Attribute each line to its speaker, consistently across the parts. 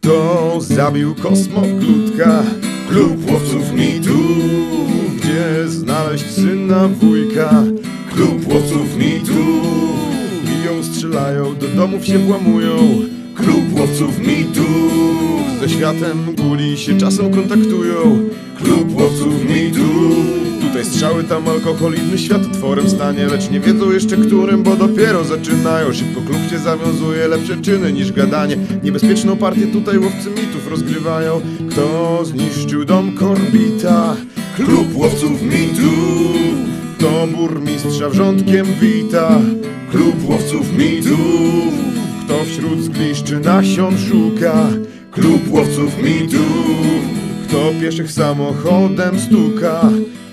Speaker 1: To zabił kosmoklutka Klub łowców mitu Gdzie znaleźć syna wujka Klub łowców mitu Biją, strzelają, do domów się włamują Klub łowców mitu Ze światem guli się czasem kontaktują Klub łowców mitu Tutaj strzały, tam alkohol, inny świat otworem stanie Lecz nie wiedzą jeszcze którym, bo dopiero zaczynają Szybko klub się zawiązuje, lepsze czyny niż gadanie Niebezpieczną partię tutaj łowcy mitów rozgrywają Kto zniszczył dom Korbita? Klub łowców mitów To burmistrza wrzątkiem wita Klub łowców mitów Kto wśród zgliszczy nasion szuka? Klub łowców mitów kto pieszych samochodem stuka?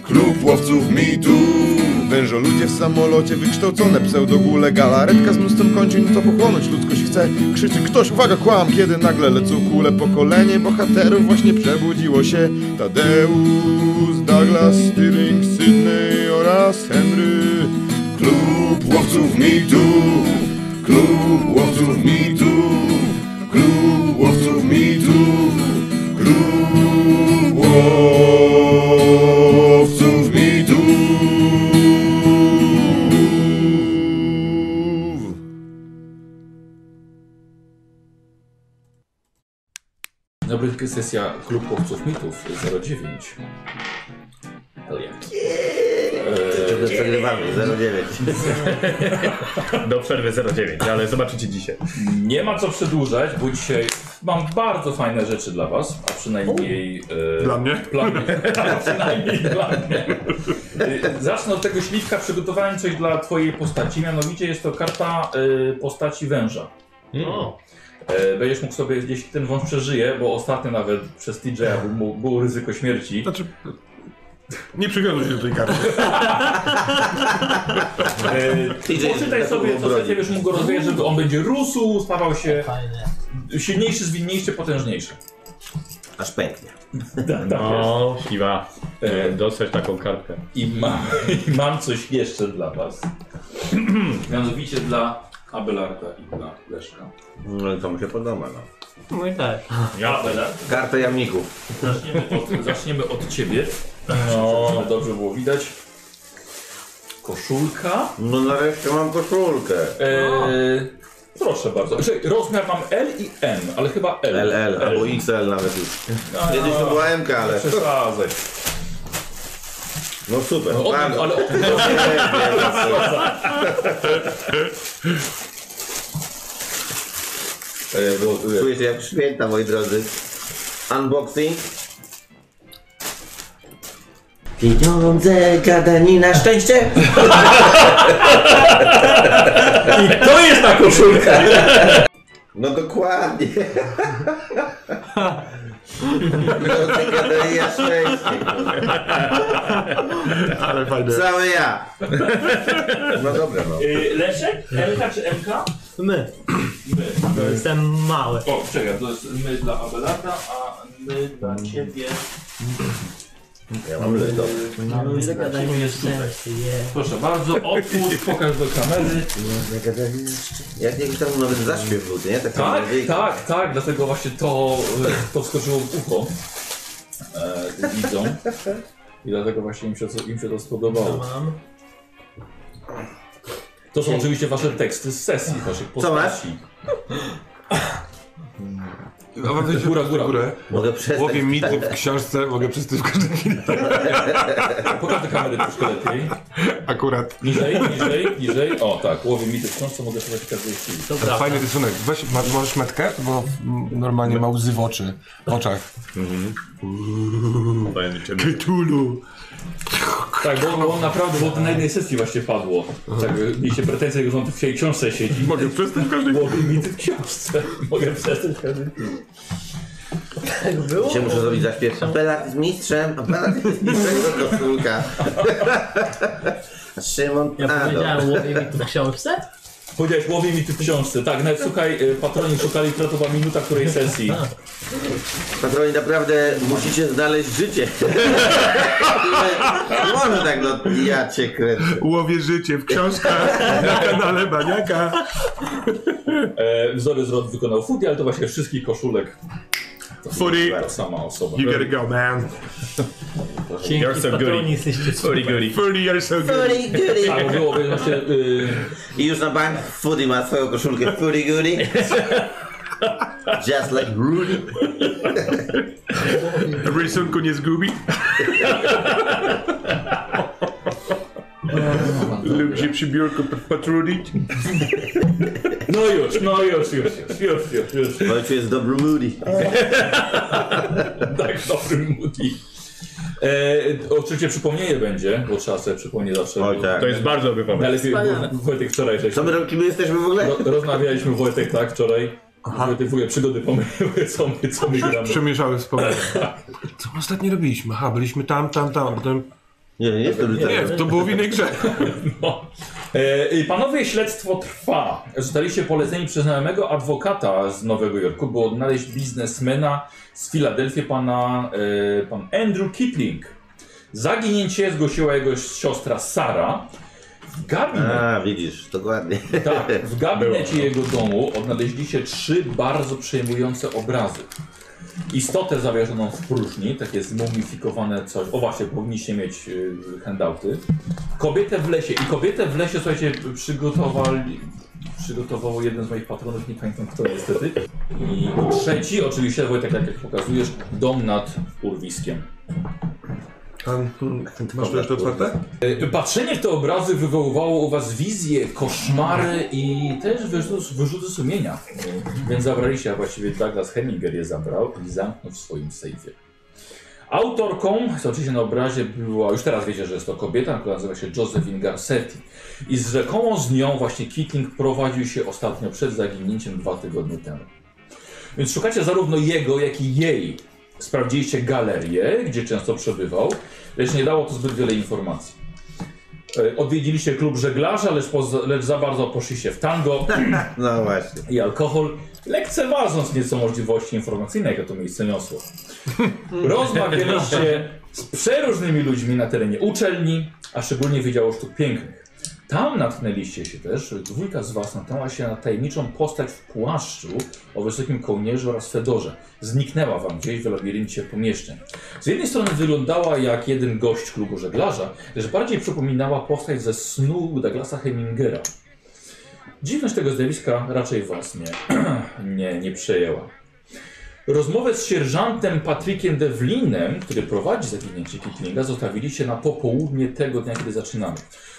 Speaker 1: Klub łowców mitu Wężo ludzie w samolocie, wykształcone pseudogule Galaretka z mnóstwem kończyn, co pochłonąć ludzkość chce Krzyczy ktoś, uwaga, kłam, kiedy nagle lecą kule Pokolenie bohaterów właśnie przebudziło się Tadeusz, Douglas, Stirling, Sydney oraz Henry Klub łowców mitu Klub łowców mitu Klub łowców mitu Klub łowców mitów.
Speaker 2: Na będzie sesja Klub Chłopców Mitów 09. Hell yeah. E, Cioè,
Speaker 3: Czego przegrywamy? 09.
Speaker 4: Do przerwy 09, ale zobaczycie dzisiaj.
Speaker 2: Nie ma co przedłużać, bo dzisiaj mam bardzo fajne rzeczy dla was, a przynajmniej... e,
Speaker 5: Dla mnie?
Speaker 2: Dla mnie. A przynajmniej dla mnie. E, Zacznę od tego śliwka, przygotowałem coś dla twojej postaci, mianowicie jest to karta e, postaci węża.
Speaker 4: No.
Speaker 2: E, Będziesz mógł sobie, jeśli ten wąż przeżyje, bo ostatnio nawet przez TJ'a był, mu- było ryzyko śmierci.
Speaker 5: Znaczy... Nie przywiązuj się do tej karty.
Speaker 2: E, Poczytaj sobie, w zasadzie wiesz, mógł go rozwijać, żeby on będzie rósł, stawał się
Speaker 6: Fajne.
Speaker 2: silniejszy, zwinniejszy, potężniejszy.
Speaker 3: Aż pęknie.
Speaker 2: Tak,
Speaker 4: No, siwa.
Speaker 2: E,
Speaker 4: Dostać taką kartkę.
Speaker 2: I, ma, I mam coś jeszcze dla was. Mianowicie dla Abelarda i dla Leszka.
Speaker 3: No to mi się podoba, no.
Speaker 6: No i tak.
Speaker 4: Ja
Speaker 2: Abelard,
Speaker 3: Karta jamników.
Speaker 2: zaczniemy od, zaczniemy od ciebie. No, dobrze było widać. Koszulka.
Speaker 3: No nareszcie mam koszulkę.
Speaker 2: Eee, proszę bardzo. Czekaj, Rozmiar mam L i M, ale chyba L.
Speaker 3: LL albo XL nawet już.
Speaker 2: A,
Speaker 3: Kiedyś to była MK, ale...
Speaker 2: Przesadzaj.
Speaker 3: No super.
Speaker 2: O tym,
Speaker 3: bardzo.
Speaker 2: ale o tym
Speaker 3: E, bo Czuję się jak święta, moi drodzy. Unboxing. Pieniądze, gadanina, szczęście.
Speaker 4: I to jest ta koszulka!
Speaker 3: No dokładnie. Pieniądze, gadanina, szczęście.
Speaker 5: Ale fajne.
Speaker 3: Cały ja. No dobra, no.
Speaker 2: Eee, Leszek? LK czy MK?
Speaker 6: My.
Speaker 2: My.
Speaker 6: To jestem mały.
Speaker 2: O, czekaj, to jest my dla Abelarda, a my dla ciebie.
Speaker 3: Ja mam leć, dobra.
Speaker 6: Mamy zagadanie
Speaker 2: jest
Speaker 6: szczęście. Yeah.
Speaker 2: Proszę bardzo, otwórz, pokaż do kamery.
Speaker 3: Jak jakiś tam nawet zaśpiew był, nie? Taki
Speaker 2: Tak,
Speaker 3: bardziej-
Speaker 2: tak, tak, dlatego właśnie to, e, to wskoczyło w ucho e, widzą. I dlatego właśnie im się, im się to
Speaker 6: To
Speaker 2: spodobało.
Speaker 6: mam.
Speaker 2: To są oczywiście wasze teksty z sesji, waszych
Speaker 3: Co masz?
Speaker 2: postaci.
Speaker 5: Awantajcie
Speaker 2: Góra, góra.
Speaker 5: w górę.
Speaker 3: Mogę przestać.
Speaker 5: Łowię mity w książce, mogę przestać w każdej chwili.
Speaker 2: Pokaż do kamery troszkę lepiej.
Speaker 5: Akurat.
Speaker 2: Niżej, niżej, niżej. O tak, łowię mi tę książkę, mogę szukać w każdej chwili.
Speaker 6: To prawda.
Speaker 5: Fajny rysunek. Weź, ma, możesz metkę? Bo mm, normalnie ma łzy w oczy. W oczach. Cthulhu.
Speaker 2: Tak, bo, bo on naprawdę, bo to na jednej sesji właśnie padło. Tak, mieliście pretensje, że on w tej książce siedzi.
Speaker 5: Mogę przestać w każdej
Speaker 2: Łowię mi tę książce. Mogę przestać w każdej chwili.
Speaker 6: Tak było?
Speaker 3: Dzisiaj muszę zrobić zaśpiew. Apelak z mistrzem, apelak z mistrzem do koszulka. Szymon,
Speaker 6: Ja
Speaker 3: a no.
Speaker 6: powiedziałem łowię mi tu w książce?
Speaker 2: e, Powiedziałeś, łowię mi tu w książce. Tak, nawet słuchaj, y, patroni szukali, która to była minuta której sesji.
Speaker 3: Patroni, naprawdę musicie znaleźć życie. Nie Może tak, no ja cię kręcę.
Speaker 7: Łowię życie w książkach na kanale Baniaka.
Speaker 2: E, wzory z ROT wykonał Foodie, ale to właśnie wszystkich koszulek. To
Speaker 7: Foodie.
Speaker 2: była ta sama osoba.
Speaker 7: You gotta go, man.
Speaker 4: You're
Speaker 6: Dzięki
Speaker 4: so
Speaker 6: patroni
Speaker 4: goody.
Speaker 6: jesteście
Speaker 4: Sorry,
Speaker 6: super.
Speaker 4: Guri.
Speaker 7: 30 years so good.
Speaker 3: Furi guri.
Speaker 2: A byłoby Tak, właśnie... Y,
Speaker 3: I już na bank Foodie ma swoją koszulkę Furi guri. Just like Rudy.
Speaker 7: Rysunku nie zgubi. Lub się przy biurku p- patrulić.
Speaker 2: no już, no już, już, już, już, już, już.
Speaker 3: Wojciech jest dobry Moody.
Speaker 2: Tak, dobry Moody. E, oczywiście przypomnienie będzie, bo trzeba sobie przypomnieć zawsze.
Speaker 3: Oj tak.
Speaker 4: To jest bardzo dobry pomysł.
Speaker 2: Ale
Speaker 6: Wspaniale.
Speaker 2: Wojtek wczoraj żeśmy,
Speaker 3: Co my robimy, my jesteśmy w ogóle?
Speaker 2: ro, rozmawialiśmy Wojtek tak wczoraj. Wojtek w ogóle przygody pomyliły, co my, co my gramy.
Speaker 5: Przemieszały wspomnienia. Co ostatnio robiliśmy? Aha, byliśmy tam, tam, tam, a potem...
Speaker 3: Nie, nie jest to
Speaker 5: Nie,
Speaker 3: Luther.
Speaker 5: to było w innej grze.
Speaker 2: No. E, y, Panowie, śledztwo trwa. Zostaliście poleceni przez znajomego adwokata z Nowego Jorku, by odnaleźć biznesmena z Filadelfii, pana e, pan Andrew Kipling. Zaginięcie zgłosiła jego siostra Sara. W gabinecie,
Speaker 3: A, widzisz, dokładnie.
Speaker 2: tak, w gabinecie jego domu odnaleźliście trzy bardzo przejmujące obrazy. Istotę zawieszoną w próżni, takie zmumifikowane coś. O właśnie, powinniście mieć y, handouty. Kobietę w lesie. I kobietę w lesie, słuchajcie, przygotowali. Przygotował jeden z moich patronów, nie pamiętam kto niestety. I trzeci, oczywiście, Wojtek, tak jak pokazujesz, dom nad urwiskiem.
Speaker 5: Tam, hmm, Masz to jeszcze otwarte?
Speaker 2: Y, Patrzenie w te obrazy wywoływało u was wizje, koszmary i też wyrzuty, wyrzuty sumienia. Y, Więc zabraliście, a właściwie Douglas Hemminger je zabrał i zamknął w swoim sejfie. Autorką, co oczywiście na obrazie była, już teraz wiecie, że jest to kobieta, która nazywa się Josephine Garcetti. I z rzekomo z nią właśnie Kitling prowadził się ostatnio przed zaginięciem dwa tygodnie temu. Więc szukacie zarówno jego, jak i jej. Sprawdziliście galerię, gdzie często przebywał, lecz nie dało to zbyt wiele informacji. E, Odwiedziliście klub żeglarza, lecz, poza, lecz za bardzo poszliście w tango
Speaker 3: No właśnie.
Speaker 2: i alkohol, lekceważąc nieco możliwości informacyjne, jakie to miejsce niosło. Rozmawialiście z przeróżnymi ludźmi na terenie uczelni, a szczególnie Wydziału Sztuk Pięknych. Tam natknęliście się też, dwójka z was natknęła się na tajemniczą postać w płaszczu o wysokim kołnierzu oraz fedorze. Zniknęła wam gdzieś w labiryncie pomieszczeń. Z jednej strony wyglądała jak jeden gość klubu żeglarza, lecz bardziej przypominała postać ze snu Douglasa Hemingera. Dziwność tego zjawiska raczej was nie, nie, nie przejęła. Rozmowę z sierżantem Patrykiem Devlinem, który prowadzi zaginięcie Kitlinga, zostawiliście na popołudnie tego dnia, kiedy zaczynamy.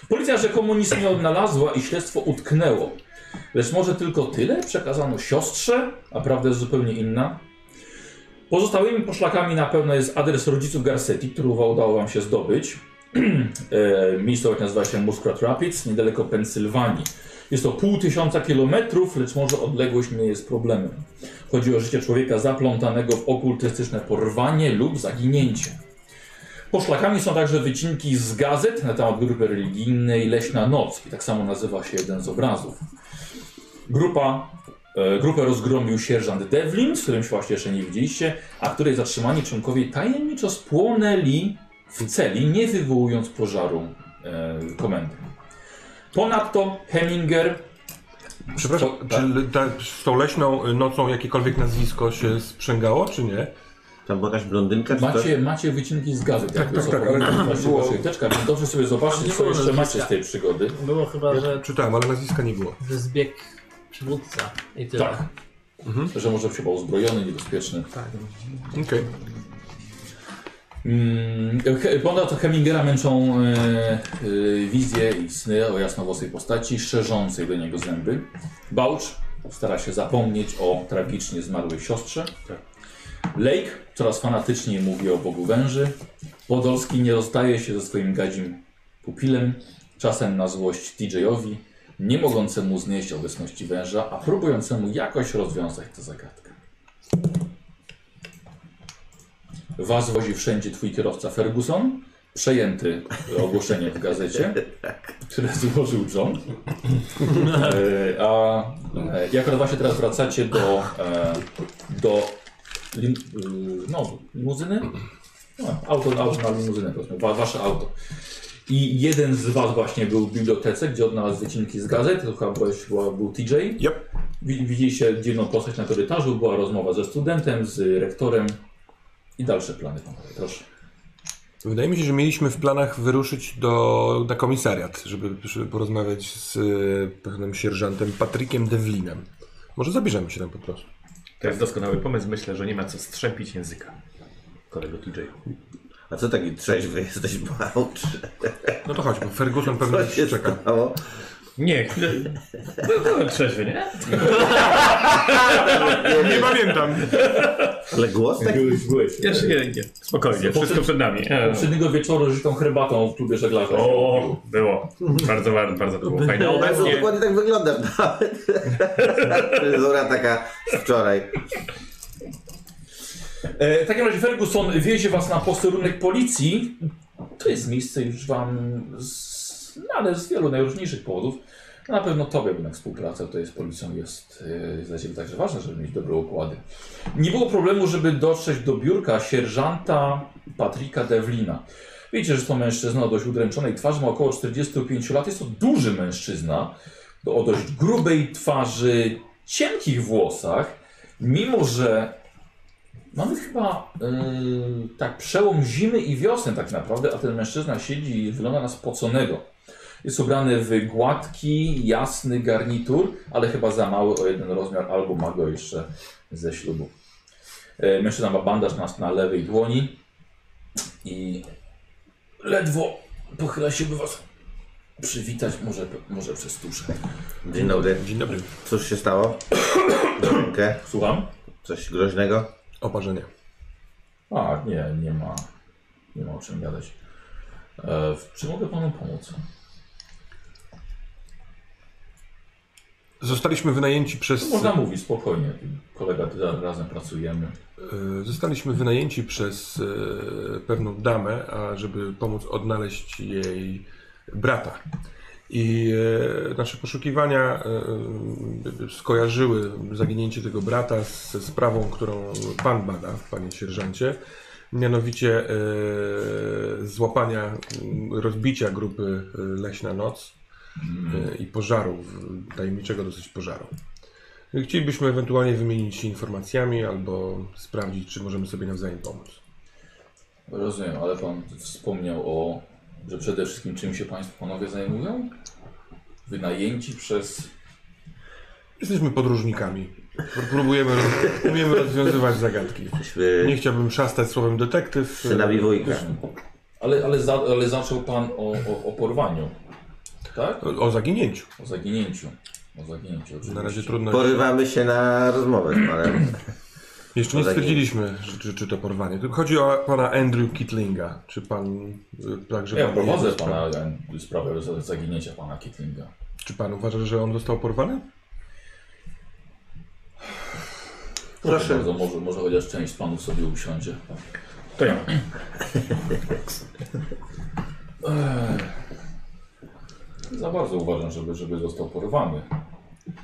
Speaker 2: Policja rzekomo nic nie odnalazła i śledztwo utknęło. Lecz może tylko tyle przekazano siostrze, a prawda jest zupełnie inna. Pozostałymi poszlakami na pewno jest adres rodziców Garcetti, który udało wam się zdobyć. E, Miejscowość nazywa się Muskrat Rapids, niedaleko Pensylwanii. Jest to pół tysiąca kilometrów, lecz może odległość nie jest problemem. Chodzi o życie człowieka zaplątanego w okultystyczne porwanie lub zaginięcie. Poszlakami są także wycinki z gazet na temat grupy religijnej Leśna Noc i tak samo nazywa się jeden z obrazów. Grupa, e, grupę rozgromił sierżant Devlin, z którym się właśnie jeszcze nie widzieliście, a której zatrzymani członkowie tajemniczo spłonęli w celi, nie wywołując pożaru e, komendy. Ponadto Heminger
Speaker 5: Przepraszam,
Speaker 2: To-
Speaker 5: czy le- ta, z tą leśną y, nocą jakiekolwiek nazwisko się sprzęgało, czy nie?
Speaker 3: Tam była jakaś blondynka czy coś?
Speaker 2: Macie, macie wycinki z gazet, tak,
Speaker 5: tak, tak, ale to było-
Speaker 2: więc dobrze sobie zobaczyć, co jeszcze macie z tej przygody.
Speaker 6: Było chyba, że
Speaker 5: Czytałem, ale nazwiska nie było.
Speaker 6: że zbieg przywódca i tyle.
Speaker 2: Tak. Że może chyba uzbrojony, niebezpieczny.
Speaker 5: Okej.
Speaker 2: Mm, he- Ponadto Hemingera męczą e, e, wizje i sny o jasnowłosej postaci, szerzącej do niego zęby. Bałcz stara się zapomnieć o tragicznie zmarłej siostrze. Lake coraz fanatyczniej mówi o Bogu Węży. Podolski nie rozstaje się ze swoim gadzim pupilem, czasem na złość DJ-owi, nie mogącemu znieść obecności węża, a próbującemu jakoś rozwiązać tę zagadkę. Was wozi wszędzie twój kierowca Ferguson, przejęty ogłoszenie w gazecie, które złożył John. E, A e, jak właśnie teraz wracacie do, e, do lim, y, no, limuzyny? No, auto, auto na limuzynę, powiedzmy, wa, wasze auto. I jeden z was właśnie był w bibliotece, gdzie odnalazł wycinki z gazet, to chyba byłeś, była, był TJ.
Speaker 7: Yep.
Speaker 2: Wi- Widzieliście dziwną postać na korytarzu, była rozmowa ze studentem, z rektorem i dalsze plany. panowie, Proszę.
Speaker 5: Wydaje mi się, że mieliśmy w planach wyruszyć do, na komisariat, żeby, żeby porozmawiać z y, pewnym sierżantem Patrykiem Devlinem. Może zabierzemy się tam po prostu.
Speaker 4: To jest doskonały pomysł. Myślę, że nie ma co strzępić języka. Kolego TJ.
Speaker 3: A co taki trzeźwy jesteś, Bałcz?
Speaker 5: No to chodźmy, Ferguson pewnie
Speaker 3: Co
Speaker 5: już
Speaker 3: się
Speaker 5: czeka.
Speaker 3: stało?
Speaker 4: Nie, chwilę. No, byłem trzeźwy, nie?
Speaker 7: Nie pamiętam.
Speaker 3: Ale głos tak
Speaker 2: Byłeś, byłeś.
Speaker 4: Jeszcze nie, nie. Spokojnie, wszystko przed nami. E,
Speaker 2: Poprzedniego wieczoru żytą herbatą w klubie żeglarza.
Speaker 4: O, było. Bardzo, bardzo, bardzo było fajne.
Speaker 3: No,
Speaker 4: Obecnie
Speaker 3: dokładnie tak wyglądasz nawet. Fryzura taka z wczoraj.
Speaker 2: E, w takim razie Ferguson wiezie was na posterunek policji. To jest miejsce już wam znane z wielu najróżniejszych powodów. Na pewno tobie jednak współpraca tutaj z policją jest e, dla ciebie także ważna, żeby mieć dobre układy. Nie było problemu, żeby dotrzeć do biurka sierżanta Patryka Devlina. Wiecie, że to mężczyzna o dość udręczonej twarzy, ma około 45 lat. Jest to duży mężczyzna o dość grubej twarzy, cienkich włosach. Mimo, że Mamy chyba yy, tak przełom zimy i wiosny tak naprawdę, a ten mężczyzna siedzi i wygląda na spoconego. Jest ubrany w gładki, jasny garnitur, ale chyba za mały o jeden rozmiar, albo ma go jeszcze ze ślubu. Yy, mężczyzna ma bandaż na, na lewej dłoni i ledwo pochyla się, by was przywitać, może, może przez tuszę.
Speaker 3: Dzień dobry.
Speaker 5: Dzień dobry.
Speaker 3: Cóż się stało? Do rękę?
Speaker 2: Słucham?
Speaker 3: Coś groźnego?
Speaker 5: Oparzenie.
Speaker 2: A, nie, nie ma, nie ma o czym gadać. E, w- czy mogę panu pomóc?
Speaker 5: Zostaliśmy wynajęci przez...
Speaker 2: Można mówić spokojnie. Kolega ra- razem pracujemy.
Speaker 5: Y, Zostaliśmy wynajęci przez y, pewną damę, a żeby pomóc odnaleźć jej brata. I y, nasze poszukiwania y, skojarzyły zaginięcie tego brata ze sprawą, którą pan bada, panie sierżancie. Mianowicie y, złapania, y, rozbicia grupy y, Leśna Noc y, i pożaru, w- tajemniczego dosyć pożaru. Chcielibyśmy ewentualnie wymienić się informacjami albo sprawdzić, czy możemy sobie nawzajem pomóc.
Speaker 2: Rozumiem, ale pan wspomniał o, że przede wszystkim czym się państwo panowie zajmują? Wynajęci przez...
Speaker 5: Jesteśmy podróżnikami. Próbujemy, umiemy rozwiązywać zagadki. Nie
Speaker 3: Jesteśmy
Speaker 5: chciałbym szastać słowem detektyw. e,
Speaker 3: synami wujka.
Speaker 2: Ale, ale, za, ale zaczął pan o, o, o porwaniu. Tak?
Speaker 5: O, o zaginięciu.
Speaker 2: O zaginięciu. O zaginięciu, oczywiście.
Speaker 5: Na razie trudno.
Speaker 3: Porywamy się na rozmowę z panem.
Speaker 5: Jeszcze nie
Speaker 3: o zaginięciu.
Speaker 5: stwierdziliśmy, że- czy, czy to porwanie. Tylko chodzi o pana Andrew Kitlinga. Czy pan y, także.
Speaker 2: Ja
Speaker 5: pan-
Speaker 2: prowadzę pana
Speaker 5: tak.
Speaker 2: e, sprawę za- zaginięcia pana Kitlinga.
Speaker 5: Czy pan uważa, że on został porwany?
Speaker 2: Proszę. Bardzo, może, może chociaż część panów sobie usiądzie.
Speaker 4: to ja.
Speaker 2: Za bardzo uważam, żeby, żeby został porwany.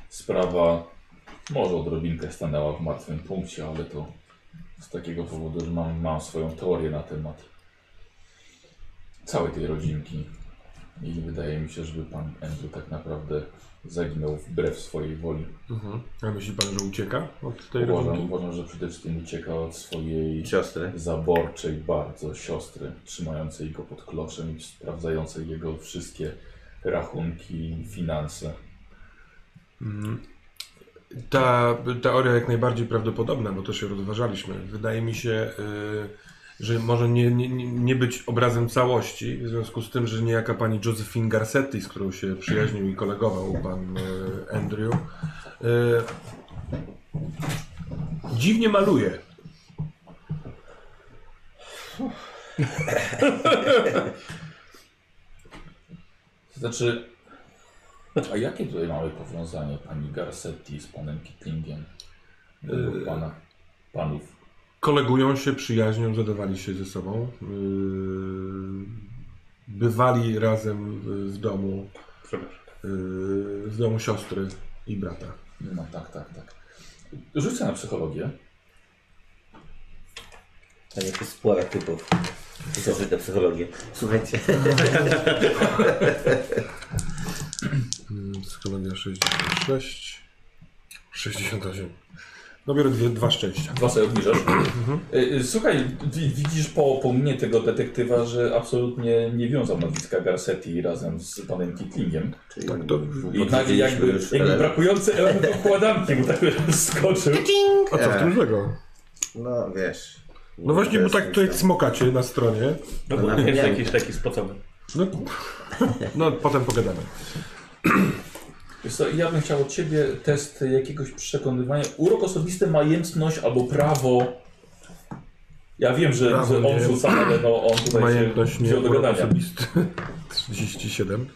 Speaker 2: Sprawa może odrobinkę stanęła w martwym punkcie, ale to z takiego powodu, że mam, mam swoją teorię na temat całej tej rodzinki. I wydaje mi się, żeby pan Andrew tak naprawdę zaginął wbrew swojej woli.
Speaker 5: Mhm. A myśli pan, że ucieka od tej
Speaker 2: Uważam,
Speaker 5: rodziny?
Speaker 2: uważam że przede wszystkim ucieka od swojej
Speaker 3: Siostry.
Speaker 2: zaborczej bardzo siostry, trzymającej go pod kloszem i sprawdzającej jego wszystkie rachunki, finanse.
Speaker 5: Ta teoria jak najbardziej prawdopodobna, bo też ją rozważaliśmy. Wydaje mi się, y, że może nie, nie, nie- nie być obrazem całości, w związku z tym, że niejaka pani Josephine Garcetti, z którą się przyjaźnił i kolegował pan y, Andrew, y, dziwnie maluje.
Speaker 2: To znaczy, a jakie tutaj mamy powiązanie pani Garcetti z panem Kitlingiem? Według pana, panów.
Speaker 5: Kolegują się, przyjaźnią, zadawali się ze sobą. y, Bywali razem w- w domu,
Speaker 4: Przepraszam.
Speaker 5: y, w domu siostry i brata.
Speaker 2: No tak, tak, tak. Rzucę na psychologię.
Speaker 8: A nie, to jest spora typów. Zaszedł na psychologię.
Speaker 3: Słuchajcie,
Speaker 5: Mm, Psychologia 66. 68. No biorę dwie, dwa szczęścia.
Speaker 2: Dwa sobie obniżasz.
Speaker 5: Mhm.
Speaker 2: Y, y, Słuchaj, wi- widzisz po, po mnie tego detektywa, że absolutnie nie wiązał nazwiska Garcetti razem z panem Kitlingiem.
Speaker 5: Tak, to
Speaker 2: I nagle jakby,
Speaker 3: już
Speaker 2: jakby
Speaker 3: tyle.
Speaker 2: brakujący element układanki mu tak skoczył.
Speaker 5: A co w tym złego?
Speaker 3: No wiesz.
Speaker 5: No właśnie, bo tak tutaj smokacie na stronie.
Speaker 4: No
Speaker 3: To
Speaker 4: bo
Speaker 3: na
Speaker 4: jest
Speaker 3: pewno.
Speaker 4: jakiś taki spocony.
Speaker 5: No, no potem pogadamy.
Speaker 2: Wiesz co, ja bym chciał od ciebie test jakiegoś przekonywania. Urok osobisty, majętność albo prawo. Ja wiem, że,
Speaker 5: Prawo,
Speaker 2: że on
Speaker 5: nie.
Speaker 2: rzuca, ale no on tutaj
Speaker 5: Majętność
Speaker 2: się
Speaker 5: nie
Speaker 2: wziął do
Speaker 5: urok
Speaker 2: gadania.
Speaker 5: osobisty. 37.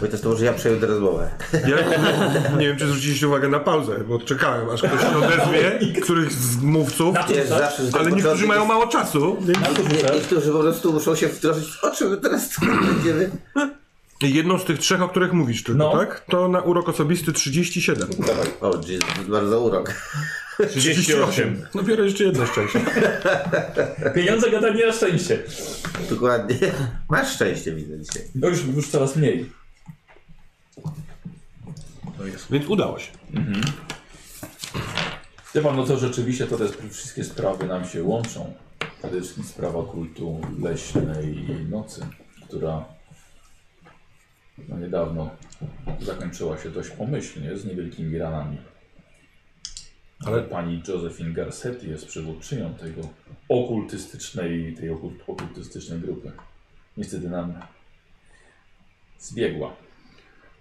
Speaker 3: Wojtas, to może ja przejął teraz rozmowę.
Speaker 5: Ja nie wiem, czy zwróciliście uwagę na pauzę, bo czekałem, aż ktoś się odezwie, któryś z mówców,
Speaker 2: Na to,
Speaker 3: Wiesz,
Speaker 2: na,
Speaker 3: zawsze, że ten
Speaker 5: ale niektórzy
Speaker 3: początek
Speaker 5: mają
Speaker 3: jest-
Speaker 5: mało czasu.
Speaker 2: na to rzucasz.
Speaker 3: Niektórzy po prostu muszą się wdrożyć w oczy, my teraz tu będziemy.
Speaker 5: Jedną z tych trzech, o których mówisz tylko,
Speaker 2: No.
Speaker 5: tak? To na urok osobisty 37.
Speaker 3: O, Jezus, bardzo urok.
Speaker 4: 38.
Speaker 5: No biorę jeszcze jedno szczęście.
Speaker 2: Pieniądze gadanie na szczęście.
Speaker 3: Dokładnie. Masz szczęście, widzę dzisiaj.
Speaker 2: No już, już coraz mniej.
Speaker 5: Więc udało się.
Speaker 2: Stefan, no to rzeczywiście to te sp- wszystkie sprawy nam się łączą. Przede wszystkim sprawa kultu leśnej nocy, która no niedawno zakończyła się dość pomyślnie, z niewielkimi ranami. Ale pani Josephine Garcetti jest przywódczynią tego okultystycznej, tej okult, okultystycznej grupy. Niestety nam zbiegła.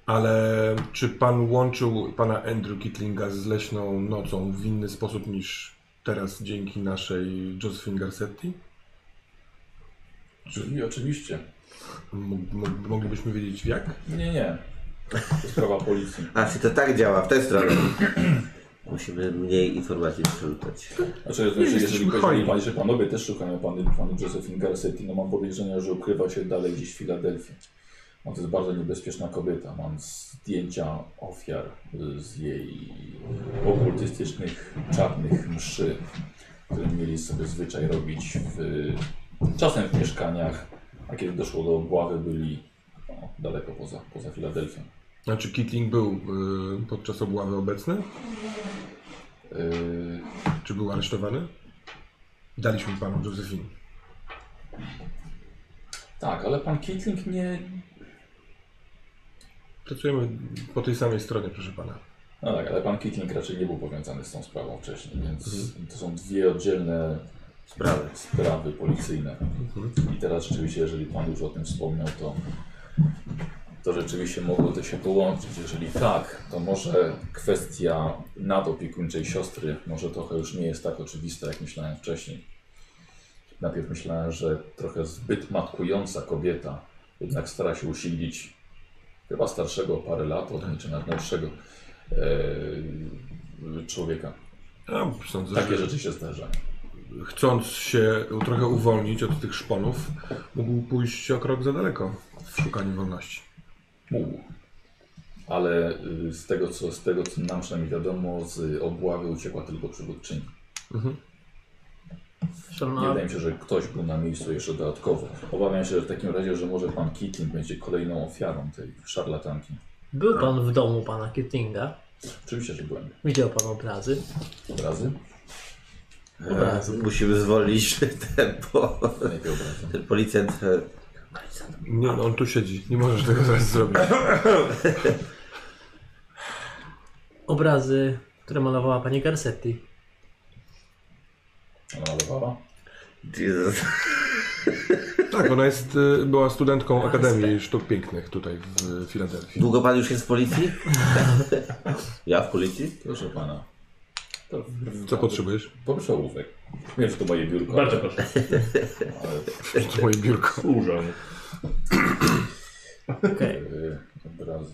Speaker 5: Ale czy pan łączył pana Andrew Kitlinga z leśną nocą w inny sposób niż teraz dzięki naszej Josephine Garcetti?
Speaker 2: Czyli oczywiście.
Speaker 5: Mógł- mógł- Moglibyśmy wiedzieć jak?
Speaker 2: Nie, nie. To sprawa policji.
Speaker 3: A, czy to tak działa, w tę stronę. Musimy mniej informacji przerzucać.
Speaker 2: Znaczy, jeżeli, jeżeli,
Speaker 5: jesteśmy
Speaker 2: jeżeli,
Speaker 5: hojni.
Speaker 2: jeżeli, jeżeli panowie też szukają pany, pany Josephine Garcetti, no mam podejrzenia, że ukrywa się dalej gdzieś w Filadelfii. No to jest bardzo niebezpieczna kobieta. Mam zdjęcia ofiar y, z jej okultystycznych, czarnych mszy, które mieli sobie zwyczaj robić w, czasem w mieszkaniach, a kiedy doszło do obławy, byli no, daleko poza, poza Filadelfią.
Speaker 5: Znaczy Kitling był y, podczas obławy obecny?
Speaker 2: Y,
Speaker 5: Czy był aresztowany? Daliśmy panu Josephine.
Speaker 2: tak, ale pan Kitling nie...
Speaker 5: Pracujemy po tej samej stronie, proszę pana.
Speaker 2: No tak, ale pan Kitling raczej nie był powiązany z tą sprawą wcześniej, więc to są dwie oddzielne
Speaker 3: Sprawy.
Speaker 2: sprawy policyjne. I teraz rzeczywiście, jeżeli pan już o tym wspomniał, to, to rzeczywiście mogło to się połączyć. Jeżeli tak, to może kwestia nadopiekuńczej siostry może trochę już nie jest tak oczywista, jak myślałem wcześniej. Najpierw myślałem, że trochę zbyt matkująca kobieta jednak stara się usilnić chyba starszego o parę lat, od niej, czy nawet młodszego e, człowieka.
Speaker 5: No, sądzę,
Speaker 2: Takie
Speaker 5: że
Speaker 2: rzeczy się zdarzają.
Speaker 5: chcąc się trochę uwolnić od tych szponów, mógł pójść o krok za daleko w szukaniu wolności.
Speaker 2: Mógł. Ale y, z tego, co, z tego, co nam przynajmniej wiadomo, z obławy uciekła tylko przywódczyni. Nie
Speaker 6: Szanowna,
Speaker 2: wydaje mi się, że ktoś był na miejscu jeszcze dodatkowo. Obawiam się, że w takim razie, że może pan Keating będzie kolejną ofiarą tej szarlatanki.
Speaker 6: był pan w domu pana Kittinga.
Speaker 2: Oczywiście, że byłem.
Speaker 6: Widział pan obrazy.
Speaker 2: Obrazy?
Speaker 3: E, musimy zwolnić tempo.
Speaker 2: Najpierw obrazy.
Speaker 3: Ten policjant e,
Speaker 5: Nie, no on tu siedzi. Nie możesz tego zaraz zrobić.
Speaker 6: Obrazy, które malowała pani Garcetti.
Speaker 2: Ona malowała.
Speaker 3: Jesus.
Speaker 5: Tak, ona jest, y, była studentką Akademii Sztuk Pięknych tutaj w y, Filadelfii.
Speaker 3: Długo pan już jest w policji? ja w policji?
Speaker 2: Proszę pana. To
Speaker 5: Co potrzebujesz?
Speaker 2: Poproszę ołówek. Wiem, że to moje biurko.
Speaker 4: Bardzo proszę.
Speaker 5: To moje biurko.
Speaker 4: Dużo.
Speaker 6: Okej.
Speaker 2: Y, Obrazy.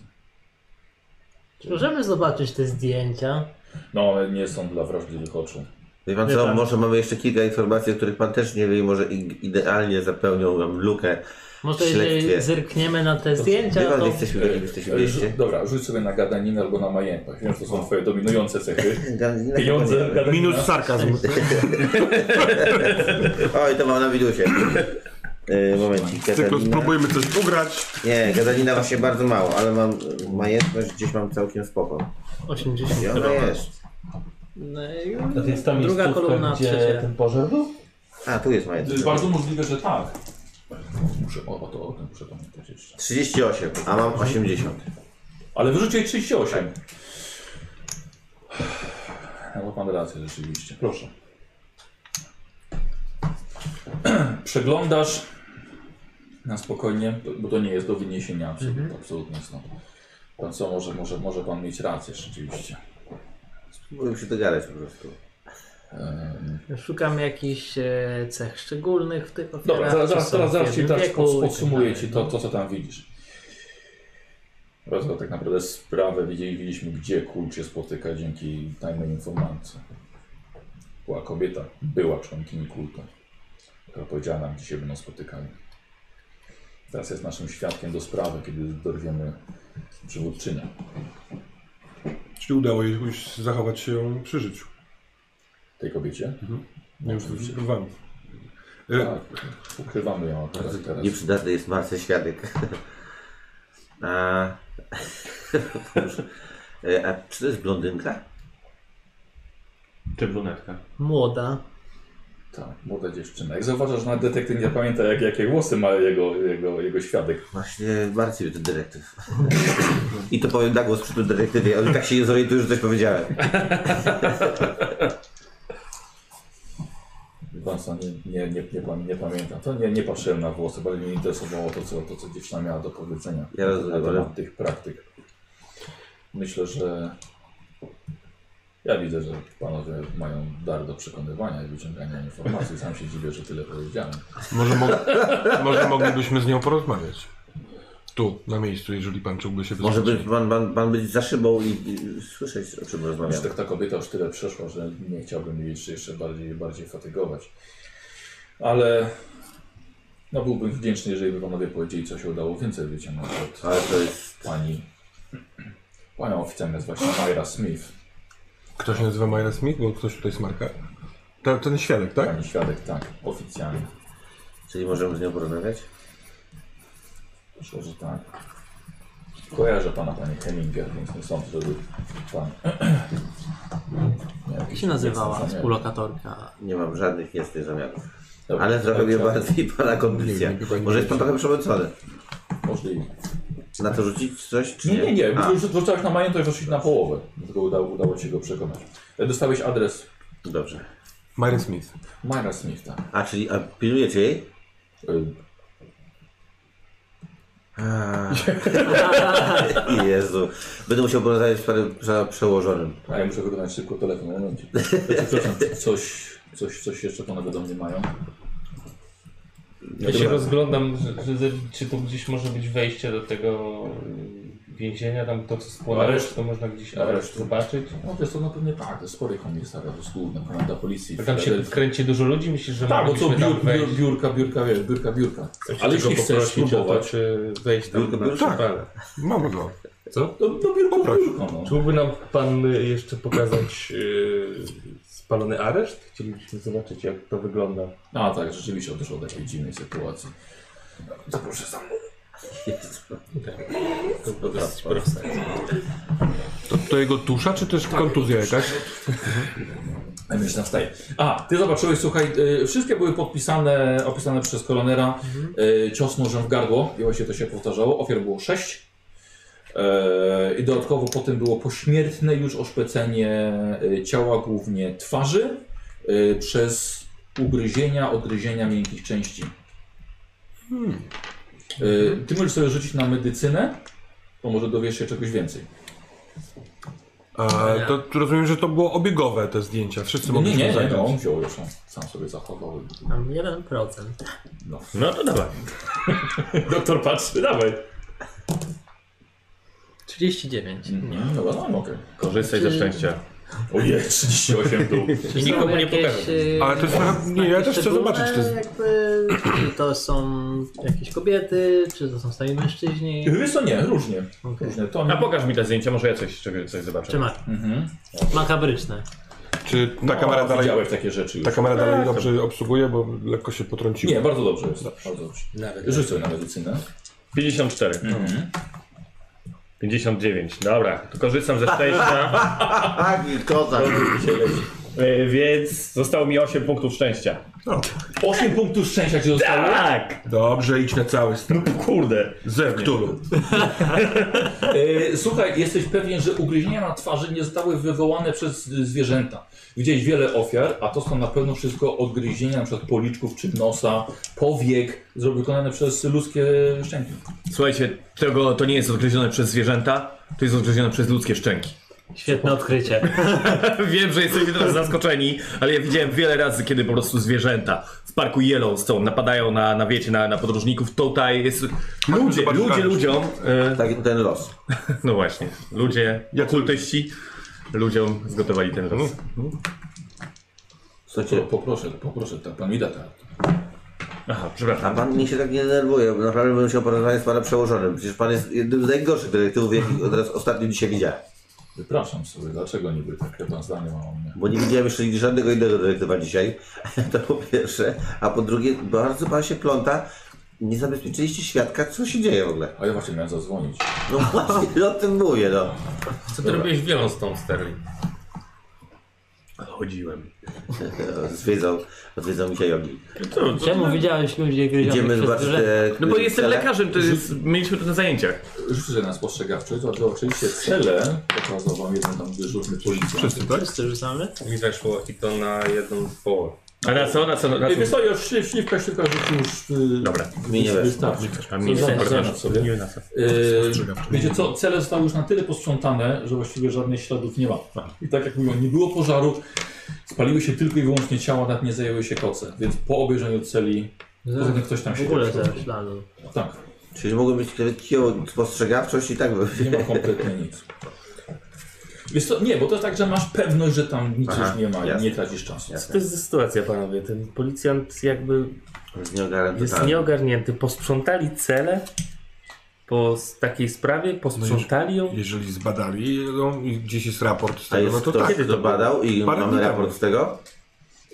Speaker 6: Czy Możemy zobaczyć te zdjęcia.
Speaker 2: No, one nie są dla wrażliwych oczu.
Speaker 3: Wie No pan
Speaker 6: Wie
Speaker 3: co,
Speaker 6: pan.
Speaker 3: może mamy jeszcze kilka informacji, o których pan też nie wie i może i- idealnie zapełnią nam lukę
Speaker 6: Może jeżeli
Speaker 3: Śledztwie.
Speaker 6: zerkniemy na te zdjęcia,
Speaker 3: Chyba,
Speaker 6: to...
Speaker 3: że jesteśmy tak, jak jesteśmy
Speaker 2: Ale rzu-
Speaker 3: wieście.
Speaker 2: Dobra, rzuć sobie na gadaninę albo na majępach. Wiem, że to są twoje dominujące cechy.
Speaker 3: Tak,
Speaker 2: Pieniądze, gadanina.
Speaker 7: Minus sarkazm.
Speaker 3: Oj, to mam na widusie. Yy, momencik,
Speaker 5: Tylko
Speaker 3: Katarina.
Speaker 5: spróbujmy coś ugrać.
Speaker 3: Nie, gadanina właśnie bardzo mało, ale mam y, majętność gdzieś mam całkiem spoko.
Speaker 6: 80.
Speaker 3: I ona jest.
Speaker 6: No i
Speaker 9: To jest ta
Speaker 6: Druga
Speaker 9: miejscówka,
Speaker 6: kolumna,
Speaker 9: gdzie
Speaker 6: trzecia.
Speaker 9: ten pożar był?
Speaker 3: A, tu jest
Speaker 2: To jest
Speaker 3: majętność.
Speaker 2: bardzo możliwe, że tak. Muszę o, o to o tym muszę pamiętać jeszcze.
Speaker 3: 38, a mam 80.
Speaker 2: Ale wyrzuciłeś 38. No bo pan rację rzeczywiście. Proszę. Przeglądasz na spokojnie, bo to nie jest do wyniesienia absolutnie, absolutnie stąd. Pan co, może, może, może pan mieć rację rzeczywiście.
Speaker 3: Spróbuję się dogadać po prostu.
Speaker 2: Ehm,
Speaker 6: Szukam jakichś e, cech szczególnych w tych ofiarach.
Speaker 2: Dobra, zaraz,
Speaker 6: czy
Speaker 2: zaraz,
Speaker 6: są
Speaker 2: zaraz,
Speaker 6: w
Speaker 2: zaraz ci
Speaker 6: jednym
Speaker 2: teraz
Speaker 6: wieku
Speaker 2: pod,
Speaker 6: i tak
Speaker 2: podsumuję
Speaker 6: dalej,
Speaker 2: ci
Speaker 6: no.
Speaker 2: to, to, co tam widzisz. Bardzo tak naprawdę sprawę widzieliśmy, gdzie kult się spotyka dzięki tajnej informacji. Była kobieta, była członkini kultu, która powiedziała nam, gdzie się będą spotykali. Teraz jest naszym świadkiem do sprawy, kiedy dorwiemy przywódczynia.
Speaker 5: Czyli udało jej już zachować się przy życiu.
Speaker 2: Tej kobiecie?
Speaker 5: Nie już
Speaker 2: Oczywiście.
Speaker 5: wam. E,
Speaker 2: Tak, ukrywamy ją akurat teraz.
Speaker 3: Nieprzydatny jest martwy świadek. A... E, A czy to jest blondynka?
Speaker 4: Czy brunetka?
Speaker 6: Młoda.
Speaker 2: Tak, młoda dziewczyna. Jak zauważasz, że nawet detektyw nie pamięta, jak, jakie głosy ma jego, jego, jego świadek.
Speaker 3: Właśnie martwi mnie ten dyrektyw. I to powiem na głos przy tym dyrektywie, ale tak się nie zorientuję, że coś powiedziałem.
Speaker 2: Wansa nie, nie, nie, nie, pam- nie pamiętam. To nie, nie patrzyłem na włosy, bo mnie interesowało to co, to, co dziewczyna miała do powiedzenia
Speaker 3: Ja rozumiem,
Speaker 2: na
Speaker 3: ale
Speaker 2: temat tych praktyk. Myślę, że ja widzę, że panowie mają dar do przekonywania i wyciągania informacji. Sam się dziwię, że tyle powiedziałem.
Speaker 5: może, mo może moglibyśmy z nią porozmawiać. Tu, na miejscu, jeżeli pan czułby się
Speaker 3: może by
Speaker 5: bezpiecznie.
Speaker 3: pan, pan, pan być za szybą i, i słyszeć, o czym
Speaker 2: Już
Speaker 3: rozmawiamy.
Speaker 2: tak ta kobieta już tyle przeszła, że nie chciałbym jej jeszcze, jeszcze bardziej, bardziej fatygować. Ale no byłbym wdzięczny, jeżeli by panowie powiedzieli, co się udało więcej wyciągnąć od
Speaker 3: Ale to jest...
Speaker 2: pani. Panią oficer jest właśnie Myra Smith.
Speaker 5: Ktoś się nazywa Myra Smith, bo ktoś tutaj smarka. Ta, ten świadek, tak?
Speaker 2: Pani świadek, tak, oficjalnie.
Speaker 3: Czyli możemy z nią porozmawiać?
Speaker 2: Myślę, że tak. Kojarzę pana, panie Heminger, więc nie sądzę, żeby pan. miał
Speaker 6: Jak
Speaker 2: jakiś
Speaker 6: się nazywała
Speaker 2: jasny zamiar.
Speaker 6: współlokatorka?
Speaker 3: Nie mam żadnych niestety zamiarów.
Speaker 2: Dobra,
Speaker 3: Ale trochę mnie
Speaker 2: chciałem-
Speaker 3: bardziej pana kondycja.
Speaker 5: Nie, nie, chyba nie
Speaker 3: Może jest pan
Speaker 5: będzie.
Speaker 3: trochę przemęczony.
Speaker 2: Możliwe.
Speaker 3: Na to rzucić coś, czy
Speaker 2: Nie, nie, nie.
Speaker 3: A,
Speaker 2: Już wrzucałeś na majątek, weszłeś na połowę. Dlatego udało, udało ci się go przekonać. Dostałeś adres
Speaker 3: dobrze.
Speaker 5: Myra Smith.
Speaker 2: Myra Smith, tak.
Speaker 3: A, czyli a, pilnujecie jej?
Speaker 2: Y,
Speaker 3: Jezu. Będę musiał porozmawiać z panem prze- przełożonym.
Speaker 2: A ja muszę wykonać szybko telefon, momencik. E, Przepraszam, coś, coś, coś jeszcze panowie do mnie mają?
Speaker 9: Ja się rozglądam, że, że, czy tu gdzieś może być wejście do tego y, więzienia, tam to co spłonęło,
Speaker 2: Areszt.
Speaker 9: czy to można gdzieś
Speaker 2: Areszt.
Speaker 9: areszt zobaczyć.
Speaker 2: No wiesz, to na pewno tak, to jest spory komisariat, to jest główna komenda policji.
Speaker 9: Tam się
Speaker 2: Wtedy-
Speaker 9: kręci dużo ludzi, myślisz, że
Speaker 2: Tak, bo co
Speaker 9: moglibyśmy
Speaker 2: biur,
Speaker 9: tam
Speaker 2: biur,
Speaker 9: wejść?
Speaker 2: biurka, biurka, wiesz, biurka, biurka. Ale jeśli chcesz
Speaker 9: o to,
Speaker 2: spróbować,
Speaker 9: czy y, wejść tam
Speaker 3: Biurko,
Speaker 9: na
Speaker 3: biurko?
Speaker 9: przewalę.
Speaker 2: tak.
Speaker 5: Mamy go.
Speaker 9: Co?
Speaker 2: to, to biurko, biurko, no.
Speaker 9: Czy mógłby nam pan y, jeszcze pokazać y, spalony areszt? Chcielibyśmy zobaczyć, jak to wygląda.
Speaker 2: A tak, rzeczywiście odeszło do takiej dziwnej sytuacji. To proszę za mną.
Speaker 3: Jezu.
Speaker 9: To dosyć proste.
Speaker 5: To, to jego tusza, czy też kontuzja jakaś?
Speaker 2: A mi się tam wstaje. A, ty zobaczyłeś, słuchaj, y, wszystkie były podpisane, opisane przez kolonera. Y, cios nożem w gardło, i właśnie to się powtarzało. Ofiar było sześć. Y, I dodatkowo potem było pośmiertne już oszpecenie y, ciała, głównie twarzy, y, przez ugryzienia, odgryzienia miękkich części. Y, ty możesz sobie rzucić na medycynę, to może dowiesz się czegoś więcej.
Speaker 5: A, to tu rozumiem, że to było obiegowe te zdjęcia. Wszyscy
Speaker 2: Nie,
Speaker 5: mogli
Speaker 2: No nie, nie,
Speaker 5: zagrać.
Speaker 2: no, on wziął już, on sam sobie zachował. i-
Speaker 6: Mam 1%.
Speaker 2: No.
Speaker 9: No to dawaj. Doktor patrzy, dawaj.
Speaker 6: 39.
Speaker 2: Mhm. Dobra, no, okej.
Speaker 4: Korzystaj ze szczęścia.
Speaker 2: Ojej, 38 dół.
Speaker 9: I nikomu nie pokażę.
Speaker 5: Ale to jest trochę-
Speaker 2: No,
Speaker 5: nie, ja też chcę zobaczyć, czy jest-
Speaker 6: y, Jakby, czy to są jakieś kobiety, czy to są sami mężczyźni?
Speaker 2: Wiesz co, nie, różnie.
Speaker 6: Okej.
Speaker 2: Różnie. To
Speaker 4: A pokaż mi te zdjęcia, może ja coś, czego- coś zobaczę.
Speaker 6: Czy ma
Speaker 2: Mhm.
Speaker 6: makabryczne?
Speaker 5: Czy
Speaker 2: No,
Speaker 5: ta kamera dalej,
Speaker 2: Widziałeś takie rzeczy już.
Speaker 5: ta kamera dalej dobrze obsługuje, bo lekko się potrąciło.
Speaker 2: Nie, bardzo dobrze jest. Bardzo dobrze. Rzuć sobie na medycynę.
Speaker 4: 54.
Speaker 2: Mhm.
Speaker 4: 59. Dobra, to korzystam ze szczęścia,
Speaker 3: A, kozak.
Speaker 4: y, więc zostało mi 8 punktów szczęścia.
Speaker 2: 8 punktów szczęścia ci zostało.
Speaker 4: Tak!
Speaker 5: Dobrze, idź na cały
Speaker 2: Mm.
Speaker 5: stan.
Speaker 4: Kurde.
Speaker 5: Zew Cthulhu.
Speaker 2: E, Słuchaj, jesteś pewien, że ugryzienia na twarzy nie zostały wywołane przez y, zwierzęta. Widziałeś wiele ofiar, a to są na pewno wszystko odgryzienia np. policzków czy nosa, powiek, zro- wykonane przez ludzkie szczęki.
Speaker 4: Słuchajcie, tego, to nie jest odgryzione przez zwierzęta, to jest odgryzione przez ludzkie szczęki.
Speaker 6: Świetne odkrycie.
Speaker 4: Wiem, że jesteście teraz zaskoczeni, ale ja widziałem wiele razy, kiedy po prostu zwierzęta w parku Yellowstone napadają na, na wiecie, na, na podróżników. Tutaj jest... Ludzie,
Speaker 5: zobacz,
Speaker 4: ludzie
Speaker 5: Dariusz.
Speaker 4: ludziom... y,
Speaker 3: Tak, ten los.
Speaker 4: No właśnie, ludzie, kultyści ludziom zgotowali ten los.
Speaker 2: Po,
Speaker 3: Słuchajcie,
Speaker 2: poproszę, poproszę, ta pan mi da tak.
Speaker 4: Aha,
Speaker 3: a
Speaker 4: przepraszam.
Speaker 3: pan mnie się tak nie denerwuje, bo naprawdę bym się porozmawiać z panem przełożonym. Przecież pan jest jednym z najgorszych dyrektywów, jakich od razu ostatnio dzisiaj widziałem.
Speaker 2: Wypraszam sobie, dlaczego niby takie pan zdanie ma o mnie?
Speaker 3: Bo nie widziałem jeszcze nigdy żadnego innego dyrektywa dzisiaj. To po pierwsze. A po drugie, bardzo pan się pląta. Nie zabezpieczyliście świadka, co się dzieje w ogóle.
Speaker 2: A ja właśnie miałem zadzwonić.
Speaker 3: No właśnie, o tym mówię, no.
Speaker 9: Co ty robiłeś w Yellowstone, Sterling?
Speaker 4: Chodziłem.
Speaker 3: Zwiedzą, odwiedzą mi się jogi.
Speaker 6: Czemu widziałeś ludzi gryzionych
Speaker 3: Idziemy
Speaker 6: przez
Speaker 3: zobaczyć
Speaker 6: zwierzęta?
Speaker 3: te...
Speaker 4: No bo jestem
Speaker 3: cele.
Speaker 4: lekarzem, to jest, mieliśmy to na zajęciach.
Speaker 2: Rzucę sobie na spostrzegawczość, to oczywiście cele pokazał wam jeden tam dyżurny policjant.
Speaker 5: Wszyscy, tak?
Speaker 6: Wszyscy rzucamy?
Speaker 9: Mi weszło i to na jedną połowę.
Speaker 4: A na co, na co, na
Speaker 2: Ej, Wiesz
Speaker 4: co?
Speaker 2: co, już śliw- śliwka, śliwka rzucił już... y,
Speaker 4: Dobra.
Speaker 3: Mi nie weszło.
Speaker 2: Wystarczy.
Speaker 4: A mi nie
Speaker 2: Zaznacz
Speaker 4: weszło.
Speaker 2: sobie. Yy, wiecie co, cele zostały już na tyle posprzątane, że właściwie żadnych śladów nie ma. I tak jak mówią, nie było pożaru, spaliły się tylko i wyłącznie ciała, nawet nie zajęły się koce. Więc po obejrzeniu celi, poza tym ktoś tam
Speaker 6: W
Speaker 2: się
Speaker 6: ogóle
Speaker 2: tak-
Speaker 6: zero śladu.
Speaker 2: Tak,
Speaker 3: Czyli mogą być nawet kiją spostrzegawczość i tak by...
Speaker 2: nie ma kompletnie nic. Wiesz co, nie, bo to jest tak, że masz pewność, że tam nic
Speaker 3: Aha,
Speaker 2: już nie ma i
Speaker 3: jasne.
Speaker 2: nie tracisz czasu.
Speaker 9: Co to jest za sytuacja, panowie? Ten policjant jakby
Speaker 3: Nie ogarniam
Speaker 9: jest
Speaker 2: Tak.
Speaker 3: totalnie.
Speaker 9: nieogarnięty. Posprzątali cele po s- takiej sprawie, posprzątali ją.
Speaker 5: Jeżeli zbadali no, i gdzieś jest raport z
Speaker 3: A
Speaker 5: tego,
Speaker 3: jest
Speaker 5: no to
Speaker 3: ktoś,
Speaker 5: tak.
Speaker 3: kto badał i
Speaker 5: Parę
Speaker 3: mamy
Speaker 5: dni
Speaker 3: raport
Speaker 5: temu.
Speaker 3: z tego?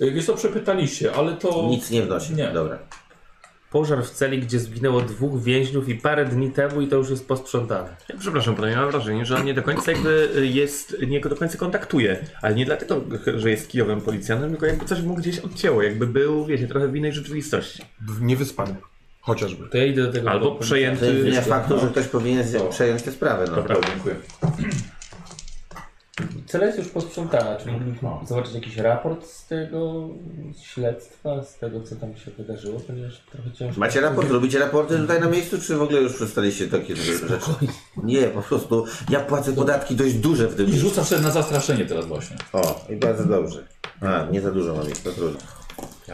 Speaker 2: Yy, Wiesz co, przepytaliście, ale to...
Speaker 3: Nic nie wnosi.
Speaker 2: Nie.
Speaker 3: Dobra.
Speaker 9: Pożar w celi, gdzie zginęło dwóch więźniów i parę dni temu i to już jest posprzątane.
Speaker 4: Ja Przepraszam panie, mam wrażenie, że on nie do końca jakby y, jest, nie do końca kontaktuje. Ale nie dlatego, że jest kijowym policjantem, tylko jakby coś mu gdzieś odcięło. Jakby był, wiecie, trochę w innej rzeczywistości.
Speaker 5: Niewyspany. Chociażby.
Speaker 9: To ja idę do tego.
Speaker 4: Albo
Speaker 9: policjanta.
Speaker 3: To jest
Speaker 4: przejęty...
Speaker 3: linia faktu, że ktoś powinien z- przejąć tę sprawę. No.
Speaker 4: Dobra.
Speaker 2: Dziękuję.
Speaker 9: Cele jest już posprzątana. Czy moglibyśmy zobaczyć jakiś raport z tego śledztwa, z tego co tam się wydarzyło? Ponieważ trochę ciężko.
Speaker 3: Macie raport? Robicie raporty tutaj na miejscu, czy w ogóle już przestaliście takie rzeczy? Nie, po prostu ja płacę podatki dość duże w tym
Speaker 2: I rzucasz sobie na zastraszenie teraz właśnie.
Speaker 3: O, i bardzo dobrze. A, nie za dużo mam ich, to trudno.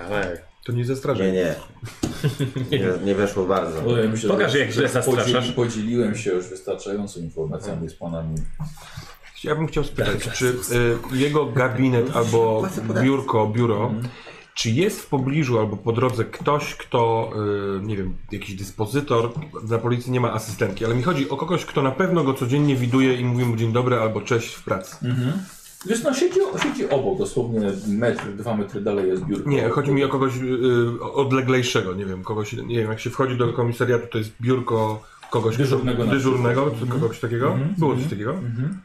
Speaker 4: Ale...
Speaker 5: To nie
Speaker 3: Nie,
Speaker 5: zastrażaj.
Speaker 3: nie. Nie, nie weszło bardzo.
Speaker 2: No, ja myślę,
Speaker 4: Pokaż,
Speaker 2: że-
Speaker 4: jak źle
Speaker 2: że
Speaker 4: zastraszasz.
Speaker 2: podzieli- Podzieliłem się już wystarczająco informacjami z panami.
Speaker 5: Ja bym chciał spytać, czy y, jego gabinet albo biurko, biuro,
Speaker 2: Mhm.
Speaker 5: czy jest w pobliżu albo po drodze ktoś, kto, y, nie wiem, jakiś dyspozytor, na policji nie ma asystentki, ale mi chodzi o kogoś, kto na pewno go codziennie widuje i mówi mu dzień dobry albo cześć w pracy.
Speaker 2: Mhm. Wiesz, no siedzi, siedzi obok, dosłownie metr, dwa metry dalej jest biurko.
Speaker 5: Nie, chodzi mi o kogoś y, y, odleglejszego, nie wiem, kogoś, nie wiem, jak się wchodzi do komisariatu, to jest biurko kogoś
Speaker 2: Dyżurnego na
Speaker 5: Kto, dyżurnego czy kogoś takiego?
Speaker 2: Mhm.
Speaker 5: Było coś takiego?
Speaker 2: Mhm.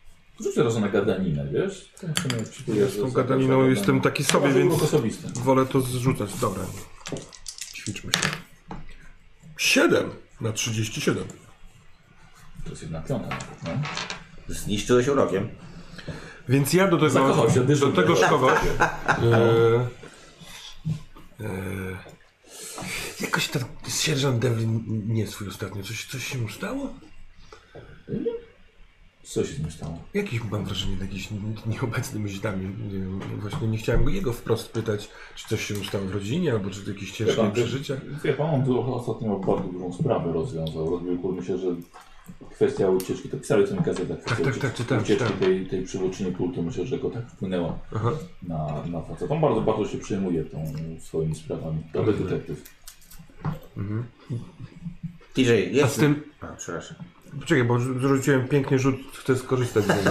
Speaker 5: Y,
Speaker 2: Rzuć teraz na gadaninę, wiesz?
Speaker 5: Ja z tą gadaniną jestem taki sobie, więc
Speaker 2: osobisty.
Speaker 5: wolę to zrzucać. Dobra. Ćwiczmy się. 7 na 37.
Speaker 2: To jest jedna piąta nawet, no.
Speaker 3: Zniszczyłeś urokiem.
Speaker 5: Więc ja do tego,
Speaker 2: Zakochał się
Speaker 5: do
Speaker 2: dyżurny.
Speaker 5: tego szkogoś... E, e, jakoś ten sierżant Devlin nie swój ostatnio. Coś, coś się mu stało?
Speaker 2: Co się z nim stało?
Speaker 5: Jakiś mam wrażenie, jakiś nieobecny myślami. Nie wiem, właśnie nie chciałem go jego wprost pytać, czy coś się mu stało w rodzinie, albo czy jakieś ciężkie
Speaker 2: Wie pan,
Speaker 5: przeżycia.
Speaker 2: Wie pan, on tu ostatnio bardzo dużą sprawę rozwiązał. Rozbił, kurde, myślę, że Kwestia ucieczki, to pisali o tym w gazetach. Kwestia
Speaker 5: tak,
Speaker 2: ucieczki-
Speaker 5: tak, czytałem,
Speaker 2: Ucieczki
Speaker 5: czytałem.
Speaker 2: tej, tej przywódczyni kultu, myślę, że go tak wpłynęła
Speaker 5: Aha.
Speaker 2: na, na facet. On bardzo, bardzo się przejmuje tą swoimi sprawami. Dobry detektyw.
Speaker 3: TJ,
Speaker 5: A
Speaker 3: jest...
Speaker 5: z tym...
Speaker 3: A, przepraszam.
Speaker 5: Poczekaj, bo zrzuciłem pięknie rzut, chcę skorzystać z niego.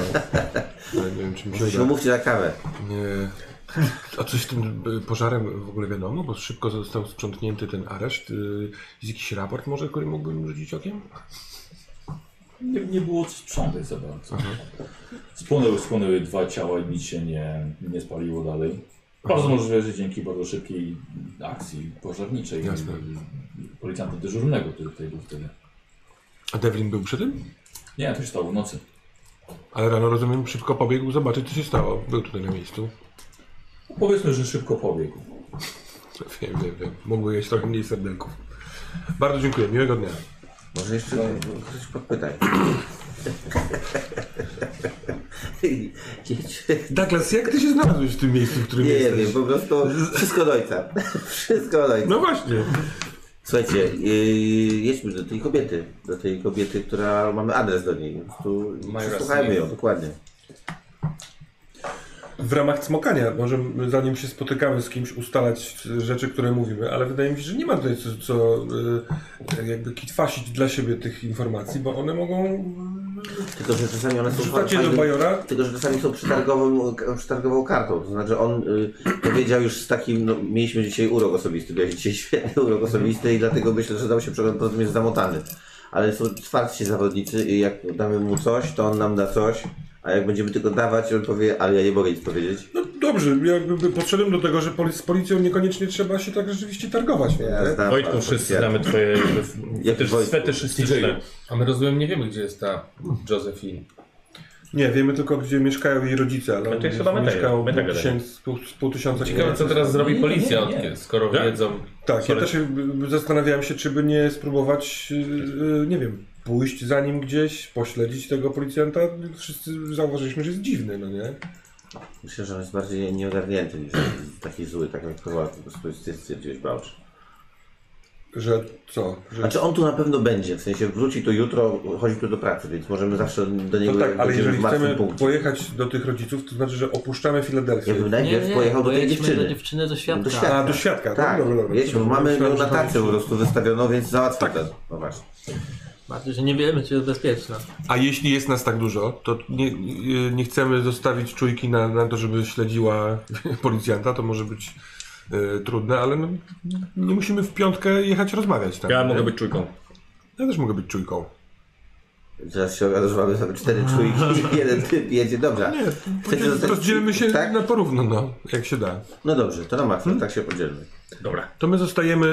Speaker 5: Ale Nie wiem, czy mi się uda.
Speaker 3: No, Mówcie na kawę.
Speaker 5: Nie. A coś z tym y, pożarem w ogóle wiadomo, bo szybko został sprzątnięty ten areszt. Y, Jest jakiś raport może, który mógłbym rzucić okiem?
Speaker 2: Nie, nie było sprzątek za bardzo. Spłonęły, spłonęły dwa ciała i nic się nie, nie spaliło dalej. Bardzo możliwe, że dzięki bardzo szybkiej akcji pożarniczej
Speaker 5: Jasne.
Speaker 2: policjanta dyżurnego, który tutaj był wtedy.
Speaker 5: A Devlin był przy tym?
Speaker 2: Nie, to się stało w nocy.
Speaker 5: Ale rano rozumiem, szybko pobiegł zobaczyć, co się stało. Był tutaj na miejscu.
Speaker 2: No Powiedzmy, że szybko pobiegł.
Speaker 5: Wiem, wiem, wiem. Mogło jeść trochę mniej serdelków. Bardzo dziękuję, miłego dnia.
Speaker 3: Może jeszcze
Speaker 5: No.
Speaker 3: ktoś podpytaj. Jedź.
Speaker 5: Douglas, jak ty się znalazłeś w tym miejscu, w którym
Speaker 3: Nie
Speaker 5: jesteś?
Speaker 3: wiem, po prostu wszystko do ojca. Wszystko do ojca.
Speaker 5: No właśnie.
Speaker 3: Słuchajcie, yy, jedźmy do tej kobiety. Do tej kobiety, która mamy adres do niej. Po prostu Słuchajmy ją, dokładnie.
Speaker 5: W ramach cmokania możemy, zanim się spotykamy z kimś, ustalać y, rzeczy, które mówimy, ale wydaje mi się, że nie ma tutaj co, co y, jakby kitwasić dla siebie tych informacji, bo one mogą
Speaker 3: Tylko, że czasami one są
Speaker 5: wrzucać je do
Speaker 3: fajnym-
Speaker 5: bajora.
Speaker 3: Tylko, że czasami są przetargową, przetargową kartą. To znaczy, on y, powiedział już z takim, no, mieliśmy dzisiaj urok osobisty, mieliśmy dzisiaj świetny urok osobisty i dlatego myślę, że dał się przegląd, poza tym jest zamotany. Ale są twarci zawodnicy i jak damy mu coś, to on nam da coś, a jak będziemy tylko dawać, on powie, ale ja nie mogę nic powiedzieć.
Speaker 5: No dobrze, ja jakby podszedłem do tego, że poli- z policją niekoniecznie trzeba się tak rzeczywiście targować. nie?
Speaker 3: Ja znam
Speaker 4: Wojtku,
Speaker 3: pana
Speaker 4: wszyscy
Speaker 3: policjanta.
Speaker 4: znamy twoje
Speaker 3: Jaki
Speaker 4: fetysz,
Speaker 3: Wojtku?
Speaker 4: fetyszystyczne.
Speaker 9: A my rozumiem, nie wiemy, gdzie jest ta Josephine.
Speaker 5: Nie, wiemy tylko, gdzie mieszkają jej rodzice, ale
Speaker 4: No to jest chyba
Speaker 5: on
Speaker 4: Meteja,
Speaker 5: mieszkał pół,
Speaker 4: Metega
Speaker 5: tysiąc, pół, pół tysiąca
Speaker 9: Ciekawe, co
Speaker 5: kilometrów.
Speaker 9: teraz zrobi
Speaker 2: Nie, nie,
Speaker 9: policja,
Speaker 2: nie, nie.
Speaker 9: od- skoro
Speaker 4: Tak?
Speaker 9: wiedzą.
Speaker 5: Tak,
Speaker 9: Sorry.
Speaker 5: ja też y, y, zastanawiałem się, czy by nie spróbować, y, y, nie wiem, pójść za nim gdzieś, pośledzić tego policjanta. Wszyscy zauważyliśmy, że jest dziwny, no nie?
Speaker 3: Myślę, że on jest bardziej nieogarnięty niż taki zły, tak jak chyba po prostu jest- stwierdziłeś Bałcz.
Speaker 5: Że co? Że...
Speaker 3: Znaczy on tu na pewno będzie, w sensie wróci tu jutro, chodzi tu do pracy, więc możemy zawsze do niego
Speaker 5: No tak, ale
Speaker 3: będziemy
Speaker 5: jeżeli
Speaker 3: w martwym
Speaker 5: chcemy
Speaker 3: punkcie.
Speaker 5: pojechać do tych rodziców, to znaczy, że opuszczamy Filadelfię.
Speaker 3: Ja bym najpierw pojechał do tej
Speaker 6: pojedźmy
Speaker 3: dziewczyny.
Speaker 6: do dziewczyny, do świadka.
Speaker 3: Do świadka.
Speaker 5: A, do świadka,
Speaker 3: Tak,
Speaker 5: dobra, dobra.
Speaker 3: wiecie, bo mamy
Speaker 5: Myślałem,
Speaker 3: ją
Speaker 5: że
Speaker 3: na
Speaker 5: tam Tak.
Speaker 3: tarczy po
Speaker 5: jeszcze-
Speaker 3: prostu wystawioną, więc załatwmy to. No właśnie.
Speaker 6: Bardziej, że nie wiemy, czy jest bezpieczna.
Speaker 5: A jeśli jest nas tak dużo, to nie, y, nie chcemy zostawić czujki na, na to, żeby śledziła policjanta, to może być y, trudne, ale no, nie musimy w piątkę jechać rozmawiać tak? tam.
Speaker 4: Ja
Speaker 5: nie?
Speaker 4: mogę być czujką.
Speaker 5: Ja też mogę być czujką.
Speaker 3: Teraz się okazuje, że mamy sobie cztery czujki, jeden typ jedzie, dobra.
Speaker 5: Nie,
Speaker 3: Chcecie zostać-
Speaker 5: rozdzielmy się
Speaker 3: tak?
Speaker 5: na Hmm? porówno, no, jak się da.
Speaker 3: No dobrze, to na maksa, tak się podzielmy.
Speaker 4: Dobra.
Speaker 5: To my zostajemy,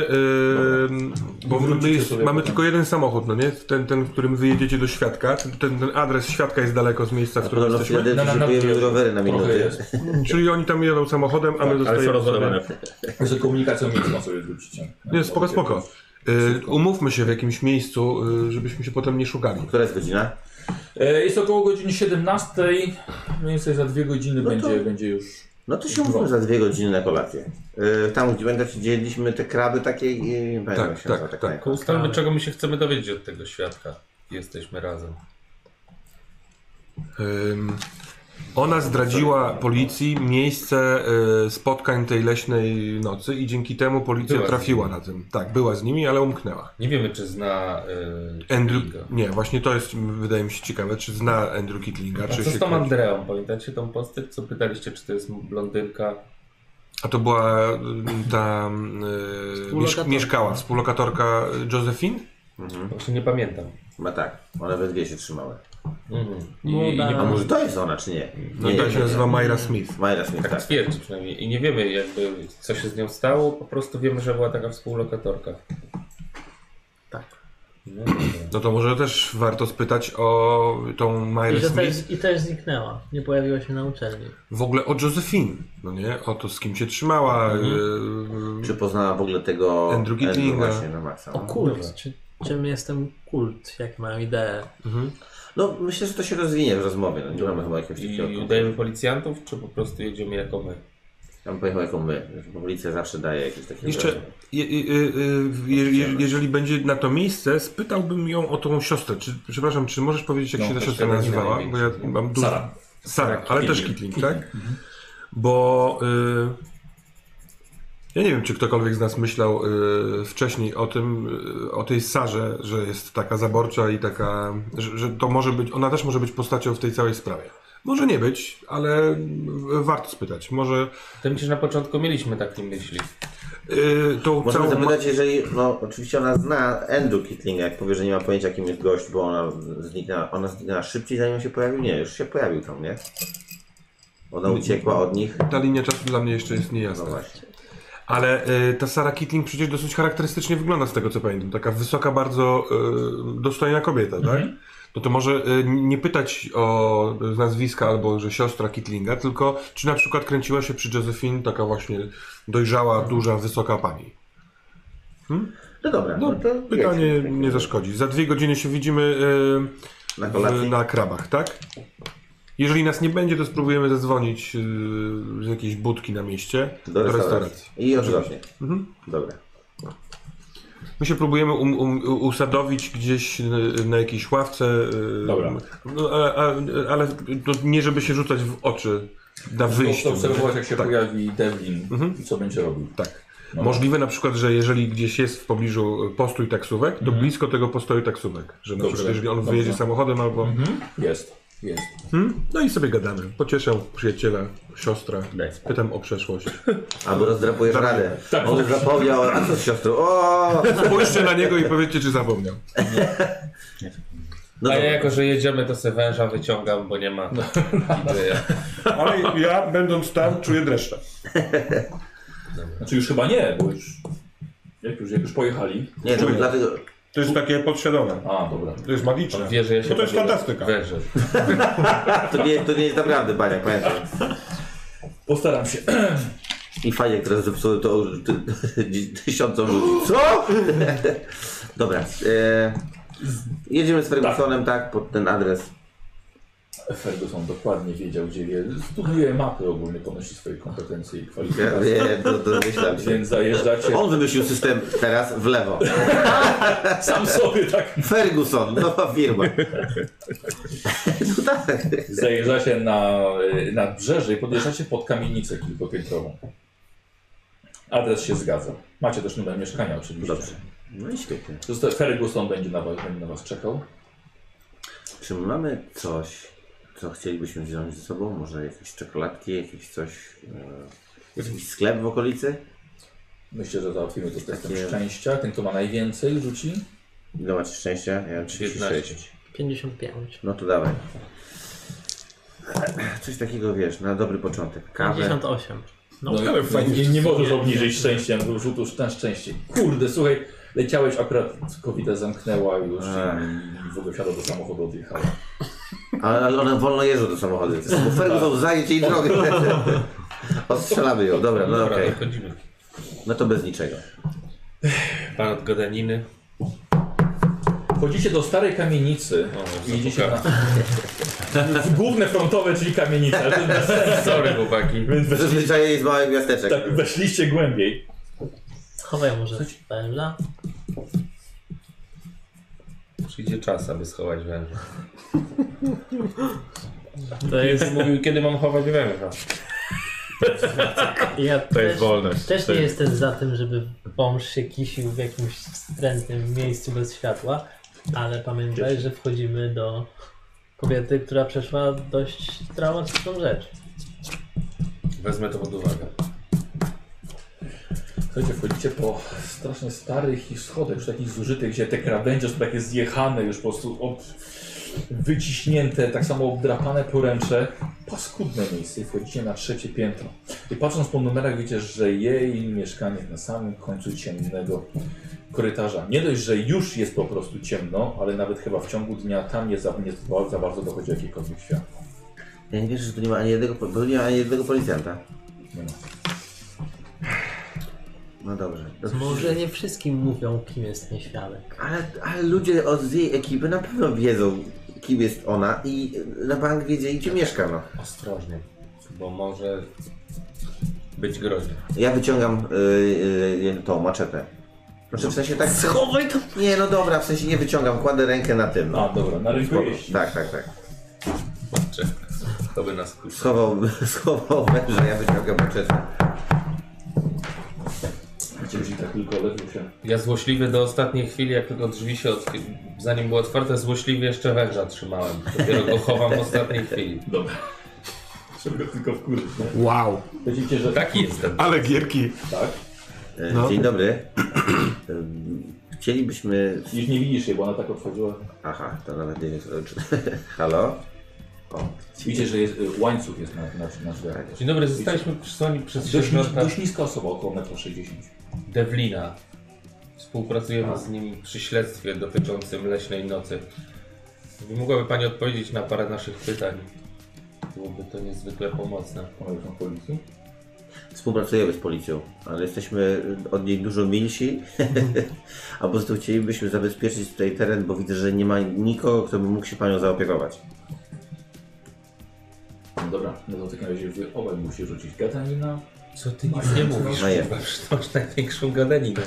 Speaker 5: y, bo my
Speaker 2: Wrócicie
Speaker 5: jest,
Speaker 2: sobie
Speaker 5: mamy
Speaker 2: potem.
Speaker 5: tylko jeden samochód, no nie? Ten, ten, w którym wyjedziecie do świadka. Ten, ten ten adres świadka jest daleko z miejsca, w
Speaker 3: A
Speaker 5: którym
Speaker 3: podobno w
Speaker 5: jesteśmy.
Speaker 2: Na- na-
Speaker 3: Filadelfii
Speaker 2: na-
Speaker 3: szykujemy rowery na
Speaker 2: Trochę
Speaker 3: minutę.
Speaker 2: jest.
Speaker 5: Czyli oni tam jedą samochodem, a
Speaker 4: Tak,
Speaker 5: my
Speaker 4: Ale są
Speaker 5: zostajemy.
Speaker 4: rozładowane.
Speaker 2: Z komunikacją miejską sobie wrócicie.
Speaker 5: Nie, spoko, spoko. Y, umówmy się w jakimś miejscu, y, żebyśmy się potem nie szukali.
Speaker 3: Która jest godzina?
Speaker 2: E, Jest około godziny 17. Mniej więcej za dwie godziny
Speaker 3: No to-
Speaker 2: będzie, będzie już.
Speaker 3: No to się umówmy za dwie godziny na kolację. Yy, tam, gdzie będę się dzieliliśmy te kraby takie i nie pamiętam, jak się
Speaker 5: tak,
Speaker 3: nazywa ta
Speaker 5: tak.
Speaker 3: knajpa.
Speaker 9: Tylko ustalmy, czego my się chcemy dowiedzieć od tego świadka. Jesteśmy razem.
Speaker 5: Ym, ona zdradziła policji miejsce y, spotkań tej leśnej nocy i dzięki temu policja
Speaker 9: Była z
Speaker 5: trafiła na tym. Tak, była z nimi, ale umknęła.
Speaker 9: Nie wiemy, czy zna. Yy,
Speaker 5: Andrew, nie, właśnie to jest, m, wydaje mi się ciekawe, czy zna Andrew Kitlinga,
Speaker 9: A
Speaker 5: czy
Speaker 9: co
Speaker 5: się
Speaker 9: z tą
Speaker 5: kojarzy.
Speaker 9: Andreą? Pamiętacie tą postać, co pytaliście, czy to jest blondynka?
Speaker 5: A to była y, ta y, miesz,
Speaker 6: Współlokatorka.
Speaker 5: mieszkała, współlokatorka Josephine?
Speaker 9: Właśnie nie pamiętam.
Speaker 3: Ma tak, one we dwie się trzymały.
Speaker 9: I,
Speaker 6: No
Speaker 9: i nie
Speaker 6: da.
Speaker 3: A może to jest ona, czy nie?
Speaker 5: No
Speaker 3: nie,
Speaker 5: tak
Speaker 3: nie,
Speaker 5: się
Speaker 3: nie.
Speaker 5: nazywa Myra Smith.
Speaker 3: Majra Smith,
Speaker 9: tak
Speaker 3: tak.
Speaker 9: twierdzi przynajmniej. I nie wiemy jakby, co się z nią stało, po prostu wiemy, że była taka współlokatorka.
Speaker 6: Tak.
Speaker 9: No, dobra.
Speaker 5: No to może też warto spytać o tą
Speaker 6: I,
Speaker 5: Myrę
Speaker 6: że
Speaker 5: Smith,
Speaker 6: też, I też zniknęła. Nie pojawiła się na uczelni.
Speaker 5: w ogóle o Josephine, no nie? O to, z kim się trzymała,
Speaker 9: Mhm.
Speaker 5: y,
Speaker 3: Czy poznała w ogóle tego
Speaker 5: Andrew Gittinga.
Speaker 3: właśnie na maksa.
Speaker 6: O kult. Czy, czym jestem kult? Jak mają ideę?
Speaker 3: No myślę, że to się rozwinie w rozmowie. No, nie mamy chyba jakiegoś
Speaker 9: I
Speaker 3: takiego.
Speaker 9: udajemy policjantów, czy po prostu jedziemy jako my?
Speaker 3: Tam pojechał jako my. Policja zawsze daje jakieś takie...
Speaker 5: Jeszcze, je, je, je, je, je, jeżeli będzie na to miejsce, spytałbym ją o tą siostrę. Czy, przepraszam, czy możesz powiedzieć, jak
Speaker 2: No,
Speaker 5: się ta
Speaker 2: to
Speaker 5: siostra
Speaker 2: teraz
Speaker 5: nazywała?
Speaker 2: nie
Speaker 5: Bo ja mam dużo.
Speaker 2: Sara.
Speaker 5: Sara, ale
Speaker 2: Kitling.
Speaker 5: też Kitling, tak? Bo y, ja nie wiem, czy ktokolwiek z nas myślał y, wcześniej o tym, y, o tej Sarze, że jest taka zaborcza i taka, że, że to może być, ona też może być postacią w tej całej sprawie. Może nie być, ale y, warto spytać. Może
Speaker 9: To mi się na początku mieliśmy takie myśli.
Speaker 5: y, tą
Speaker 3: Możemy
Speaker 5: całą...
Speaker 3: zapytać, jeżeli, no oczywiście ona zna Andrew Kittlinga, jak powie, że nie ma pojęcia kim jest gość, bo ona zniknęła, ona zniknęła szybciej zanim on się pojawił? Nie, już się pojawił tam, nie?
Speaker 5: No.
Speaker 3: Ona uciekła od nich.
Speaker 5: Ta linia czasu dla mnie jeszcze jest
Speaker 3: No
Speaker 5: niejasna.
Speaker 3: właśnie.
Speaker 5: Ale y, ta Sara Kitling przecież dosyć charakterystycznie wygląda z tego co pamiętam. Taka wysoka, bardzo y, dostojna kobieta, tak? No to może y, nie pytać o y, nazwiska albo że siostra Kitlinga, tylko czy na przykład kręciła się przy Josephine taka właśnie dojrzała,
Speaker 3: Mhm.
Speaker 5: duża, wysoka pani.
Speaker 3: No dobra, no,
Speaker 5: No,
Speaker 3: to
Speaker 5: Pytanie
Speaker 3: jedźmy.
Speaker 5: nie zaszkodzi. Za dwie godziny się widzimy y,
Speaker 3: Na kolacji?
Speaker 5: w, na krabach, tak? Jeżeli nas nie będzie, to spróbujemy zadzwonić y, z jakiejś budki na mieście
Speaker 3: Do restauracji. I odwrotnie.
Speaker 5: Mhm.
Speaker 3: Dobra.
Speaker 5: My się próbujemy um, um, usadowić gdzieś y, na jakiejś ławce. y,
Speaker 2: Dobra.
Speaker 5: No, a, a, ale no, nie żeby się rzucać w oczy na
Speaker 2: Wyjście.
Speaker 5: wyjściu.
Speaker 2: Obserwować jak się
Speaker 5: tak,
Speaker 2: pojawi Devlin
Speaker 3: Mhm.
Speaker 2: i co będzie robił.
Speaker 5: tak. Możliwe na przykład, że jeżeli gdzieś jest w pobliżu postój taksówek, to blisko tego postoju taksówek. Że na
Speaker 2: Dobrze,
Speaker 5: przykład jeżeli on
Speaker 2: dobrze.
Speaker 5: wyjedzie samochodem albo...
Speaker 2: Jest, jest.
Speaker 5: Hmm? No i sobie gadamy. Pocieszę przyjaciela, siostra. Pytam o przeszłość.
Speaker 3: Albo rozdrapujesz
Speaker 5: Tak.
Speaker 3: radę. On już zapomniał, a co z siostrą? O!
Speaker 5: Spójrzcie na niego i powiedzcie, czy zapomniał.
Speaker 3: No
Speaker 9: A ja
Speaker 3: dobra.
Speaker 9: jako, że jedziemy, to se węża wyciągam, bo nie ma.
Speaker 5: Ale ja będąc tam czuję dreszcze.
Speaker 2: Znaczy już chyba nie, bo już... Jak już, jak już pojechali...
Speaker 3: Nie, no, dlatego...
Speaker 5: To jest takie podświadome.
Speaker 2: A, dobra.
Speaker 5: To jest magiczne.
Speaker 9: Wie, że ja się bawię wężem.
Speaker 3: To nie, to nie jest naprawdę baniak, pamiętaj.
Speaker 2: Postaram się.
Speaker 3: I fajnie, które zepsuły to już ty, tysiącom ludzi. Co? Dobra. E, jedziemy z Fergusonem, tak. pod ten adres.
Speaker 2: Ferguson dokładnie wiedział, gdzie je. Studiuje mapy ogólnie, ponosi swoje kompetencje i
Speaker 3: Ja
Speaker 2: kwalifikacje.
Speaker 3: wiem, to, to myślałem się.
Speaker 2: Więc zajeżdżacie
Speaker 3: On wymyślił system teraz w lewo.
Speaker 2: sam sobie tak.
Speaker 3: Ferguson, nowa firma. No tak.
Speaker 2: Zajeżdżacie na y, nadbrzeże i podjeżdżacie pod kamienicę kilkupiętrową. Adres się zgadza. Macie też numer mieszkania oczywiście.
Speaker 3: Dobrze. No i świetnie.
Speaker 2: Zosta- Ferguson będzie na was, będzie na was czekał.
Speaker 3: Czy mamy coś, co chcielibyśmy wziąć ze sobą? Może jakieś czekoladki, jakieś coś... E, jakiś sklep w okolicy?
Speaker 2: Myślę, że załatwimy to testem
Speaker 3: Takie-
Speaker 2: szczęścia. Ten, kto ma najwięcej, rzuci.
Speaker 3: Ile macie szczęścia? Ja mam 36.
Speaker 6: 55.
Speaker 3: No to dawaj. Coś takiego wiesz, na dobry początek. Kawę.
Speaker 6: 58. No,
Speaker 2: No,
Speaker 5: ale fajnie,
Speaker 2: nie,
Speaker 5: że
Speaker 2: nie możesz obniżyć szczęściem, bo rzutu na szczęście. Kurde, słuchaj, leciałeś akurat, covid zamknęła już i w ogóle wsiadał do samochodu, odjechała.
Speaker 3: Ale, ale one wolno jeżdżą do samochody. Bo Ferguson zajdzie jej drogę. Ostrzelamy ją, dobra, no
Speaker 9: Dobra,
Speaker 3: okej.
Speaker 9: okay. chodzimy.
Speaker 3: No to bez niczego.
Speaker 9: Pan od gadaniny.
Speaker 2: Wchodzicie do starej kamienicy
Speaker 9: O,
Speaker 2: i idziecie na...
Speaker 9: zapuka.
Speaker 2: w główne frontowe, czyli kamienice, ale to jest bez sensu.
Speaker 9: Sorry, chłopaki.
Speaker 2: Więc wesz...
Speaker 3: Zazwyczaj jest małych miasteczek.
Speaker 2: tak, weszliście głębiej.
Speaker 6: Schowaj może węża.
Speaker 9: Przyjdzie czas, aby schować węża.
Speaker 6: To jest...
Speaker 9: Ktoś mówił, kiedy mam chować węża.
Speaker 6: Ja
Speaker 4: To jest wolność.
Speaker 6: Też
Speaker 4: To
Speaker 6: nie
Speaker 4: jest-
Speaker 6: jestem za tym, żeby wąż się kisił w jakimś wstrętnym miejscu bez światła, ale pamiętaj, że wchodzimy do kobiety, która przeszła dość traumatyczną rzecz.
Speaker 9: Wezmę to pod uwagę.
Speaker 2: Słuchajcie, wchodzicie po strasznie starych i schodach, już takich zużytych, gdzie te krawędzie są takie zjechane, już po prostu ob... wyciśnięte, tak samo obdrapane poręcze. Paskudne miejsce i wchodzicie na trzecie piętro. I patrząc po numerach widzicie, że jej mieszkanie jest na samym końcu ciemnego korytarza. Nie dość, że już jest po prostu ciemno, ale nawet chyba w ciągu dnia tam nie za, nie za- za bardzo dochodzi jakiekolwiek światło.
Speaker 3: Ja nie wierzę, że tu nie ma ani jednego, po- bo tu nie ma ani jednego policjanta.
Speaker 2: Nie ma.
Speaker 3: No dobrze.
Speaker 6: Może nie wszystkim mówią, kim jest nieświadek.
Speaker 3: Ale, ale ludzie od z jej ekipy na pewno wiedzą, kim jest ona i na bank wiedzieli, gdzie mieszka, no.
Speaker 9: Ostrożnie, bo może
Speaker 4: być groźny.
Speaker 3: Ja wyciągam y, y, tą maczetę. Znaczy w sensie tak... Schowaj to! Nie, no dobra, w sensie nie wyciągam, kładę rękę na tym. no.
Speaker 2: A, dobra, na rynku jeździ.
Speaker 3: Tak, tak, tak.
Speaker 4: Kurczę, to by nas kusił.
Speaker 3: Schował, schował węża, ja wyciągam maczetę.
Speaker 2: Dzieci tak tylko lepiej się.
Speaker 9: Ja złośliwie do ostatniej chwili, jak tylko drzwi się od... zanim były otwarte, złośliwie jeszcze węża trzymałem. Dopiero go chowam w ostatniej chwili.
Speaker 2: Dobra. Trzeba go tylko wkurzyć, nie? Tak
Speaker 7: Wow,
Speaker 2: Widzicie, że
Speaker 9: Taki jestem.
Speaker 7: ale gierki.
Speaker 2: tak.
Speaker 3: E,
Speaker 7: No.
Speaker 3: Dzień dobry. Ym, Chcielibyśmy...
Speaker 2: Już nie widzisz jej, bo ona tak odchodziła.
Speaker 3: Aha, to nawet nie wiem, czy... Halo? O,
Speaker 2: Widzicie, że jest, y, łańcuch jest na, na, na drzwiach.
Speaker 3: Tak.
Speaker 9: Dzień dobry, zostaliśmy przysłani przez
Speaker 2: Dość, nis-
Speaker 9: sierżanta
Speaker 2: dość niska osoba, około 1,60 m.
Speaker 9: Devlina. Współpracujemy z nim przy śledztwie dotyczącym leśnej nocy. Gdyby Mogłaby Pani odpowiedzieć na parę naszych pytań. Byłoby to niezwykle pomocne.
Speaker 2: Ona już na policji.
Speaker 3: Współpracujemy z policją, ale jesteśmy od niej dużo milsi. A po prostu chcielibyśmy zabezpieczyć tutaj teren, bo widzę, że nie ma nikogo, kto by mógł się panią zaopiekować.
Speaker 2: No dobra, no to w takim razie wy obaj musicie rzucić gadanina.
Speaker 9: Co ty nic nie mówisz?
Speaker 3: No je.
Speaker 9: kurwa, że to Masz największą gadaninę.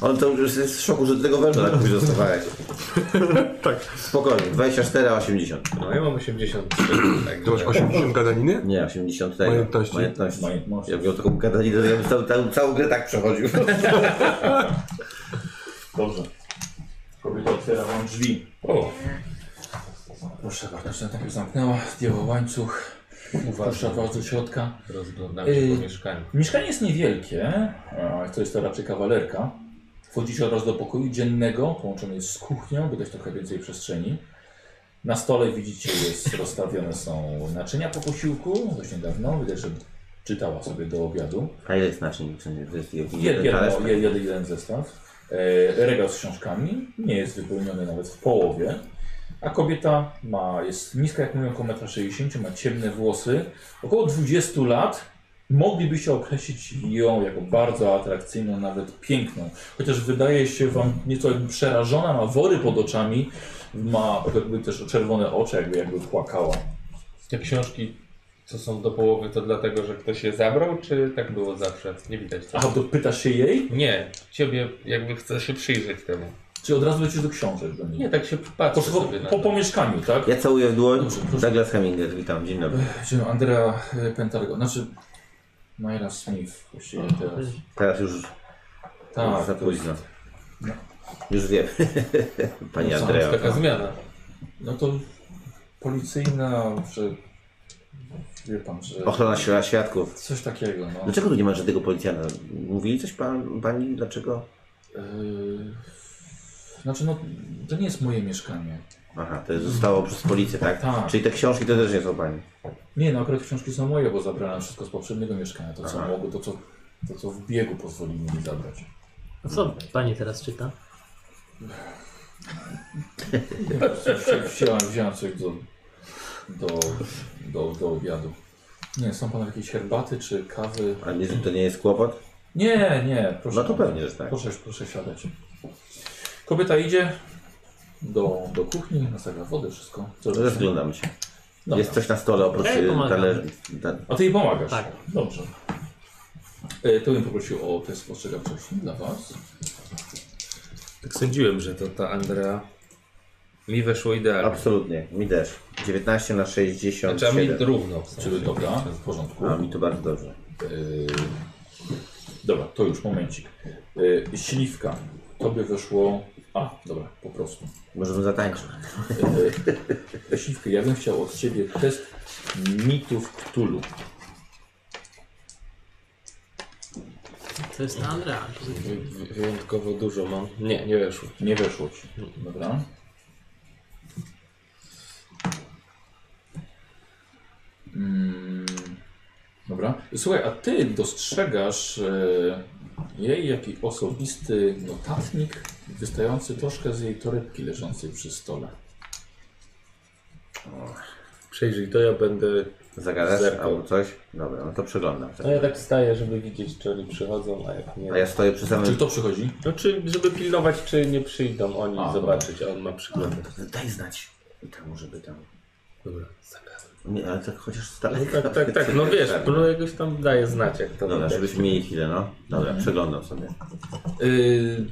Speaker 3: On to już jest w szoku, że do tego węża tak późno dostawałeś.
Speaker 7: Tak.
Speaker 3: Spokojnie, 24, 80.
Speaker 9: No ja mam 83.
Speaker 5: Ty masz
Speaker 9: Także...
Speaker 5: 80 gadaniny?
Speaker 3: Nie, 80 tego.
Speaker 5: Majątności.
Speaker 3: Majątności.
Speaker 2: Majątności.
Speaker 3: Ja miał taką gadaninę, że ja bym całą, całą, całą grę tak przechodził.
Speaker 2: Dobrze. Kobieta otwiera wam drzwi.
Speaker 9: O,
Speaker 2: Proszę bardzo, tak zamknęła, zdjęła łańcuch. Proszę was do środka.
Speaker 9: rozglądam się
Speaker 2: Ej.
Speaker 9: po mieszkaniu.
Speaker 2: Mieszkanie jest niewielkie, a to jest to raczej kawalerka. Wchodzicie od razu do pokoju dziennego, połączony jest z kuchnią, by dać trochę więcej przestrzeni. Na stole widzicie, jest rozstawione są naczynia po posiłku, dość niedawno, widać, że czytała sobie do obiadu.
Speaker 3: A ile jest naczyń? Czy to jest
Speaker 2: Jed,
Speaker 3: jeden talerz?
Speaker 2: jedno, jed, jed, jeden zestaw. E, regał z książkami nie jest wypełniony nawet w połowie. A kobieta ma, jest niska, jak mówią, około 1,60 m, ma ciemne włosy. Około 20 lat moglibyście określić ją jako bardzo atrakcyjną, nawet piękną. Chociaż wydaje się wam nieco jakby przerażona, ma wory pod oczami, ma jakby też czerwone oczy, jakby, jakby płakała.
Speaker 9: Te książki, co są do połowy, to dlatego, że ktoś je zabrał, czy tak było zawsze? Nie widać
Speaker 2: A
Speaker 9: tego.
Speaker 2: to pytasz się jej?
Speaker 9: Nie, ciebie jakby chcę się przyjrzeć temu.
Speaker 2: Czy od razu lecisz do książek do niej?
Speaker 9: Nie, tak się
Speaker 2: Po,
Speaker 9: patrzę
Speaker 2: po,
Speaker 9: sobie na
Speaker 2: po, po
Speaker 9: to.
Speaker 2: mieszkaniu, tak?
Speaker 3: Ja całuję w dłoń.
Speaker 2: Dobrze, proszę.
Speaker 3: Douglas Hemingway, witam, dzień dobry.
Speaker 2: Czy Andrea e, Pentargo, znaczy Myra Smith właściwie teraz.
Speaker 3: Teraz już
Speaker 2: Tak,
Speaker 3: za
Speaker 2: to-
Speaker 3: późno. Już wiem. Pani
Speaker 2: No co,
Speaker 3: Andrea.
Speaker 9: Taka zmiana.
Speaker 2: No to policyjna, że wie pan, że
Speaker 3: Ochrona świ- świadków.
Speaker 2: coś takiego, no.
Speaker 3: Dlaczego tu nie ma żadnego policjanta? Mówili coś pan, pani? Dlaczego?
Speaker 2: Yy, Znaczy no, to nie jest moje mieszkanie.
Speaker 3: Aha, to jest zostało przez policję, tak?
Speaker 2: Tak.
Speaker 3: Czyli te książki to też nie są pani.
Speaker 2: Nie, no akurat książki są moje, bo zabrałem wszystko z poprzedniego mieszkania, to co
Speaker 3: Aha.
Speaker 2: mogło, to co, to co w biegu pozwolili mi zabrać.
Speaker 6: A co pani teraz czyta?
Speaker 2: Wzi- Wziąłem, wziąłem coś do, do, do, do obiadu. Nie, są panowie jakieś herbaty czy kawy?
Speaker 3: A nie, to nie jest kłopot?
Speaker 2: Nie, nie, proszę.
Speaker 3: No to pewnie, że tak.
Speaker 2: Proszę, proszę siadać. Kobieta idzie do, do kuchni, nastawia wodę, wszystko. Co
Speaker 3: Rozglądam się.
Speaker 2: Dobra.
Speaker 3: Jest coś na stole oprócz
Speaker 6: Ja jej
Speaker 3: y,
Speaker 6: pomagam.
Speaker 3: talerzy. Ta...
Speaker 2: A ty jej pomagasz?
Speaker 6: Tak.
Speaker 2: Dobrze. E, to bym poprosił o test spostrzegawczości dla was.
Speaker 9: Tak sądziłem, że to ta Andrea mi weszło idealnie.
Speaker 3: Absolutnie, mi też. 19 na
Speaker 9: Znaczy, a mi
Speaker 3: 67.
Speaker 9: równo.
Speaker 2: Czyli dobra, w porządku.
Speaker 3: A mi to bardzo dobrze.
Speaker 2: E, dobra, to już, momencik. E, śliwka. Tobie weszło... A, dobra, po prostu.
Speaker 3: Możemy zatańczyć.
Speaker 2: E, śliwka, ja bym chciał od ciebie test mitów Cthulhu.
Speaker 6: To jest ta Andrea.
Speaker 9: Wy- wy- Wyjątkowo dużo mam. Nie, nie weszło.
Speaker 2: Nie weszło ci. Dobra. Mm, dobra. Słuchaj, a ty dostrzegasz e, jej jaki osobisty notatnik wystający troszkę z jej torebki leżącej przy stole.
Speaker 9: Przejrzyj to, ja będę.
Speaker 3: Zagadasz
Speaker 9: Zerkam.
Speaker 3: albo coś? Dobra, no to przeglądam.
Speaker 9: No ja tak staję, żeby widzieć, czy oni przychodzą, a jak nie.
Speaker 3: A ja stoję przy
Speaker 2: Czy
Speaker 3: samym...
Speaker 2: to przychodzi?
Speaker 9: No czy żeby pilnować, czy nie przyjdą oni
Speaker 2: A,
Speaker 9: zobaczyć, a on ma przyglądać.
Speaker 3: Daj znać. Tam może by tam...
Speaker 9: Dobra, zagadam.
Speaker 3: Nie, ale tak chociaż z daleka.
Speaker 9: Tak, tak, tak. No wiesz, Blue jakoś tam daje znać, jak to
Speaker 3: Dobra,
Speaker 9: widać.
Speaker 3: żebyśmy mieli chwilę, no. Dobra, przeglądam sobie.
Speaker 2: Yy,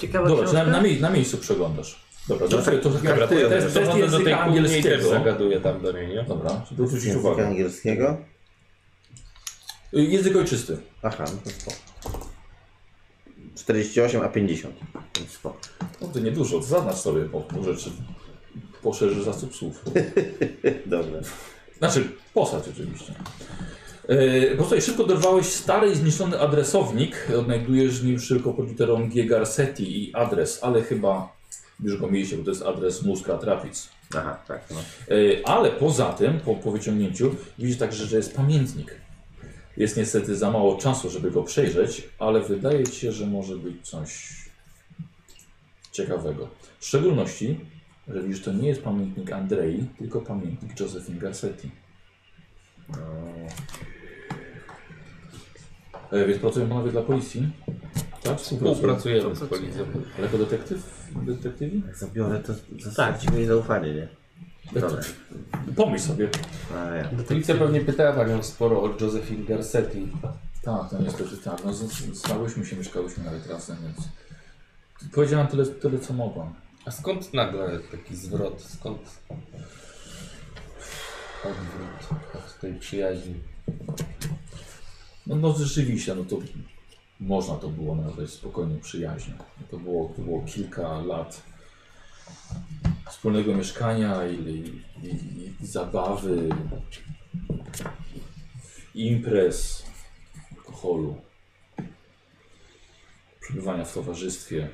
Speaker 6: Ciekawa
Speaker 2: dobra, czy na,
Speaker 6: książka?
Speaker 2: na, mie- na miejscu przeglądasz. Dobra,
Speaker 3: No
Speaker 2: to sobie
Speaker 3: tak,
Speaker 2: to
Speaker 3: karty,
Speaker 2: dobra, to jest
Speaker 9: no
Speaker 2: to
Speaker 9: To wchodzę
Speaker 2: jest
Speaker 9: do tej
Speaker 2: języka
Speaker 9: kuchni i też
Speaker 2: angielskiego.
Speaker 9: zagaduję tam do niej, nie?
Speaker 2: Dobra, żeby zwrócić
Speaker 3: Języka
Speaker 2: uwagę.
Speaker 3: angielskiego?
Speaker 2: Yy, Język ojczysty.
Speaker 3: Aha, no to spoko. 48, a 50. Więc Spoko.
Speaker 2: No to niedużo, zaznacz sobie po, po rzeczy. Poszerzy zasób słów.
Speaker 3: Dobra.
Speaker 2: Znaczy, posadź oczywiście. Yy, po prostu szybko dorwałeś stary i zniszczony adresownik. Odnajdujesz w nim szybko pod literą G Garcetti i adres, ale chyba już go mieliście, bo to jest adres Muska Trapic.
Speaker 3: Aha, tak, no.
Speaker 2: Yy, Ale poza tym, po, po wyciągnięciu, widzisz także, że jest pamiętnik. Jest niestety za mało czasu, żeby go przejrzeć, ale wydaje ci się, że może być coś ciekawego. W szczególności, że widzisz, to nie jest pamiętnik Andrei, tylko pamiętnik Josephine Garcetti. E, Więc pracują panowie dla policji? Tak,
Speaker 9: No
Speaker 2: współpracują.
Speaker 9: Współpracujemy z policją.
Speaker 2: Ale jako detektyw? Detektywi?
Speaker 3: Jak zabiorę, to zostawcie mi zaufanie, nie? Dobra.
Speaker 2: Pomyśl sobie.
Speaker 3: A, tak. No, ja.
Speaker 9: Policja pewnie pytała panią sporo o Josephine Garcetti.
Speaker 2: Tak, no niestety tak. No, z- z- znałyśmy się, mieszkałyśmy nawet razem, więc powiedziałam tyle, tyle co mogłam.
Speaker 9: A skąd nagle taki zwrot? Skąd odwrót od tej przyjaźni?
Speaker 2: No, no rzeczywiście, no to można to było nazwać spokojną przyjaźnią. To było, to było kilka lat wspólnego mieszkania i, i, i, i zabawy, imprez, alkoholu, przebywania w towarzystwie.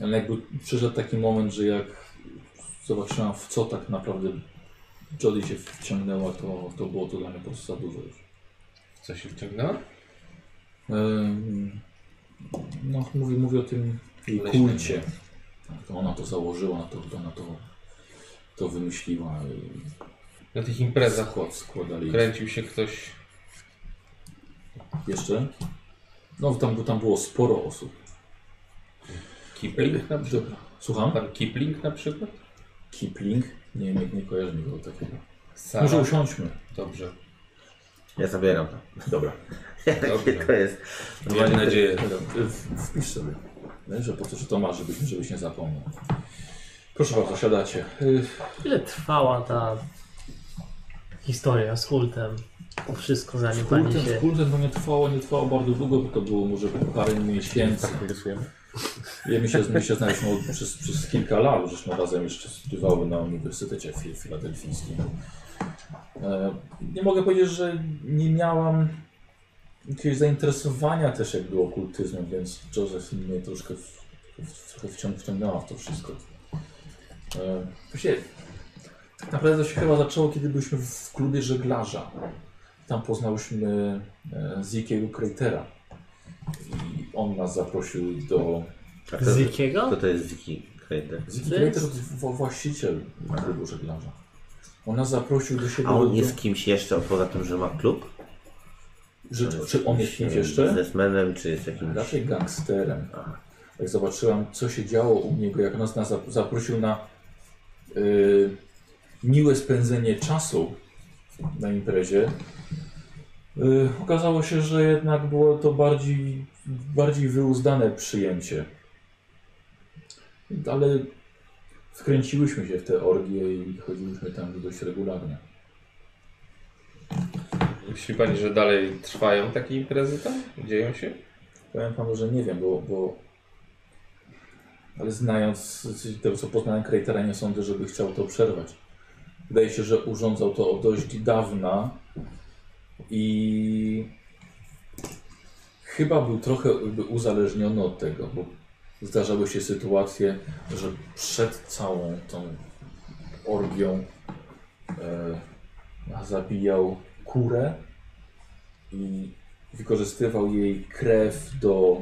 Speaker 2: Ale jakby przyszedł taki moment, że jak zobaczyłam w co tak naprawdę Jodie się wciągnęła, to, to było to dla mnie po prostu za dużo już.
Speaker 9: Co się wciągnęła?
Speaker 2: Ym, No, mówi, mówi o tym jej
Speaker 9: Leśnej.
Speaker 2: kulcie. Tak, to ona to założyła, ona to, ona to, to wymyśliła. i
Speaker 9: Na tych imprezach
Speaker 2: Skład składali.
Speaker 9: kręcił się ktoś.
Speaker 2: Jeszcze? No, tam, tam było sporo osób.
Speaker 9: Kipling na przykład?
Speaker 2: Dobra. Słucham?
Speaker 9: Pan Kipling na przykład?
Speaker 2: Kipling? Nie, nie, nie kojarzy mi go takiego.
Speaker 9: Sara.
Speaker 2: Może usiądźmy.
Speaker 9: Dobrze.
Speaker 3: ja zabieram to.
Speaker 2: Dobra.
Speaker 9: Dobrze.
Speaker 3: Jakie to jest?
Speaker 9: Mam nadzieję.
Speaker 2: No, Dobra, w- Wpisz sobie. Że po co, że to ma, żebyś, żebyś nie zapomniał. Proszę bardzo, siadacie. Y,
Speaker 6: Ile trwała ta historia z kultem? To wszystko zanim pani
Speaker 2: Kultem,
Speaker 6: się...
Speaker 2: kultem to nie trwało, nie trwało bardzo długo, bo to było może parę miesięcy.
Speaker 4: rysujemy.
Speaker 2: Ja my się, my się znaliśmy od, przez, przez kilka lat, żeśmy razem jeszcze studiowały na Uniwersytecie Fil- Filadelfijskim. E, nie mogę powiedzieć, że nie miałam jakiegoś zainteresowania też jakby okultyzmem, więc Joseph mnie troszkę, w, w, trochę wciąg, wciągnęła w to wszystko. E, Właściwie tak naprawdę to się chyba zaczęło, kiedy byliśmy w klubie żeglarza. Tam poznałyśmy e, Zikiego Kreitera. I on nas zaprosił do
Speaker 3: A kto,
Speaker 6: Zikiego?
Speaker 3: kto to jest Ziki? Krejder.
Speaker 2: Ziki Kreiter to jest wa- właściciel klubu żeglarza. On nas zaprosił do siebie.
Speaker 3: A on
Speaker 2: do-
Speaker 3: jest kimś jeszcze, poza tym, że ma klub?
Speaker 2: że, czy on jest kimś
Speaker 3: Nie wiem,
Speaker 2: jeszcze?
Speaker 3: Biznesmenem, czy jest jakimś...
Speaker 2: Raczej gangsterem. Jak zobaczyłam, co się działo u niego, jak nas nas zap- zaprosił na y, miłe spędzenie czasu na imprezie, y, okazało się, że jednak było to bardziej, bardziej wyuzdane przyjęcie. Ale wkręciłyśmy się w te orgie i chodziłyśmy tam dość regularnie.
Speaker 9: Myśli pani, że dalej trwają takie imprezy tam? Dzieją się?
Speaker 2: Powiem panu, że nie wiem, bo. bo... Ale znając to, co poznałem Kreitera, nie sądzę, żeby chciał to przerwać. Wydaje się, że urządzał to od dość dawna i chyba był trochę jakby uzależniony od tego, bo zdarzały się sytuacje, że przed całą tą orgią e, zabijał kurę i wykorzystywał jej krew do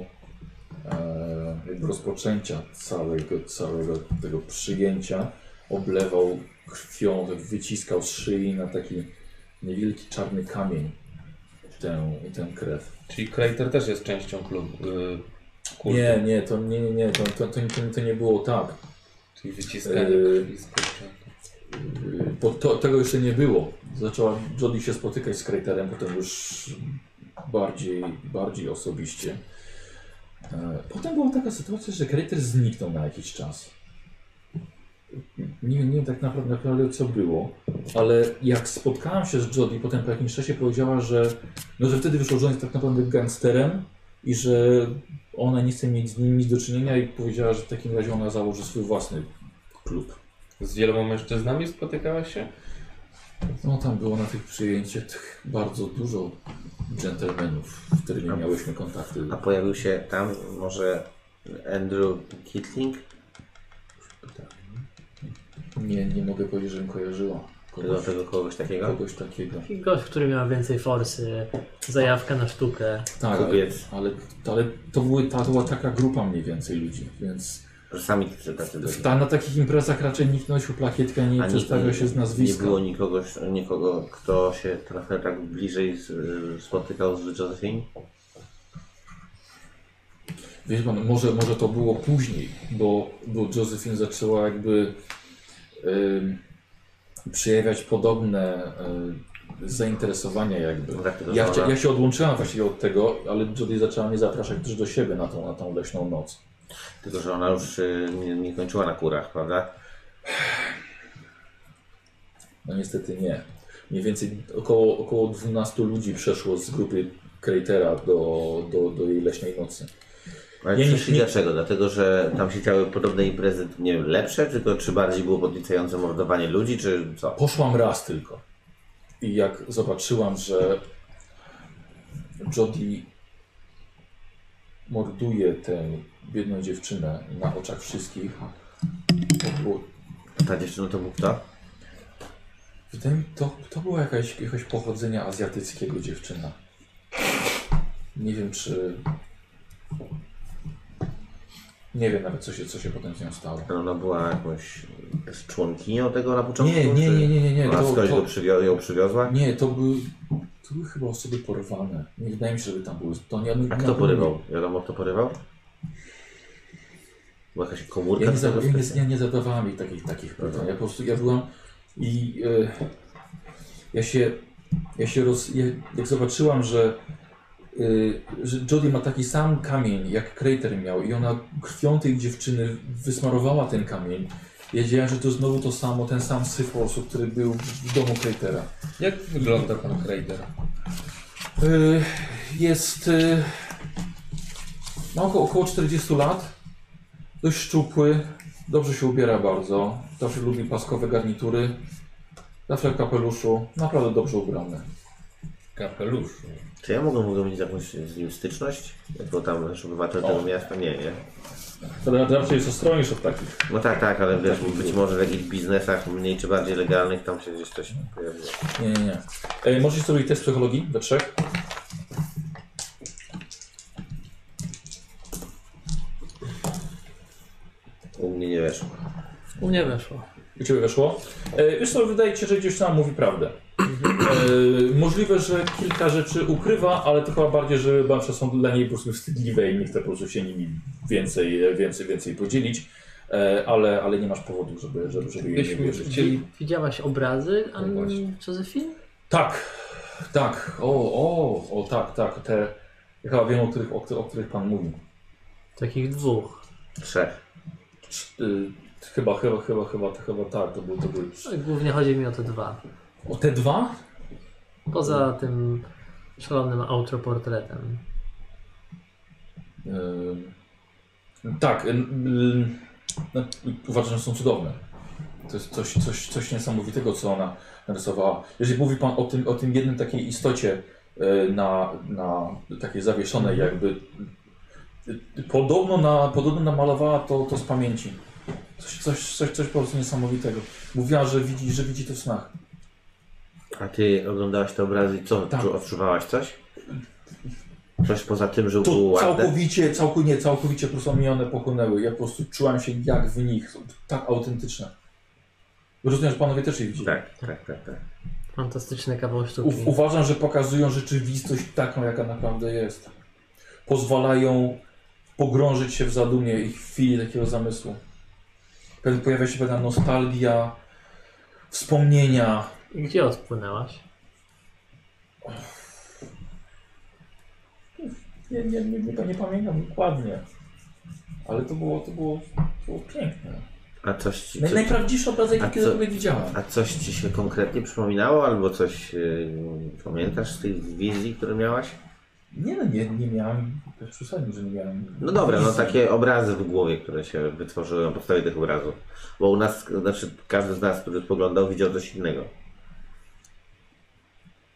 Speaker 2: e, jakby rozpoczęcia całego, całego tego przyjęcia. Oblewał krwią, tak wyciskał z szyi na taki niewielki czarny kamień tę, tę krew.
Speaker 9: Czyli Kreiter też jest częścią klubu. Yy, kultu.
Speaker 2: Nie, nie, to nie, nie, nie to, to, to, to, to nie było tak.
Speaker 9: Czyli wyciskanie
Speaker 2: Yy.
Speaker 9: krwi z kurczaka.
Speaker 2: Bo to, tego jeszcze nie było. Zaczęła Jodie się spotykać z Krejterem, potem już bardziej, bardziej osobiście. E, Potem była taka sytuacja, że Krejter zniknął na jakiś czas. Nie, nie wiem tak naprawdę, naprawdę co było, ale jak spotkałem się z Jodie, potem po jakimś czasie powiedziała, że, no, że wtedy wyszło, że on jest tak naprawdę gangsterem i że ona nie chce mieć z nim nic do czynienia i powiedziała, że w takim razie ona założy swój własny klub.
Speaker 9: Z wieloma mężczyznami spotykałaś się?
Speaker 2: No tam było na tych przyjęciach bardzo dużo dżentelmenów, z którymi miałyśmy kontakty.
Speaker 3: A pojawił się tam może Andrew Kitling?
Speaker 2: Nie, nie mogę powiedzieć, żebym kojarzyła
Speaker 3: Do
Speaker 2: kogoś,
Speaker 3: tego kogoś takiego?
Speaker 2: kogoś takiego.
Speaker 6: Taki gość, który miał więcej forsy, zajawka na sztukę.
Speaker 2: Tak, ale,
Speaker 3: Kupiec.
Speaker 2: ale, ale to, były, ta, to była taka grupa mniej więcej ludzi, więc
Speaker 3: Że sami tacy tacy byli.
Speaker 2: w ta, na takich imprezach raczej nikt nosił plakietkę, nie
Speaker 3: A
Speaker 2: przedstawiał się z
Speaker 3: Nie
Speaker 2: nazwiska.
Speaker 3: było nikogo, nikogo, kto się trochę tak bliżej z, spotykał z Josephine?
Speaker 2: Wiesz pan, może, może to było później, bo, bo Josephine zaczęła jakby ym, przejawiać podobne y, zainteresowania jakby.
Speaker 3: Tak to
Speaker 2: Ja,
Speaker 3: nazywała.
Speaker 2: chcia- ja się odłączyłam właściwie od tego, ale Jodie zaczęła mnie zapraszać też do siebie na tą, na tą leśną noc.
Speaker 3: Tylko, że ona już y, nie, nie kończyła na kurach, prawda?
Speaker 2: No niestety nie. Mniej więcej około, około 12 ludzi przeszło z grupy Kreitera do, do, do jej leśnej nocy.
Speaker 3: Ale
Speaker 2: Ja nie-
Speaker 3: przeszli
Speaker 2: nie-
Speaker 3: dlaczego? Dlatego, że tam się działy podobne imprezy, nie wiem, lepsze, tylko czy bardziej było podniecające mordowanie ludzi, czy co?
Speaker 2: Poszłam raz tylko. I jak zobaczyłam, że Jody morduje tę biedną dziewczynę na oczach wszystkich, to było,
Speaker 3: Ta dziewczyna to był kto?
Speaker 2: wydaje mi, to, to była jakaś, jakiegoś pochodzenia azjatyckiego dziewczyna. Nie wiem, czy... Nie wiem nawet, co się, co się potem z nią stało.
Speaker 3: Ona była jakąś z członkinią tego na początku?
Speaker 2: Nie, nie,
Speaker 3: czy
Speaker 2: nie, nie, nie, nie.
Speaker 3: Ona
Speaker 2: To,
Speaker 3: skądś go
Speaker 2: to,
Speaker 3: przywio- ją przywiozła?
Speaker 2: nie, to były, to były chyba osoby porwane. Nie wydaje mi się, żeby tam były. To nie,
Speaker 3: A kto porywał? Wiadomo, kto porywał? Była jakaś
Speaker 2: Ja
Speaker 3: komórka?
Speaker 2: nie,
Speaker 3: do tego
Speaker 2: zada, ja, nie,
Speaker 3: sklepu?
Speaker 2: ja nie zadawałam jej takich, takich pytań. Ja po prostu ja byłam i e, ja się, ja się roz, ja, jak zobaczyłam, że, e, że Jodie ma taki sam kamień, jak Crater miał i ona krwią tej dziewczyny wysmarowała ten kamień. Ja wiedziałem, że to znowu to samo, ten sam syf po prostu, który był w domu Cratera.
Speaker 9: Jak wygląda pan Krejder?
Speaker 2: Y, Jest. y, Ma około, około 40 lat. Dość szczupły. Dobrze się ubiera bardzo. Zawsze lubi paskowe garnitury. Zawsze w kapeluszu. Naprawdę dobrze ubrany.
Speaker 9: Kapelusz.
Speaker 3: Czy ja mogę, mogę mieć jakąś z nim styczność? Jako tam nasz obywatel
Speaker 2: O.
Speaker 3: tego miasta? Nie, nie.
Speaker 2: Raczej jest ostronisz od takich.
Speaker 3: No tak, tak, ale wiesz, być może w jakichś biznesach mniej czy bardziej legalnych tam się gdzieś coś pojawiło.
Speaker 2: Nie, nie, nie. E, możecie sobie test psychologii we trzech.
Speaker 3: U mnie nie weszło.
Speaker 6: U mnie weszło.
Speaker 2: U Ciebie weszło. E, Wiesz co, wydaje Ci się, że dziewczyna mówi prawdę. E, możliwe, że kilka rzeczy ukrywa, ale to chyba bardziej, że bansze są dla niej po prostu wstydliwe i nie chce po prostu się nimi więcej, więcej, więcej podzielić. E, ale, ale nie masz powodu, żeby, żeby, żeby jej nie
Speaker 9: Byśmy
Speaker 2: wierzyć.
Speaker 9: chcieli
Speaker 6: Widziałaś obrazy
Speaker 2: No właśnie.
Speaker 6: Ann Josephine?
Speaker 2: Tak, tak, o, o, o, tak, tak, te... Ja chyba wiem, o których, o, których- o których Pan mówi.
Speaker 6: Takich dwóch.
Speaker 3: Trzech.
Speaker 2: Cz- Y, chyba, chyba, chyba, chyba, chyba tak, to był, to był...
Speaker 6: No Głównie chodzi mi o te dwa.
Speaker 2: O te dwa?
Speaker 6: Poza tym szalonym autoportretem.
Speaker 2: Ym, Tak, ym, ym, no, uważam, że są cudowne. To jest coś, coś, coś niesamowitego, co ona narysowała. Jeżeli mówi Pan o tym, o tym jednym takiej istocie y, na, na takiej zawieszonej jakby, y, y, podobno, na, podobno namalowała to, to z pamięci. Coś, coś, coś, coś po prostu niesamowitego. Mówiła, że widzi, że widzi to w snach.
Speaker 3: A ty oglądałaś te obrazy i co?
Speaker 2: Tak.
Speaker 3: Czy odczuwałaś coś? Coś poza tym, że było
Speaker 2: To
Speaker 3: ładne?
Speaker 2: całkowicie, całkowicie, nie, całkowicie po prostu mi one pochłonęły. Ja po prostu czułem się jak w nich. Są tak autentyczne. Rozumiem, że panowie też je widzieli.
Speaker 3: Tak, tak, tak, tak.
Speaker 6: Fantastyczny kawał sztuki.
Speaker 2: U- uważam, że pokazują rzeczywistość taką, jaka naprawdę jest. Pozwalają pogrążyć się w zadumie i chwili takiego zamysłu. Pewnie Pojawia się pewna nostalgia, wspomnienia.
Speaker 6: I Gdzie odpłynęłaś?
Speaker 2: Nie, nie, nie, nie, nie pamiętam dokładnie. Ale to było, to było, to było piękne.
Speaker 3: A coś ci,
Speaker 2: No Naj,
Speaker 3: coś,
Speaker 2: najprawdziwszy obrazek,
Speaker 3: A
Speaker 2: jaki
Speaker 3: co-
Speaker 2: kiedykolwiek widziałem.
Speaker 3: a coś ci się konkretnie przypominało, albo coś y, pamiętasz z tych wizji, które miałaś?
Speaker 2: Nie no, nie, nie miałem, też przesadził, że nie miałem.
Speaker 3: No dobra, no
Speaker 2: wizji.
Speaker 3: takie obrazy w głowie, które się wytworzyły na podstawie tych obrazów. Bo u nas, znaczy każdy z nas, który spoglądał, widział coś innego.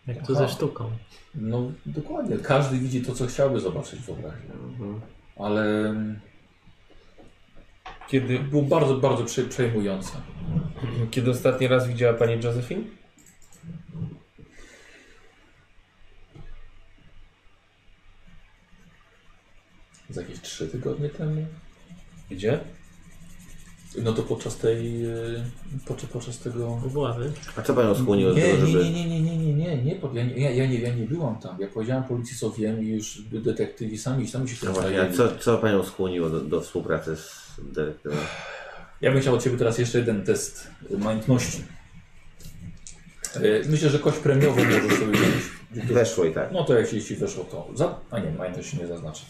Speaker 6: Jak to
Speaker 2: Aha.
Speaker 6: ze sztuką.
Speaker 2: No dokładnie, każdy widzi to, co chciałby zobaczyć w obrazie.
Speaker 3: Mhm.
Speaker 2: Ale mm,
Speaker 9: Kiedy,
Speaker 2: było bardzo, bardzo prze, przejmujące.
Speaker 9: kiedy ostatni raz widziała Pani Josephine?
Speaker 2: Z jakieś trzy tygodnie temu.
Speaker 9: Gdzie?
Speaker 2: No to podczas tej, e, podczas, podczas tego...
Speaker 6: Obławy.
Speaker 3: A co panią skłoniło do
Speaker 2: nie,
Speaker 3: tego,
Speaker 2: nie,
Speaker 3: żeby...
Speaker 2: nie, nie, nie, nie, nie, nie, nie, pod- ja, nie, ja, ja, nie, ja nie byłam tam. Ja powiedziałem policji, co wiem i już detektywi sami, sami się tym
Speaker 3: No właśnie, a
Speaker 2: zajęli.
Speaker 3: co, co panią skłoniło do, do współpracy z dyrektorem?
Speaker 2: Ja bym chciał od Ciebie teraz jeszcze jeden test majątności. E, Myślę, że kość premiową możesz sobie wziąć.
Speaker 3: Weszło i tak.
Speaker 2: No to jak jeśli weszło to. Za... A nie, majątność się nie zaznaczy.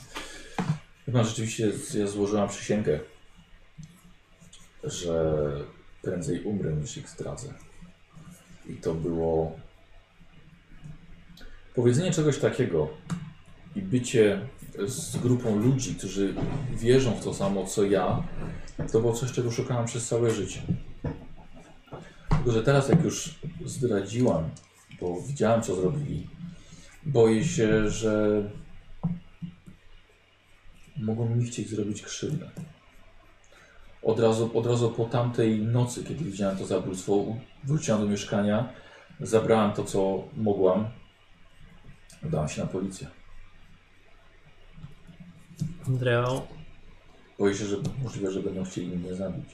Speaker 2: Chyba rzeczywiście z- ja złożyłam przysięgę, że prędzej umrę niż ich zdradzę. I to było powiedzenie czegoś takiego i bycie z grupą ludzi, którzy wierzą w to samo co ja, to było coś, czego szukałam przez całe życie. Tylko, że teraz jak już zdradziłam, bo widziałam co zrobili, boję się, że mogą mi chcieć zrobić krzywdę. Od razu, od razu po tamtej nocy, kiedy widziałem to zabójstwo, u- wróciłam do mieszkania, zabrałam to, co mogłam, udałam się na policję.
Speaker 6: Andreo,
Speaker 2: Boję się, że możliwe, że będą chcieli mnie zabić.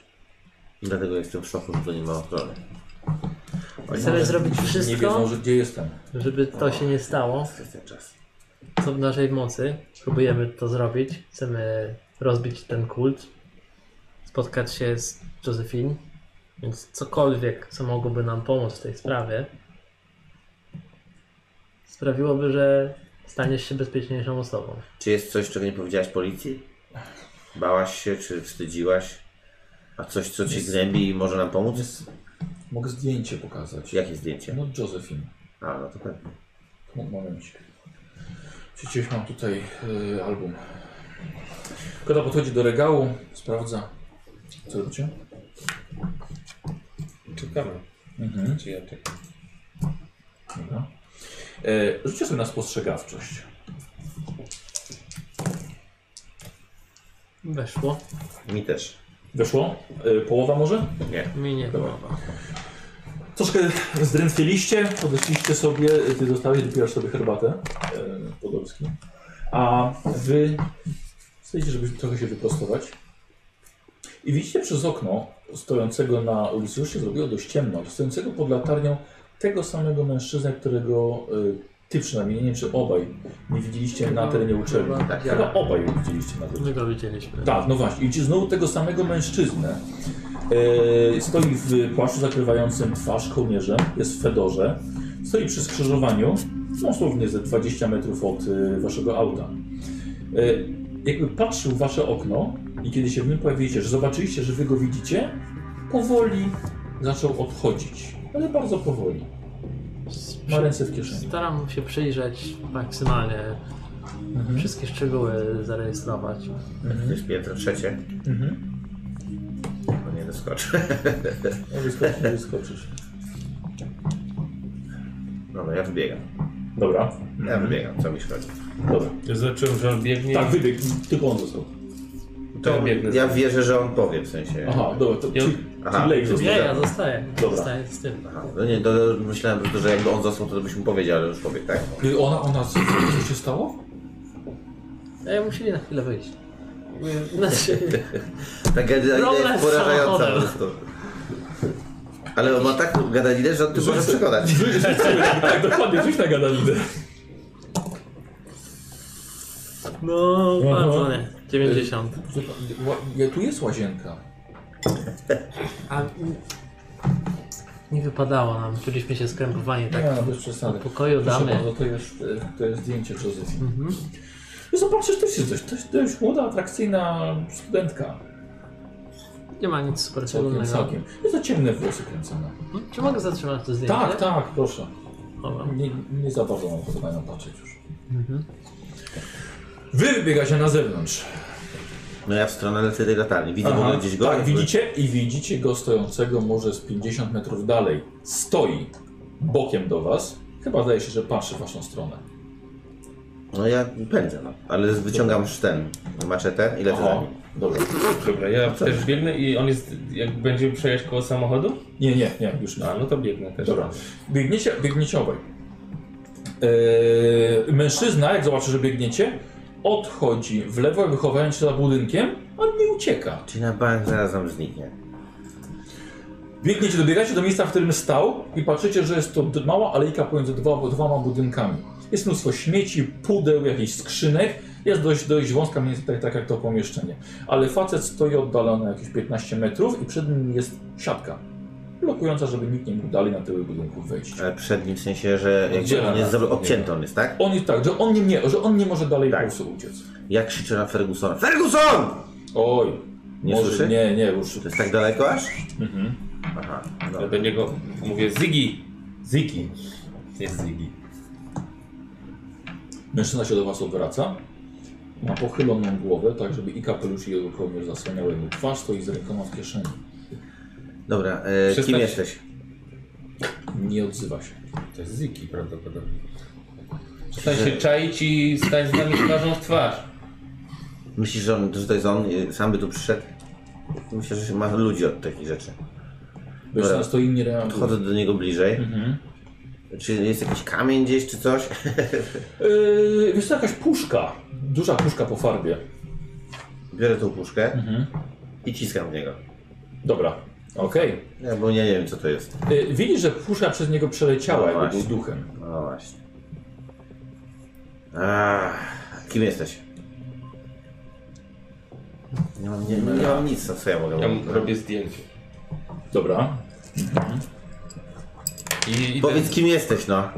Speaker 3: Dlatego jestem w szoku, że tu nie ma ochrony.
Speaker 2: Oni
Speaker 6: Chcemy
Speaker 2: może
Speaker 6: zrobić
Speaker 2: Nie
Speaker 6: wszystko?
Speaker 2: wiedzą, że gdzie jestem.
Speaker 6: żeby to się nie stało,
Speaker 3: Kwestia czasu.
Speaker 6: co w naszej mocy, próbujemy to zrobić. Chcemy rozbić ten kult, spotkać się z Josephine, więc cokolwiek, co mogłoby nam pomóc w tej sprawie, sprawiłoby, że staniesz się bezpieczniejszą osobą.
Speaker 3: Czy jest coś, czego nie powiedziałaś policji? Bałaś się, czy wstydziłaś? A coś, co ci zębi i może nam pomóc?
Speaker 2: Mogę zdjęcie pokazać.
Speaker 3: Jakie zdjęcie?
Speaker 2: No Josephine.
Speaker 3: A, no to pewnie.
Speaker 2: No, Momencik. Przecież mam tutaj y, album. Koda podchodzi do regału, sprawdza. Co robicie?
Speaker 9: Czekamy.
Speaker 2: Mhm.
Speaker 9: Czy ja czekam?
Speaker 2: Dobra. E, rzućcie sobie na spostrzegawczość.
Speaker 6: Weszło.
Speaker 3: Mi też.
Speaker 2: Weszło? E, połowa może?
Speaker 6: Mi nie było.
Speaker 2: Troszkę zdrętwieliście, podeszliście sobie, ty dostałeś, dopierasz sobie herbatę e, podolski. A wy chcecie, żeby trochę się wyprostować. I widzicie przez okno stojącego na ulicy, już się zrobiło dość ciemno, stojącego pod latarnią tego samego mężczyznę, którego y, ty przynajmniej, nie wiem, czy obaj nie widzieliście na terenie uczelni.
Speaker 3: Tak,
Speaker 2: Chyba obaj widzieliście na terenie
Speaker 6: My go widzieliśmy.
Speaker 2: tak, no właśnie. I widzisz znowu tego samego mężczyznę. E, stoi w płaszczu zakrywającym twarz kołnierzem, jest w fedorze. Stoi przy skrzyżowaniu, dosłownie ze 20 metrów od y, waszego auta. E, jakby patrzył w wasze okno i kiedy się w nim pojawiliście, że zobaczyliście, że wy go widzicie, powoli zaczął odchodzić. Ale bardzo powoli. Ma ręce w kieszeni.
Speaker 6: Staram się przyjrzeć maksymalnie,
Speaker 2: Mhm.
Speaker 6: wszystkie szczegóły zarejestrować.
Speaker 3: To
Speaker 2: Mhm.
Speaker 3: jest piętro trzecie.
Speaker 2: Mhm.
Speaker 3: No nie doskoczę.
Speaker 2: No, Wyskoczysz, nie wyskoczysz.
Speaker 3: No, no ja wybiegam.
Speaker 2: Dobra.
Speaker 3: Ja wybiegam, co mi szkodzi.
Speaker 2: Dobra.
Speaker 9: Ja zobaczyłem, że on biegnie.
Speaker 2: Tak, wybiegł. Tylko on został.
Speaker 9: to ja biegnę.
Speaker 3: Ja wierzę, że on powie, w sensie...
Speaker 2: Aha, dobra, to
Speaker 9: Ja-
Speaker 2: czyli,
Speaker 3: Aha.
Speaker 2: czyli Lejk
Speaker 6: Nie,
Speaker 2: został.
Speaker 6: ja zostaję.
Speaker 2: Dobra.
Speaker 6: Zostaję z tym.
Speaker 3: Aha, no nie, to myślałem, że to, że jakby on został, to byś mu powiedział, ale już pobiegł, tak?
Speaker 2: Y, Ona, ona, co co się stało?
Speaker 6: Ej, musieli na chwilę wyjść. Znaczy,
Speaker 3: Ta gadalinę
Speaker 6: Problem
Speaker 3: jest
Speaker 6: z
Speaker 3: porażająca po
Speaker 6: samochodem.
Speaker 3: prostu. Ale on ma taką gadalinę, że on tym może przekonać.
Speaker 2: tak, dokładnie, rzuć na gadalinę.
Speaker 6: no,
Speaker 2: Aha.
Speaker 6: bardzo nie. 90.
Speaker 2: Tu jest łazienka.
Speaker 6: A Nie wypadało nam, czuliśmy się skrępowani tak.
Speaker 2: Nie, no, bez przesady.
Speaker 6: Od pokoju
Speaker 2: Proszę
Speaker 6: damy. Mhm.
Speaker 2: bardzo, to jest, e, to jest zdjęcie Josephine. No Zobaczysz, też jest dość, dość, dość młoda, atrakcyjna studentka.
Speaker 6: Nie ma nic super
Speaker 2: Całkiem,
Speaker 6: szczególnego.
Speaker 2: całkiem. Jest za ciemne włosy kręcone.
Speaker 6: Hmm? Czy mogę zatrzymać to zdjęcie?
Speaker 2: Tak, tak, proszę.
Speaker 6: Dobra.
Speaker 2: Nie, nie za bardzo mam ochotę na nią patrzeć już.
Speaker 6: Mhm.
Speaker 2: Wy wybiegacie na zewnątrz.
Speaker 3: No ja w stronę lecę tej latarni. Widzę
Speaker 2: Aha,
Speaker 3: w ogóle gdzieś go.
Speaker 2: tak, widzicie? I widzicie go stojącego może z 50 metrów dalej. Stoi bokiem do was. Chyba zdaje się, że patrzy w waszą stronę.
Speaker 3: No ja pędzę, no. Ale wyciągam już ten maczetę i lecę za nim.
Speaker 2: dobra.
Speaker 9: Dobra, ja
Speaker 2: Tak.
Speaker 9: też biegnę i on jest, jak będziemy przejeżdżać koło samochodu?
Speaker 2: Nie, nie, nie, już nie.
Speaker 9: A, no to biegnę też.
Speaker 2: Dobra. Biegniecie, biegniecie obaj. Eee, mężczyzna, jak zobaczy, że biegniecie, odchodzi w lewo, jakby chowając się za budynkiem, a nie ucieka.
Speaker 3: Czyli na bank zaraz nam zniknie.
Speaker 2: Biegniecie, dobiegacie do miejsca, w którym stał i patrzycie, że jest to d- mała alejka pomiędzy dwa, dwoma budynkami. Jest mnóstwo śmieci, pudeł, jakichś skrzynek. Jest dość, dość wąska, mniej więcej tak, tak jak to pomieszczenie. Ale facet stoi oddalony jakieś 15 metrów i przed nim jest siatka. Blokująca, żeby nikt nie mógł dalej na tyły budynku wejść.
Speaker 3: Ale przed nim E, w sensie, że jakby
Speaker 2: Oddziela
Speaker 3: on jest
Speaker 2: nas.
Speaker 3: zro- odcięty on jest, tak?
Speaker 2: On jest tak, że on nie, nie, że on nie może dalej
Speaker 3: Tak.
Speaker 2: po prostu uciec.
Speaker 3: Ja krzyczę na Fergusona. Ferguson!
Speaker 2: Oj,
Speaker 3: Nie
Speaker 2: może,
Speaker 3: słyszy?
Speaker 2: nie, nie, już.
Speaker 3: To jest tak daleko aż?
Speaker 2: Mhm.
Speaker 3: Aha,
Speaker 9: Ja
Speaker 3: no.
Speaker 9: do niego mówię Zigi! Zigi. Nie Zigi.
Speaker 2: Mężczyzna się do was odwraca. Ma pochyloną głowę, tak żeby i kapelusz i jego kołnierz zasłaniały mu twarz, stoi z rękoma w kieszeni.
Speaker 3: Dobra, e,
Speaker 9: Przestań-
Speaker 3: kim jesteś?
Speaker 2: Nie odzywa się.
Speaker 9: To jest Ziki prawdopodobnie. Przestań się czaić i stań z nami twarzą w twarz.
Speaker 3: Myślisz, że, on, że to jest on? e, Sam by tu przyszedł? Myślę, że się ma ludzi od takich rzeczy.
Speaker 2: Mężczyzna stoi nie reaguje.
Speaker 3: Podchodzę do niego bliżej.
Speaker 2: Mhm.
Speaker 3: Czy jest jakiś kamień gdzieś, czy coś?
Speaker 2: Yy, jest to jakaś puszka. Duża puszka po farbie.
Speaker 3: Biorę tą puszkę
Speaker 2: Mhm.
Speaker 3: i ciskam w niego.
Speaker 2: Dobra, okej.
Speaker 3: Ja, bo nie wiem, co to jest.
Speaker 2: Yy, widzisz, że puszka przez niego przeleciała,
Speaker 3: No
Speaker 2: jakby
Speaker 3: właśnie.
Speaker 2: był duchem.
Speaker 3: No właśnie. A, kim jesteś? Nie mam, nie, nie mam nic, co ja mogę
Speaker 9: Ja mu
Speaker 3: mówić.
Speaker 9: robię zdjęcie.
Speaker 2: Dobra.
Speaker 9: I, i
Speaker 3: Powiedz, kim jesteś, no.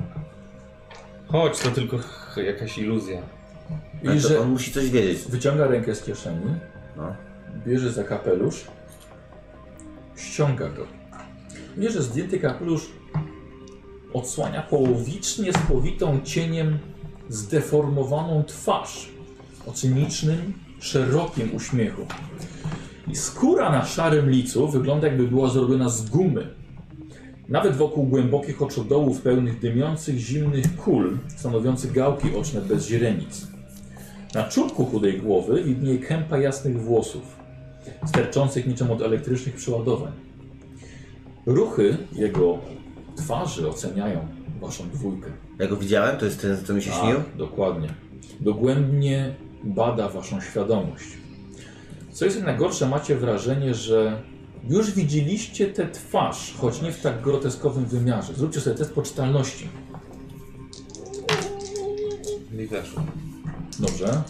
Speaker 9: Chodź, to tylko ch- jakaś iluzja.
Speaker 2: Widzisz,
Speaker 3: Znaczy,
Speaker 2: że
Speaker 3: on musi coś wiedzieć.
Speaker 2: wyciąga rękę z kieszeni.
Speaker 3: No.
Speaker 2: bierze za kapelusz, ściąga go. Bierze zdjęty kapelusz, odsłania połowicznie spowitą cieniem zdeformowaną twarz o cynicznym, szerokim uśmiechu. I skóra na szarym licu wygląda jakby była zrobiona z gumy. Nawet wokół głębokich oczodołów pełnych dymiących, zimnych kul, stanowiących gałki oczne bez źrenic. Na czubku chudej głowy widnieje kępa jasnych włosów sterczących niczym od elektrycznych przeładowań. Ruchy jego twarzy oceniają waszą dwójkę.
Speaker 3: Ja go widziałem, to jest ten, co mi się śnił?
Speaker 2: Tak, dokładnie. Dogłębnie bada waszą świadomość. Co jest najgorsze, macie wrażenie, że już widzieliście tę twarz, choć nie w tak groteskowym wymiarze. Zróbcie sobie test poczytalności.
Speaker 9: I weszło.
Speaker 2: Dobrze.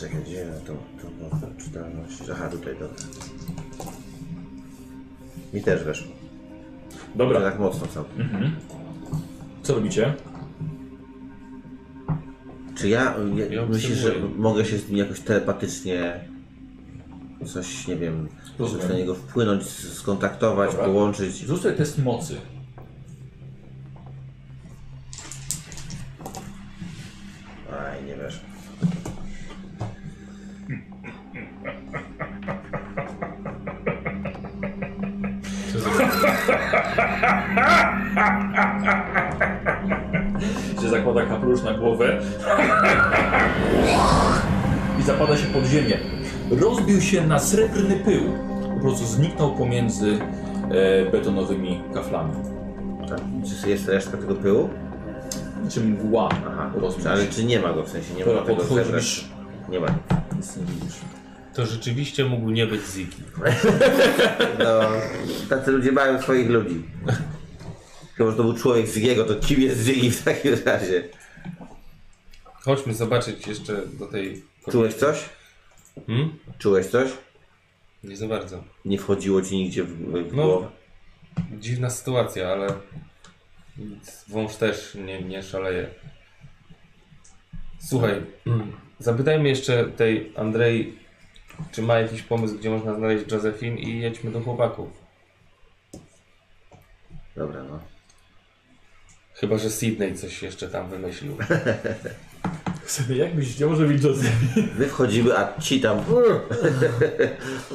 Speaker 3: Czekaj, gdzie ja to, to, to czytelność? Aha, tutaj, dobra. Mi też weszło. To
Speaker 2: Dobra.
Speaker 3: tak mocno całkiem.
Speaker 2: Co robicie?
Speaker 3: Czy ja, y, ja,
Speaker 9: Ja
Speaker 3: myślisz, że
Speaker 9: obserwuję.
Speaker 3: mogę się z nim jakoś telepatycznie coś, nie wiem,
Speaker 2: Rozumiem.
Speaker 3: coś na niego wpłynąć, s- skontaktować,
Speaker 2: Dobra.
Speaker 3: połączyć?
Speaker 2: Zrób sobie test mocy.
Speaker 3: Aj, nie weszło.
Speaker 2: Czy zakłada kapelusz na głowę i zapada się pod ziemię. Rozbił się na srebrny pył. Po prostu zniknął pomiędzy e, betonowymi kaflami.
Speaker 3: Tak. Czy jest resztka tego pyłu?
Speaker 2: Czy mgła
Speaker 3: Aha,
Speaker 2: rozbił
Speaker 3: czy, ale czy nie ma go, w sensie nie
Speaker 2: Dobra,
Speaker 3: ma tego zebrać?
Speaker 2: podchodzisz.
Speaker 3: Nie ma.
Speaker 2: Nic nie widzisz.
Speaker 9: To rzeczywiście mógł nie być Ziki.
Speaker 3: No, tacy ludzie mają swoich ludzi. Chyba, że to był człowiek z Zigiego, to kim jest Zigi w takim razie?
Speaker 9: Chodźmy zobaczyć jeszcze do tej...
Speaker 3: Czułeś coś?
Speaker 9: Hmm?
Speaker 3: Czułeś coś?
Speaker 9: Nie za bardzo.
Speaker 3: Nie wchodziło ci nigdzie w, w
Speaker 9: No.
Speaker 3: głowę?
Speaker 9: dziwna sytuacja, ale nic, wąż też nie, nie szaleje. Słuchaj, zapytajmy jeszcze tej Andrei, czy ma jakiś pomysł, gdzie można znaleźć Josephine i jedźmy do chłopaków.
Speaker 3: Dobra, no.
Speaker 9: Chyba, że Sydney coś jeszcze tam wymyślił.
Speaker 2: Sobie jakbyś chciał, żeby Joseph.
Speaker 3: My wchodzimy, a ci tam.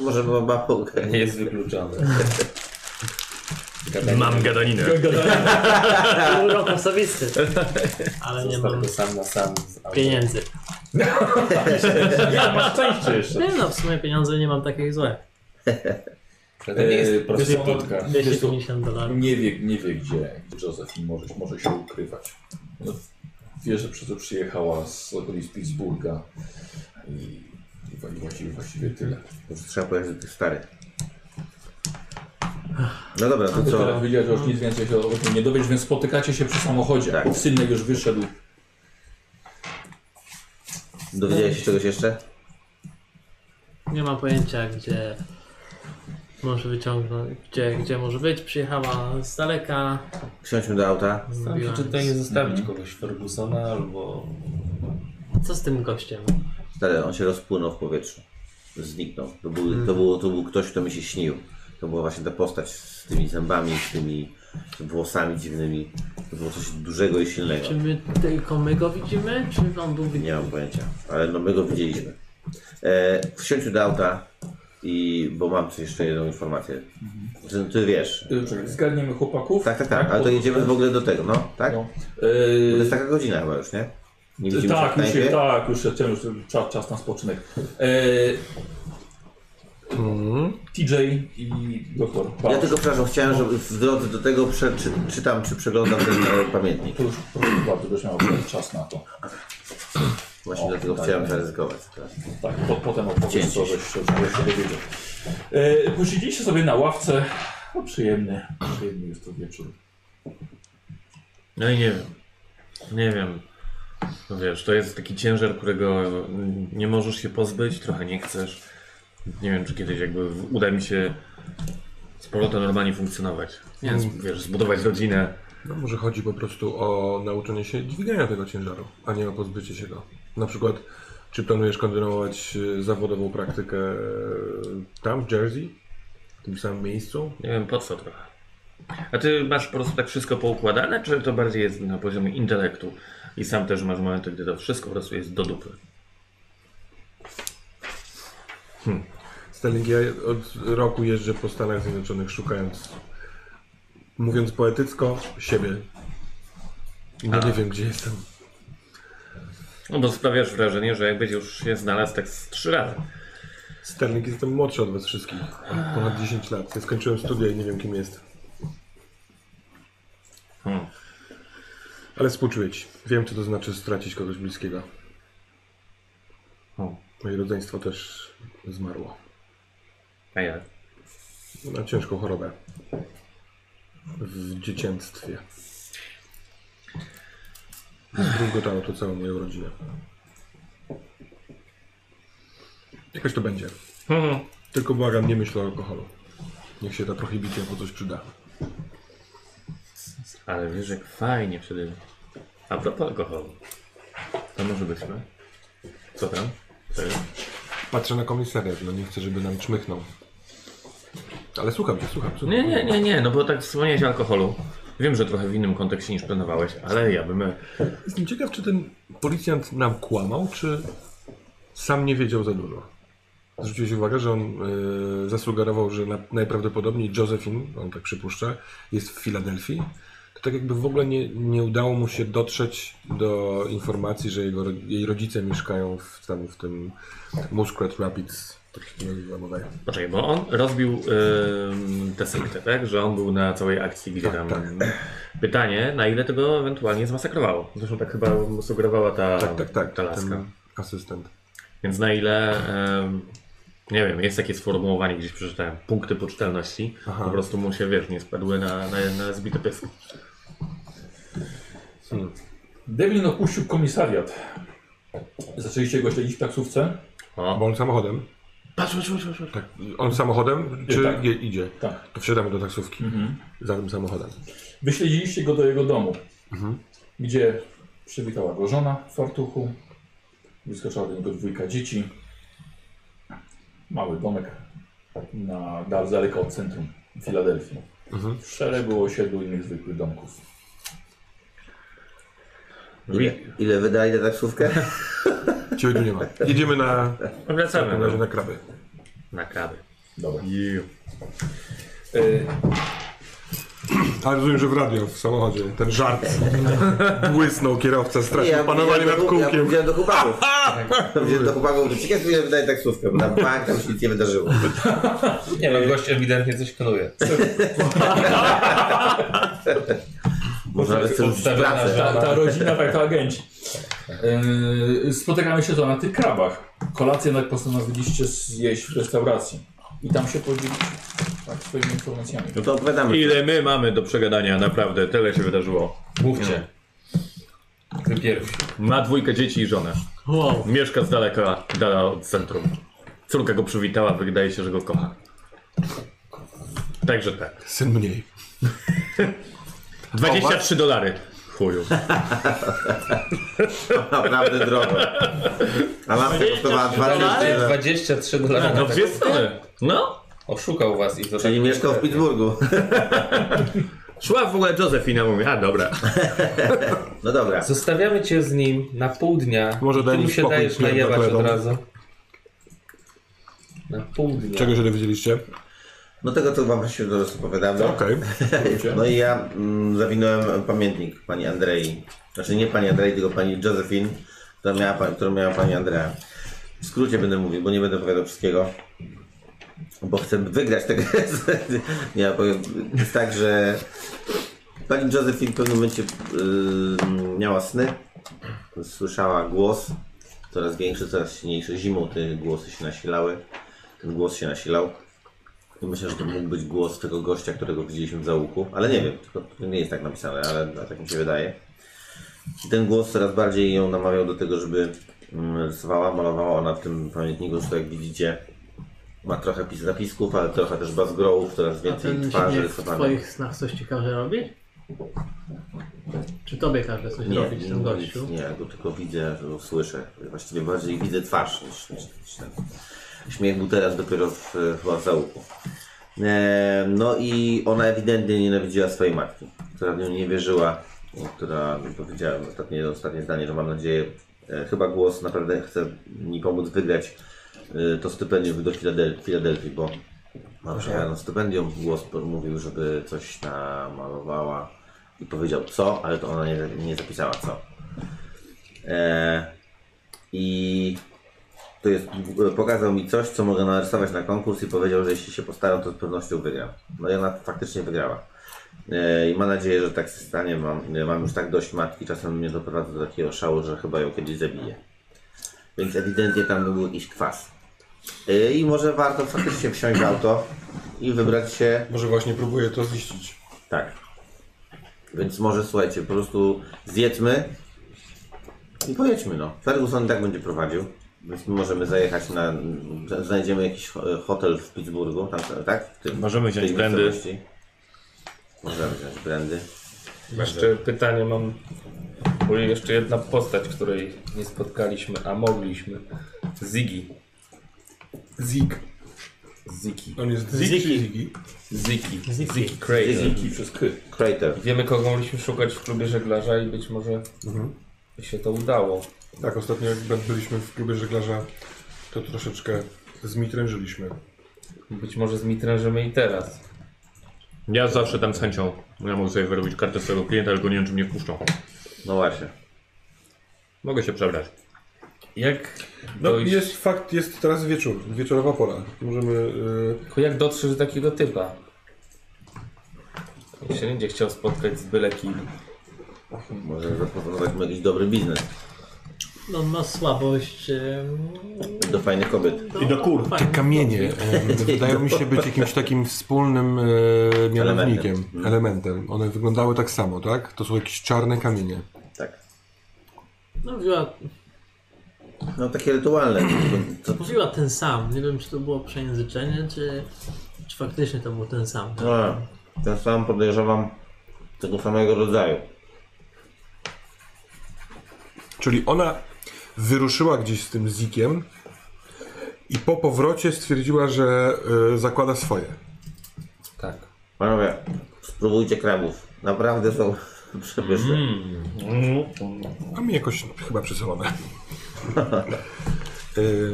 Speaker 3: Może ma mapę.
Speaker 9: Nie jest wykluczone.
Speaker 5: Tak.
Speaker 4: Mam gadaninę.
Speaker 6: Urok osobisty. Ale nie
Speaker 9: Zostaw
Speaker 6: mam
Speaker 9: go sam na sam. z autem.
Speaker 6: pieniędzy.
Speaker 2: Ja masz szczęście jeszcze.
Speaker 6: Nie no, w sumie pieniądze nie mam takich złe.
Speaker 9: To nie
Speaker 2: Eee,
Speaker 9: jest
Speaker 2: wiesz co,
Speaker 9: prostytutka.
Speaker 2: Wiesz co,
Speaker 6: 250 dolarów.
Speaker 2: Nie wie, nie wie gdzie Josephine może, może się ukrywać. No, wie, że przez to przyjechała z okolic Pittsburgha i, i wa- i właściwie, właściwie tyle.
Speaker 3: Może trzeba pojechać do tych starych. No dobra, to
Speaker 2: Co? Teraz
Speaker 3: co?
Speaker 2: wiedziała, że już nic więcej się o tym nie dowiesz, więc spotykacie się przy samochodzie.
Speaker 3: Tak.
Speaker 2: Synek już wyszedł.
Speaker 3: Dowiedziałeś się czegoś jeszcze?
Speaker 6: Nie mam pojęcia, gdzie może wyciągnąć, gdzie, gdzie może być. Przyjechała z daleka.
Speaker 3: Wsiądźmy do auta.
Speaker 9: Staram się
Speaker 6: Mówiła,
Speaker 9: czy tutaj nie zostawić
Speaker 5: Mhm.
Speaker 9: kogoś Fergusona albo...
Speaker 6: co z tym gościem?
Speaker 3: Stary, on się rozpłynął w powietrzu. Zniknął. To był, to, było, to był ktoś, kto mi się śnił. To była właśnie ta postać z tymi zębami, z tymi włosami dziwnymi. To było coś dużego i silnego.
Speaker 6: Czy my tylko my go widzimy? Czy on był
Speaker 3: Nie mam pojęcia, ale no my go widzieliśmy. E, wsiądź do auta i, bo mam tu jeszcze jedną informację.
Speaker 2: Mhm.
Speaker 3: Ty, ty wiesz.
Speaker 2: Y, czekaj, Zgarniemy chłopaków.
Speaker 3: Tak, tak, tak, ale to
Speaker 2: bo-
Speaker 3: jedziemy w ogóle do tego, no, tak?
Speaker 2: No.
Speaker 3: To
Speaker 2: Eee,
Speaker 3: jest taka godzina chyba już, nie? Nie widzimy
Speaker 2: Tak,
Speaker 3: się w
Speaker 2: już się,
Speaker 3: knajpie.
Speaker 2: tak, już się chciałem, już czas, czas na spoczynek. E, TJ i doktor.
Speaker 3: Mhm. Ja
Speaker 2: Bauer.
Speaker 3: tylko, przepraszam, chciałem, żeby w drodze do tego przeczy, czytam, czy przeglądam ten e, pamiętnik.
Speaker 2: To już proszę bardzo, będziesz miał czas na to.
Speaker 3: Właśnie
Speaker 2: O,
Speaker 3: dlatego
Speaker 2: tak,
Speaker 3: chciałem
Speaker 2: tak.
Speaker 3: zaryzykować. Tak.
Speaker 2: Tak, po, potem opowiem,
Speaker 3: Dzięki.
Speaker 2: co żeś się żeś się dowiedział. E, posiedzieliście sobie na ławce. No, przyjemny, przyjemny jest to wieczór.
Speaker 4: No i nie wiem. Nie wiem. No wiesz, to jest taki ciężar, którego mm, nie możesz się pozbyć, trochę nie chcesz. Nie wiem, czy kiedyś jakby w- uda mi się z powrotem normalnie funkcjonować. Więc wiesz, zbudować rodzinę.
Speaker 5: No może chodzi po prostu o nauczenie się dźwigania tego ciężaru, a nie o pozbycie się go. Na przykład, czy planujesz kontynuować e, zawodową praktykę e, tam, w Jersey? W tym samym miejscu?
Speaker 4: Nie wiem, po co trochę. A ty masz po prostu tak wszystko poukładane, czy to bardziej jest na poziomie intelektu? I sam też masz momenty, gdy to wszystko po prostu jest do dupy.
Speaker 5: Sterling, ja od roku jeżdżę po Stanach Zjednoczonych szukając, mówiąc poetycko, siebie. I nie wiem, gdzie jestem.
Speaker 4: No bo sprawiasz wrażenie, że jakbyś już się znalazł tak z trzy razy.
Speaker 5: Sterling, jestem młodszy od was wszystkich. Ponad 10 lat. Ja skończyłem studia i nie wiem, kim jestem.
Speaker 4: Hmm.
Speaker 5: Ale współczuję ci. Wiem, co to znaczy stracić kogoś bliskiego.
Speaker 4: O.
Speaker 5: Moje rodzeństwo też zmarło.
Speaker 4: A ja.
Speaker 5: Na ciężką chorobę. W dziecięctwie. Zdrugotało to całą moją rodzinę. Jakoś to będzie.
Speaker 4: Hmm.
Speaker 5: Tylko błagam, nie myśl o alkoholu. Niech się ta prohibicja po coś przyda.
Speaker 4: Ale wiesz, jak fajnie wtedy. A propos alkoholu. To może być, no? Co tam? Co jest?
Speaker 5: Patrzę na komisariat, no nie chcę, żeby nam czmychnął. Ale słucham cię, słucham. słucham.
Speaker 4: Nie, nie, nie, nie, no bo tak wspomniałeś o alkoholu. Wiem, że trochę w innym kontekście niż planowałeś, ale ja bym... e,
Speaker 5: Jestem ciekaw, czy ten policjant nam kłamał, czy sam nie wiedział za dużo. Zwróciłeś uwagę, że on y, zasugerował, że na, najprawdopodobniej Josephine, on tak przypuszcza, jest w Filadelfii. To tak jakby w ogóle nie, nie udało mu się dotrzeć do informacji, że jego, ro- jej rodzice mieszkają w, tam, w tym Muskrat Rapids. Tak się to nazywa, bodaj.
Speaker 4: Poczekaj, bo on rozbił ym, tę sektę, tak? Że on był na całej akcji, gdzie tam...
Speaker 5: Tak,
Speaker 4: Pytanie, na ile tego ewentualnie zmasakrowało? Zresztą tak chyba sugerowała ta,
Speaker 5: Tak, tak, tak.
Speaker 4: ta laska.
Speaker 5: Ten asystent.
Speaker 4: Więc na ile, em, nie wiem, jest takie sformułowanie, gdzieś przeczytałem, punkty poczytalności,
Speaker 5: Aha.
Speaker 4: po prostu mu się, wiesz, nie spadły na, na, na zbite pysk.
Speaker 2: Devlin opuścił komisariat. Zaczęliście go śledzić w taksówce?
Speaker 4: O,
Speaker 5: Bo on samochodem. Patrz, patrz, patrz, patrz. patrz. Tak. On samochodem, czy
Speaker 2: tak.
Speaker 5: je- idzie?
Speaker 2: Tak.
Speaker 5: To wsiadamy do taksówki
Speaker 2: Mhm.
Speaker 5: za tym samochodem.
Speaker 2: Wyśledziliście go do jego domu,
Speaker 5: Mhm.
Speaker 2: gdzie przywitała go żona w fartuchu. Wyskoczyła do niego dwójka dzieci. Mały domek na, na, daleko od centrum Filadelfii.
Speaker 5: Mhm.
Speaker 2: W szeregu osiedlu innych zwykłych domków.
Speaker 3: Ile, ile wydaje na taksówkę?
Speaker 5: Ciebie tu nie ma. Jedziemy na, w
Speaker 4: Wracamy
Speaker 5: takim razie
Speaker 4: no,
Speaker 5: na kraby.
Speaker 4: na kawę.
Speaker 2: Dobra.
Speaker 5: Ale rozumiem, że w radio, w samochodzie ten żart błysnął kierowca, strasznie panowanie nad
Speaker 3: powiedziałem do- Ja
Speaker 5: kółkiem.
Speaker 3: powiedziałem do chłopaków. Powiedziałem do chłopaków, że ciekawe ile wydaje taksówkę, bo tam bank, tam się nic nie wydarzyło.
Speaker 9: Nie no, gość ewidentnie coś knuje.
Speaker 3: Może nawet chcę rzucić pracę.
Speaker 2: Ta, ta rodzina, tak, to agenci. Yy, spotykamy się to na tych krabach. Kolację jednak postanowiliście zjeść w restauracji. I tam się podzielić tak, swoimi informacjami.
Speaker 3: No to opowiadamy.
Speaker 4: Ile my mamy do przegadania, naprawdę, tyle się wydarzyło.
Speaker 9: Mówcie. Ty pierwszy.
Speaker 4: Ma dwójkę dzieci i żonę.
Speaker 6: Wow.
Speaker 4: Mieszka z daleka, dala od centrum. Córka go przywitała, wydaje się, że go kocha. Także tak.
Speaker 5: Syn mniej.
Speaker 4: 23 dolary. Chuju.
Speaker 3: Naprawdę drogo. A matka kosztowała 2000.
Speaker 9: 23 dolary.
Speaker 4: No, w dwie strony. No.
Speaker 9: Oszukał was i to
Speaker 3: Czyli mieszkał w Pittsburghu.
Speaker 4: Szła w ogóle Josefina, mówię, a dobra.
Speaker 3: No dobra.
Speaker 9: Zostawiamy cię z nim na pół dnia.
Speaker 5: Może
Speaker 9: I
Speaker 5: daj
Speaker 9: Ty
Speaker 5: mi
Speaker 9: mu się
Speaker 5: spokój,
Speaker 9: dajesz
Speaker 5: pierdolę
Speaker 9: najebać od
Speaker 5: chlebą.
Speaker 9: razu. Na pół dnia.
Speaker 5: Czego się dowiedzieliście?
Speaker 3: No tego to wam się do opowiadamy.
Speaker 5: Okej.
Speaker 3: No i ja mm, zawinąłem pamiętnik pani Andrei. Znaczy nie pani Andrei, tylko pani Josephine, która miała, pa- którą miała pani Andrea. W skrócie będę mówił, bo nie będę opowiadał wszystkiego. Bo chcę wygrać tę grę. Ja powiem, jest tak, że pani Josephine w pewnym momencie yy, miała sny. Słyszała głos, coraz większy, coraz silniejszy. Zimą te głosy się nasilały. Ten głos się nasilał. I Myślę, że to mógł być głos tego gościa, którego widzieliśmy w załuku, ale nie wiem, tylko to nie jest tak napisane, ale ale tak mi się wydaje. I ten głos coraz bardziej ją namawiał do tego, żeby mm, rysowała, malowała ona w tym pamiętniku, że jak widzicie ma trochę pis zapisków, ale trochę też bazgrołów, coraz
Speaker 6: A
Speaker 3: więcej
Speaker 6: ten się
Speaker 3: twarzy
Speaker 6: nie w
Speaker 3: rysowanych.
Speaker 6: twoich snach coś ci każe robić? Czy tobie każe coś robić ten gościu?
Speaker 3: Nie, ja go tylko widzę, że słyszę. Właściwie bardziej widzę twarz niż, niż, niż ten. Śmiech był teraz dopiero w, chyba w załuku. E, no i ona ewidentnie nienawidziła swojej matki, która w nią nie wierzyła, która powiedziałem ostatnie, ostatnie zdanie, że mam nadzieję, e, chyba głos naprawdę chce mi pomóc wygrać e, to stypendium do Filadel- Filadelfii, bo mam się na E, no, stypendium, głos po- mówił, żeby coś namalowała i powiedział co, ale to ona nie, nie zapisała co. E, I to jest, e, pokazał mi coś, co mogę narysować na konkurs i powiedział, że jeśli się postaram, to z pewnością wygram. No i ona faktycznie wygrała. E, I mam nadzieję, że tak się stanie. Mam, nie, mam już tak dość matki, czasem mnie doprowadza do takiego szału, że chyba ją kiedyś zabiję. Więc ewidentnie tam był jakiś kwas. E, I może warto faktycznie wsiąść w auto i wybrać się
Speaker 5: Może właśnie próbuję to ziścić.
Speaker 3: tak. Więc może słuchajcie, po prostu zjedzmy i pojedźmy no. Ferguson i tak będzie prowadził, więc my możemy zajechać na... znajdziemy jakiś ho- hotel w Pittsburghu, tam, tak? W tym,
Speaker 4: Możemy
Speaker 3: w tej
Speaker 4: wziąć brandy.
Speaker 3: miejscowości. Możemy wziąć brandy.
Speaker 9: Jeszcze pytanie mam. Bo jeszcze jedna postać, której nie spotkaliśmy, a mogliśmy. Ziggy.
Speaker 5: Zik.
Speaker 9: Ziki.
Speaker 5: On jest Zik czy Zigi?
Speaker 9: Ziki. Ziki Crater.
Speaker 2: Dzięki przez K.
Speaker 3: Crater.
Speaker 9: Wiemy, kogo mogliśmy szukać w klubie żeglarza i być może
Speaker 3: Mhm.
Speaker 9: by się to udało.
Speaker 5: Tak, ostatnio jak byliśmy w klubie żeglarza, to troszeczkę zmitrężyliśmy.
Speaker 9: Być może zmitrężymy i teraz.
Speaker 4: Ja zawsze tam z chęcią. Ja mogę sobie wyrobić kartę swojego klienta, tylko nie wiem, czy mnie wpuszczą.
Speaker 3: No właśnie.
Speaker 4: Mogę się przebrać.
Speaker 9: Jak,
Speaker 5: No
Speaker 9: dojść,
Speaker 5: jest fakt, jest teraz wieczór, wieczorowa pora. Możemy... y,
Speaker 9: tylko jak dotrzeć do takiego typa? On się będzie chciał spotkać z byle kim.
Speaker 3: Może zaproponować mu jakiś dobry biznes
Speaker 6: No on ma słabość. em, no,
Speaker 3: do fajnych kobiet.
Speaker 6: I do kur.
Speaker 5: Te kamienie em, wydają mi się być jakimś takim wspólnym e, mianownikiem, no. elementem.
Speaker 3: Elementem.
Speaker 5: One wyglądały tak samo, tak? To są jakieś czarne kamienie.
Speaker 3: Tak.
Speaker 6: No mówiła
Speaker 3: No takie rytualne. To, to,
Speaker 6: Mówiła ten sam. Nie wiem, czy to było przejęzyczenie, czy, czy faktycznie to był ten sam.
Speaker 3: a, ten No, sam podejrzewam tego samego rodzaju.
Speaker 5: Czyli ona wyruszyła gdzieś z tym Zikiem i po powrocie stwierdziła, że y, zakłada swoje.
Speaker 9: Tak.
Speaker 3: Panowie, spróbujcie krabów. Naprawdę są przepyszne.
Speaker 5: Mm, A mi jakoś no, chyba przesolone. Y,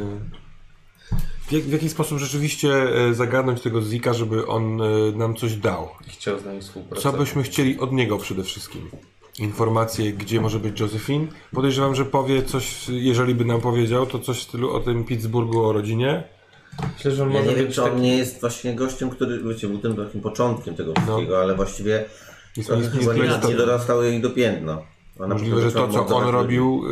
Speaker 5: w, jak, w jaki sposób rzeczywiście y, zagadnąć tego Zika, żeby on y, nam coś dał?
Speaker 9: I chciał z nami współpracować.
Speaker 5: Co byśmy chcieli od niego przede wszystkim? Informacje, gdzie może być Josephine. Podejrzewam, że powie coś, jeżeli by nam powiedział, to coś w stylu o tym Pittsburghu, o rodzinie.
Speaker 9: Myślę, że on
Speaker 3: Ja
Speaker 9: może
Speaker 3: nie wiem,
Speaker 9: być
Speaker 3: czy on
Speaker 9: taki...
Speaker 3: nie jest właśnie gościem, który wiecie, był tym takim początkiem tego wszystkiego, ale właściwie
Speaker 5: Jest
Speaker 3: trochę
Speaker 5: No. jest
Speaker 3: Tak, chyba nie,
Speaker 5: niezgraniczone.
Speaker 3: nie dorastał jej do piętna. Ona
Speaker 5: Możliwe, że
Speaker 3: po
Speaker 5: to,
Speaker 3: prostu
Speaker 5: co
Speaker 3: zaczęła
Speaker 5: on
Speaker 3: mordować
Speaker 5: robił,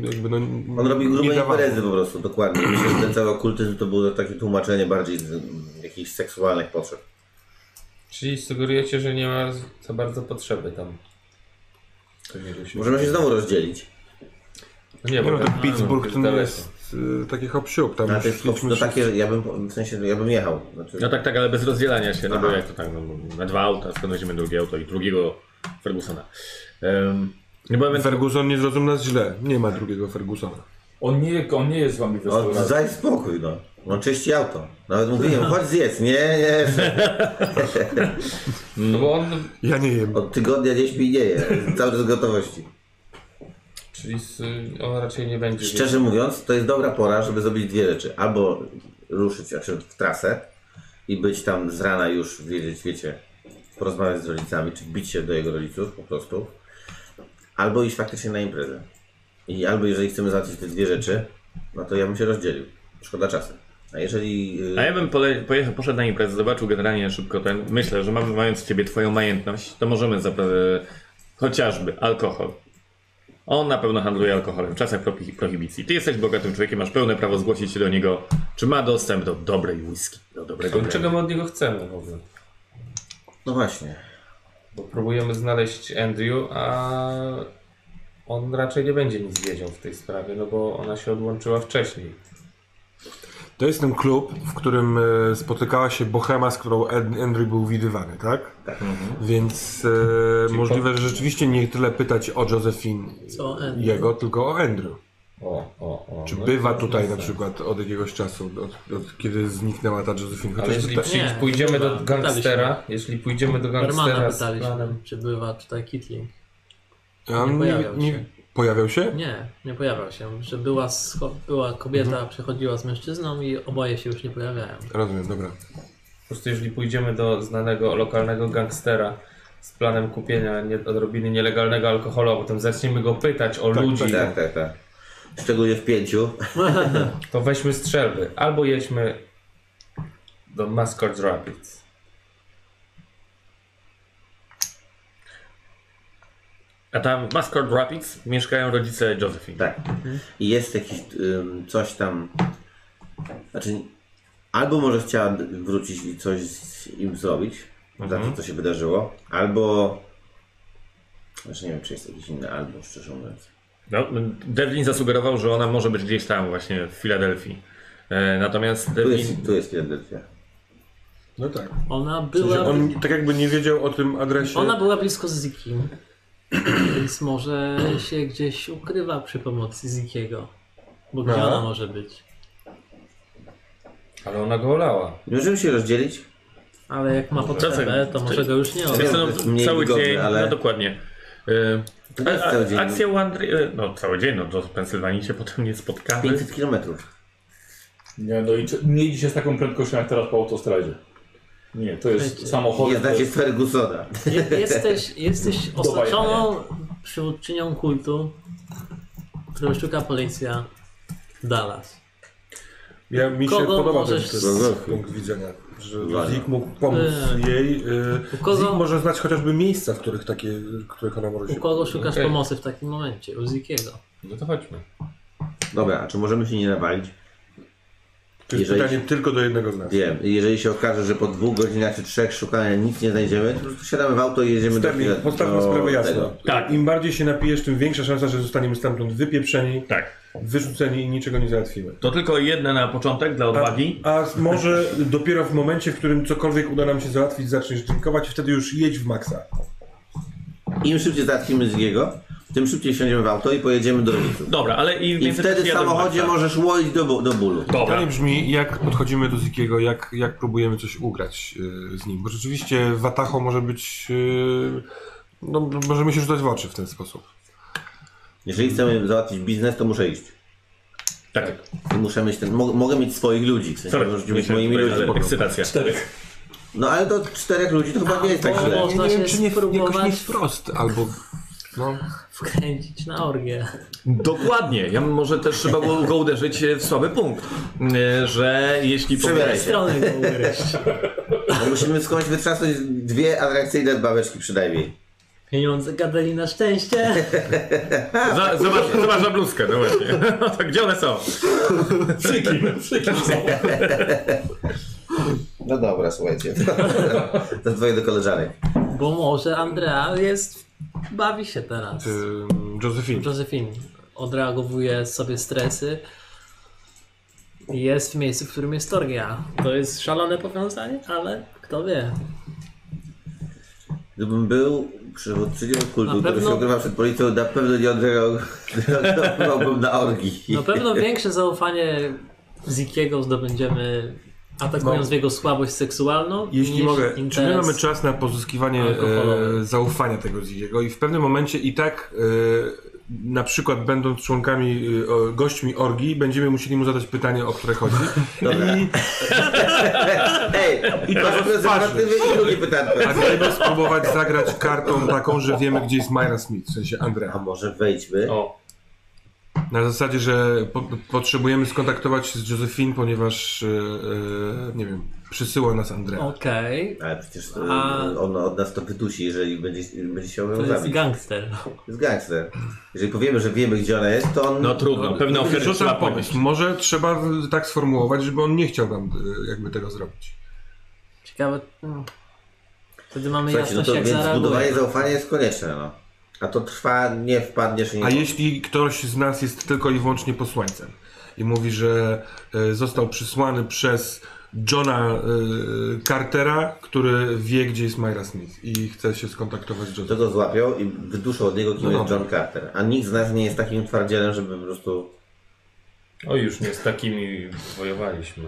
Speaker 5: yy, jakby no,
Speaker 3: ludzi. On robił grube
Speaker 5: dawało.
Speaker 3: imprezy po prostu, dokładnie. Myślę, że ten cały okultyzm to było takie tłumaczenie bardziej z mm, jakichś seksualnych potrzeb.
Speaker 9: Czyli sugerujecie, że nie ma za bardzo potrzeby tam. To wirusie.
Speaker 3: Możemy się znowu rozdzielić.
Speaker 9: Tak Nie,
Speaker 5: Nie
Speaker 9: bo
Speaker 5: no,
Speaker 9: tam
Speaker 5: to Pittsburgh to nie
Speaker 9: daleko.
Speaker 5: jest yy, taki hopsiuk. Tam
Speaker 3: Na
Speaker 5: już
Speaker 3: tych
Speaker 5: szliśmy
Speaker 3: Tak, to
Speaker 5: przez-
Speaker 3: takie, ja bym, po- w sensie, ja bym jechał. Znaczy,
Speaker 4: No tak, tak, ale bez rozdzielania się, no bo
Speaker 3: Aha.
Speaker 4: jak to tak, no, na dwa auta, skąd weźmiemy drugie auto i drugiego Fergusona. Um, nie byłem
Speaker 5: Ferguson nie zrozum nas źle. Nie ma drugiego Fergusona.
Speaker 2: On nie, on nie jest z wami w
Speaker 3: no,
Speaker 2: restauracji.
Speaker 3: daj spokój, no. On czyści auto. Nawet mówiłem, chodź zjedz. Nie, nie, szef.
Speaker 9: No bo on,
Speaker 5: Ja nie jem.
Speaker 3: Od tygodnia nie śpi i nie je. Cały czas z gotowości.
Speaker 9: czyli z, on raczej nie będzie.
Speaker 3: Szczerze mówiąc, to jest dobra pora, żeby zrobić dwie rzeczy. Albo ruszyć znaczy, w trasę i być tam z rana już, wiedzieć, wiecie, porozmawiać z rodzicami, czy bić się do jego rodziców po prostu. Albo iść faktycznie na imprezę. I albo jeżeli chcemy załatwić te dwie rzeczy, no to ja bym się rozdzielił. Szkoda czasu. A jeżeli... y,
Speaker 4: A ja bym pole, pojechał, poszedł na imprezę, zobaczył generalnie szybko ten. Myślę, że mamy, mając w ciebie twoją majętność, to możemy zapra- chociażby alkohol. On na pewno handluje alkoholem w czasach prohi- prohibicji. Ty jesteś bogatym człowiekiem, masz pełne prawo zgłosić się do niego, czy ma dostęp do dobrej whisky, No, do dobrego
Speaker 9: To Czego
Speaker 4: brandy.
Speaker 9: my od niego chcemy w ogóle?
Speaker 3: No właśnie.
Speaker 9: Bo próbujemy znaleźć Andrew, a on raczej nie będzie nic wiedział w tej sprawie, no bo ona się odłączyła wcześniej.
Speaker 5: To jest ten klub, w którym e, spotykała się Bohema, z którą Ed- Andrew był widywany, tak? Tak.
Speaker 9: Mhm.
Speaker 5: Więc e, możliwe, że rzeczywiście nie tyle pytać o Josephine
Speaker 6: Co e, o Andrew?
Speaker 5: jego, tylko o Andrew.
Speaker 9: O, o, o.
Speaker 5: Czy
Speaker 9: no
Speaker 5: bywa
Speaker 9: to-
Speaker 5: tutaj na przykład od jakiegoś czasu, od, od kiedy zniknęła ta Josephine?
Speaker 9: Ale
Speaker 5: Chociaż
Speaker 9: jeśli
Speaker 5: ta,
Speaker 9: przy,
Speaker 6: Nie,
Speaker 9: pójdziemy
Speaker 6: chyba.
Speaker 9: do gangstera, jeśli pójdziemy do
Speaker 6: Barmana
Speaker 9: gangstera z
Speaker 6: pytaliśmy,
Speaker 9: planem,
Speaker 6: czy bywa tutaj Kitling.
Speaker 5: a
Speaker 6: nie
Speaker 5: nie,
Speaker 6: pojawiał
Speaker 5: nie,
Speaker 6: się.
Speaker 5: Pojawiał się?
Speaker 6: Nie, nie pojawiał się. Że była, scho- była kobieta, przechodziła z mężczyzną i oboje się już nie pojawiają.
Speaker 5: Rozumiem, dobra.
Speaker 9: po prostu jeżeli pójdziemy do znanego lokalnego gangstera z planem kupienia nie, odrobiny nielegalnego alkoholu, a potem zaczniemy go pytać o ludzi,
Speaker 3: Tak, tak, tak. Szczególnie w pięciu.
Speaker 9: to weźmy strzelby. Albo jedźmy do Mascot Rapids.
Speaker 4: A tam w Mascot Rapids mieszkają rodzice Josephine.
Speaker 3: Tak. I jest jakiś ym, coś tam. Znaczy, albo może chciała wrócić i coś z im zrobić, za
Speaker 4: Mhm.
Speaker 3: to, co się wydarzyło, albo. Znaczy, nie wiem, czy jest jakiś inny albo, szczerze mówiąc.
Speaker 4: No, Devlin zasugerował, że ona może być gdzieś tam właśnie w Filadelfii. E, natomiast
Speaker 3: Tu
Speaker 4: Devlin...
Speaker 3: jest, tu jest Filadelfia.
Speaker 5: No tak.
Speaker 6: Ona
Speaker 5: W sensie
Speaker 6: była,
Speaker 5: on tak jakby nie wiedział o tym adresie.
Speaker 6: No. ona była blisko z Zikim, więc może się gdzieś ukrywa przy pomocy Zikiego. Bo gdzie
Speaker 5: No.
Speaker 6: ona może być?
Speaker 9: Ale ona go olała.
Speaker 3: Nie Możemy się rozdzielić?
Speaker 6: Ale jak ma potrzebę,
Speaker 4: Czasem-
Speaker 6: to może go już nie
Speaker 4: Wiesz co,
Speaker 6: odda.
Speaker 4: no,
Speaker 3: jest mniej
Speaker 4: cały
Speaker 3: wygodny,
Speaker 4: dzień,
Speaker 3: ale-
Speaker 4: no dokładnie. E,
Speaker 3: To nie jest
Speaker 4: a-
Speaker 3: cały dzień.
Speaker 4: Akcja Wandry... e, No cały dzień, no do Pensylwanii się potem nie spotkamy.
Speaker 3: 500 kilometrów.
Speaker 2: Nie, no i czy- nie idzie się z taką prędkością jak teraz po autostradzie. Nie, to jest
Speaker 6: Wiecie,
Speaker 2: samochód.
Speaker 3: Nie znacie Fergusona.
Speaker 6: Je- Jesteś, jesteś osaczoną przywódczynią kultu, którą szuka policja Dallas.
Speaker 5: Ja, mi się
Speaker 6: Kogo
Speaker 5: podoba ten,
Speaker 6: możesz-
Speaker 5: ten punkt widzenia, że
Speaker 3: Uwaga.
Speaker 5: Zik mógł pomóc
Speaker 6: Nie.
Speaker 5: jej. y,
Speaker 6: E, U kogo-
Speaker 5: Zik może znać chociażby miejsca, w których, takie, w których ona może
Speaker 6: U
Speaker 5: się...
Speaker 6: kogo szukasz
Speaker 9: Okej.
Speaker 6: pomocy w takim momencie? U Zikiego.
Speaker 9: No to chodźmy.
Speaker 3: Dobra, a czy możemy się nie nawalić?
Speaker 5: To jest
Speaker 3: Jeżeli-
Speaker 5: pytanie tylko do jednego z nas.
Speaker 3: Wiem, jeżeli się okaże, że po dwóch godzinach czy trzech szukania nic nie znajdziemy, to po prostu siadamy w auto i jedziemy
Speaker 5: Stefan,
Speaker 3: do
Speaker 5: postawmy
Speaker 3: do
Speaker 5: sprawę jasno.
Speaker 3: tego.
Speaker 4: Tak.
Speaker 5: Im bardziej się napijesz, tym większa szansa, że zostaniemy stamtąd wypieprzeni,
Speaker 4: Tak.
Speaker 5: wyrzuceni i niczego nie załatwimy.
Speaker 4: To tylko jedne na początek dla
Speaker 3: Tak.
Speaker 4: odwagi.
Speaker 5: A może dopiero w momencie, w którym cokolwiek uda nam się załatwić, zaczniesz drinkować i wtedy już jedź w maksa.
Speaker 3: Im szybciej załatwimy z jego, tym szybciej wsiądziemy w auto i pojedziemy do rodziców.
Speaker 4: Dobra, ale im
Speaker 3: I
Speaker 4: więcej
Speaker 3: wtedy w
Speaker 4: jadą,
Speaker 3: samochodzie
Speaker 4: tak.
Speaker 3: możesz łoić do, bu- do bólu.
Speaker 4: Dobra.
Speaker 5: Pytanie brzmi, jak podchodzimy do Zikiego, jak, jak próbujemy coś ugrać y, z nim. Bo rzeczywiście Watacho może być. y, no, m- możemy się rzucać w oczy w ten sposób.
Speaker 3: Jeżeli chcemy załatwić biznes, to muszę iść.
Speaker 4: Tak.
Speaker 3: I muszę mieć ten, mo mogę mieć swoich ludzi, w sensie
Speaker 4: Sorry,
Speaker 3: możecie
Speaker 4: nie
Speaker 3: być
Speaker 4: się
Speaker 3: moimi
Speaker 4: tutaj, ale
Speaker 3: ludźmi.
Speaker 4: ekscytacja.
Speaker 2: Czterech.
Speaker 3: No ale do czterech ludzi to chyba nie jest tak
Speaker 6: A,
Speaker 3: źle.
Speaker 6: bo- Można się spróbować-
Speaker 5: jakoś nie wprost, albo. No,
Speaker 6: Wkręcić na orgię.
Speaker 4: Dokładnie. Ja może też trzeba było go uderzyć w słaby punkt, e, że jeśli
Speaker 3: Przebieraj się.
Speaker 6: Strony go ugryźć.
Speaker 3: No, musimy skądś wytrzasnąć dwie atrakcyjne babeczki przynajmniej.
Speaker 6: Pieniądze gadali na szczęście.
Speaker 4: Za- Zobacz, zobacz na bluzkę, no właśnie. No to gdzie one są?
Speaker 2: Przykim, przykim są.
Speaker 3: No dobra, słuchajcie. To dwoje do koleżanek.
Speaker 6: Bo może Andrea jest... Bawi się teraz.
Speaker 5: ym, Josephine.
Speaker 6: Josephine odreagowuje sobie stresy. i Jest w miejscu, w którym jest Torgia. To jest szalone powiązanie, ale kto wie.
Speaker 3: Gdybym był przywódczynią kultu,
Speaker 6: Na
Speaker 3: który
Speaker 6: pewno-
Speaker 3: się ukrywa przed policją, na pewno nie odreagowałbym na orgi.
Speaker 6: Na pewno większe zaufanie Zikiego zdobędziemy atakując jego słabość seksualną.
Speaker 5: No. Jeśli
Speaker 6: niż
Speaker 5: mogę, czy my
Speaker 6: interes-
Speaker 5: mamy czas na pozyskiwanie
Speaker 6: alkoholowy.
Speaker 5: e, zaufania tego Zikiego i w pewnym momencie i tak, e, na przykład będąc członkami, e, o- gośćmi orgii, będziemy musieli mu zadać pytanie, o które chodzi.
Speaker 3: Dobra.
Speaker 5: I
Speaker 3: Ej, i to prezerwatywy i drugi pytanko.
Speaker 5: A gdyby spróbować zagrać kartą taką, że wiemy, gdzie jest Myra Smith, w sensie
Speaker 3: A
Speaker 5: Andrea.
Speaker 3: może wejdźmy?
Speaker 9: O,
Speaker 5: Na zasadzie, że po, potrzebujemy skontaktować się z Josephine, ponieważ, e, e, nie wiem, przysyła nas Andrea.
Speaker 6: Okej,
Speaker 3: Ale przecież e,
Speaker 6: A-
Speaker 3: ona od nas to wydusi, jeżeli będzie, będzie się ją
Speaker 6: to jest
Speaker 3: zabić.
Speaker 6: gangster.
Speaker 3: Jest gangster. Jeżeli powiemy, że wiemy, gdzie ona jest, to on...
Speaker 4: No trudno, pewne ofiary trzeba
Speaker 5: Rzucam
Speaker 4: ponieść.
Speaker 5: pomysł. Może trzeba w- tak sformułować, żeby on nie chciał nam e, jakby tego zrobić.
Speaker 6: Ciekawe. mm. Wtedy mamy
Speaker 3: Słuchajcie, no
Speaker 6: jasność,
Speaker 3: to
Speaker 6: jak
Speaker 3: więc
Speaker 6: zareaguje.
Speaker 3: budowanie zaufania jest konieczne, no. A to trwa, nie wpadniesz i nie...
Speaker 5: A jeśli ktoś z nas jest tylko i wyłącznie posłańcem i mówi, że e, został przysłany przez Johna e, Cartera, który wie, gdzie jest Myra Smith i chce się skontaktować z Josephine.
Speaker 3: To go złapią i wyduszą od niego, kim
Speaker 5: No
Speaker 3: jest
Speaker 5: dobra.
Speaker 3: John Carter. A nikt z nas nie jest takim twardzielem, żeby po prostu...
Speaker 9: o już nie z takimi wojowaliśmy.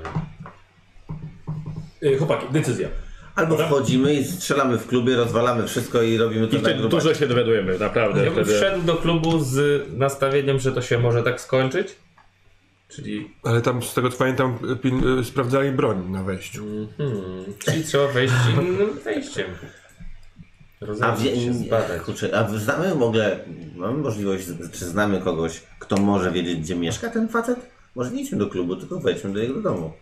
Speaker 2: Y, Chłopaki, decyzja.
Speaker 3: Albo wchodzimy i strzelamy w klubie, rozwalamy wszystko i robimy to
Speaker 4: I
Speaker 3: na
Speaker 4: wtedy
Speaker 3: grubach.
Speaker 4: dużo się dowiadujemy, naprawdę.
Speaker 9: Ja bym
Speaker 4: Wtedy...
Speaker 9: wszedł do klubu z nastawieniem, że to się może tak skończyć. Czyli,
Speaker 5: Ale tam, z tego co pamiętam, pil- y, sprawdzali broń na wejściu.
Speaker 6: Mm.
Speaker 9: mhm, czyli trzeba wejść innym wejściem.
Speaker 3: A,
Speaker 9: Rozumiem,
Speaker 3: wie,
Speaker 9: się zbadać.
Speaker 3: kurczę, a znamy w ogóle, mamy możliwość, czy znamy kogoś, kto może wiedzieć, gdzie mieszka ten facet? Może nie idźmy do klubu, tylko wejdźmy do jego domu.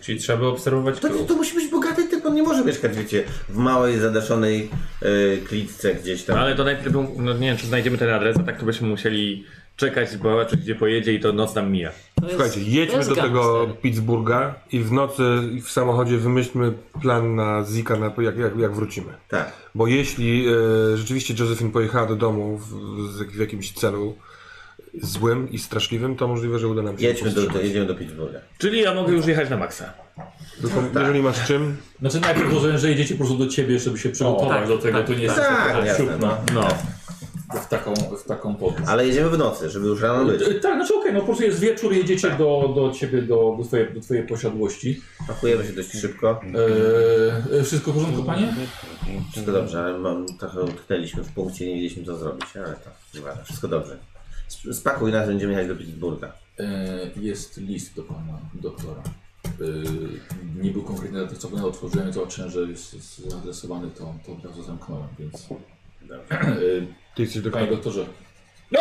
Speaker 9: Czyli trzeba by obserwować
Speaker 3: To,
Speaker 9: klub.
Speaker 3: to musi być bogaty typ, on nie może mieszkać, wiecie, w małej, zadaszonej y, klitce gdzieś tam.
Speaker 4: No ale to najpierw, no nie wiem czy znajdziemy ten adres, a tak to byśmy musieli czekać, zobaczyć gdzie pojedzie i to noc nam mija.
Speaker 6: To jest-
Speaker 5: Słuchajcie,
Speaker 6: to
Speaker 5: jedźmy
Speaker 6: jest
Speaker 5: do tego
Speaker 6: gangster.
Speaker 5: Pittsburgha i w nocy w samochodzie wymyślmy plan na Zika, na, jak, jak, jak wrócimy.
Speaker 3: Tak.
Speaker 5: Bo jeśli e, rzeczywiście Josephine pojechała do domu w, w, w jakimś celu złym i straszliwym, to możliwe, że uda nam się
Speaker 3: Jedźmy do,
Speaker 5: powstrzymać.
Speaker 3: do, jedziemy do Pittsburgha.
Speaker 4: Czyli ja mogę już jechać na maksa.
Speaker 6: No
Speaker 5: Tylko
Speaker 6: tak.
Speaker 5: jeżeli masz czym,
Speaker 2: Znaczy najpierw rozumiem, że idziecie po prostu do ciebie, żeby się przygotować
Speaker 6: tak,
Speaker 2: do tego,
Speaker 6: tak,
Speaker 2: to nie jest
Speaker 3: tak.
Speaker 2: taka
Speaker 3: Tak, jasne,
Speaker 2: siupna. No. W taką, w taką podróż.
Speaker 3: Ale jedziemy w nocy, żeby już rano być.
Speaker 2: Y, Tak, znaczy okej, no po prostu jest wieczór, jedziecie do, do ciebie, do, do, twojej, do twojej posiadłości.
Speaker 3: Pakujemy się dość szybko.
Speaker 2: E, e, wszystko w porządku, panie?
Speaker 3: Wszystko dobrze, ale mam, trochę utknęliśmy w punkcie, nie wiedzieliśmy co zrobić, ale to nieważne, wszystko dobrze. Sp- Spakuj nas, będziemy jechać do Pittsburgha.
Speaker 2: E, jest list do pana doktora. E, nie był konkretny adres, co pana otworzyłem, zobaczyłem, że jest, jest adresowany, to, to od razu zamknąłem, więc... E,
Speaker 5: ty jesteś do
Speaker 2: panie doktorze,
Speaker 4: No!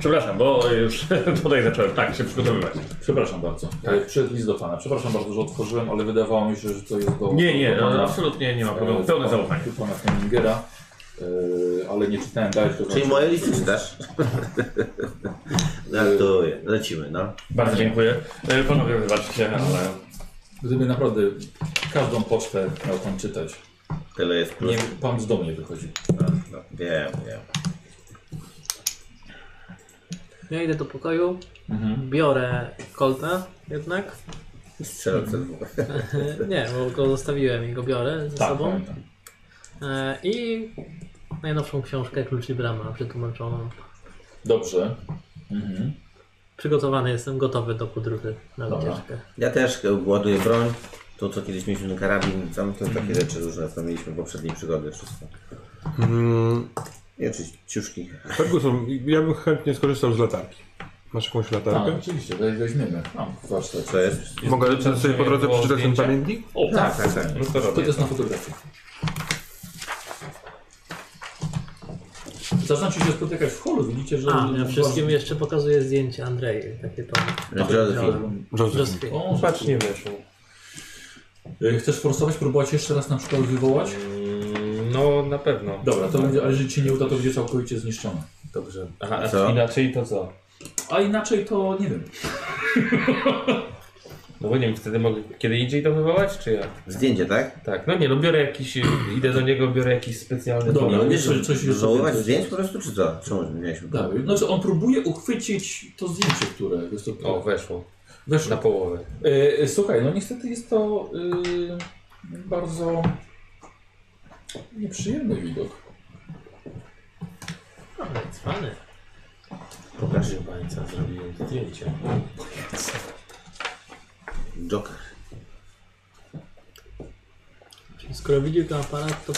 Speaker 4: Przepraszam, bo e, już tutaj zacząłem tak się przygotowywać.
Speaker 2: przepraszam bardzo. E, przyszedł list do pana. Przepraszam bardzo, że otworzyłem, ale wydawało mi się, że to jest do...
Speaker 9: no.
Speaker 4: Nie, nie,
Speaker 2: do pana. E,
Speaker 4: absolutnie nie ma problemu. Pełne zaufanie.
Speaker 2: Pana Flemingera, e, ale nie czytałem dalej. To
Speaker 3: Czyli moje listy czytasz? Żartuję. Lecimy, no.
Speaker 4: Bardzo dziękuję. E, Panowie, wybaczcie, ale
Speaker 2: Gdyby naprawdę każdą pocztę miał pan czytać,
Speaker 3: Tyle jest plus.
Speaker 2: nie, pan z domu nie wychodzi.
Speaker 3: No, wiem, wiem.
Speaker 6: Ja idę do pokoju,
Speaker 2: Mhm.
Speaker 6: biorę kolta jednak.
Speaker 3: Strzelam co dwóch.
Speaker 6: Nie, bo go zostawiłem i go biorę ze
Speaker 2: Tak,
Speaker 6: sobą.
Speaker 2: pamiętam.
Speaker 6: E, I najnowszą książkę Klucz i Brama przetłumaczoną.
Speaker 2: Dobrze. Mhm.
Speaker 6: Przygotowany jestem, gotowy do podróży na
Speaker 2: Dobra.
Speaker 6: wycieczkę.
Speaker 3: Ja też e, ładuję broń. To co kiedyś mieliśmy na karabin, tam to takie rzeczy różne, co mieliśmy w poprzedniej przygody wszystko.
Speaker 5: Mm,
Speaker 3: Nie, czy ciuszki.
Speaker 5: Ferguson, ja bym chętnie skorzystał z latarki. Masz jakąś
Speaker 2: Tak,
Speaker 5: latarkę?
Speaker 2: oczywiście, to weźmiemy. No, Mam warsztat.
Speaker 3: Co jest?
Speaker 5: Mogę sobie po drodze
Speaker 9: było
Speaker 5: przeczytać ten
Speaker 9: zdjęcie.
Speaker 5: pamiętnik?
Speaker 2: O, tak,
Speaker 3: Tak, tak.
Speaker 9: No to
Speaker 2: to
Speaker 9: robię.
Speaker 2: jest na fotografii. Zaczynam się spotykać w holu, widzicie, że...
Speaker 6: A, ja wszystkim jeszcze pokazuję zdjęcie Andrei, takie to.
Speaker 3: Josephine.
Speaker 5: Josephine.
Speaker 6: Wszystkie.
Speaker 2: O, że-
Speaker 9: Patrz, nie weszło.
Speaker 2: Y, Chcesz forsować, próbować jeszcze raz na przykład wywołać?
Speaker 9: Mm, No, na pewno.
Speaker 2: Dobra, to będzie, ale jeżeli ci nie uda, to będzie całkowicie zniszczone.
Speaker 9: Dobrze. Aha, a
Speaker 3: Co?
Speaker 9: inaczej to co?
Speaker 2: A inaczej to nie wiem.
Speaker 9: No bo nie wiem, wtedy mogę kiedy indziej to wywołać, czy jak?
Speaker 3: Zdjęcie, tak?
Speaker 9: Tak, no nie, no biorę jakiś, idę do niego, biorę jakiś specjalny...
Speaker 2: Dobra.
Speaker 3: No,
Speaker 2: ale
Speaker 3: nie
Speaker 2: jeszcze coś jeszcze
Speaker 3: Załować
Speaker 2: więcej.
Speaker 3: zdjęć po prostu, czy co? Czemu mieliśmy?
Speaker 2: Dalej. Znaczy on próbuje uchwycić to zdjęcie, które jest to.
Speaker 9: O, weszło.
Speaker 2: weszło.
Speaker 9: Na połowę.
Speaker 2: E, e, słuchaj, no niestety jest to e, bardzo nieprzyjemny widok.
Speaker 6: Ale cwany.
Speaker 9: Pokażę Państwa, zrobiłem zdjęcie.
Speaker 3: Joker.
Speaker 6: Czyli skoro widził ten aparat, to.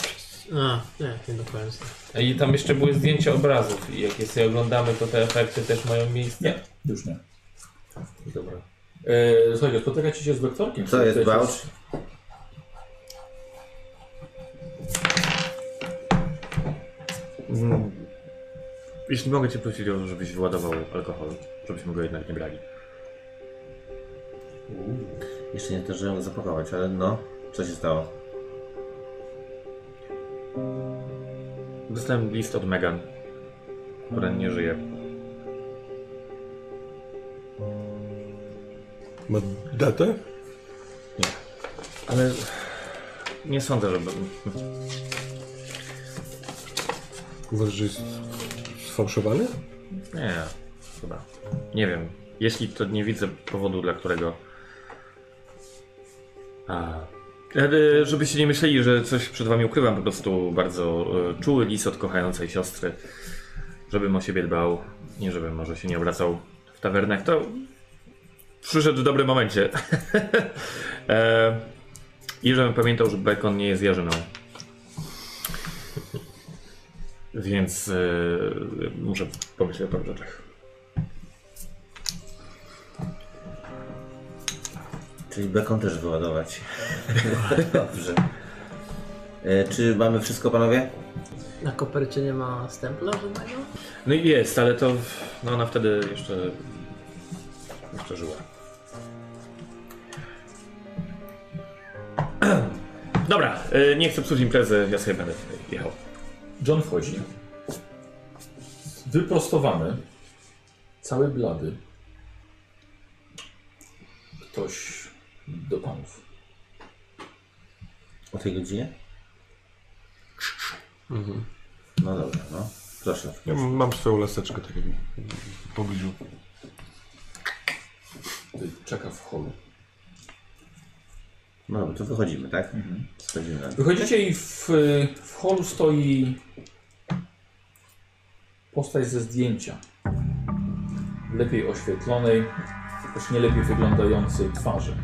Speaker 6: A, nie, nie do końca.
Speaker 9: I tam jeszcze były zdjęcia obrazów i jak je sobie oglądamy, to te efekty też mają miejsce.
Speaker 2: Nie, już nie.
Speaker 9: Dobra.
Speaker 2: E, słuchajcie, spotykacie się z doktorkiem.
Speaker 3: Co jest
Speaker 2: Tutaj
Speaker 3: Bałcz?
Speaker 4: Mm. Jeśli mogę cię prosić, o to, żebyś wyładował alkohol, żebyśmy go jednak nie brali.
Speaker 3: Jeszcze nie zdążyłem go zapakować, ale no. Co się stało?
Speaker 4: Dostałem list od Megan, która nie żyje.
Speaker 5: Ma datę?
Speaker 4: Ale nie sądzę, żeby...
Speaker 5: Uważasz, że jest sfałszowany?
Speaker 4: Nie, chyba. Nie wiem. Jeśli to nie widzę powodu, dla którego... A. E, Żebyście nie myśleli, że coś przed wami ukrywam, po prostu bardzo e, czuły lis od kochającej siostry. Żebym o siebie dbał, nie żebym może się nie obracał w tawernach, to przyszedł w dobrym momencie. e, I żebym pamiętał, że Bekon nie jest jarzyną. Więc e, muszę pomyśleć o paru rzeczach.
Speaker 3: Czyli bekon też wyładować. Dobrze. E, czy mamy wszystko, panowie?
Speaker 6: Na kopercie nie ma stempla żadnego?
Speaker 4: No i jest, ale to. No ona wtedy jeszcze. jeszcze żyła. Dobra, y, nie chcę psuć imprezy, ja sobie będę tutaj jechał.
Speaker 2: John wchodzi. Wyprostowany. Cały blady. Ktoś do panów.
Speaker 3: O tej godzinie? No dobra, no. Proszę.
Speaker 5: Ja m- mam swoją laseczkę tak jak w pobliżu.
Speaker 2: Tutaj Czeka w holu.
Speaker 3: No dobra, to wychodzimy, tak? Schodzimy na
Speaker 2: Wychodzicie i w, w holu stoi postać ze zdjęcia. Lepiej oświetlonej, choć nie lepiej wyglądającej twarzy.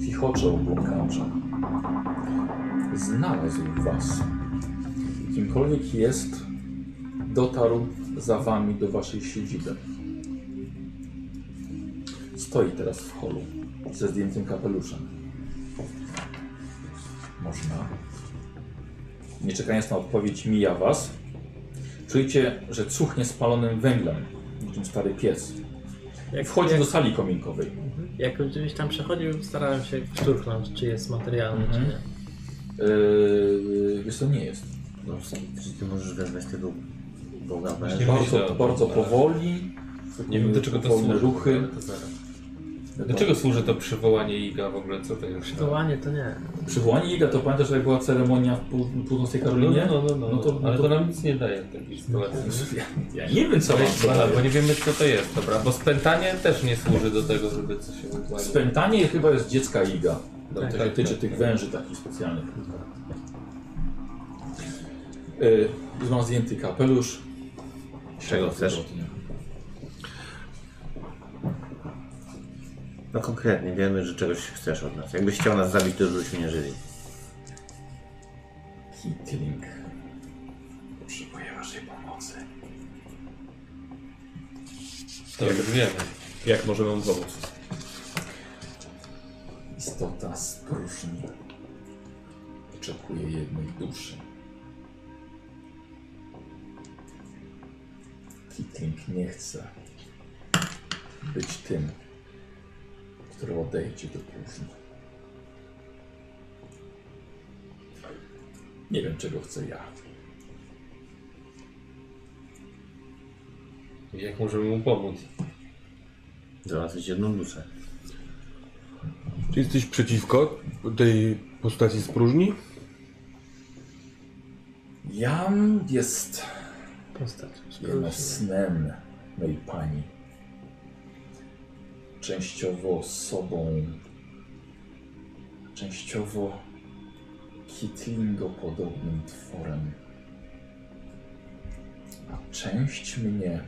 Speaker 2: Fichocze obłąkacza. Znalazł was. Kimkolwiek jest, dotarł za wami do waszej siedziby. Stoi teraz w holu ze zdjętym kapeluszem. Można. Nie czekając na odpowiedź, mija was. Czujecie, że cuchnie spalonym węglem, niczym stary pies.
Speaker 6: Jak
Speaker 2: Wchodzi do sali kominkowej.
Speaker 6: Jak gdzieś tam przechodził, starałem się szturchnąć, czy jest materialny,
Speaker 2: Mhm.
Speaker 6: czy nie.
Speaker 2: Yy, wiesz co, nie jest.
Speaker 3: No, czy ty możesz wezwać tego Boga
Speaker 9: Właśnie
Speaker 3: Węża?
Speaker 9: myślę o
Speaker 2: Bardzo,
Speaker 9: tym,
Speaker 2: bardzo
Speaker 9: ale-
Speaker 2: powoli.
Speaker 9: Nie wiem do czego to
Speaker 2: Powolne
Speaker 9: służy.
Speaker 2: ruchy.
Speaker 9: ale to zaraz. Do czego służy to przywołanie Iga w ogóle? Co to jest?
Speaker 2: No
Speaker 6: Wołanie to nie.
Speaker 2: Przywołanie Iga, to pamiętasz, jak była ceremonia w pół- północnej Karolinie?
Speaker 9: No, no, no,
Speaker 2: No to-
Speaker 9: to,
Speaker 2: no
Speaker 9: ale
Speaker 2: to-
Speaker 9: to nam nic nie daje w takiej sytuacji.
Speaker 2: Ja, ja nie wiem, co
Speaker 9: Ale,
Speaker 2: jest.
Speaker 9: ale, bo nie wiemy co to jest, dobra? Bo spętanie też nie służy do tego, żeby coś się wykładało.
Speaker 2: Spętanie chyba jest dziecka Iga. To
Speaker 9: Tak,
Speaker 2: się
Speaker 9: tak,
Speaker 2: tyczy
Speaker 9: tak,
Speaker 2: tych
Speaker 9: tak.
Speaker 2: węży takich specjalnych. Y, już mam zdjęty kapelusz.
Speaker 3: Czego chcesz? No konkretnie, wiemy, że czegoś chcesz od nas. Jakbyś chciał nas zabić, to już byśmy nie żyli.
Speaker 2: Hitling. Potrzebuję waszej pomocy.
Speaker 9: To już wiemy.
Speaker 4: Jak możemy wam pomóc?
Speaker 2: Istota z próżni. Oczekuje jednej duszy. Kitling nie chce być tym, który odejdzie do próżni. Nie wiem, czego chcę ja.
Speaker 9: Jak możemy mu pomóc?
Speaker 3: Załatwić jedną duszę.
Speaker 5: Czy jesteś przeciwko tej postaci z próżni?
Speaker 2: Jam jest
Speaker 6: Postać.
Speaker 2: Jeno snem mej pani. Częściowo sobą, częściowo kitlingopodobnym tworem. A część mnie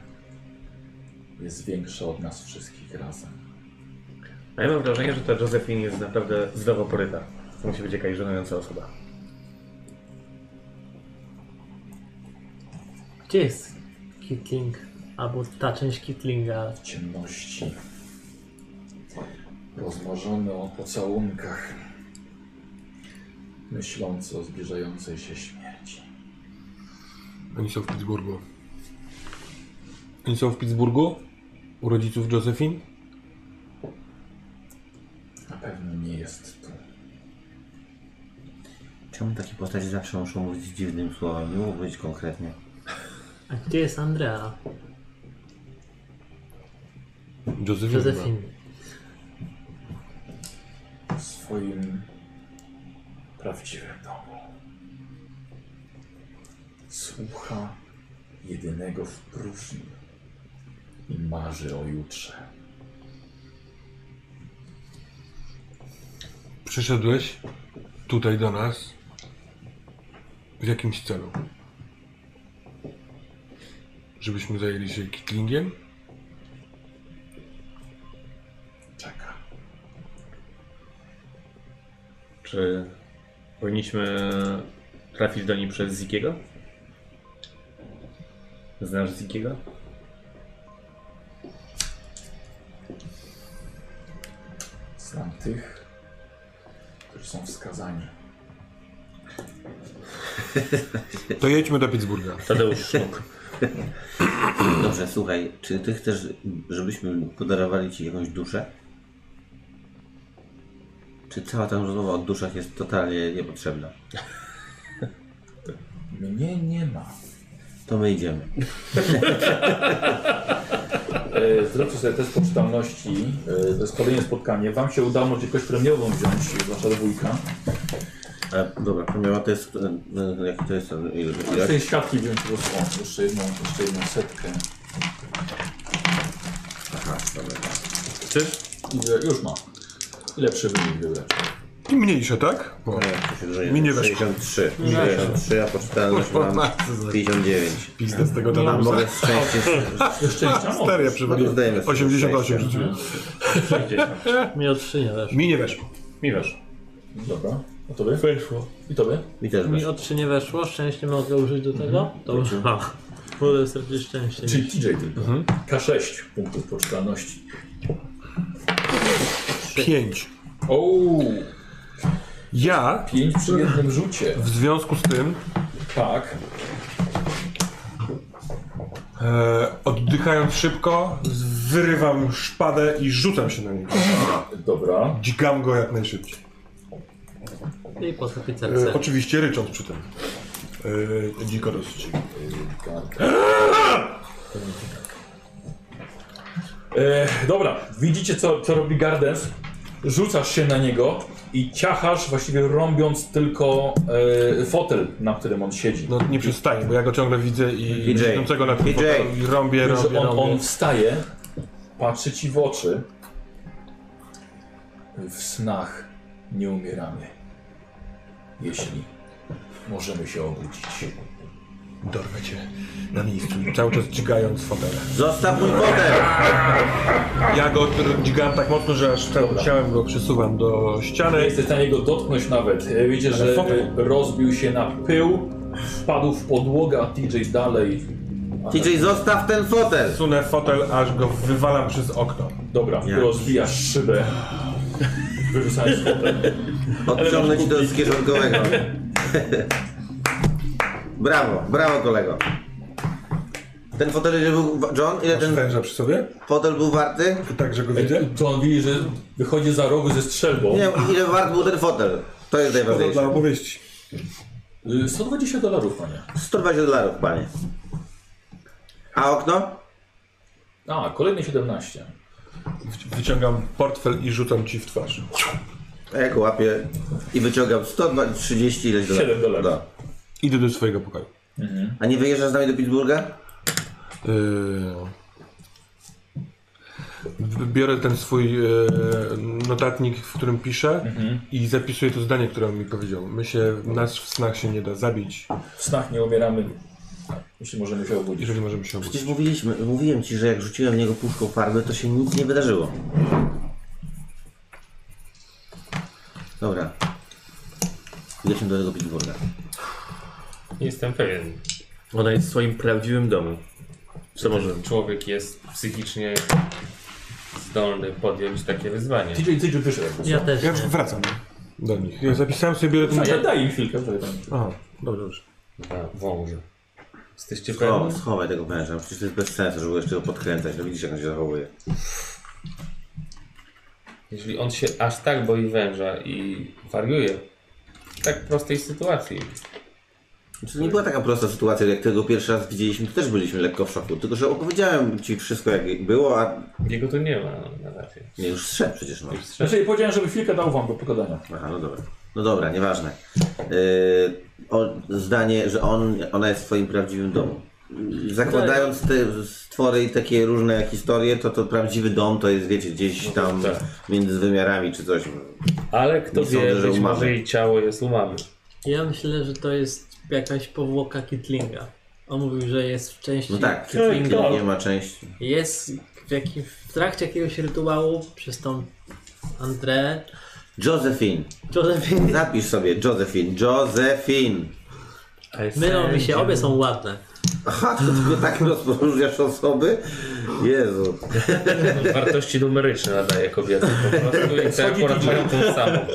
Speaker 2: jest większa od nas wszystkich razem.
Speaker 4: A ja mam wrażenie, że ta Josephine jest naprawdę zdrowoporyta. To musi być jakaś żenująca osoba.
Speaker 6: Gdzie jest Kitling? Albo ta część Kitlinga.
Speaker 2: W ciemności, rozmarzony o pocałunkach, myślący o zbliżającej się śmierci.
Speaker 5: Oni są w Pittsburghu. Oni są w Pittsburghu? U rodziców Josephine?
Speaker 2: Na pewno nie jest tu.
Speaker 3: Czemu takie postaci zawsze muszą mówić dziwnym słowem? Nie mogą powiedzieć konkretnie.
Speaker 6: A gdzie jest Andrea?
Speaker 5: Josephine.
Speaker 6: Josephine.
Speaker 2: w swoim prawdziwym domu. Słucha jedynego w próżni i marzy o jutrze.
Speaker 5: chyba. Przyszedłeś tutaj do nas w jakimś celu. Żebyśmy zajęli się Kitlingiem?
Speaker 2: Czeka.
Speaker 4: Czy powinniśmy trafić do niej przez Zikiego? Znasz Zikiego?
Speaker 2: Znam tych, którzy są wskazani.
Speaker 5: To jedźmy do Pittsburgha.
Speaker 4: Tadeusz Sznuk.
Speaker 3: Dobrze, słuchaj, czy ty chcesz, żebyśmy podarowali ci jakąś duszę? Czy cała ta rozmowa o duszach jest totalnie niepotrzebna?
Speaker 2: Mnie nie ma.
Speaker 3: To my idziemy.
Speaker 2: E, Zróbcie sobie test poczytalności. E, To jest kolejne spotkanie. Wam się udało może jakoś premiową wziąć, wasza dwójka.
Speaker 3: A, dobra, ponieważ to jest, e, e, jak to jest, e, ile,
Speaker 2: Z
Speaker 3: ile?
Speaker 2: tej siatki wziąć po prostu. Tak. O, jeszcze jedną, jeszcze jedną setkę.
Speaker 3: Aha, dobra.
Speaker 4: Czyż?
Speaker 2: Ile, już ma. Lepszy wynik wybrać.
Speaker 5: I mniejsze, tak? Bo Mi nie
Speaker 3: Nie
Speaker 5: weszło.
Speaker 3: 63, 63, a poczytalność
Speaker 5: O,
Speaker 3: mam
Speaker 5: matce za-
Speaker 3: 59.
Speaker 5: pizdę z tego
Speaker 3: Mam
Speaker 5: Tadeusa.
Speaker 3: mogę z szczęściem...
Speaker 2: Szczęścia moc.
Speaker 5: Stary, ja
Speaker 3: No to zdajemy
Speaker 5: przywaliłem.
Speaker 3: sobie
Speaker 5: 88
Speaker 3: szczęście.
Speaker 5: rzuciłem.
Speaker 6: Mi od trzy nie weszło.
Speaker 5: Mi nie weszło.
Speaker 4: Mi wiesz.
Speaker 2: Dobra. A tobie? Weszło. I tobie?
Speaker 3: Mi też
Speaker 6: Mi
Speaker 3: weszło.
Speaker 6: od trzy nie weszło, szczęście mogę użyć do tego? To używam. Wolę sobie szczęście.
Speaker 2: Czyli TJ tylko. K6 punktów poczytalności.
Speaker 5: 5.
Speaker 2: O,
Speaker 5: Ja
Speaker 2: 5 przy jednym rzucie.
Speaker 5: w związku z tym,
Speaker 2: Tak.
Speaker 5: e, oddychając szybko, wyrywam szpadę i rzucam się na niego.
Speaker 2: Dobra.
Speaker 5: Dźgam go jak najszybciej.
Speaker 6: I potrafi
Speaker 5: E,
Speaker 6: serce.
Speaker 5: oczywiście rycząc przy tym. e, dziko dosyć.
Speaker 2: E, dobra, widzicie co, co robi Gardens? Rzucasz się na niego i ciachasz, właściwie rąbiąc tylko e, fotel, na którym on siedzi.
Speaker 5: No nie przestaje, bo ja go ciągle widzę i
Speaker 3: DJ.
Speaker 5: siedzącego na tym
Speaker 3: DJ.
Speaker 5: fotelu i rąbię,
Speaker 2: Wiesz,
Speaker 5: rąbię,
Speaker 2: że on,
Speaker 5: rąbię.
Speaker 2: on wstaje, patrzy ci w oczy. W snach nie umieramy. Jeśli możemy się obudzić.
Speaker 5: Dorwę cię na miejscu, cały czas dźgając fotele.
Speaker 3: Zostaw mój fotel!
Speaker 5: Ja go tr- dźgałem tak mocno, że aż całym ciałem go przesuwam do
Speaker 2: Nie
Speaker 5: ściany.
Speaker 2: jesteś w stanie go dotknąć nawet. E, Wiecie, że
Speaker 5: fotel.
Speaker 2: e, rozbił się na pył, wpadł w podłogę, a TJ dalej. A
Speaker 3: TJ, zostaw ten fotel!
Speaker 5: Sunę fotel, aż go wywalam przez okno.
Speaker 2: Dobra,
Speaker 3: Nie.
Speaker 2: rozbijasz szybę. Wyrzucając fotel.
Speaker 3: Odciągnę ci do skierzonkowego. brawo, brawo kolego. Ten fotel, ile był, wa- John, ile
Speaker 5: Masz
Speaker 3: ten
Speaker 5: węża przy sobie?
Speaker 3: fotel był warty?
Speaker 5: Tak, że go widzę?
Speaker 2: To on widzi, że wychodzi za rogu ze strzelbą.
Speaker 3: Nie wiem, ile wart był ten fotel? To jest
Speaker 5: To dla
Speaker 3: najważniejsze.
Speaker 5: opowieści.
Speaker 2: Y, 120 dolarów, panie.
Speaker 3: 120 dolarów, panie. A okno?
Speaker 2: A, kolejne 17.
Speaker 5: Wyciągam portfel i rzucam ci w twarz.
Speaker 3: A Jak łapię i wyciągam 130 ileś dolarów.
Speaker 2: Siedem dolarów.
Speaker 3: No.
Speaker 5: Idę do swojego pokoju.
Speaker 3: A nie wyjeżdżasz z nami do Pittsburgha?
Speaker 5: Yy... Biorę ten swój e, notatnik, w którym piszę i zapisuję to zdanie, które on mi powiedział. My się, nas w snach się nie da zabić,
Speaker 2: W snach nie umieramy, jeśli możemy się obudzić.
Speaker 5: jeżeli możemy się obudzić.
Speaker 3: Przecież mówiliśmy, mówiłem ci, że jak rzuciłem w niego puszką farby, to się nic nie wydarzyło. Dobra. Jedźmy do tego Pittsburgha.
Speaker 9: Nie jestem pewien.
Speaker 4: Ona jest w swoim prawdziwym domu. Co może?
Speaker 9: Człowiek jest psychicznie zdolny podjąć takie wyzwanie.
Speaker 2: TJ, TJ wyszedł.
Speaker 6: Ja też
Speaker 5: Ja
Speaker 6: nie.
Speaker 5: już wracam do nich. Ja zapisałem sobie, biorę ten
Speaker 2: No, ja
Speaker 5: notatnik.
Speaker 2: daję im chwilkę. żeby tam-
Speaker 5: Aha, dobrze, dobrze.
Speaker 9: Na wążu. Jesteście
Speaker 3: O,
Speaker 9: pewni?
Speaker 3: schowaj tego męża, przecież to jest bez sensu, żeby go jeszcze go podkręcać, no widzisz jak on się zachowuje.
Speaker 9: Jeśli on się aż tak boi węża i wariuje w tak prostej sytuacji.
Speaker 3: Znaczy, to nie była taka prosta sytuacja, jak tego pierwszy raz widzieliśmy, to też byliśmy lekko w szoku, tylko że opowiedziałem ci wszystko jak było, a
Speaker 9: Jego tu nie ma na razie.
Speaker 3: nie już strzep przecież no.
Speaker 2: Znaczy, ja powiedziałem, żeby chwilkę dał wam do pogadania.
Speaker 3: Aha, no dobra. No dobra, nieważne. Yy, o, zdanie, że on, ona jest w swoim prawdziwym domu. Yy, Zakładając te stwory i takie różne historie, to to prawdziwy dom to jest, wiecie, gdzieś tam
Speaker 9: tak.
Speaker 3: między wymiarami czy coś. No
Speaker 9: Ale kto
Speaker 3: Nie
Speaker 9: wie,
Speaker 3: sądzę, że
Speaker 9: być
Speaker 3: u mamy.
Speaker 9: może jej ciało jest u mamy.
Speaker 6: Ja myślę, że to jest jakaś powłoka Kitlinga. On mówił, że jest w części.
Speaker 3: No tak,
Speaker 9: Tak, tak.
Speaker 3: nie ma części.
Speaker 6: Jest w, jakim, w trakcie jakiegoś rytuału przez tą Andrę.
Speaker 3: Josephine.
Speaker 6: Josephine.
Speaker 3: Napisz sobie Josephine. Josephine.
Speaker 6: Mylą mi się, obie są ładne.
Speaker 3: Aha, to tylko tak rozporóżniasz osoby? Jezu.
Speaker 9: Wartości numeryczne nadaje kobiety po prostu i te akurat mają tą samą.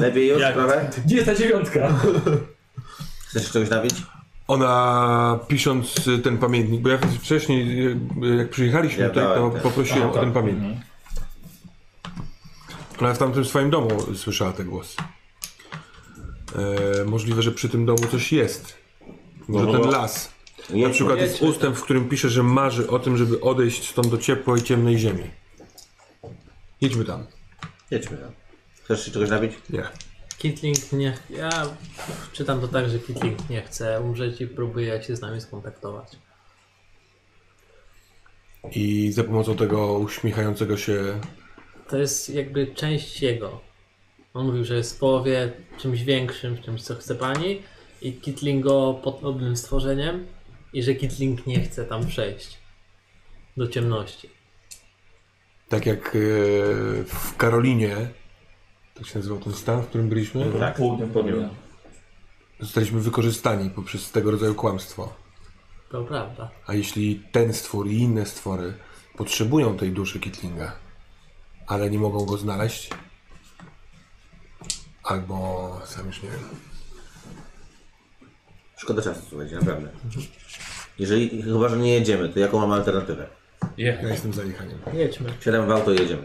Speaker 3: Lepiej już
Speaker 9: Jak?
Speaker 3: trochę?
Speaker 2: Gdzie jest ta dziewiątka?
Speaker 3: Chcesz czegoś napić?
Speaker 5: Ona pisząc y, ten pamiętnik, bo ja wcześniej y, jak przyjechaliśmy
Speaker 3: Ja
Speaker 5: tutaj, to
Speaker 3: dałem ten.
Speaker 5: poprosiłem
Speaker 2: A,
Speaker 5: o
Speaker 2: tak.
Speaker 5: ten pamiętnik.
Speaker 3: Mhm.
Speaker 5: Ona w tamtym swoim domu słyszała te głosy. E, możliwe, że przy tym domu coś jest.
Speaker 3: No,
Speaker 5: Może ten las. Na
Speaker 3: Jedźmy.
Speaker 5: przykład jest
Speaker 3: tak.
Speaker 5: ustęp, w którym pisze, że marzy o tym, żeby odejść stąd do ciepłej, ciemnej ziemi. Idźmy tam.
Speaker 3: Jedźmy. tam. Chcesz się czegoś napić?
Speaker 5: Nie.
Speaker 6: Kitling nie. ch- Ja czytam to tak, że Kitling nie chce umrzeć i próbuje się z nami skontaktować.
Speaker 5: I za pomocą tego uśmiechającego się
Speaker 6: To jest jakby część jego. On mówił, że jest w połowie czymś większym, w czymś co chce pani i Kitling go podobnym stworzeniem i że Kitling nie chce tam przejść do ciemności.
Speaker 5: Tak jak e, w Karolinie, tak się nazywał ten stan, w którym byliśmy,
Speaker 2: Tak, południe, południe.
Speaker 5: zostaliśmy wykorzystani poprzez tego rodzaju kłamstwo.
Speaker 6: To prawda.
Speaker 5: A jeśli ten stwór i inne stwory potrzebują tej duszy Kitlinga, ale nie mogą go znaleźć, albo sam już nie wiem.
Speaker 3: Szkoda czasu, słuchajcie, naprawdę. Jeżeli, chyba, że nie jedziemy, to jaką mamy alternatywę?
Speaker 4: Je.
Speaker 5: Ja jestem za jechaniem.
Speaker 6: Jedźmy.
Speaker 3: Siadam w auto i jedziemy.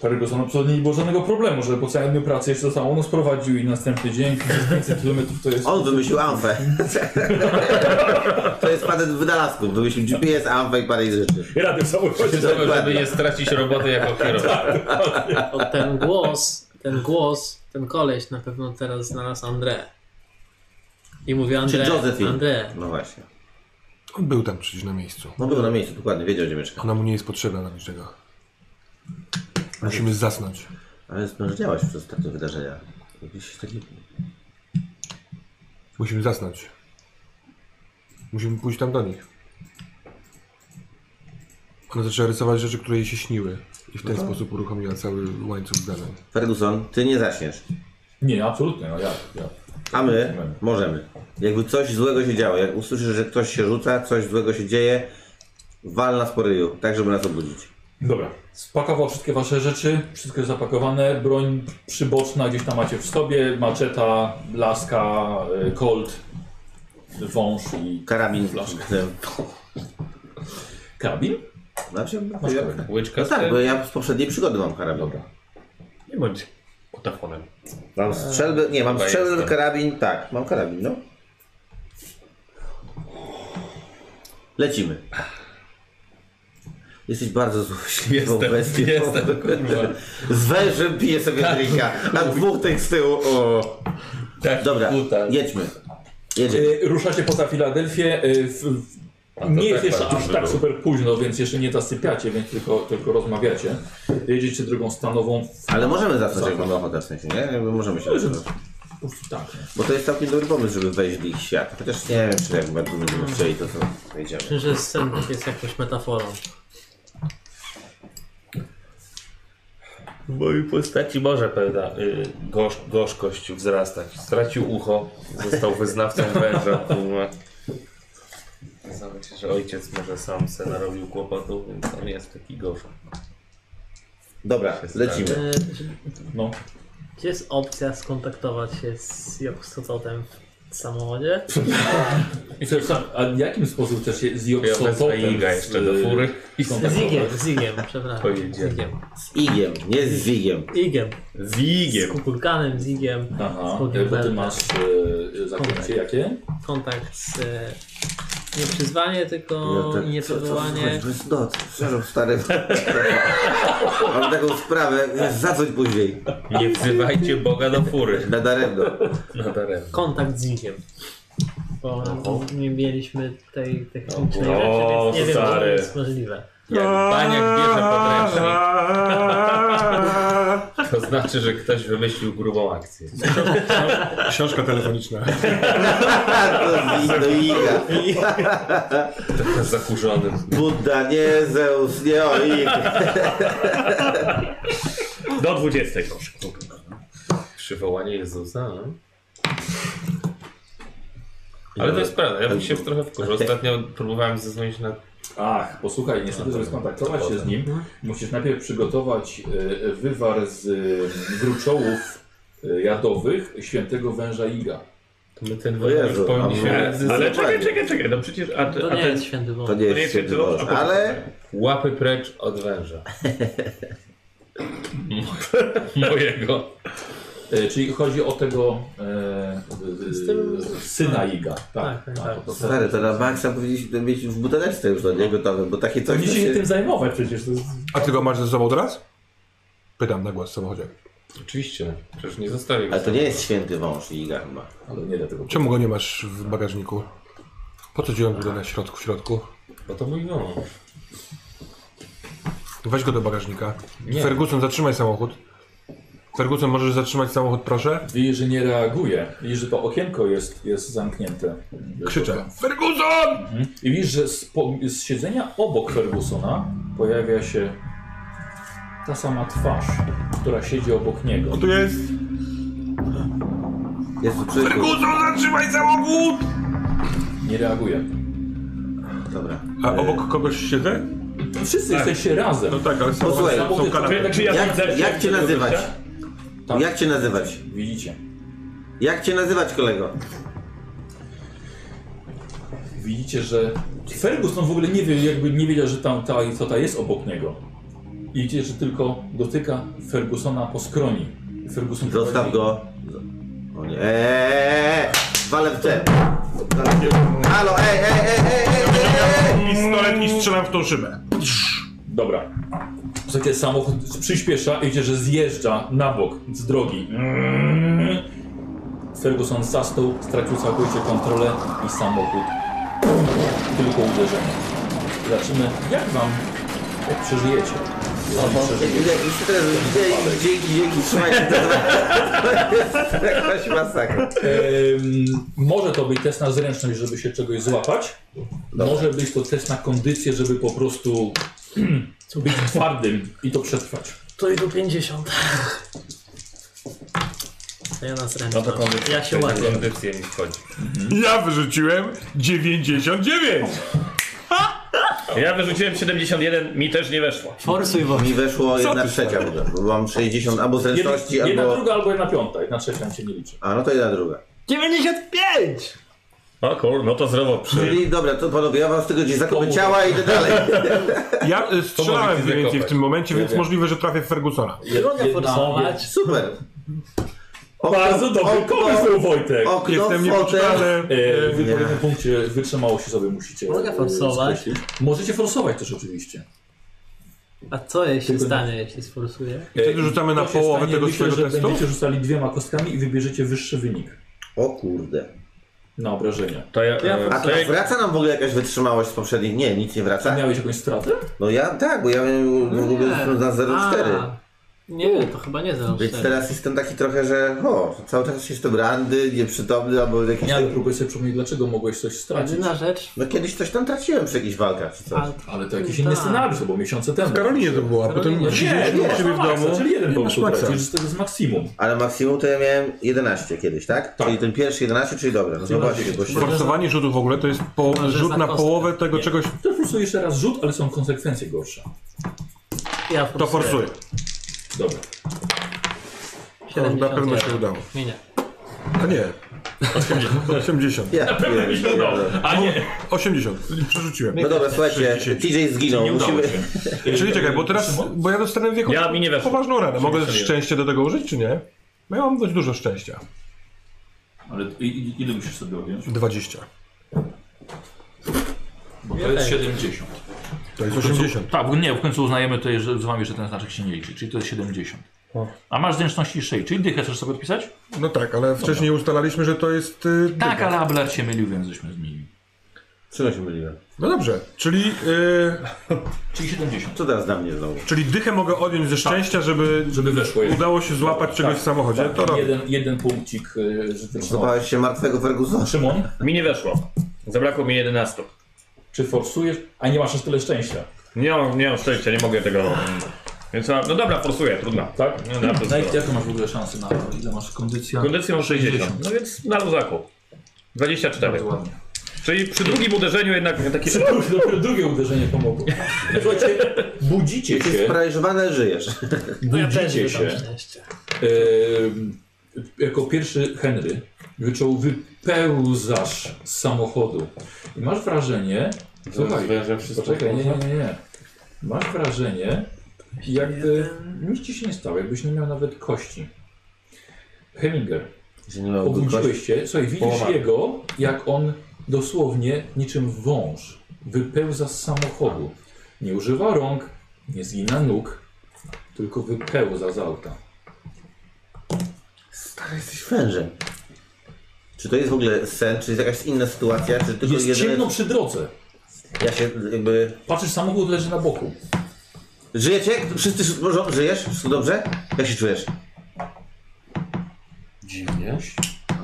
Speaker 2: Ferguson absolutnie nie było żadnego problemu, że po całym dniu pracy jeszcze został on sprowadził i następny dzień 500 km to jest...
Speaker 3: On wymyślił amfę. to jest patent wynalazków. Wymyślił GPS, amfę i parę innych rzeczy.
Speaker 2: Rady w samochodzie.
Speaker 9: Żeby, żeby nie stracić roboty jako kierowca.
Speaker 6: O, ten głos, ten głos, ten koleś na pewno teraz znalazł André. I mówię
Speaker 3: Czy
Speaker 6: André,
Speaker 3: Josephine.
Speaker 6: André.
Speaker 3: No właśnie.
Speaker 5: On był tam przecież na miejscu.
Speaker 3: No był na miejscu, dokładnie, wiedział gdzie mieszka.
Speaker 5: Ona mu nie jest potrzebna do niczego. Musimy zasnąć.
Speaker 3: Ale zmężniałaś przez ostatnie wydarzenia. Jakiś taki...
Speaker 5: Musimy zasnąć. Musimy pójść tam do nich. Ona zaczęła rysować rzeczy, które jej się śniły. I
Speaker 9: No
Speaker 5: w ten
Speaker 9: tak.
Speaker 5: sposób uruchomiła cały łańcuch zdarzeń.
Speaker 3: Ferguson, ty nie zaśniesz.
Speaker 2: Nie, absolutnie, no jak, jak.
Speaker 3: A my możemy. Jakby coś złego się działo, jak usłyszysz, że ktoś się rzuca, coś złego się dzieje, wal nas po ryju, tak żeby nas obudzić.
Speaker 2: Dobra. Spakował wszystkie wasze rzeczy, wszystko jest zapakowane, broń przyboczna gdzieś tam macie w sobie, maczeta, laska, y, kolt, wąż i
Speaker 3: Karabin
Speaker 2: Flaszka.
Speaker 3: z tym.
Speaker 2: karabin.
Speaker 3: Znaczy,
Speaker 2: Masz karabin.
Speaker 9: Łyczka
Speaker 3: no
Speaker 9: z
Speaker 3: tak,
Speaker 9: tym.
Speaker 3: bo ja z poprzedniej przygody mam karabin. Dobra.
Speaker 4: Nie bądź otafonem.
Speaker 3: Mam strzelbę, nie, mam
Speaker 9: Eee, Chyba
Speaker 3: strzelbę,
Speaker 9: jestem.
Speaker 3: karabin, tak, mam karabin, no. Lecimy. Jesteś bardzo złośliwą
Speaker 9: Jestem,
Speaker 3: bestią.
Speaker 9: jestem, kurwa. Tak.
Speaker 3: Z wężem piję sobie drinka, a dwóch tych z tyłu, o.
Speaker 2: Tak.
Speaker 9: Taki
Speaker 3: Dobra,
Speaker 9: buta. Eee,
Speaker 3: jedźmy. Jedziemy.
Speaker 2: Y, Ruszacie poza Filadelfię. y, w- w-
Speaker 9: A to
Speaker 2: Nie jest
Speaker 9: tak
Speaker 2: jeszcze
Speaker 9: bardzo
Speaker 2: aż
Speaker 9: dużo
Speaker 2: tak
Speaker 9: było.
Speaker 2: super późno, więc jeszcze nie zasypiacie, więc tylko, tylko rozmawiacie. Jedziecie drogą stanową.
Speaker 3: Ale możemy zasnąć, jak mamy ochotę w sensie, nie? Jakby możemy się zasnąć.
Speaker 2: Po prostu tak. nie?
Speaker 3: Bo to jest całkiem dobry pomysł, żeby wejść w ich świat. Chociaż nie wiem, czy jak bardzo będziemy chcieli, to co wejdziemy.
Speaker 6: Myślę, że sen jest jakąś metaforą.
Speaker 9: W mojej postaci może pewna y, gorz, gorzkość wzrastać. Stracił ucho, został wyznawcą węża. kurwa. Zdawało się, że ojciec może sam se narobił kłopotu, więc on jest taki gorzki.
Speaker 3: Dobra, lecimy.
Speaker 6: E,
Speaker 2: No.
Speaker 6: Czy jest opcja skontaktować się z Joksototem w samochodzie?
Speaker 2: I co, sam- a jakim sposób też się z
Speaker 9: Ja wezmę Iga jeszcze do fury.
Speaker 2: I tak-
Speaker 6: Z Igiem, z Igiem, przepraszam.
Speaker 9: Pojedzie.
Speaker 6: Z Igiem.
Speaker 3: Z Igiem, nie z Zigiem.
Speaker 6: Igiem.
Speaker 4: Z
Speaker 6: Z Kukulkanem, z Igiem.
Speaker 2: Aha,
Speaker 6: Z Bogiem
Speaker 2: bo ty
Speaker 6: Beltem.
Speaker 2: masz e, zaklęcie jakie?
Speaker 6: Kontakt z... e, Nie przyzwanie, tylko
Speaker 3: Ja tak-
Speaker 6: nieprzywołanie.
Speaker 3: Co, co, co, no, przepraszam, stary. Mam taką sprawę, za coś później.
Speaker 9: Nie wzywajcie Boga do fury.
Speaker 3: Na daremno.
Speaker 9: No daremno.
Speaker 6: kontakt z Igiem. Bo nie mieliśmy tej technicznej
Speaker 9: O,
Speaker 6: rzeczy, więc nie wiem, czy to
Speaker 9: stary.
Speaker 6: jest możliwe.
Speaker 9: Jak baniak bierze podręcznik, to znaczy, że ktoś wymyślił grubą akcję.
Speaker 5: Książka telefoniczna.
Speaker 3: To z Ig- do Iga.
Speaker 9: Trochę zakurzonym.
Speaker 3: Budda, nie Zeus, nie o Ig.
Speaker 4: Do 20. proszę.
Speaker 9: Przywołanie Jezusa. no. Ale to jest prawda, ja bym się trochę wkurzył.
Speaker 3: Tak.
Speaker 9: Ostatnio próbowałem zadzwonić na...
Speaker 2: Ach, posłuchaj,
Speaker 9: no
Speaker 2: niestety, żeby skontaktować się z nim,
Speaker 6: Mhm.
Speaker 2: musisz najpierw przygotować e, wywar z e, gruczołów e, jadowych świętego węża Iga.
Speaker 9: To my ten
Speaker 3: Jezu,
Speaker 9: wojownik już
Speaker 3: ale-
Speaker 9: powinniśmy...
Speaker 4: Ale czekaj,
Speaker 3: Dokładnie.
Speaker 4: czekaj, czekaj. No przecież. A, ty,
Speaker 6: To
Speaker 4: a
Speaker 6: nie
Speaker 4: ten.
Speaker 6: jest święty
Speaker 3: To
Speaker 6: wąt.
Speaker 3: nie
Speaker 4: To nie
Speaker 3: jest
Speaker 4: jest
Speaker 3: święty
Speaker 4: Jezus,
Speaker 3: Boże,
Speaker 4: a po-
Speaker 3: ale
Speaker 9: Łapy precz od węża. Mojego.
Speaker 2: E, Czyli chodzi o tego e, e, syna Iga. Tak,
Speaker 6: Tak, tak, tak.
Speaker 2: to- to-
Speaker 3: stary, to na maksa powinniśmy to mieć w buteleczce już do nie gotowe, bo takie coś...
Speaker 2: Powinni
Speaker 3: to
Speaker 2: się tym zajmować przecież. To jest...
Speaker 5: A ty go masz ze sobą teraz? Pytam na głos w samochodzie.
Speaker 9: Oczywiście, przecież nie zostawił.
Speaker 3: Ale to nie jest święty wąż Iga chyba.
Speaker 2: Ale nie dlatego.
Speaker 5: Czemu go nie masz w bagażniku? Po co ci on tutaj na środku, w środku?
Speaker 9: Bo No to mój wąż.
Speaker 5: Weź go do bagażnika.
Speaker 9: Nie.
Speaker 5: Ferguson, zatrzymaj samochód. Ferguson, możesz zatrzymać samochód, proszę?
Speaker 2: Widzisz, że nie reaguje. Widzisz, że to okienko jest, jest zamknięte.
Speaker 5: Krzyczę. Ferguson!
Speaker 2: Mhm. I widzisz, że z, po, z siedzenia obok Fergusona pojawia się ta sama twarz, która siedzi obok niego.
Speaker 5: Tu jest!
Speaker 3: Jest przykro.
Speaker 5: Ferguson, zatrzymaj samochód!
Speaker 2: Nie reaguje.
Speaker 3: Dobra.
Speaker 5: A obok kogoś siedzę?
Speaker 2: Wszyscy jesteście razem.
Speaker 5: No tak, ale samochód
Speaker 3: Posłuchaj,
Speaker 5: są kanapy.
Speaker 7: Znaczy,
Speaker 4: Czy ja widzę,
Speaker 3: Jak,
Speaker 4: czy ja
Speaker 3: jak cię
Speaker 4: widzę
Speaker 3: nazywać?
Speaker 4: gościa?
Speaker 2: Tak.
Speaker 3: Jak cię nazywać?
Speaker 2: Widzicie.
Speaker 3: Jak cię nazywać, kolego?
Speaker 2: Widzicie, że Ferguson w ogóle nie wie, jakby nie wiedział, że tam ta istota jest obok niego. I widzicie, że tylko dotyka Fergusona po skroni. Ferguson
Speaker 3: Zostaw
Speaker 2: prowadzi-
Speaker 3: go. O nie. Eee, walę w te. Walę w te. Halo, ej, ej, ej, ej, ej, ej, ej.
Speaker 7: Pistolet i strzelam w tą szybę.
Speaker 2: Dobra. Słuchajcie, samochód przyspiesza i widzicie, że zjeżdża na bok z drogi. Ferguson zastał, stracił całkowicie kontrolę i samochód. Tylko uderzenie. Zobaczymy, jak wam, jak przeżyjecie. Jeżeli przeżyjecie.
Speaker 3: Już teraz dzięki, dzięki, dzięki, trzymaj się. To jest jakaś masakra.
Speaker 2: Em, może to być test na zręczność, żeby się czegoś złapać. Może być to test na kondycję, żeby po prostu być twardym i to przetrwać.
Speaker 6: To i do 50. To ja na zręczność. ja się łapię.
Speaker 9: Kondycję mi wchodzi.
Speaker 7: Ja wyrzuciłem 99.
Speaker 4: Ja wyrzuciłem 71, mi też nie weszło.
Speaker 6: Forsuj bo.
Speaker 3: Mi weszło jedna trzecia, bo mam 60 albo
Speaker 2: Jedna,
Speaker 3: zręczności,
Speaker 2: jedna
Speaker 3: albo...
Speaker 2: druga albo jedna piąta, jedna trzecia się nie liczy.
Speaker 3: A, no to jedna druga.
Speaker 6: 95!
Speaker 4: O kur, no to zdrowo przy...
Speaker 3: Czyli dobra, to panowie, ja wam z tego gdzieś zakopę ciała i idę dalej.
Speaker 5: Ja y, strzelałem mniej więcej w tym momencie, więc możliwe, że trafię w Fergusona.
Speaker 6: Trudno forsować.
Speaker 3: Super. Okno,
Speaker 2: Bardzo dobry
Speaker 3: okno,
Speaker 2: pomysł, Wojtek!
Speaker 3: Okno,
Speaker 5: Jestem
Speaker 3: fotel.
Speaker 5: niepoczytany.
Speaker 2: E, Wy
Speaker 3: Nie.
Speaker 2: po tym punkcie wytrzymałości sobie musicie.
Speaker 6: Mogę
Speaker 2: e,
Speaker 6: forsować?
Speaker 2: skreślić. Możecie forsować też oczywiście.
Speaker 6: A co jeśli stanie, jeśli sforsuję?
Speaker 2: E,
Speaker 5: Wtedy rzucamy na
Speaker 2: to się
Speaker 5: połowę
Speaker 2: stanie,
Speaker 5: tego
Speaker 2: myślę,
Speaker 5: swojego
Speaker 2: że
Speaker 5: testu?
Speaker 2: Będziecie rzucali dwiema kostkami i wybierzecie wyższy wynik
Speaker 3: O kurde.
Speaker 2: na obrażenia.
Speaker 4: To ja...
Speaker 6: Ja
Speaker 4: e,
Speaker 3: A
Speaker 4: to
Speaker 3: teraz
Speaker 4: ja
Speaker 3: wraca nam w ogóle jakaś wytrzymałość z poprzednich? Nie, nic nie
Speaker 2: A
Speaker 3: wraca.
Speaker 2: miałeś jakąś stratę?
Speaker 3: No ja tak, bo ja miałem w ogóle na 0,4.
Speaker 6: No A, Nie, to chyba nie
Speaker 3: Więc
Speaker 6: 0,4.
Speaker 3: teraz jestem taki trochę, że o, cały czas jestem randy, nieprzytomny albo jakiś...
Speaker 2: Nie, ale próbuję sobie przypomnieć, dlaczego mogłeś coś stracić.
Speaker 6: Jedyna rzecz,
Speaker 3: No kiedyś coś tam traciłem przy jakichś walkach czy coś.
Speaker 6: a
Speaker 2: Ale to jakiś inny
Speaker 6: Tak.
Speaker 2: scenariusz, to było miesiące temu.
Speaker 5: W Karolinie to była, potem
Speaker 6: Karolinie.
Speaker 5: siedzieliśmy
Speaker 2: masz
Speaker 5: u siebie w
Speaker 2: na maksa,
Speaker 5: domu.
Speaker 2: Czyli jeden po
Speaker 5: masz
Speaker 2: prostu
Speaker 5: maksa.
Speaker 2: tracisz, z tego z maksimum.
Speaker 3: Ale maksimum to ja miałem 11 kiedyś, tak?
Speaker 2: Tak.
Speaker 3: Czyli ten pierwszy 11, czyli dobra. No właśnie, bo się...
Speaker 5: Forsowanie rzutu w ogóle to jest
Speaker 7: No,
Speaker 5: po,
Speaker 6: Może
Speaker 5: rzut
Speaker 6: za
Speaker 5: na
Speaker 6: kostkę.
Speaker 5: połowę tego
Speaker 2: Nie.
Speaker 5: czegoś,
Speaker 2: To po prostu jeszcze raz rzut, ale są konsekwencje gorsze.
Speaker 6: ja
Speaker 5: to
Speaker 6: forsuję.
Speaker 5: forsuje.
Speaker 2: Dobra.
Speaker 5: To na pewno
Speaker 6: 71.
Speaker 5: się udało.
Speaker 6: Nie, nie.
Speaker 5: A nie. 80.
Speaker 3: Ja, pierdolę.
Speaker 5: 80. Przerzuciłem.
Speaker 3: No dobra, słuchajcie, TJ zginął. Musimy...
Speaker 5: Czyli czekaj, bo teraz, bo ja dostanę w jakąś
Speaker 4: Ja mi nie weszło.
Speaker 5: poważną radę. Mogę
Speaker 4: 81.
Speaker 5: szczęście do tego użyć, czy nie? Bo Ja mam dość dużo szczęścia.
Speaker 2: Ale i- i- ile musisz sobie odjąć?
Speaker 5: 20.
Speaker 2: Bo to jest 70.
Speaker 5: To jest 80.
Speaker 2: Tak, bo nie, w końcu uznajemy tutaj, że z wami, że ten znaczek się nie liczy, czyli to jest 70. A masz zręczności 6, czyli dychę chcesz sobie odpisać?
Speaker 5: No tak, ale wcześniej ustalaliśmy, że to jest... y,
Speaker 2: Tak, ale Abelard się mylił, więc żeśmy zmienili.
Speaker 3: Czego się myliłem?
Speaker 5: No dobrze, czyli, y,
Speaker 2: Czyli 70.
Speaker 3: Co teraz na mnie znowu?
Speaker 5: czyli dychę mogę odjąć ze szczęścia, żeby
Speaker 2: Żeby weszło jedno.
Speaker 5: udało się złapać czegoś w samochodzie.
Speaker 4: Tak.
Speaker 5: To robię.
Speaker 2: jeden, jeden punkcik, y, że też no.
Speaker 3: Złapałeś się martwego Fergusona.
Speaker 2: Szymon,
Speaker 4: Mi nie weszło. Zabrakło mi 11.
Speaker 2: czy forsujesz? A nie masz aż tyle szczęścia.
Speaker 4: Nie mam, nie mam szczęścia, nie mogę tego... Więc no, no dobra, forsuję, trudno.
Speaker 2: Tak?
Speaker 4: No dobra,
Speaker 2: Na,
Speaker 4: to
Speaker 2: jaką masz w ogóle szansę na Ile masz kondycja?
Speaker 4: Kondycję mam 60, no więc na luzaku. 24.
Speaker 2: Bardzo ładnie.
Speaker 4: Czyli przy drugim uderzeniu jednak taki...
Speaker 2: Dopiero drugie uderzenie pomogło. Słuchajcie, budzicie
Speaker 3: Jesteś
Speaker 2: się.
Speaker 3: sparaliżowany, żyjesz.
Speaker 6: Ja też
Speaker 2: Budzicie
Speaker 6: wydam
Speaker 2: się.
Speaker 6: szczęście.
Speaker 2: Em, jako pierwszy Henry wyczuł wypełzasz z samochodu. I masz wrażenie. Słuchaj,
Speaker 9: zwierzę wszystko
Speaker 2: poczekaj, nie, nie, nie, nie. Masz wrażenie, jakby nic ci się nie stało, jakbyś nie miał nawet kości. Heminger,
Speaker 3: Że nie ma kości.
Speaker 2: obudziłeś się, słuchaj, widzisz
Speaker 9: Połamany.
Speaker 2: jego, jak on dosłownie niczym wąż wypełza z samochodu. Nie używa rąk, nie zgina nóg, tylko wypełza z auta.
Speaker 3: Stary, jesteś wężem. Czy to jest w ogóle sen, czy jest jakaś inna sytuacja, czy tylko
Speaker 2: Jest
Speaker 3: jedyne-
Speaker 2: ciemno przy drodze.
Speaker 3: Ja się jakby...
Speaker 2: Patrzysz, samochód leży na boku.
Speaker 3: Żyjecie? Wszyscy ży- może- żyjesz? Wszystko dobrze? Jak się czujesz?
Speaker 9: Dziwnie.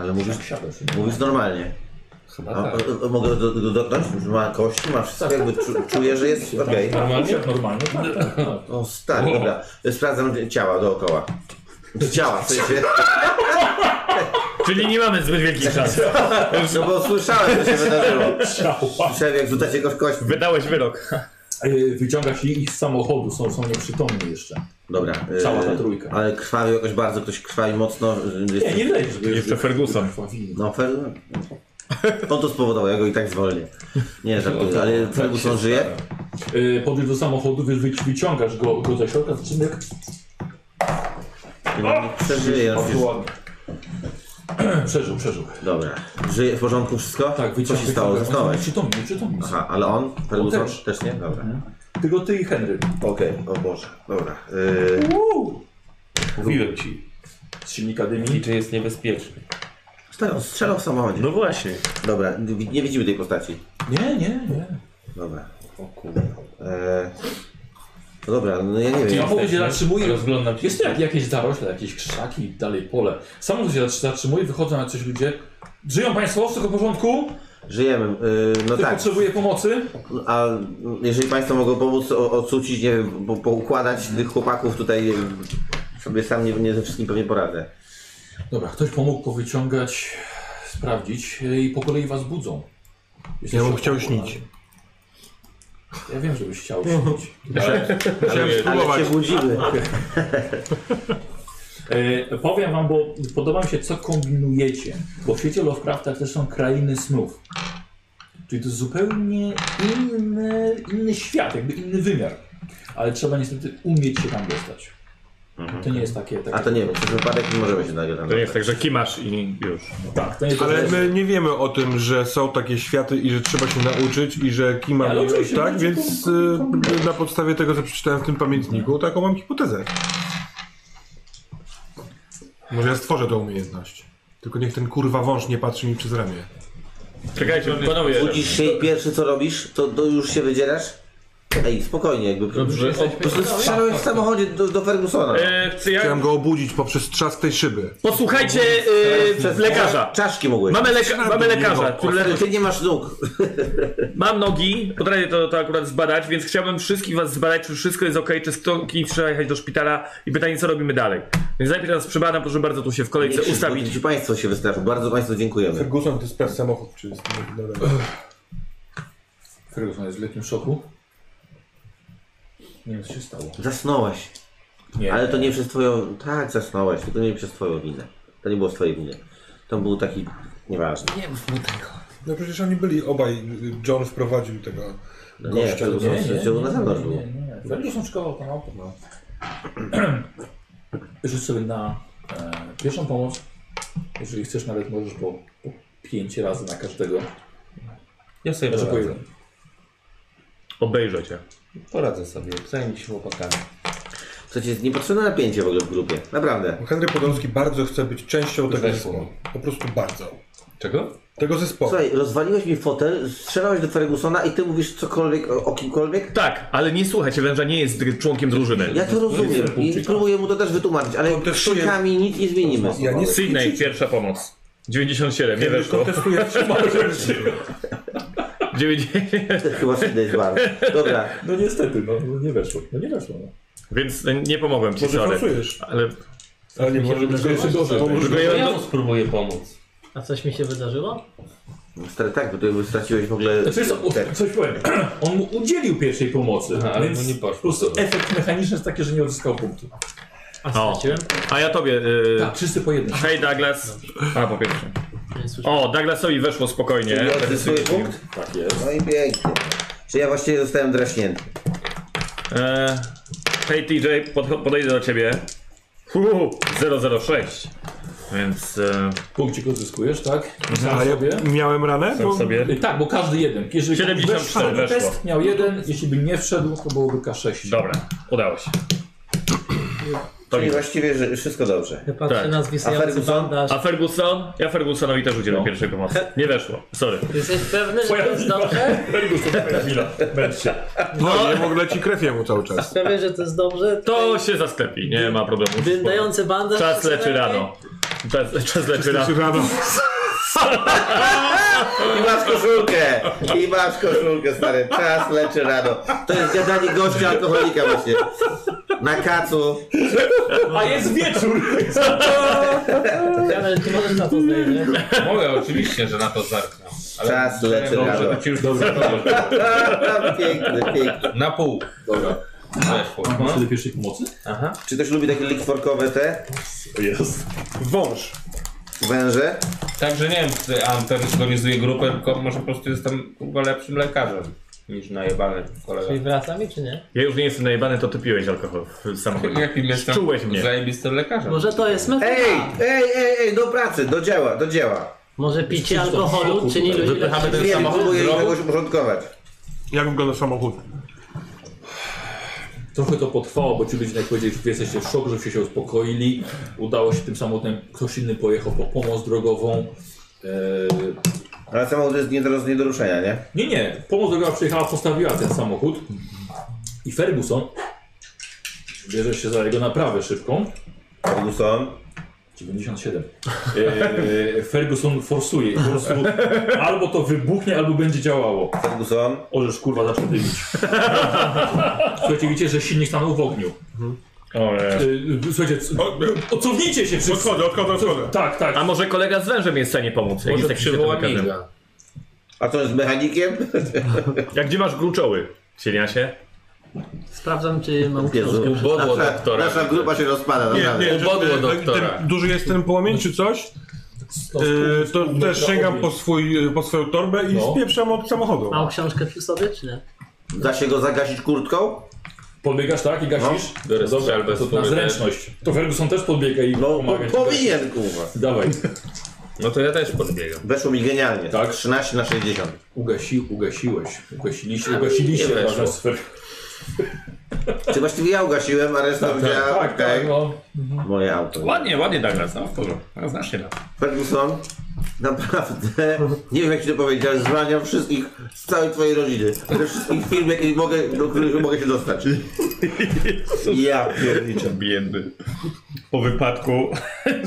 Speaker 3: Ale mówisz,
Speaker 2: Siadasz.
Speaker 3: mówisz normalnie.
Speaker 9: Chyba
Speaker 3: A,
Speaker 9: tak.
Speaker 3: a, a mogę do tego dotknąć? Ma kości, ma wszystko, jakby czu, czuję, że jest okej.
Speaker 2: Normalnie? Normalnie, tak, tak, tak.
Speaker 3: O stary, dobra. Sprawdzam ciała dookoła. Ciała, w sensie.
Speaker 4: Czyli nie mamy zbyt wielkich szans.
Speaker 3: No bo słyszałem, co się wydarzyło.
Speaker 2: No, Ciała.
Speaker 3: Słyszałem, jak rzucacie go w kość.
Speaker 4: Wydałeś wyrok.
Speaker 2: Y, Wyciągasz ich ich z samochodu, są, są nieprzytomni jeszcze.
Speaker 3: Dobra. y,
Speaker 2: Cała ta trójka.
Speaker 3: Ale krwawił jakoś bardzo, ktoś krwawi mocno. y,
Speaker 2: Nie,
Speaker 3: Jest...
Speaker 2: nie lejesz.
Speaker 4: Jeszcze Ferguson.
Speaker 3: No, fer... On to spowodował, ja go i tak zwolnię. Nie, żartuję, ale Felgus on żyje?
Speaker 2: Yy, podjeżdż do samochodu, wy, wy, wyciągasz go, go ze środka, zaczyna jak
Speaker 3: Przeżyje, no przecież...
Speaker 2: ładnie. Przeżył, przeżył.
Speaker 3: Dobra. Żyje w porządku wszystko?
Speaker 2: Tak,
Speaker 3: Co
Speaker 2: wyciągnął.
Speaker 3: się stało?
Speaker 2: wyciągnął.
Speaker 3: Zasnąłeś?
Speaker 2: Przytomny, przytomny.
Speaker 3: Aha, ale on? Ferguson?
Speaker 2: On
Speaker 3: Też.
Speaker 2: też.
Speaker 3: nie? Dobra.
Speaker 2: Tylko ty i Henry.
Speaker 3: Okej, o Boże. Dobra. Yy,
Speaker 9: Mówiłem ci,
Speaker 2: Z silnika dymi.
Speaker 9: liczy jest niebezpieczny.
Speaker 3: strzelał, strzelał w samochodzie.
Speaker 9: No właśnie.
Speaker 3: Dobra, nie wi- nie widzimy tej postaci.
Speaker 2: Nie, nie, nie.
Speaker 3: Dobra. O kurde. Yy, no dobra, no ja nie
Speaker 2: Ja
Speaker 3: wiem.
Speaker 2: powiem, że zatrzymuję.
Speaker 9: Rozglądam się.
Speaker 2: Jest to jak jakieś zarośle, jakieś krzaki i dalej pole. Samochód się zatrzymuje, wychodzą na coś ludzie. Żyją państwo, wszystko w porządku?
Speaker 3: Żyjemy. Yy, no
Speaker 2: Ktoś
Speaker 3: tak.
Speaker 2: potrzebuje pomocy?
Speaker 3: A jeżeli Państwo mogą pomóc o- odsucić, nie wiem, po, poukładać tych chłopaków tutaj, nie wiem, sobie sam nie, nie ze wszystkim pewnie poradzę.
Speaker 2: Dobra, ktoś pomógł powyciągać, sprawdzić e, i po kolei was budzą.
Speaker 5: Ja bym
Speaker 2: Jesteście
Speaker 5: chciał
Speaker 2: opakowani.
Speaker 5: śnić.
Speaker 2: Ja wiem, żebyś chciał śnić.
Speaker 5: Chciałem
Speaker 3: Ale
Speaker 5: spróbować.
Speaker 3: się budzimy.
Speaker 2: E, powiem wam, bo podoba mi się, co kombinujecie. Bo w świecie Lovecrafta też są krainy snów. Czyli to zupełnie inny, inny świat, jakby inny wymiar. Ale trzeba niestety umieć się tam dostać. To nie jest takie... takie
Speaker 3: A to nie wiem, przez przypadek nie możemy się nagrać.
Speaker 4: To nie jest tak, że kimasz i już.
Speaker 2: Tak, to nie jest
Speaker 5: Ale
Speaker 2: takie-
Speaker 5: my nie wiemy o tym, że są takie światy i że trzeba się nauczyć i że kima
Speaker 2: Ale oczywiście,
Speaker 5: tak,
Speaker 2: będzie
Speaker 5: więc
Speaker 2: to-
Speaker 5: y, na podstawie tego, co przeczytałem w tym pamiętniku, taką mam hipotezę. Może ja stworzę tą umiejętność. Tylko niech ten kurwa wąż nie patrzy mi przez ramię.
Speaker 4: Czekajcie, panowie.
Speaker 3: Budzisz się i pierwsze co robisz, to, to już się wydzierasz? Ej, spokojnie, jakby. Dobrze. Po prostu strzelałeś w samochodzie do, do Fergusona.
Speaker 4: E, chcę ja...
Speaker 5: Chciałem go obudzić poprzez trzask tej szyby.
Speaker 4: Posłuchajcie e,
Speaker 3: Przez-
Speaker 4: lekarza.
Speaker 3: Czaszki mogłeś.
Speaker 4: Mamy, leka mamy lekarza, który
Speaker 3: Ale
Speaker 4: leży.
Speaker 3: ty nie masz nóg.
Speaker 4: Mam nogi, potrafię to, to akurat zbadać, więc chciałbym wszystkich was zbadać, czy wszystko jest ok, czy ktoś trzeba jechać do szpitala i pytanie, co robimy dalej. Więc najpierw nas przebadam, proszę bardzo, tu się w kolejce ustawić.
Speaker 3: Ci Państwo się wystraszył. Bardzo Państwu dziękujemy.
Speaker 5: Ferguson, ty sprawdź samochód, czy jest
Speaker 2: Ferguson jest w letnim szoku. Nie wiem, co się stało.
Speaker 3: Zasnąłeś.
Speaker 2: Nie.
Speaker 3: Ale to nie przez twoją... Tak, zasnąłeś. To nie przez twoją winę. To nie było z twojej winy. To był taki... Nieważne.
Speaker 5: No przecież oni byli obaj. John wprowadził tego.
Speaker 3: No nie,
Speaker 5: Gościa,
Speaker 3: to
Speaker 5: nie,
Speaker 3: był na zewnątrz
Speaker 2: nie,
Speaker 3: było.
Speaker 2: nie, nie. Ferguson czekał na auto. No. Rzuć sobie na e, pierwszą pomoc. Jeżeli chcesz, nawet możesz po, po pięć razy na każdego.
Speaker 9: Ja sobie
Speaker 2: Znaczy po
Speaker 9: poradzę.
Speaker 2: jeden.
Speaker 4: Obejrzę cię.
Speaker 9: Poradzę sobie, zajmę się chłopakami.
Speaker 3: Słuchajcie, jest niepotrzebne napięcie w ogóle w grupie. Naprawdę.
Speaker 5: Henry Podolski bardzo chce być częścią tego
Speaker 9: Zespół.
Speaker 5: zespołu. Po prostu bardzo.
Speaker 9: Czego?
Speaker 5: Tego zespołu.
Speaker 3: Słuchaj, rozwaliłeś mi fotel, strzelałeś do Fergusona i ty mówisz cokolwiek o, o kimkolwiek?
Speaker 4: Tak, ale nie słuchajcie, węża nie jest dr- członkiem drużyny.
Speaker 3: Ja to rozumiem i próbuję mu to też wytłumaczyć, ale
Speaker 5: Kontestuję.
Speaker 3: krzykami nic nie zmienimy.
Speaker 5: Ja nie
Speaker 4: Sydney, pierwsza pomoc. 97, nie weszło.
Speaker 5: kontestuję trzymałem.
Speaker 4: 90...
Speaker 3: Chyba wtedy jest bardzo. Dobra,
Speaker 2: No niestety, no, no nie weszło. No nie weszło. No.
Speaker 4: Więc nie pomogłem ci,
Speaker 5: Może
Speaker 4: sorry.
Speaker 5: forsujesz.
Speaker 4: Ale
Speaker 5: Ale nie może
Speaker 2: Tylko jeszcze gorzej.
Speaker 4: tylko ja...
Speaker 9: Ja mu spróbuję pomóc.
Speaker 6: A coś mi się wydarzyło?
Speaker 3: stary, tak, bo ty jakby straciłeś w ogóle...
Speaker 2: Znaczy, jest, o,
Speaker 3: Tak.
Speaker 2: coś powiem. On mu udzielił pierwszej pomocy,
Speaker 9: Aha, ale
Speaker 2: więc
Speaker 9: mu nie poszło.
Speaker 2: po prostu efekt mechaniczny jest taki, że nie uzyskał punktu.
Speaker 6: A
Speaker 4: O.
Speaker 6: straciłem?
Speaker 4: A ja tobie. y,
Speaker 2: Tak, wszyscy po jednym.
Speaker 4: Hej Douglas. A po pierwsze.
Speaker 6: Nie słyszę.
Speaker 4: O, Douglasowi weszło spokojnie.
Speaker 3: Ja
Speaker 4: Teraz jest-
Speaker 3: odzyskuje punkt?
Speaker 2: Tak jest.
Speaker 3: No i pięknie. Czy ja właściwie zostałem draśnięty?
Speaker 4: E, hej TJ, pod, podejdę do ciebie. Hu, 006. Więc e,
Speaker 2: Punkcik odzyskujesz, tak? Sam
Speaker 5: A ja
Speaker 2: sobie.
Speaker 5: miałem ranę?
Speaker 4: tam sobie.
Speaker 2: Y, Tak, bo każdy jeden. Jeżeli
Speaker 4: 74
Speaker 2: weszł na
Speaker 4: weszło.
Speaker 2: test miał jeden, jeśli by nie wszedł, to byłoby K6.
Speaker 4: Dobra, udało się. To
Speaker 3: Czyli
Speaker 4: nic.
Speaker 3: właściwie że wszystko dobrze.
Speaker 6: Ja patrzę
Speaker 4: tak.
Speaker 6: na
Speaker 3: A
Speaker 6: zwisający
Speaker 3: Ferguson?
Speaker 6: bandaż.
Speaker 4: A Ferguson? Ja Fergusonowi też udzielam
Speaker 2: No.
Speaker 4: pierwszej pomocy. Nie weszło, sorry.
Speaker 6: Jesteś pewny, że to jest
Speaker 4: wina.
Speaker 6: dobrze?
Speaker 4: Ferguson, twoja chwila. Męcz się.
Speaker 5: No, nie w ogóle ci krew jemu cały czas.
Speaker 6: Pewien, że to jest dobrze?
Speaker 4: To się zastępi, nie ma problemu.
Speaker 6: Dający bandaż.
Speaker 4: Czas
Speaker 6: to
Speaker 4: leczy
Speaker 6: sobie-
Speaker 4: rano. Czas, czas leczy rano.
Speaker 5: Rano.
Speaker 3: I masz koszulkę! I masz koszulkę, stary. Czas leczy rano. To jest gadanie gościa alkoholika właśnie. Na kacu.
Speaker 2: A jest wieczór!
Speaker 6: Janek, ty możesz na to zdejmie.
Speaker 9: Mogę oczywiście, że na to zerknę. Ale
Speaker 3: Czas leczy
Speaker 9: dobrze,
Speaker 3: rano.
Speaker 9: to ci już dobrze.
Speaker 3: Piękny, piękny.
Speaker 9: Na pół. Dobra. Weszło. no.
Speaker 2: Masz do pierwszej pomocy?
Speaker 9: Aha.
Speaker 3: Czy ktoś lubi takie likworkowe te?
Speaker 2: Jest.
Speaker 5: Wąż.
Speaker 3: węże.
Speaker 9: Także nie wiem, czy Amper zorganizuje grupę, tylko może po prostu jest tam kurwa lepszym lekarzem niż najebany
Speaker 6: Czyli
Speaker 9: kolega.
Speaker 6: wracamy, czy nie?
Speaker 10: Ja już nie jestem najebany, to ty piłeś alkohol w samochodzie.
Speaker 9: Jakim jestem
Speaker 10: Czułeś mnie.
Speaker 9: zajebistym lekarzem.
Speaker 6: Może to jest metoda.
Speaker 3: Ej,
Speaker 9: Tak.
Speaker 3: ej, ej, ej, do pracy, do dzieła, do dzieła.
Speaker 6: Może picie alkoholu czyni ludzi
Speaker 9: Wypychamy ten
Speaker 6: lepszymi.
Speaker 3: Wiem,
Speaker 9: samochód
Speaker 3: próbuję
Speaker 9: z rogu?
Speaker 3: kogoś uporządkować.
Speaker 5: Jak wygląda samochód?
Speaker 2: Trochę to potrwało, bo ci ludzie, jak powiedzieli, że wy jesteście w szoku, żeście się uspokoili. Udało się tym samotnym, ktoś inny pojechał po pomoc drogową. Eee,
Speaker 3: Ale samochód jest nie do, nie do ruszenia, nie?
Speaker 2: Nie, nie. Pomoc drogowa przyjechała, postawiła ten samochód. I Ferguson bierze się za jego naprawę szybką.
Speaker 3: Ferguson.
Speaker 2: 97. Eee, Ferguson forsuje. i Po prostu albo to wybuchnie, albo będzie działało.
Speaker 3: Ferguson.
Speaker 2: Orzesz kurwa zaczął dymić. Słuchajcie, widzicie, że silnik stanął w ogniu.
Speaker 4: e.
Speaker 2: Eee, Słuchajcie, c- odcofnijcie się wszyscy.
Speaker 5: e, Odchodzę, e, odchodzę, odchodzę.
Speaker 2: Tak, tak.
Speaker 10: A może kolega z wężem jest w stanie pomóc? jak
Speaker 9: Może
Speaker 10: jest taki
Speaker 9: przywoła
Speaker 10: świetny lekarzem?
Speaker 9: miga.
Speaker 3: A co jest mechanikiem?
Speaker 10: Jak gdzie masz gruczoły? Cieniasie?
Speaker 6: Sprawdzam, czy mam
Speaker 3: Jezu,
Speaker 6: książkę.
Speaker 9: Ubodło
Speaker 3: nasza,
Speaker 9: doktora.
Speaker 3: nasza grupa się rozpada, naprawdę.
Speaker 9: Ubodło
Speaker 5: żeby-
Speaker 9: doktora.
Speaker 5: ten- Duży jest ten płomień czy coś? Yy, to też sięgam po, swój, y, po swoją torbę i
Speaker 2: No.
Speaker 5: spieprzam od samochodu.
Speaker 6: Mam książkę przy sobie, czy nie?
Speaker 3: Da się go zagasić kurtką?
Speaker 2: Podbiegasz, tak? I gasisz?
Speaker 5: No.
Speaker 9: Biorę
Speaker 2: Dobra,
Speaker 9: strzelbę
Speaker 2: to na
Speaker 9: sobie
Speaker 2: zręczność. To Ferguson też podbiega i
Speaker 3: No,
Speaker 2: pomaga ci.
Speaker 3: powinien, kurwa.
Speaker 2: Dawaj.
Speaker 9: No to ja też podbiegam.
Speaker 3: Weszło mi genialnie.
Speaker 2: Tak?
Speaker 3: 13 na 60.
Speaker 2: Ugasi, ugasiłeś. Ugasiliście, ugasiliście
Speaker 9: Nie weszło.
Speaker 5: no.
Speaker 2: wasz sfer.
Speaker 3: Czy właściwie ja ugasiłem, a reszta
Speaker 2: Tak,
Speaker 3: widziała,
Speaker 2: tak,
Speaker 3: okej.
Speaker 2: tak, no.
Speaker 3: Moje auto.
Speaker 10: Ładnie, ładnie Douglas, no w porządku. Znacznie lat.
Speaker 3: Ferguson, naprawdę, nie wiem jak ci to powiedzieć, ale zwalniam wszystkich z całej twojej rodziny. Ze wszystkich firm, jakie mogę, do których mogę się dostać. Ja pierniczę.
Speaker 10: Biedny. Po wypadku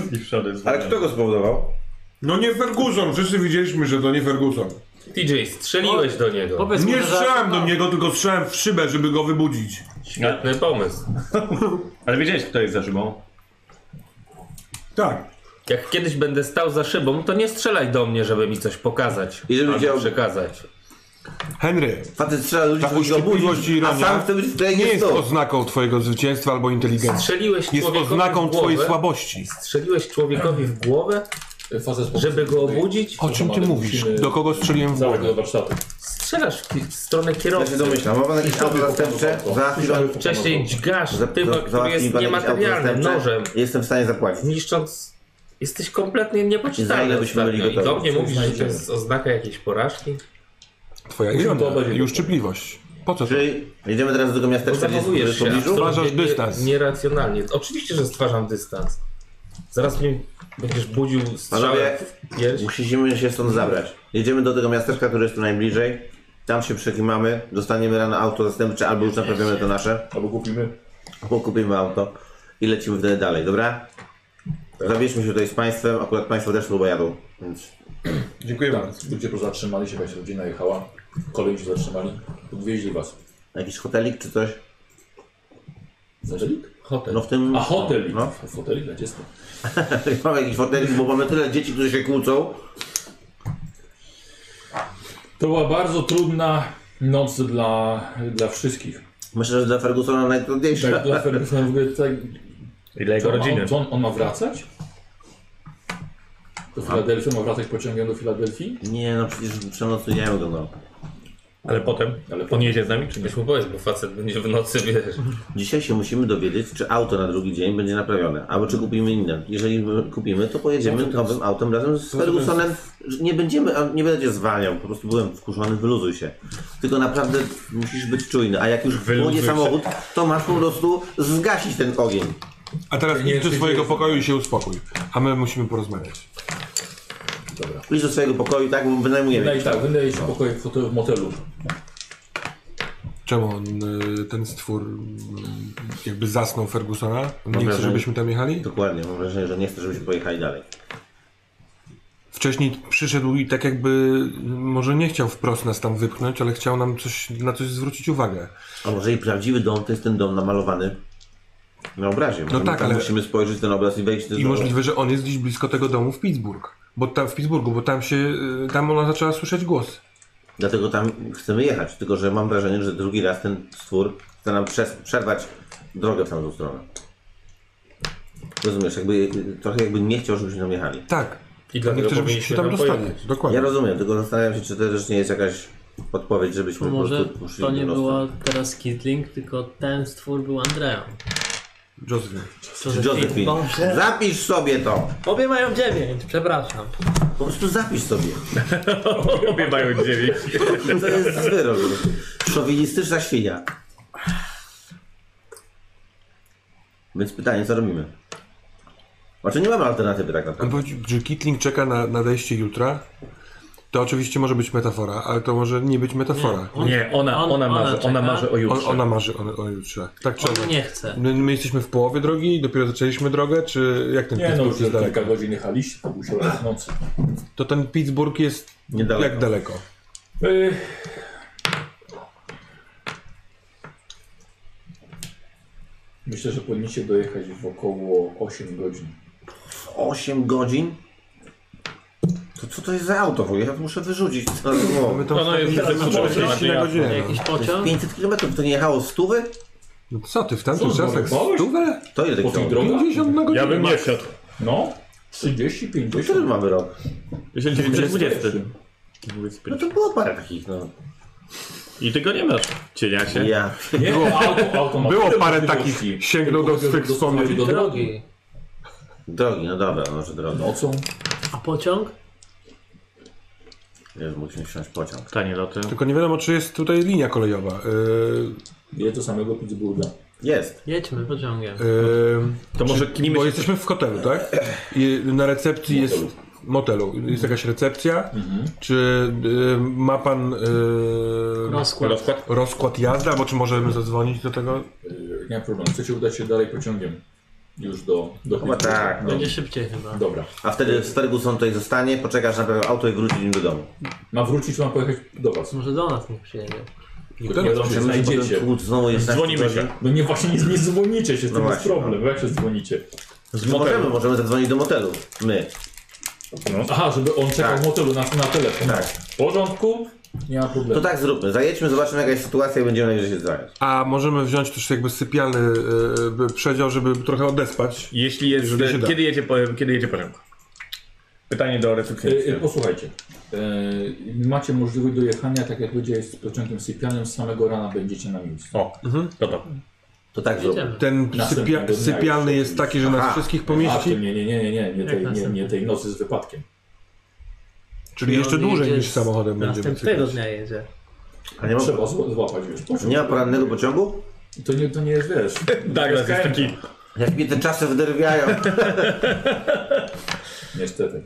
Speaker 10: zniszczony
Speaker 3: Ale kto go spowodował?
Speaker 5: No nie Ferguson, wszyscy widzieliśmy, że to nie Ferguson.
Speaker 9: TJ, strzeliłeś do niego.
Speaker 6: Powiedz
Speaker 5: Nie
Speaker 6: mu, że-
Speaker 5: strzelałem do niego, tylko strzelałem w szybę, żeby go wybudzić.
Speaker 9: Świetny pomysł.
Speaker 10: Ale wiedziałeś kto jest za szybą?
Speaker 5: Tak.
Speaker 9: Jak kiedyś będę stał za szybą, to nie strzelaj do mnie, żeby mi coś pokazać.
Speaker 3: I żebym
Speaker 9: albo
Speaker 3: chciał-
Speaker 9: przekazać.
Speaker 5: Henry,
Speaker 3: Facet strzela ludzi,
Speaker 5: Ta
Speaker 3: żeby ich
Speaker 5: uścipliwość i
Speaker 3: obudzić, a
Speaker 5: ironia
Speaker 3: sam chce być w
Speaker 5: nie
Speaker 3: terenie
Speaker 5: jest
Speaker 3: sto.
Speaker 5: oznaką twojego zwycięstwa albo inteligencji.
Speaker 9: Strzeliłeś
Speaker 5: Jest
Speaker 9: człowiekowi w
Speaker 5: oznaką
Speaker 9: głowę,
Speaker 5: twojej słabości.
Speaker 9: Strzeliłeś człowiekowi w głowę,
Speaker 2: Fazę spokoju.
Speaker 9: żeby go obudzić.
Speaker 5: O czym ty
Speaker 2: Musimy
Speaker 5: mówisz? Do kogo strzeliłem w
Speaker 2: Całego do
Speaker 5: głowę?
Speaker 2: warsztatu.
Speaker 9: Strzelasz w, ki- w stronę
Speaker 3: Ja się
Speaker 9: kierowcy.
Speaker 3: domyślam, ma pan jakieś auto zastępcze? Za chwilę
Speaker 9: Wcześniej dźgasz
Speaker 3: za-
Speaker 9: typa,
Speaker 3: za-
Speaker 9: który
Speaker 3: załatwi mi
Speaker 9: jest
Speaker 3: pan jakieś
Speaker 9: niematerialnym
Speaker 3: auto zastępcze?
Speaker 9: nożem,
Speaker 3: Jestem w stanie zapłacić.
Speaker 9: niszcząc... Jesteś kompletnie
Speaker 3: Za ile
Speaker 9: niepoczytalny
Speaker 3: byśmy byli
Speaker 9: ostatnio i
Speaker 3: gotowi?
Speaker 9: do mnie
Speaker 2: Coś
Speaker 9: mówisz, że to
Speaker 2: znajdziemy.
Speaker 9: jest oznaka jakiejś porażki.
Speaker 5: Twoja
Speaker 2: Musimy to
Speaker 5: ironia
Speaker 2: obejrzeć.
Speaker 5: i uszczypliwość. Po co to?
Speaker 3: Czyli jedziemy teraz do tego
Speaker 9: Bo
Speaker 3: miasteczka, gdzie tak jest
Speaker 9: zachowujesz się
Speaker 3: pobliżu?
Speaker 9: absolutnie
Speaker 5: Uważasz
Speaker 9: nie-
Speaker 5: dystans.
Speaker 9: Nieracjonalnie. Oczywiście, że stwarzam dystans. Zaraz mnie będziesz budził
Speaker 3: Panowie,
Speaker 9: strzałem w pierś.
Speaker 3: Musimy się stąd zabrać. Jedziemy do tego miasteczka, które jest tu najbliżej. Tam się przekimamy, dostaniemy rano auto zastępcze, albo już naprawiamy to nasze,
Speaker 2: Albo kupimy.
Speaker 3: albo kupimy auto i lecimy wtedy dalej, dobra? Zabierzmy się tutaj z państwem, akurat państwo też chyba jadą, więc
Speaker 2: Dziękuję bardzo. Ludzie po Tak, zatrzymali się, jakaś rodzina jechała. Kolej się zatrzymali. Odwieźli was.
Speaker 3: jakiś hotelik czy coś?
Speaker 2: Zaczęli?
Speaker 9: Hotel.
Speaker 3: No w tym...
Speaker 2: A hotel.
Speaker 3: No,
Speaker 2: W hoteli dla dziecka.
Speaker 3: mamy jakiś hotelik, bo mamy tyle dzieci, które się kłócą.
Speaker 2: To była bardzo trudna noc dla, dla wszystkich.
Speaker 3: Myślę, że dla Fergusona
Speaker 2: Tak,
Speaker 3: najtrudniejsze.
Speaker 2: dla Fergusona w ogóle tak...
Speaker 10: Ile jego
Speaker 2: co on-
Speaker 10: rodziny?
Speaker 2: co On, on ma wracać? Do Filadelfii? Ma wracać pociągiem do Filadelfii?
Speaker 3: Nie no, przecież przenocujemy go no.
Speaker 10: Ale potem?
Speaker 2: Ale
Speaker 10: On jedzie z nami czy nie?
Speaker 9: Weź mu powiedz, bo facet będzie w nocy, wiesz.
Speaker 3: Dzisiaj się musimy dowiedzieć, czy auto na drugi dzień będzie naprawione, albo czy kupimy inne. Jeżeli kupimy, to pojedziemy nowym autem razem z Fergusonem. Nie będziemy, a nie będę cię zwalniał, po prostu byłem wkurzony, wyluzuj się. Tylko naprawdę musisz być czujny, a jak już
Speaker 10: Wyluzuj
Speaker 3: płonie
Speaker 10: się.
Speaker 3: samochód, to masz po prostu zgasić ten ogień.
Speaker 5: A teraz idź do swojego pokoju i się uspokój. A my musimy porozmawiać.
Speaker 3: Idź do swojego pokoju, tak, bo wynajmujemy.
Speaker 2: Wydaje, tak, wydaje się pokoje w hotelu, w motelu.
Speaker 5: Czemu on, y, ten stwór mm, jakby zasnął Fergusona? Nie chce, żebyśmy tam jechali?
Speaker 3: Dokładnie, mam wrażenie, że nie chcę, żebyśmy pojechali dalej.
Speaker 5: Wcześniej przyszedł i tak jakby y, może nie chciał wprost nas tam wypchnąć, ale chciał nam coś, na coś zwrócić uwagę.
Speaker 3: A może i prawdziwy dom to jest ten dom namalowany na obrazie. Może
Speaker 5: tak,
Speaker 3: tam
Speaker 5: ale-
Speaker 3: Musimy spojrzeć w ten obraz i wejść do
Speaker 5: I możliwe, że on jest gdzieś blisko tego domu w Pittsburgh. Bo tam w Pittsburghu, bo tam się, y, tam ona zaczęła słyszeć głos.
Speaker 3: Dlatego tam chcemy jechać, tylko że mam wrażenie, że drugi raz ten stwór chce nam przes- przerwać drogę w tamtą stronę. Rozumiesz, jakby y, trochę jakby nie chciał, żebyśmy tam jechali.
Speaker 5: Tak.
Speaker 9: I
Speaker 5: Nie
Speaker 9: dlatego
Speaker 5: chcę, żebyśmy się
Speaker 9: powinniśmy
Speaker 5: tam
Speaker 9: tam
Speaker 5: dostali.
Speaker 9: pojechać.
Speaker 5: Dokładnie.
Speaker 3: Ja rozumiem, tylko zastanawiam się, czy to też nie jest jakaś podpowiedź, żebyśmy po
Speaker 6: Może
Speaker 3: prostu poszli
Speaker 6: to nie
Speaker 3: drogą.
Speaker 6: była teraz Kitling, tylko ten stwór był Andreą.
Speaker 5: Josephine.
Speaker 3: Josephine,
Speaker 6: Boże.
Speaker 3: zapisz sobie to.
Speaker 6: Obie mają dziewięć, przepraszam.
Speaker 3: Po prostu zapisz sobie.
Speaker 10: Obie mają dziewięć.
Speaker 3: No To jest wyrok. Szowinistyczna świnia. Więc pytanie, co robimy? Znaczy nie mamy alternatywy tak
Speaker 5: On
Speaker 3: naprawdę.
Speaker 5: powiedział, że Kitling czeka na nadejście jutra. To oczywiście może być metafora, ale to może nie być metafora.
Speaker 10: Nie, ona,
Speaker 6: On-
Speaker 10: ona, marzy, ona
Speaker 6: ona czeka.
Speaker 10: marzy o
Speaker 5: On,
Speaker 10: jutrze.
Speaker 5: ona marzy o, o jutrze. Tak czy
Speaker 6: On
Speaker 5: owak.
Speaker 6: nie chce.
Speaker 5: My, my jesteśmy w połowie drogi, dopiero zaczęliśmy drogę, czy jak ten
Speaker 2: Nie no,
Speaker 5: Pittsburgh
Speaker 2: już
Speaker 5: jest daleko?
Speaker 2: kilka godzin jechaliście, to musiał być w nocy.
Speaker 5: To ten Pittsburgh jest
Speaker 3: Niedaleko.
Speaker 5: jak daleko?
Speaker 2: Y, Myślę, że powinniście dojechać w około 8 godzin.
Speaker 3: 8 godzin? To co to jest za auto? w ogóle? Ja muszę wyrzucić. To,
Speaker 5: My
Speaker 3: no.
Speaker 5: tam
Speaker 10: Ono jest
Speaker 5: stawiliśmy
Speaker 10: zepsute,
Speaker 5: 40 na
Speaker 10: znaczy
Speaker 5: godzinę.
Speaker 6: Jakiś
Speaker 3: To jest
Speaker 6: pociąg?
Speaker 3: 500 km to nie jechało stówy?
Speaker 5: No co ty, w tamtych
Speaker 2: Co,
Speaker 5: czasach
Speaker 2: zmarnowałeś?
Speaker 5: stówę?
Speaker 3: To ile tak
Speaker 2: Po tych
Speaker 3: kilometrów?
Speaker 2: drogach?
Speaker 5: 50 na godzinę?
Speaker 10: Ja bym nie
Speaker 2: Max.
Speaker 10: wsiadł.
Speaker 2: No, 30,
Speaker 3: Który
Speaker 2: 50.
Speaker 3: mamy rok?
Speaker 10: Jestem 20.
Speaker 3: No to było parę takich, no.
Speaker 10: I ty go nie masz, cieniasie.
Speaker 3: Ja.
Speaker 2: Nie, było, auto, auto ma
Speaker 5: Było
Speaker 2: tyle
Speaker 5: parę
Speaker 2: możliwości.
Speaker 5: takich, sięgnął do
Speaker 2: Tylko
Speaker 5: swych
Speaker 2: doprowadzi
Speaker 5: wspomnień.
Speaker 2: do drogi.
Speaker 6: Drogi.
Speaker 3: Drogi, no dobra, może drogi.
Speaker 2: Nocą.
Speaker 6: A pociąg?
Speaker 3: Jezu, musimy wsiąść w pociąg.
Speaker 10: Tanie loty.
Speaker 5: Tylko nie wiadomo, czy jest tutaj linia kolejowa. Yy,
Speaker 2: Je do samego Pittsburgha.
Speaker 3: Jest.
Speaker 6: Jedźmy pociągiem.
Speaker 5: yy,
Speaker 10: To może knimy
Speaker 5: Bo
Speaker 10: się...
Speaker 5: jesteśmy w hotelu, tak? I na recepcji jest motelu. Jest jakaś recepcja. Czy y, ma pan y,
Speaker 6: Rozkład.
Speaker 5: rozkład jazdy, albo czy możemy zadzwonić do tego?
Speaker 2: Yy, Nie ma problemu. Chcecie udać się dalej pociągiem? Już do, do
Speaker 3: Chyba
Speaker 2: Pittsburgha.
Speaker 3: tak, no.
Speaker 6: Będzie szybciej chyba.
Speaker 2: Dobra.
Speaker 3: A wtedy Ferguson tutaj zostanie, poczekasz na pewno auto i wróci nim do domu.
Speaker 2: Ma wrócić, ma pojechać do was.
Speaker 6: Może do nas niech przyjedzie.
Speaker 5: Nie,
Speaker 2: Nie wiadomo, czy
Speaker 3: Musimy potem
Speaker 2: znajdziecie.
Speaker 3: tłuc znowu jest
Speaker 10: Dzwonimy się.
Speaker 2: No nie, właśnie nie, nie dzwonicie się, z
Speaker 3: No
Speaker 2: tym jest
Speaker 3: właśnie,
Speaker 2: problem. Bo Jak się dzwonicie?
Speaker 10: Z
Speaker 3: Możemy,
Speaker 10: motelu.
Speaker 3: możemy zadzwonić do motelu. My.
Speaker 2: Aha, żeby on czekał
Speaker 3: Tak.
Speaker 2: w motelu na, na telefon.
Speaker 3: Tak.
Speaker 2: W porządku? Nie ma problemu.
Speaker 3: To tak zróbmy. Zajedźmy, zobaczymy jaka jest sytuacja i będziemy najwyżej się dzwonić.
Speaker 5: A możemy wziąć też jakby sypialny y, przedział, żeby trochę odespać.
Speaker 10: Jeśli jest...
Speaker 5: Jeżeli się da.
Speaker 10: Kiedy jedzie, po- kiedy jedzie pociąg? Pytanie do
Speaker 2: E, e,
Speaker 10: recepcjonisty.
Speaker 2: Posłuchajcie, E, macie możliwość dojechania, tak jak powiedziałeś, z pociągiem sypialnym, samego rana będziecie na miejscu.
Speaker 10: O, no to.
Speaker 3: To tak zróbmy.
Speaker 6: Jedziemy.
Speaker 5: Ten
Speaker 2: Następnego
Speaker 5: sypia,
Speaker 2: dnia
Speaker 5: sypialny
Speaker 2: już.
Speaker 5: jest taki, że nas
Speaker 3: Aha.
Speaker 5: wszystkich
Speaker 2: A, to
Speaker 5: pomieści,
Speaker 2: nie, nie, nie, nie, nie, nie, tej, nie, nie tej nocy z wypadkiem.
Speaker 5: czyli jeszcze
Speaker 6: On
Speaker 5: dłużej
Speaker 6: jedzie
Speaker 5: niż
Speaker 6: z-
Speaker 5: samochodem będziemy
Speaker 6: Następnego
Speaker 5: sypiać.
Speaker 6: dnia jedzie.
Speaker 3: A nie ma,
Speaker 2: Trzeba zł- złapać, wiesz, pociąg.
Speaker 3: nie ma porannego pociągu?
Speaker 2: To nie, to nie jest, wiesz...
Speaker 10: Douglas jest taki...
Speaker 3: Jak mnie te czasy wderwiają.
Speaker 2: Niestety.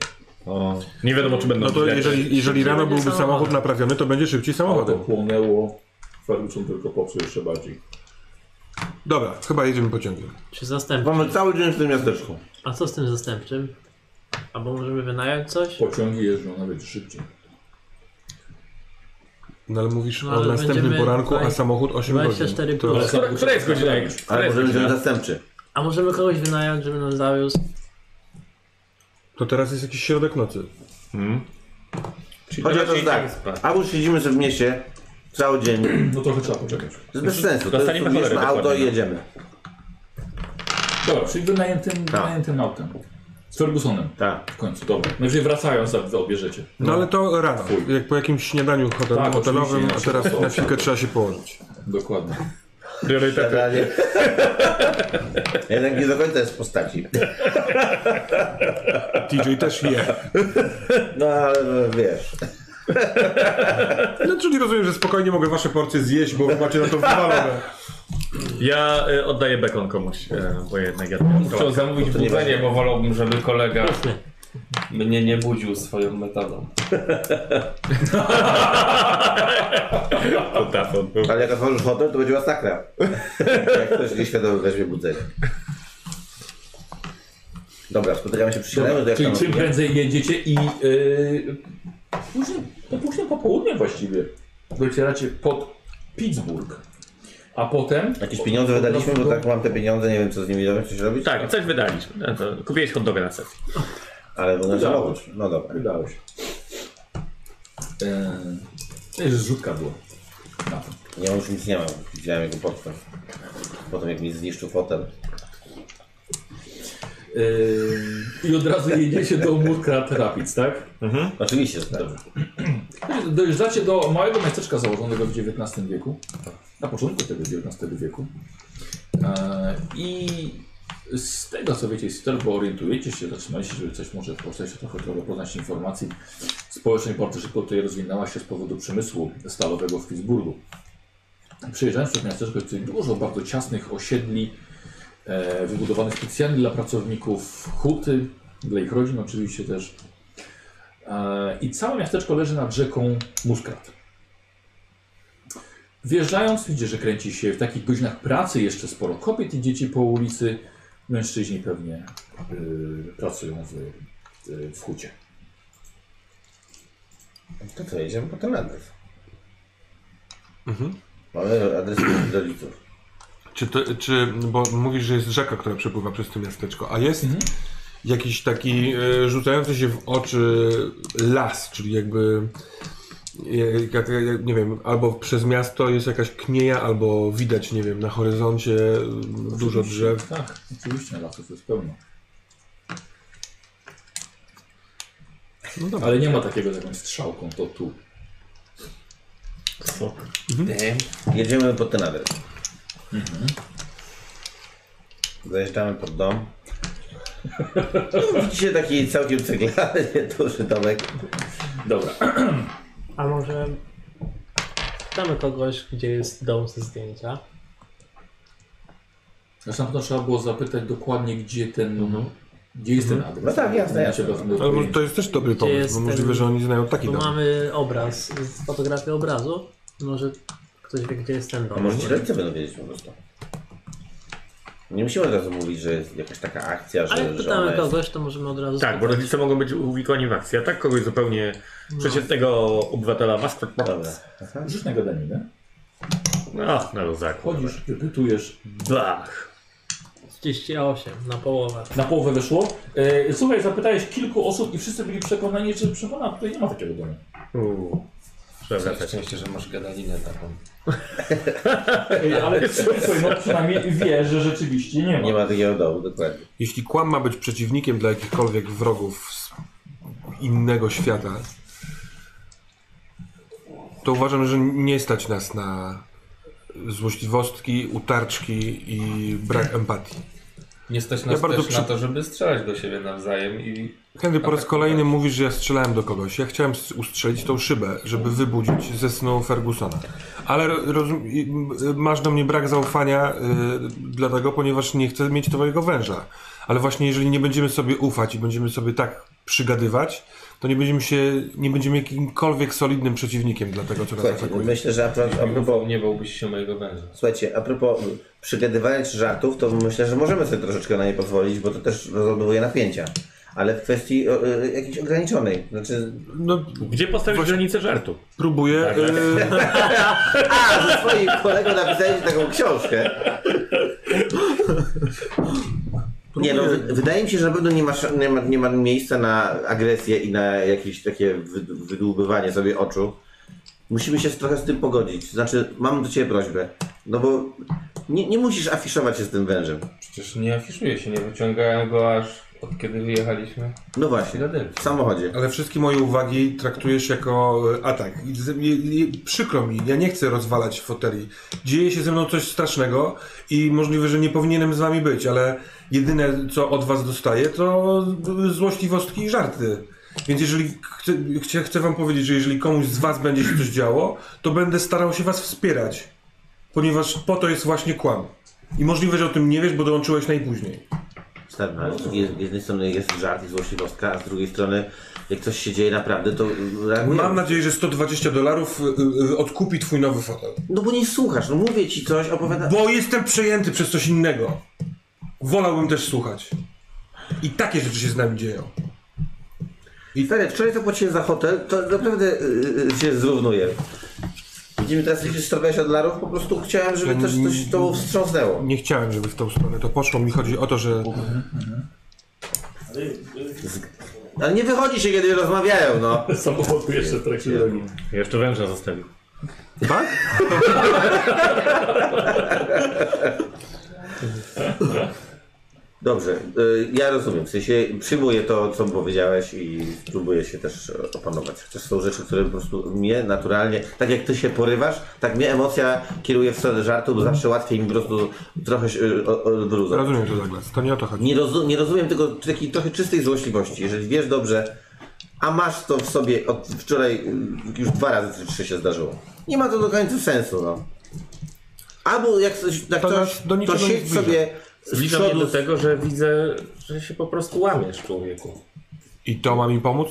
Speaker 10: Nie wiadomo, czy będą
Speaker 5: No to
Speaker 10: źle.
Speaker 5: jeżeli, jeżeli rano byłby samochód naprawiony, to będzie szybciej
Speaker 2: Auto
Speaker 5: samochodem.
Speaker 2: płonęło, Ferguson tylko popsuł jeszcze bardziej.
Speaker 5: Dobra, chyba jedziemy pociągiem.
Speaker 6: Czy zastępczy?
Speaker 3: Mamy cały dzień w tym miasteczku.
Speaker 6: A co z tym zastępczym? Albo możemy wynająć coś?
Speaker 2: Pociągi jeżdżą nawet szybciej.
Speaker 5: No ale mówisz
Speaker 6: No,
Speaker 5: o
Speaker 6: ale
Speaker 5: następnym
Speaker 6: będziemy
Speaker 5: poranku, a
Speaker 6: dwaj-
Speaker 5: samochód 8 godzin.
Speaker 6: 24
Speaker 5: To...
Speaker 6: plus.
Speaker 10: Która, która jest godzina? Która
Speaker 3: Ale
Speaker 10: jest
Speaker 3: możemy wziąć
Speaker 10: godzina?
Speaker 3: zastępczy.
Speaker 6: A możemy kogoś wynająć, żeby nam zawiózł?
Speaker 5: To teraz jest jakiś środek nocy.
Speaker 3: Chociaż
Speaker 9: Raczej
Speaker 3: tak. Albo siedzimy sobie w mieście cały dzień.
Speaker 2: No trochę trzeba poczekać.
Speaker 3: To jest bez sensu. To
Speaker 10: Dostaniemy
Speaker 3: jest, bierzmy
Speaker 10: cholery,
Speaker 3: auto i
Speaker 10: dokładnie.
Speaker 3: jedziemy.
Speaker 2: Dobra, czyli wynajętym,
Speaker 10: Tak.
Speaker 2: wynajętym autem. Z Fergusonem.
Speaker 3: Tak.
Speaker 2: W końcu, dobra. Najwyżej wracając, za- za obierzecie.
Speaker 5: No ale to rano, jak po jakimś śniadaniu hotel,
Speaker 2: Tak,
Speaker 5: hotelowym,
Speaker 2: oczywiście,
Speaker 5: a
Speaker 2: ja
Speaker 5: teraz
Speaker 2: się
Speaker 5: na chwilkę trzeba się położyć.
Speaker 2: Dokładnie.
Speaker 10: Priorytety.
Speaker 3: Zadanie. Jednak nie do końca jest w postaci.
Speaker 5: TJ też je.
Speaker 3: No ale no, wiesz.
Speaker 5: No czyli rozumiem, że spokojnie mogę wasze porcje zjeść, bo macie na to wywalone.
Speaker 10: Ja y, oddaję bekon komuś, y, bo jednak ja to
Speaker 9: Chciał zamówić
Speaker 3: nie
Speaker 9: budzenie, bo wolałbym, żeby kolega
Speaker 6: Chodźmy.
Speaker 9: mnie nie budził swoją metodą.
Speaker 10: Dafon.
Speaker 3: Ale jak otworzysz hotel, to będzie masakra. jak ktoś nieświadomy weźmie budzenie. Dobra, spotykamy się przy śniadaniu, to jak
Speaker 2: Czyli
Speaker 3: tam...
Speaker 2: czym prędzej jedziecie i yy, później, po późnym popołudnie właściwie docieracie pod Pittsburgh, a potem...
Speaker 3: Jakieś pieniądze wydaliśmy, bo tak mam te pieniądze, nie wiem co z nimi robić, coś robić.
Speaker 10: Tak, coś wydaliśmy. No to kupiłeś hot doga na sesji.
Speaker 3: Ale bo na
Speaker 2: Udało
Speaker 3: samochód. No dobra.
Speaker 2: Wydało się. Eee, to jest zrzutka była. Na to.
Speaker 3: Ja już nic nie mam. Widziałem jego portfel. Potem jak mi zniszczył fotel.
Speaker 2: Yy, I od razu jedziecie do Murkrat Rapids, tak?
Speaker 3: Oczywiście, że tak.
Speaker 2: Dojeżdżacie do małego miasteczka założonego w XIX wieku, na początku tego XIX wieku. E, I z tego co wiecie, z tego orientujecie się, zatrzymaliście, że coś może powstać, trochę, trochę poznać informacji. Społeczność bardzo szybko tutaj rozwinęła się z powodu przemysłu stalowego w Pittsburghu. Przyjeżdżając przez miasteczko, jest tutaj dużo bardzo ciasnych osiedli, e, wybudowanych specjalnie dla pracowników huty, dla ich rodzin oczywiście też. E, I całe miasteczko leży nad rzeką Muskrat. Wjeżdżając, widzicie, że kręci się w takich godzinach pracy jeszcze sporo kobiet i dzieci po ulicy. Mężczyźni pewnie y, pracują w, y, w hucie.
Speaker 3: To co, jedziemy po ten adres.
Speaker 2: Mhm.
Speaker 3: Mamy adres do rodziców.
Speaker 5: Czy, to, czy, bo mówisz, że jest rzeka, która przepływa przez to miasteczko, a jest jakiś taki e, rzucający się w oczy las, czyli jakby, e, jak, jak, jak, nie wiem, albo przez miasto jest jakaś knieja, albo widać, nie wiem, na horyzoncie dużo drzew.
Speaker 2: Tak, oczywiście, lasów jest pełno.
Speaker 5: No dobra.
Speaker 2: Ale nie ma takiego taką strzałką, to tu.
Speaker 3: Jedziemy pod ten adres. Zajeżdżamy pod dom. No, Widzicie taki całkiem ceglany, duży domek.
Speaker 2: Dobra.
Speaker 6: A może damy kogoś, gdzie jest dom ze zdjęcia?
Speaker 2: Zresztą na pewno trzeba było zapytać dokładnie, gdzie ten. Gdzie jest ten adres?
Speaker 3: No tak, jasne,
Speaker 2: Macie
Speaker 3: jasne.
Speaker 2: pewne
Speaker 5: Mhm. Ale może
Speaker 2: pojęcie.
Speaker 5: to jest też dobry pomysł,
Speaker 6: jest
Speaker 5: bo
Speaker 6: ten-
Speaker 5: możliwe, że oni znają taki
Speaker 6: Tu
Speaker 5: dom.
Speaker 6: mamy obraz, z fotografię obrazu. Może ktoś wie, gdzie jest ten
Speaker 3: A
Speaker 6: dom.
Speaker 3: może ci rodzice będą wiedzieć po prostu. Nie musimy od razu mówić, że jest jakaś taka akcja, że,
Speaker 6: Ale jak
Speaker 3: że ona
Speaker 6: pytamy
Speaker 3: jest...
Speaker 6: kogoś, to możemy od razu
Speaker 4: Tak, bo
Speaker 6: spytać.
Speaker 4: rodzice mogą być uwikłani w akcji, a tak kogoś zupełnie
Speaker 9: No.
Speaker 4: przeciętnego obywatela was...
Speaker 10: no,
Speaker 3: Dobra.
Speaker 2: Rzuć na gadaninę.
Speaker 4: Ach, na luzaku.
Speaker 2: Chodzisz, wypytujesz.
Speaker 4: Bach.
Speaker 6: 38, na połowę.
Speaker 2: Na połowę wyszło. E, słuchaj, zapytałeś kilku osób i wszyscy byli przekonani, że przepona tutaj nie ma takiego domu.
Speaker 4: Uuu. Trzeba
Speaker 9: Całe
Speaker 4: wracać.
Speaker 9: szczęście, że masz gadalinę taką.
Speaker 2: Ej, ale słuchaj, no przynajmniej wie, że rzeczywiście nie ma.
Speaker 3: Nie ma takiego domu, dokładnie.
Speaker 5: Jeśli kłam ma być przeciwnikiem dla jakichkolwiek wrogów z innego świata, to uważam, że nie stać nas na złośliwostki, utarczki i brak empatii.
Speaker 9: Nie stać
Speaker 5: Ja
Speaker 9: nas
Speaker 5: bardzo
Speaker 9: też
Speaker 5: przy-
Speaker 9: na to, żeby strzelać do siebie nawzajem i...
Speaker 5: Henry po raz kolejny mówisz, że ja strzelałem do kogoś. Ja chciałem s- ustrzelić tą szybę, żeby wybudzić ze snu Fergusona. Ale ro- rozum- i- m- masz do mnie brak zaufania, y, dlatego, ponieważ nie chcę mieć twojego węża. Ale właśnie jeżeli nie będziemy sobie ufać i będziemy sobie tak przygadywać, to nie będziemy się, nie będziemy jakimkolwiek solidnym przeciwnikiem dla tego, co nas
Speaker 3: Słuchajcie,
Speaker 5: atakuje.
Speaker 3: myślę, że a pro- a propos
Speaker 9: Nie bałbyś się mojego węża.
Speaker 3: Słuchajcie, a propos przygadywania czy żartów, to myślę, że możemy sobie troszeczkę na nie pozwolić, bo to też rozładowuje napięcia. Ale w kwestii o, y, jakiejś ograniczonej. Znaczy,
Speaker 5: No,
Speaker 4: Gdzie postawić granicę żartu?
Speaker 5: próbuję... y,
Speaker 3: a, ze swoim kolegą napisaliście taką książkę. Nie no, wy- wydaje mi się, że na pewno nie ma, sz- nie ma, nie ma miejsca na agresję i na jakieś takie wy- wydłubywanie sobie oczu. Musimy się trochę z tym pogodzić. Znaczy, mam do Ciebie prośbę. No bo nie, nie musisz afiszować się z tym wężem.
Speaker 9: Przecież nie afiszuję się, nie wyciągałem go aż od kiedy wyjechaliśmy.
Speaker 3: No właśnie, w samochodzie.
Speaker 5: Ale wszystkie moje uwagi traktujesz jako e, atak. I z- i- i- Przykro mi, ja nie chcę rozwalać foteli. Dzieje się ze mną coś strasznego i możliwe, że nie powinienem z wami być, ale jedyne co od was dostaję to złośliwostki i żarty. Więc jeżeli chcę, chcę, chcę wam powiedzieć, że jeżeli komuś z was będzie się coś działo, to będę starał się was wspierać. Ponieważ po to jest właśnie kłam. I możliwe, że o tym nie wiesz, bo dołączyłeś najpóźniej.
Speaker 3: Stary, no, ale z, drugiej, z jednej strony jest żart i złośliwostka, a z drugiej strony jak coś się dzieje naprawdę, to reagujemy.
Speaker 5: Mam nadzieję, że 120 dolarów y, y, odkupi twój nowy fotel.
Speaker 3: No bo nie słuchasz, no mówię ci coś, opowiada...
Speaker 5: Bo jestem przejęty przez coś innego. Wolałbym też słuchać. I takie rzeczy się z nami dzieją.
Speaker 3: I stary, wczoraj zapłaciłem za hotel, to naprawdę yy, yy, się zrównuje. Widzimy teraz jakieś 120 dolarów, po prostu chciałem, żeby też coś to wstrząsnęło.
Speaker 5: Nie chciałem, żeby w tą stronę to poszło. Mi chodzi o to, że
Speaker 3: Ale nie wychodzi się, kiedy rozmawiają, no.
Speaker 2: Samochodu jeszcze w trakcie drogi.
Speaker 4: Jeszcze węża zostawił.
Speaker 5: tak?
Speaker 3: Dobrze, y, ja rozumiem. W sensie przyjmuję to, co powiedziałeś i próbuję się też e, opanować. Chociaż są rzeczy, które po prostu mnie naturalnie, tak jak ty się porywasz, tak mnie emocja kieruje w stronę żartu, bo zawsze łatwiej mi po prostu trochę się y, o- odwrócę.
Speaker 5: Rozumiem to, Douglas. To nie o to chodzi.
Speaker 3: Nie, rozu- nie rozumiem tego takiej trochę czystej złośliwości. Jeżeli wiesz dobrze, a masz to w sobie od wczoraj, y, już dwa razy czy trzy się zdarzyło. Nie ma to do końca sensu, no. Albo jak coś, jak
Speaker 5: To
Speaker 3: coś,
Speaker 5: nas do
Speaker 3: to
Speaker 5: niczego nie
Speaker 3: siedź
Speaker 5: zbliża.
Speaker 3: sobie z
Speaker 9: Zbliża mnie
Speaker 3: przodu,
Speaker 9: do tego, że widzę, że się po prostu łamiesz człowieku.
Speaker 5: I to ma mi pomóc?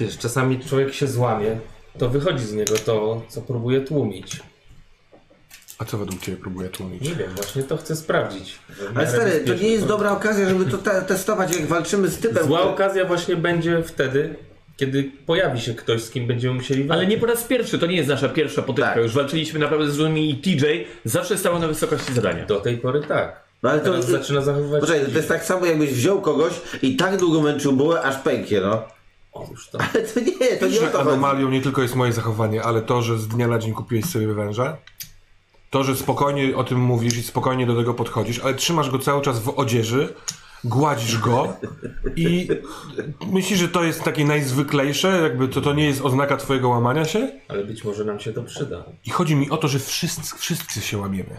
Speaker 9: Wiesz, czasami człowiek się złamie, to wychodzi z niego to, co próbuje tłumić.
Speaker 5: A co według Ciebie próbuję tłumić?
Speaker 9: Nie wiem, właśnie to chcę sprawdzić.
Speaker 3: Ale stary, to nie jest dobra okazja, żeby to te- testować, jak walczymy z typem.
Speaker 9: Zła
Speaker 3: który-
Speaker 9: okazja właśnie będzie wtedy, kiedy pojawi się ktoś, z kim będziemy musieli walczyć.
Speaker 10: Ale nie po raz pierwszy, to nie jest nasza pierwsza potyczka.
Speaker 3: Tak.
Speaker 10: Już walczyliśmy naprawdę z różnymi i TJ zawsze stało na wysokości zadania.
Speaker 9: Do tej pory tak.
Speaker 3: No ale to,
Speaker 9: Teraz zaczyna zachowywać
Speaker 3: Poczekaj, to jest tak samo, jakbyś wziął kogoś i tak długo męczył bułę, aż pęknie, no.
Speaker 9: O, już to.
Speaker 3: Ale to nie, to nie o
Speaker 5: Że
Speaker 3: to chodzi.
Speaker 5: anomalią nie tylko jest moje zachowanie, ale to, że z dnia na dzień kupiłeś sobie węża, to, że spokojnie o tym mówisz i spokojnie do tego podchodzisz, ale trzymasz go cały czas w odzieży, gładzisz go i myślisz, że to jest takie najzwyklejsze, jakby to, to nie jest oznaka twojego łamania się?
Speaker 9: Ale być może nam się to przyda.
Speaker 5: I chodzi mi o to, że wszyscy, wszyscy się łamiemy.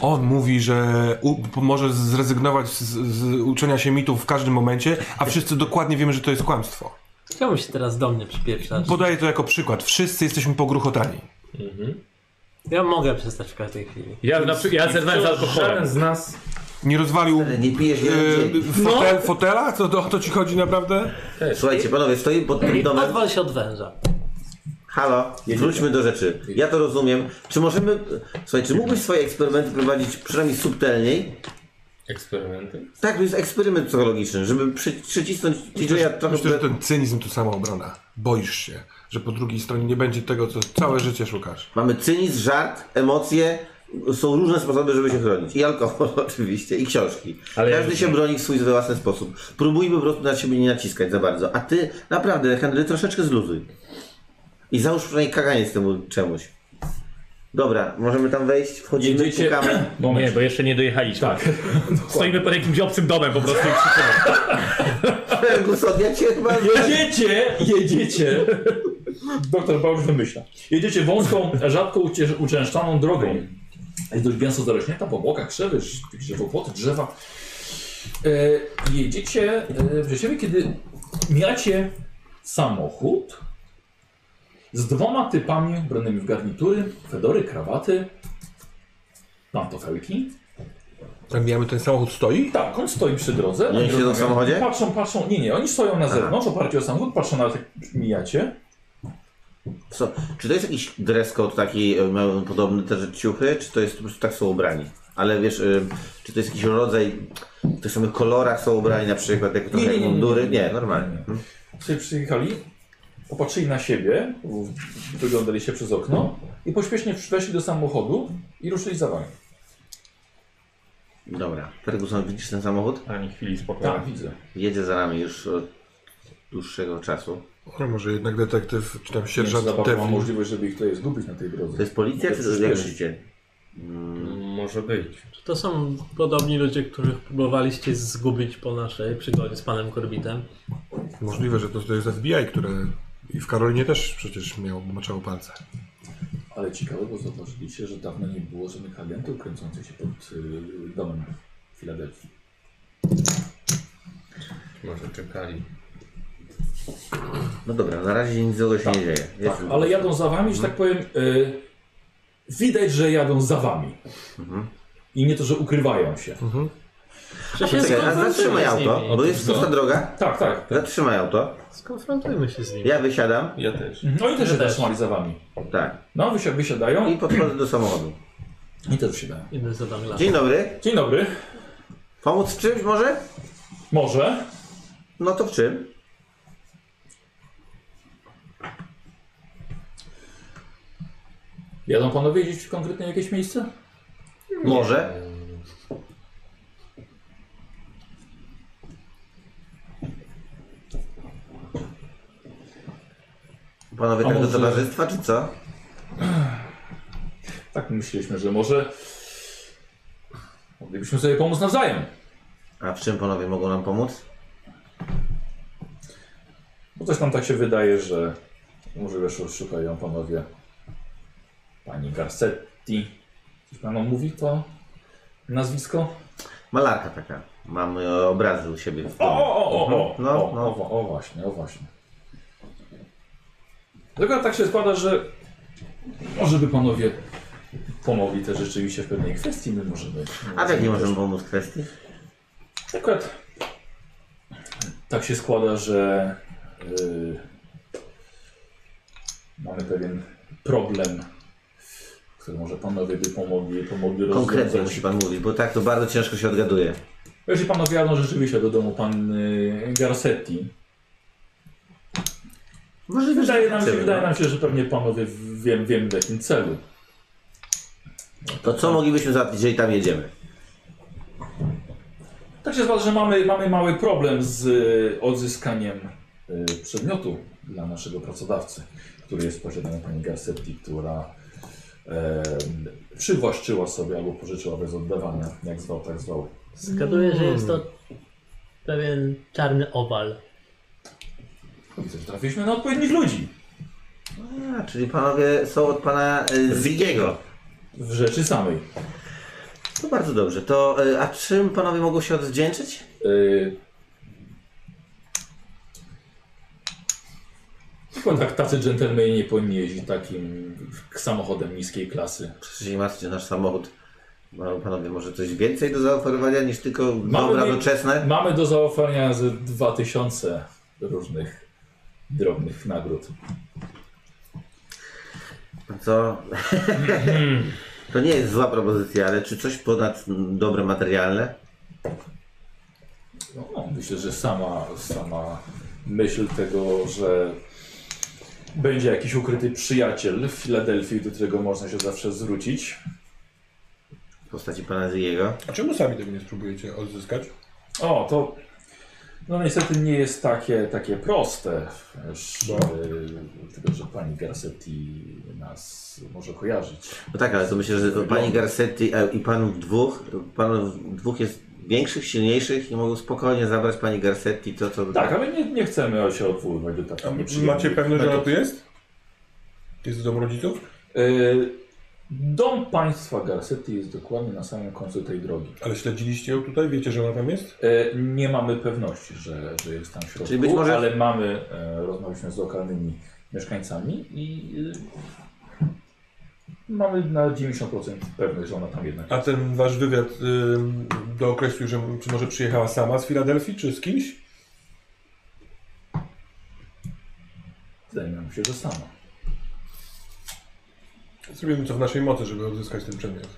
Speaker 5: On mówi, że u, może zrezygnować z, z uczenia się mitów w każdym momencie, a wszyscy dokładnie wiemy, że to jest kłamstwo.
Speaker 6: Chciałbym się teraz do mnie przypieprzać.
Speaker 5: Podaję to jako przykład. Wszyscy jesteśmy pogruchotani.
Speaker 6: Ja mogę przestać w każdej chwili.
Speaker 10: Ja, na, przy- ja zerwałem z
Speaker 9: Żaden
Speaker 10: alkoholem.
Speaker 9: z nas
Speaker 5: Nie rozwalił
Speaker 3: Nie pijesz jeden
Speaker 5: yy,
Speaker 3: dzień.
Speaker 5: fotel, fotela? Co, to, o to ci chodzi naprawdę?
Speaker 3: Słuchajcie, panowie, stoję pod tym domem.
Speaker 6: Odwal się od węża.
Speaker 3: Halo, wróćmy do rzeczy. Ja to rozumiem. Czy możemy... Słuchaj, czy mógłbyś swoje eksperymenty prowadzić przynajmniej subtelniej?
Speaker 9: eksperymenty.
Speaker 3: Tak, to jest eksperyment psychologiczny, żeby przy, przycisnąć TJ'a trochę...
Speaker 5: Myślę, że ten cynizm to sama obrona. Boisz się, że po drugiej stronie nie będzie tego, co całe życie szukasz.
Speaker 3: Mamy cynizm, żart, emocje. Są różne sposoby, żeby się chronić. I alkohol oczywiście, i książki.
Speaker 10: Ale ja
Speaker 3: Każdy się broni w swój własny sposób. Próbuj po prostu na siebie nie naciskać za bardzo. A ty naprawdę, Henry, troszeczkę zluzuj. I załóż przynajmniej kaganiec temu czemuś. Dobra, możemy tam wejść, wchodzimy,
Speaker 2: Jedziecie-
Speaker 3: pukamy.
Speaker 10: Nie, bo jeszcze nie dojechaliśmy. Stoimy pod jakimś obcym domem po prostu i krzyczymy.
Speaker 3: Fergus, odjacie chyba...
Speaker 2: Jedziecie, jedziecie. Doktor Bał już wymyśla. Jedziecie wąską, rzadko ucie- uczęszczaną drogą. Jest dość gęsto zarośnięta po bokach, krzewy, drz- drzewopłoty, drzewa. E, jedziecie e, w Rzeszowie, kiedy mijacie samochód z dwoma typami ubranymi w garnitury, fedory, krawaty, pantofelki.
Speaker 5: Zabijamy Tak, ten samochód stoi?
Speaker 2: Tak, on stoi przy drodze.
Speaker 3: Oni siedzą w samochodzie?
Speaker 2: Patrzą, patrzą. Nie, nie, oni stoją na zewnątrz, oparci o samochód, patrzą na jak mijacie.
Speaker 3: Co? Czy to jest jakiś dress code taki e, mają podobny też do ciuchy, czy to jest po prostu tak są ubrani? Ale wiesz, e, czy to jest jakiś rodzaj, w tych samych kolorach są ubrani na przykład, jak trochę
Speaker 2: nie,
Speaker 3: jak
Speaker 2: nie, nie,
Speaker 3: mundury?
Speaker 2: nie, nie.
Speaker 3: Nie, normalnie.
Speaker 2: sobie przyjechali, popatrzyli na siebie, w- wyglądali się przez okno i pośpiesznie weszli do samochodu i ruszyli za wami.
Speaker 3: Dobra, Ferguson, widzisz ten samochód?
Speaker 10: Ani chwili spokoju.
Speaker 2: Tak, widzę.
Speaker 3: Jedzie za nami już od dłuższego czasu.
Speaker 5: No może jednak detektyw, czy tam
Speaker 2: Nie wiem, czy
Speaker 5: sierżant
Speaker 2: zabawka ma
Speaker 5: Teflin.
Speaker 2: możliwość, żeby ich tutaj zgubić na tej drodze.
Speaker 3: To jest policja,
Speaker 2: To
Speaker 3: czy
Speaker 2: jest
Speaker 3: jak
Speaker 2: śmieszne.
Speaker 3: myślicie?
Speaker 9: Może być.
Speaker 6: Czy to są podobni ludzie, których próbowaliście zgubić po naszej przygodzie z panem Korbitem?
Speaker 5: Możliwe, że to, to jest FBI, które i w Karolinie też przecież miał maczało palce.
Speaker 2: Ale ciekawe, bo zauważyliście, że dawno nie było żadnych agentów kręcących się pod y, domem w Filadelfii.
Speaker 9: Może czekali.
Speaker 3: No dobra, na razie nic złego się nie dzieje. Jest
Speaker 2: Tak, ale jadą za wami, że tak powiem, y, widać, że jadą za wami. I nie to, że ukrywają się.
Speaker 6: Czy się
Speaker 3: Czekaj, a
Speaker 6: skonfrontujmy
Speaker 3: zatrzymaj
Speaker 6: z
Speaker 3: auto,
Speaker 6: nimi?
Speaker 3: bo jest pusta droga.
Speaker 2: Tak, tak.
Speaker 3: Zatrzymaj auto.
Speaker 6: Skonfrontujmy się z nimi.
Speaker 3: Ja wysiadam.
Speaker 9: Ja też.
Speaker 2: No i też się
Speaker 6: też.
Speaker 2: zatrzymali za wami.
Speaker 3: Tak.
Speaker 2: No, wysi- wysiadają
Speaker 3: I podchodzę do samochodu.
Speaker 2: i też wysiadają.
Speaker 6: Idę za Douglasem.
Speaker 3: Dzień dobry.
Speaker 2: Dzień dobry.
Speaker 3: Pomóc w czymś może?
Speaker 2: Może.
Speaker 3: No to w czym?
Speaker 2: Jadą panowie gdzieś w konkretnie jakieś miejsce?
Speaker 3: Może. Panowie
Speaker 2: A
Speaker 3: tak do
Speaker 2: może-
Speaker 3: towarzystwa, czy co?
Speaker 2: Tak myśleliśmy, że może moglibyśmy sobie pomóc nawzajem.
Speaker 3: A w czym panowie mogą nam pomóc?
Speaker 2: Bo coś tam tak się wydaje, że może wiesz, szukają panowie pani Garcetti. Coś panu mówi to nazwisko?
Speaker 3: Malarka taka. Mam e, obrazy u siebie w
Speaker 2: O,
Speaker 3: domu.
Speaker 2: o, o, o, o,
Speaker 3: No,
Speaker 2: Mhm. o,
Speaker 3: no.
Speaker 2: o, o, o właśnie, o właśnie. Tylko tak się składa, że może by panowie pomogli też rzeczywiście w pewnej kwestii, my możemy...
Speaker 3: A w jakiej możemy pomóc kwestii?
Speaker 2: Akurat tak się składa, że y, mamy pewien problem, który może panowie by pomogli, pomogli
Speaker 3: Konkretnie
Speaker 2: rozwiązać.
Speaker 3: musi pan mówić, bo tak to bardzo ciężko się odgaduje.
Speaker 2: Jeśli panowie jadą rzeczywiście do domu pan y, Garcetti,
Speaker 3: Możliwe,
Speaker 2: wydaje nam, się,
Speaker 3: chcemy,
Speaker 2: wydaje
Speaker 3: no.
Speaker 2: nam się, że pewnie panowie w- wiem, wiem w jakim celu.
Speaker 3: To co moglibyśmy załatwić, jeżeli tam jedziemy?
Speaker 2: Tak się zgadza, że mamy, mamy mały problem z y, odzyskaniem y, przedmiotu dla naszego pracodawcy, który jest w posiadaniu pani Garcetti, która e, przywłaszczyła sobie albo pożyczyła bez oddawania, jak zwał, tak zwał.
Speaker 6: Zgaduję, że jest to pewien czarny owal.
Speaker 2: Widzę, że trafiliśmy na odpowiednich ludzi.
Speaker 3: A, czyli panowie są od pana e, Zigiego.
Speaker 2: W rzeczy samej.
Speaker 3: To bardzo dobrze. To, e, a czym panowie mogą się odwdzięczyć?
Speaker 2: Y, Chyba tak tacy dżentelmeni nie powinni jeździć takim samochodem niskiej klasy.
Speaker 3: Przecież się nie martwcie, nasz samochód. Mają panowie może coś więcej do zaoferowania niż tylko dobra no,
Speaker 2: mi-
Speaker 3: doczesne?
Speaker 2: Mamy do zaoferowania ze 2000 różnych drobnych nagród.
Speaker 3: Co? to nie jest zła propozycja, ale czy coś ponad mm, dobre materialne?
Speaker 2: No, myślę, że sama, sama myśl tego, że będzie jakiś ukryty przyjaciel w Filadelfii, do którego można się zawsze zwrócić.
Speaker 3: W postaci pana Zigiego?
Speaker 5: A czemu sami tego nie spróbujecie odzyskać?
Speaker 2: O, to no niestety nie jest takie, takie proste, wiesz,
Speaker 5: No.
Speaker 2: y, tylko że pani Garcetti nas może kojarzyć.
Speaker 3: No tak, ale to myślę, że pani Garcetti e, i panów dwóch, panów dwóch jest większych, silniejszych i mogą spokojnie zabrać pani Garcetti to, co...
Speaker 2: Tak, ale nie, nie chcemy się odwoływać do
Speaker 5: A
Speaker 2: takich
Speaker 5: macie
Speaker 2: nieprzyjemnych
Speaker 5: pewność, że
Speaker 2: metod.
Speaker 5: ona tu jest? Jest w domu rodziców?
Speaker 2: Y, Dom państwa Garcetti jest dokładnie na samym końcu tej drogi.
Speaker 5: Ale śledziliście ją tutaj? Wiecie, że ona tam jest?
Speaker 2: Y, Nie mamy pewności, że, że jest tam w środku,
Speaker 3: Czyli być może-
Speaker 2: ale mamy, e, rozmawialiśmy z lokalnymi mieszkańcami i y, mamy na 90% pewność, że ona tam jednak
Speaker 5: A ten wasz wywiad ym, dookreślił, że m- czy może przyjechała sama z Filadelfii, czy z kimś?
Speaker 2: Wydaje nam się, że sama.
Speaker 5: Zrobimy co w naszej mocy, żeby odzyskać ten przedmiot.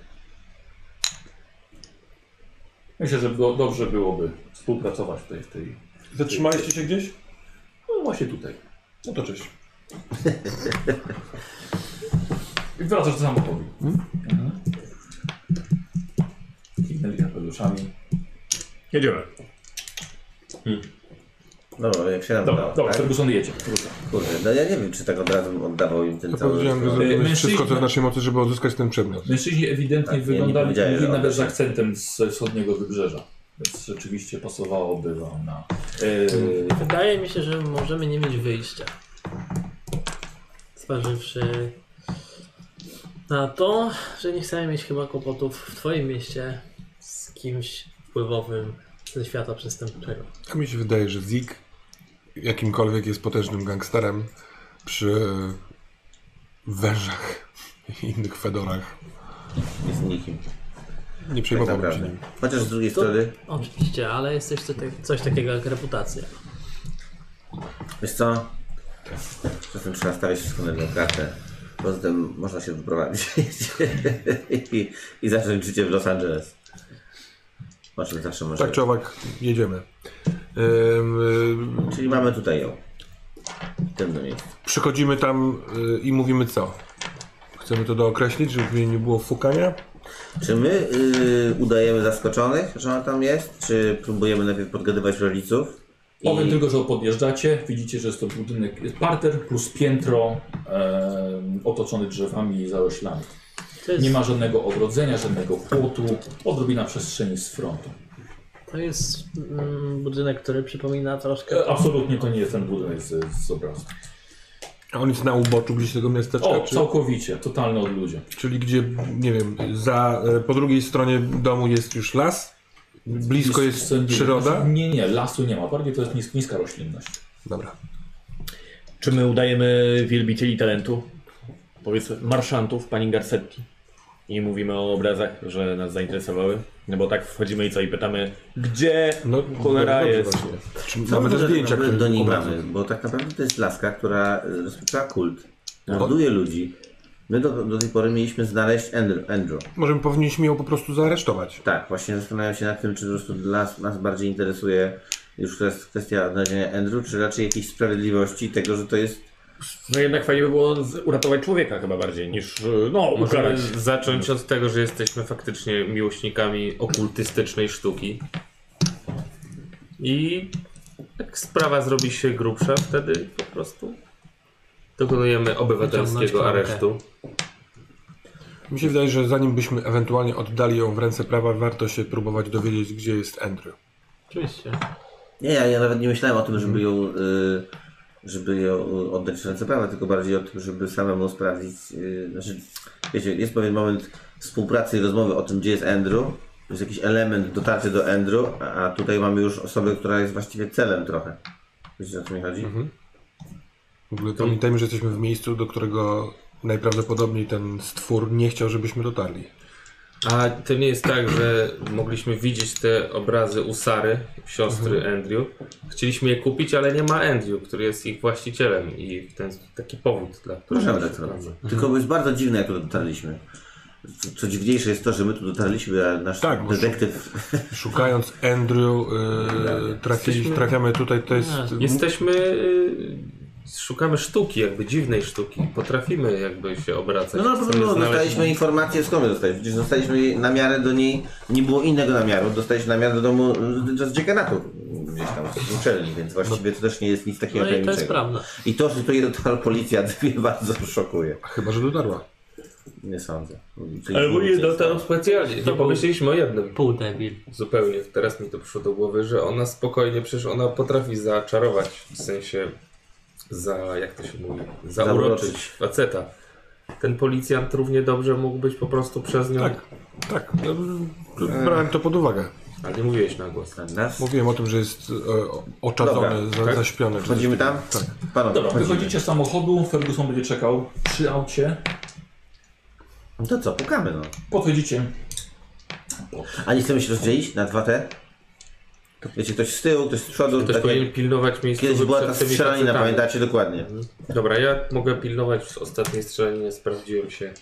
Speaker 2: Myślę, że było, dobrze byłoby współpracować tutaj w tej...
Speaker 5: Zatrzymaliście się gdzieś?
Speaker 2: No właśnie tutaj.
Speaker 5: No to cześć.
Speaker 2: I wracasz do samochodu.
Speaker 3: Hmm?
Speaker 2: Mhm. Kiwnęli kapeluszami.
Speaker 10: Jedziemy.
Speaker 3: No, jak się nam
Speaker 2: Dobra,
Speaker 3: udało,
Speaker 2: dobra,
Speaker 3: tak?
Speaker 2: Ferguson jedzie. Proszę.
Speaker 3: Kurde, no ja nie wiem, czy tak od razu oddawał im ten
Speaker 5: Ja
Speaker 3: cały...
Speaker 5: powiedziałem, że
Speaker 2: Yy,
Speaker 5: zrobimy
Speaker 2: mężczyźni-
Speaker 5: wszystko co w naszej mocy, żeby odzyskać ten przedmiot.
Speaker 2: Mężczyźni ewidentnie
Speaker 3: Tak, nie, nie
Speaker 2: wyglądali
Speaker 3: powiedziałem,
Speaker 2: mówili
Speaker 3: że
Speaker 2: nawet z
Speaker 3: obecnie.
Speaker 2: akcentem z wschodniego wybrzeża. Więc rzeczywiście pasowałoby wam na... Yy,
Speaker 6: Wydaje mi się, że możemy nie mieć wyjścia. Zważywszy na to, że nie chcemy mieć chyba kłopotów w Twoim mieście z kimś wpływowym ze świata przestępczego.
Speaker 5: A mi się wydaje, że Zig, jakimkolwiek jest potężnym gangsterem, przy wężach i innych fedorach
Speaker 3: Jest nikim.
Speaker 5: nie
Speaker 3: Tak
Speaker 5: przejmowałbym się
Speaker 3: naprawdę.
Speaker 5: nim.
Speaker 3: Chociaż z drugiej
Speaker 6: To-
Speaker 3: strony,
Speaker 6: Oczywiście, ale jest coś, co tak- coś takiego jak reputacja.
Speaker 3: wiesz co? Czasem trzeba stawiać wszystko na jedną kartę. Poza tym można się wyprowadzić I, i zacząć życie w Los Angeles. O czym zawsze można.
Speaker 5: Tak czy owak, jedziemy. Ym, ym, y,
Speaker 3: Czyli mamy tutaj ją. W tym do miejscu.
Speaker 5: przychodzimy tam y, i mówimy co? Chcemy to dookreślić, żeby nie było fukania?
Speaker 3: Czy my y, udajemy zaskoczonych, że ona tam jest? Czy próbujemy najpierw podgadywać rodziców?
Speaker 2: Powiem tylko, że podjeżdżacie, widzicie, że jest to budynek, jest parter plus piętro e, otoczony drzewami i zaroślami.
Speaker 6: To jest
Speaker 2: Nie ma żadnego ogrodzenia, żadnego płotu, odrobina przestrzeni z frontu.
Speaker 6: To jest mm, budynek, który przypomina troszkę...
Speaker 2: E, Absolutnie to nie jest ten budynek z, z obrazu.
Speaker 5: A on jest na uboczu gdzieś tego miasteczka,
Speaker 2: O,
Speaker 5: czy,
Speaker 2: całkowicie, totalny od ludzi.
Speaker 5: czyli gdzie, nie wiem, za, e, po drugiej stronie domu jest już las, blisko jest
Speaker 2: nie,
Speaker 5: przyroda.
Speaker 2: Nie, nie, lasu nie ma. Bardziej to jest nis, niska roślinność.
Speaker 5: Dobra.
Speaker 10: Czy my udajemy wielbicieli talentu? Powiedzmy, marszantów pani Garcetti. I mówimy o obrazach, że nas zainteresowały. No bo tak wchodzimy i co, i pytamy, gdzie
Speaker 5: No,
Speaker 10: cholera
Speaker 5: dobrze
Speaker 10: jest.
Speaker 5: właśnie. Czy
Speaker 3: Co
Speaker 5: mamy
Speaker 3: my
Speaker 5: te zdjęcia,
Speaker 3: które
Speaker 5: które
Speaker 3: do niej
Speaker 5: obrazu.
Speaker 3: mamy, bo tak naprawdę to jest laska, która y, rozpoczęła kult,
Speaker 5: No.
Speaker 3: morduje ludzi. My do, do tej pory mieliśmy znaleźć Andrew. Andrew.
Speaker 5: Możemy, powinniśmy ją po prostu zaaresztować.
Speaker 3: Tak, właśnie zastanawiam się nad tym, czy po prostu dla nas, nas bardziej interesuje już kwest- kwestia odnalezienia Andrew, czy raczej jakiejś sprawiedliwości tego, że to jest
Speaker 10: No jednak fajnie by było z- uratować człowieka chyba bardziej niż, y, no,
Speaker 9: Możemy
Speaker 10: ukarać.
Speaker 9: zacząć od tego, że jesteśmy faktycznie miłośnikami okultystycznej sztuki. I jak sprawa zrobi się grubsza, wtedy po prostu dokonujemy obywatelskiego
Speaker 6: Wyciągnąć
Speaker 9: aresztu.
Speaker 5: Mi się wydaje, że zanim byśmy ewentualnie oddali ją w ręce prawa, warto się próbować dowiedzieć, gdzie jest Andrew.
Speaker 6: Oczywiście.
Speaker 3: Nie, ja, ja nawet nie myślałem o tym, żeby ją, y, żeby ją y, oddać w ręce prawa, tylko bardziej o tym, żeby samemu sprawdzić. Y, znaczy, wiecie, jest pewien moment współpracy i rozmowy o tym, gdzie jest Andrew. Jest jakiś element dotarcia do Andrew, a, a tutaj mamy już osobę, która jest właściwie celem trochę. Wiecie o co mi chodzi?
Speaker 5: W ogóle pamiętajmy, że jesteśmy w miejscu, do którego najprawdopodobniej ten stwór nie chciał, żebyśmy dotarli.
Speaker 9: A to nie jest tak, że mogliśmy widzieć te obrazy u Sary, siostry
Speaker 3: Mhm.
Speaker 9: Andrew. Chcieliśmy je kupić, ale nie ma Andrew, który jest ich właścicielem i ten taki powód, dla którego
Speaker 3: Możemy tak zrobić. Tylko było jest bardzo dziwne, jak tu dotarliśmy. Co, co dziwniejsze jest to, że my tu dotarliśmy, a nasz
Speaker 5: Tak, bo
Speaker 3: detektyw
Speaker 5: Szukając Andrew, yy, trafili,
Speaker 9: Jesteśmy-
Speaker 5: trafiamy tutaj, to jest...
Speaker 6: A,
Speaker 9: Jesteśmy. y, Szukamy sztuki, jakby dziwnej sztuki. Potrafimy jakby się obracać.
Speaker 3: No na
Speaker 9: Chcemy
Speaker 3: pewno
Speaker 9: znaleźć-
Speaker 3: dostaliśmy informację, skąd my dostaliśmy. Przecież dostaliśmy jej na miarę do niej, nie było innego namiaru, dostaliśmy namiar do domu y, z dziekanatu, gdzieś tam z uczelni, więc właściwie to też nie jest nic takiego
Speaker 6: No i to jest
Speaker 3: tajemniczego.
Speaker 6: prawda.
Speaker 3: I to, że tu je dotarł policjant mnie bardzo szokuje.
Speaker 5: Chyba, że dotarła.
Speaker 3: Nie sądzę.
Speaker 9: Albo nie dotarł specjalnie. Nie pomyśleliśmy o jednym.
Speaker 6: Pół debil.
Speaker 9: Zupełnie. Teraz mi to przyszło do głowy, że ona spokojnie, przecież ona potrafi zaczarować, w sensie za, jak to się mówi, zauroczyć
Speaker 3: Zauroczyć.
Speaker 9: faceta. Ten policjant równie dobrze mógł być po prostu przez nią.
Speaker 5: Tak, tak. no, Brałem to pod uwagę.
Speaker 9: Ale nie mówiłeś na głos.
Speaker 3: Nas?
Speaker 5: Mówiłem o tym, że jest e, oczadzony,
Speaker 3: Dobra,
Speaker 5: za,
Speaker 9: tak?
Speaker 5: zaśpiony. czy coś
Speaker 3: Wchodzimy tam?
Speaker 5: takiego. Tak.
Speaker 3: Panowie,
Speaker 2: Dobra,
Speaker 3: wchodzimy.
Speaker 2: wychodzicie z samochodu, Ferguson będzie czekał przy aucie.
Speaker 3: No To co, pukamy no.
Speaker 2: Podchodzicie.
Speaker 3: A nie chcemy się rozdzielić na dwa te? Wiecie, ktoś z tyłu, ktoś z przodu.
Speaker 9: Ktoś
Speaker 3: tak jak-
Speaker 9: powinien pilnować miejsca.
Speaker 3: Kiedyś była ta
Speaker 9: przed tymi
Speaker 3: strzelanina,
Speaker 9: facetami.
Speaker 3: pamiętacie dokładnie.
Speaker 9: Dobra, ja mogę pilnować w ostatniej strzelaninie, sprawdziłem się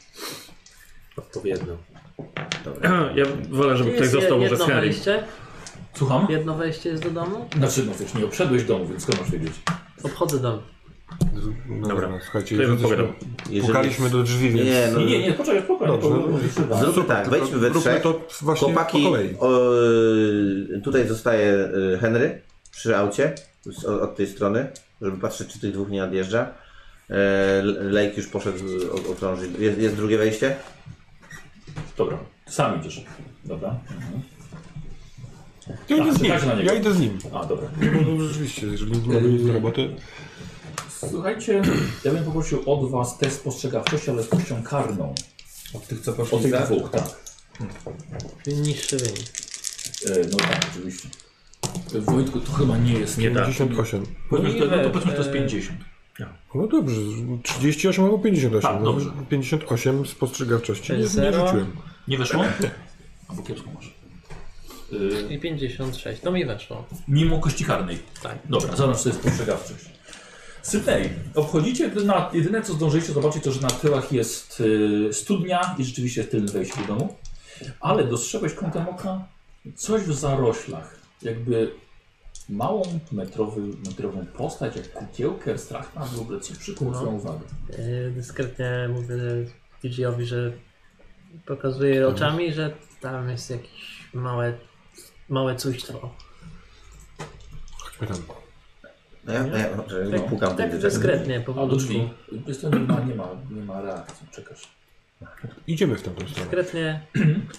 Speaker 9: odpowiednio.
Speaker 10: Ja wolę, żeby ktoś
Speaker 6: Jest
Speaker 10: został może
Speaker 6: jedno
Speaker 10: z Harry.
Speaker 6: wejście?
Speaker 2: Słucham?
Speaker 6: Jedno wejście jest do domu?
Speaker 2: Znaczy, no wiesz, nie obszedłeś domu, więc skąd masz wiedzieć?
Speaker 6: Obchodzę dom.
Speaker 5: No,
Speaker 10: Dobra.
Speaker 5: dobra, słuchajcie,
Speaker 10: Ja bym
Speaker 5: jesteśmy-
Speaker 10: pogadał.
Speaker 3: Jeżeli-
Speaker 5: pukaliśmy do drzwi, więc...
Speaker 3: Nie, no,
Speaker 2: Nie, nie, nie, poczekaj, spokojnie.
Speaker 5: Dobrze,
Speaker 2: bo-
Speaker 3: Zróbmy
Speaker 5: Super,
Speaker 3: tak,
Speaker 5: tylko
Speaker 3: wejdźmy we
Speaker 5: róbmy
Speaker 3: trzech.
Speaker 5: to właśnie
Speaker 3: Chłopaki,
Speaker 5: po kolei.
Speaker 3: o, tutaj zostaje y, Henry przy aucie z, od, od tej strony, żeby patrzeć, czy tych dwóch nie nadjeżdża. E, Lake już poszedł y, o- okrążyć. Jest, jest drugie wejście?
Speaker 2: Dobra, sam idziesz. Dobra. Mhm.
Speaker 5: Ja idę z
Speaker 2: Tak,
Speaker 5: nim,
Speaker 2: tak na niego.
Speaker 5: ja idę z nim.
Speaker 2: A, dobra.
Speaker 5: No, rzeczywiście, jeżeli nie mamy nic do roboty...
Speaker 2: Słuchajcie, ja bym poprosił od was test spostrzegawczości, ale z kością karną.
Speaker 9: Od tych, co
Speaker 2: O
Speaker 9: poszli
Speaker 2: tych
Speaker 9: za?
Speaker 2: dwóch, tak.
Speaker 6: Czyli niższy wynik.
Speaker 2: E, No tak, oczywiście. E, Wojtku, to chyba nie jest...
Speaker 10: Nie da.
Speaker 5: 58.
Speaker 2: No,
Speaker 11: Powiedzmy, że tak. to, no to
Speaker 2: ile,
Speaker 11: powiedzmy, że to jest
Speaker 2: e,
Speaker 11: 50.
Speaker 5: No dobrze, 38 albo 58.
Speaker 11: Tak,
Speaker 5: no,
Speaker 11: dobrze.
Speaker 5: 58 spostrzegawczości. Nie, nie
Speaker 6: Zero.
Speaker 5: rzuciłem.
Speaker 11: Nie weszło? Albo kiepsko może.
Speaker 2: E,
Speaker 11: Y,
Speaker 6: I 56. No mi weszło.
Speaker 11: mimo kości karnej.
Speaker 6: Tak.
Speaker 11: Dobra,
Speaker 2: Zobacz, to jest postrzegawczość. Sydney, obchodzicie, na, jedyne co zdążyliście zobaczyć to, że na tyłach jest y, studnia i rzeczywiście jest tylne wejście do domu, ale dostrzegłeś kątem oka coś w zaroślach, jakby małą metrowy, metrową postać, jak kukiełkę, strach na w ogóle, co przykuło
Speaker 6: No.
Speaker 2: twoją uwagę.
Speaker 6: Yy, dyskretnie mówię DJ-owi, że pokazuję oczami, że tam jest jakieś małe, małe cójstwo.
Speaker 5: Chodźmy tam.
Speaker 3: No ja, ja, ja,
Speaker 6: Tak,
Speaker 3: pukam w
Speaker 6: tak
Speaker 3: drzwi.
Speaker 6: dyskretnie, po
Speaker 2: A do drzwi,
Speaker 6: powolutku.
Speaker 2: Jest to nie ma, nie ma, nie ma reakcji, czekasz.
Speaker 5: Idziemy w tamtą stronę.
Speaker 6: Dyskretnie.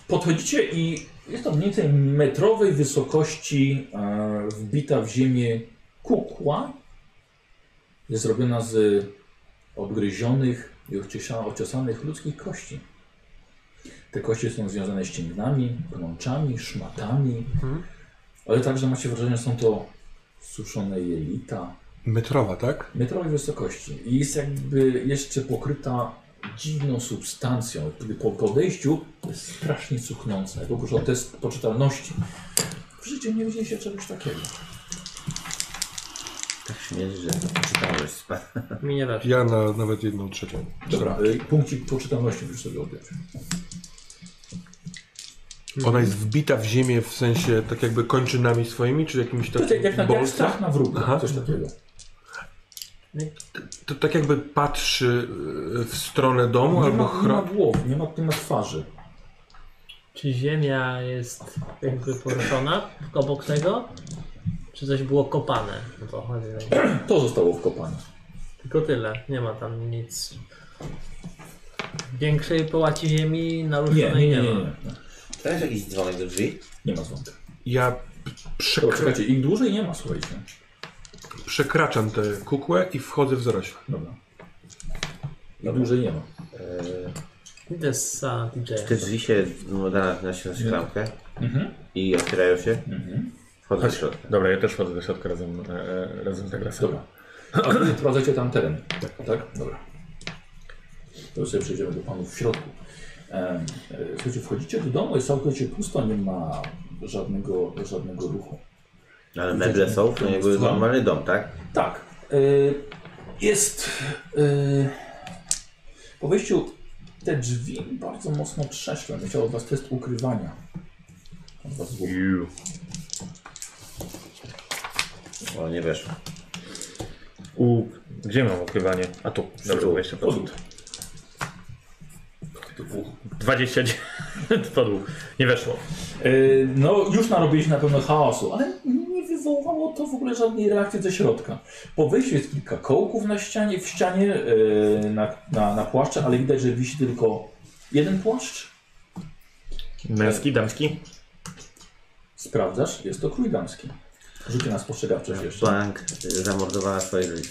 Speaker 2: Podchodzicie i Jest to mniej więcej metrowej wysokości e, wbita w ziemię kukła. Jest zrobiona z odgryzionych i odciesa- ociosanych ludzkich kości. Te kości są związane ścięgnami, pnączami, szmatami, ale także macie wrażenie, że są to suszone jelita,
Speaker 5: Metrowa, tak?
Speaker 2: metrowej wysokości i jest jakby jeszcze pokryta dziwną substancją. Gdy Po podejściu jest strasznie cuchnąca. Jak ogłoszą test poczytalności. W życiu nie widzieliście czegoś takiego.
Speaker 3: Tak śmiesz, że czytałeś spada.
Speaker 6: Minie weszło.
Speaker 5: Ja na, nawet jedną trzecią.
Speaker 2: Dobra, y, punkcik poczytalności już sobie odbierz.
Speaker 5: Ona jest wbita w ziemię w sensie tak jakby kończynami swoimi, czy jakimś
Speaker 2: To tak
Speaker 5: takim
Speaker 2: jak na jak
Speaker 5: bolcem?
Speaker 2: strach na wróg,
Speaker 5: Aha.
Speaker 2: coś takiego.
Speaker 5: To tak jakby patrzy e, w stronę domu
Speaker 2: Nie
Speaker 5: albo
Speaker 2: ma, nie ma
Speaker 5: chron...
Speaker 2: głowy, nie ma, nie ma twarzy.
Speaker 6: Czy ziemia jest jakby poruszona obok tego? Czy coś było kopane? No to chodzi. najpierw.
Speaker 2: To zostało wkopane.
Speaker 6: Tylko tyle. Nie ma tam nic. Większej połaci ziemi
Speaker 2: Nie,
Speaker 6: naruszonej
Speaker 2: nie,
Speaker 6: nie,
Speaker 2: nie, nie.
Speaker 6: ma.
Speaker 2: nie.
Speaker 3: To jest jakiś dzwonek do drzwi?
Speaker 2: Nie ma dzwonka.
Speaker 5: Ja
Speaker 2: Dobra,
Speaker 5: przekra...
Speaker 2: czekajcie, im dłużej nie ma, słuchajcie.
Speaker 5: przekraczam tę kukłę i wchodzę w zarośla.
Speaker 2: Dobra. Im dłużej nie ma.
Speaker 6: To jest sa DJ.
Speaker 3: Te drzwi się no, da na się szklankę
Speaker 2: Mhm.
Speaker 3: i otwierają się. Wchodzę do środka.
Speaker 4: Dobra, ja też wchodzę do środka razem, e, e, razem z Tagrasem.
Speaker 2: Dobra. A wy prowadzicie tam teren. Tak. Dobra. To już sobie przejdziemy do panów w środku. Em, e, Słuchajcie, wchodzicie do domu, jest całkowicie pusto, nie ma żadnego, żadnego ruchu.
Speaker 3: No, Ale meble są, to jakby
Speaker 2: Słucham?
Speaker 3: normalny dom, tak?
Speaker 2: Tak. y, Jest. y, Po wejściu te drzwi bardzo mocno trzeszczą. Będę Chciał od was test ukrywania. Od was dwóch.
Speaker 3: O, nie weszło.
Speaker 4: U, gdzie mam ukrywanie? A tu, dobrze,
Speaker 3: Tu.
Speaker 4: 20%. 29 wpadł, nie weszło.
Speaker 2: Y, No, już narobiliście na pewno chaosu, ale nie wywołało to w ogóle żadnej reakcji ze środka. Po wyjściu jest kilka kołków na ścianie, w ścianie, y, na, na, na płaszcze, ale widać, że wisi tylko jeden płaszcz.
Speaker 4: Męski, damski?
Speaker 2: Sprawdzasz, jest to krój damski. Rzucie na spostrzegawczość jeszcze.
Speaker 3: Bank zamordowała swoje życie.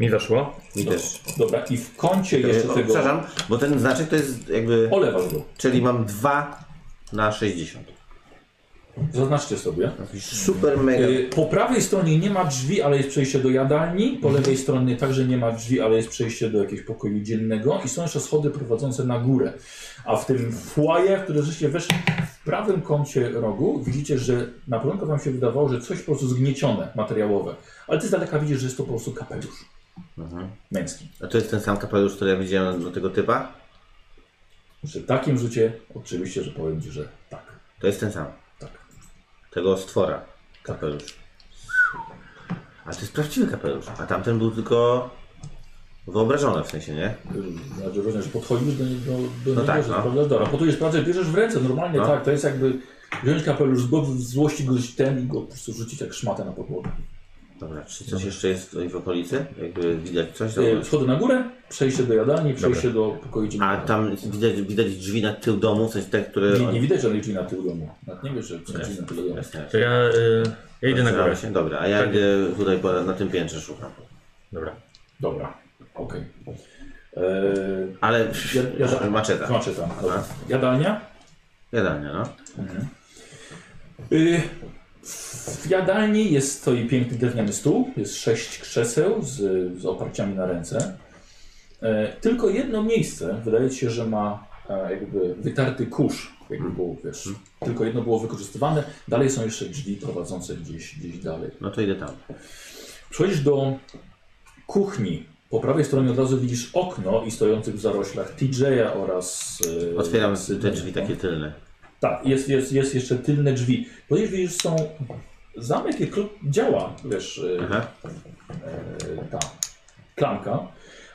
Speaker 4: Mi weszło.
Speaker 3: I też.
Speaker 2: Dobra, i w kącie jeszcze
Speaker 3: O,
Speaker 2: tego...
Speaker 3: Przepraszam, bo ten znaczek to jest jakby...
Speaker 2: Olewasz go.
Speaker 3: Czyli mam 2 na 60.
Speaker 2: Zaznaczcie sobie.
Speaker 3: Jakiś Super mega.
Speaker 2: Y, Po prawej stronie nie ma drzwi, ale jest przejście do jadalni. Po lewej stronie także nie ma drzwi, ale jest przejście do jakiegoś pokoju dziennego. I są jeszcze schody prowadzące na górę. A w tym foyer, w które żeście weszli, w prawym kącie rogu widzicie, że na początku wam się wydawało, że coś po prostu zgniecione, materiałowe. Ale ty z daleka widzisz, że jest to po prostu kapelusz
Speaker 3: Mhm.
Speaker 2: męski.
Speaker 3: A to jest ten sam kapelusz, który ja widziałem do tego typa?
Speaker 2: Przy takim rzucie oczywiście, że powiem ci, że tak.
Speaker 3: To jest ten sam.
Speaker 2: Tak.
Speaker 3: Tego stwora. Kapelusz. A to jest prawdziwy kapelusz. A tamten był tylko wyobrażony w sensie, nie?
Speaker 2: Znaczy, rozumiesz, podchodzisz do niego, do
Speaker 3: No
Speaker 2: niego
Speaker 3: tak,
Speaker 2: że
Speaker 3: no.
Speaker 2: sprawdzasz, dobra, podchodzisz, sprawdzasz, bierzesz w ręce, normalnie
Speaker 3: No.
Speaker 2: tak, to jest jakby wziąć kapelusz z głowy, w złości go ten i go po prostu rzucić jak szmatę na podłogę.
Speaker 3: Dobra, czy coś jeszcze jest tutaj w okolicy? Jakby widać coś?
Speaker 2: E, Schody na górę, przejście do jadalni, przejście do pokoju
Speaker 3: A
Speaker 2: dziennego.
Speaker 3: tam widać, widać drzwi na tył domu, w sensie te, które...
Speaker 2: Nie, nie widać żadnej drzwi na tył domu. Nawet nie wiesz, że są drzwi na tył domu.
Speaker 3: Jasne.
Speaker 4: To ja, y, ja idę na górę.
Speaker 3: Zdawało się. Dobra, a ja
Speaker 4: Tak.
Speaker 3: idę tutaj po, na tym piętrze szukam.
Speaker 4: Dobra.
Speaker 2: Dobra, okej.
Speaker 3: Ale
Speaker 2: Ja- ja-
Speaker 3: maczeta.
Speaker 2: Okay. Maczeta. Dobra.
Speaker 3: Dobra.
Speaker 2: Jadalnia?
Speaker 3: Jadalnia, no.
Speaker 2: Y, W jadalni jest stoi piękny drewniany stół, jest sześć krzeseł z, z oparciami na ręce. E, tylko jedno miejsce wydaje ci się, że ma e, jakby wytarty kurz, jakby było, wiesz,
Speaker 3: Mhm.
Speaker 2: tylko jedno było wykorzystywane. Dalej są jeszcze drzwi prowadzące gdzieś, gdzieś dalej.
Speaker 3: No to idę tam.
Speaker 2: Przechodzisz do kuchni. Po prawej stronie od razu widzisz okno i stojących w zaroślach TJ'a oraz... e, no.
Speaker 3: Otwieram te drzwi takie tylne.
Speaker 2: tak, jest, jest, jest jeszcze tylne drzwi. Ponieważ widzisz, są zamek i klub działa, wiesz, y,
Speaker 3: Aha.
Speaker 2: y, ta klamka,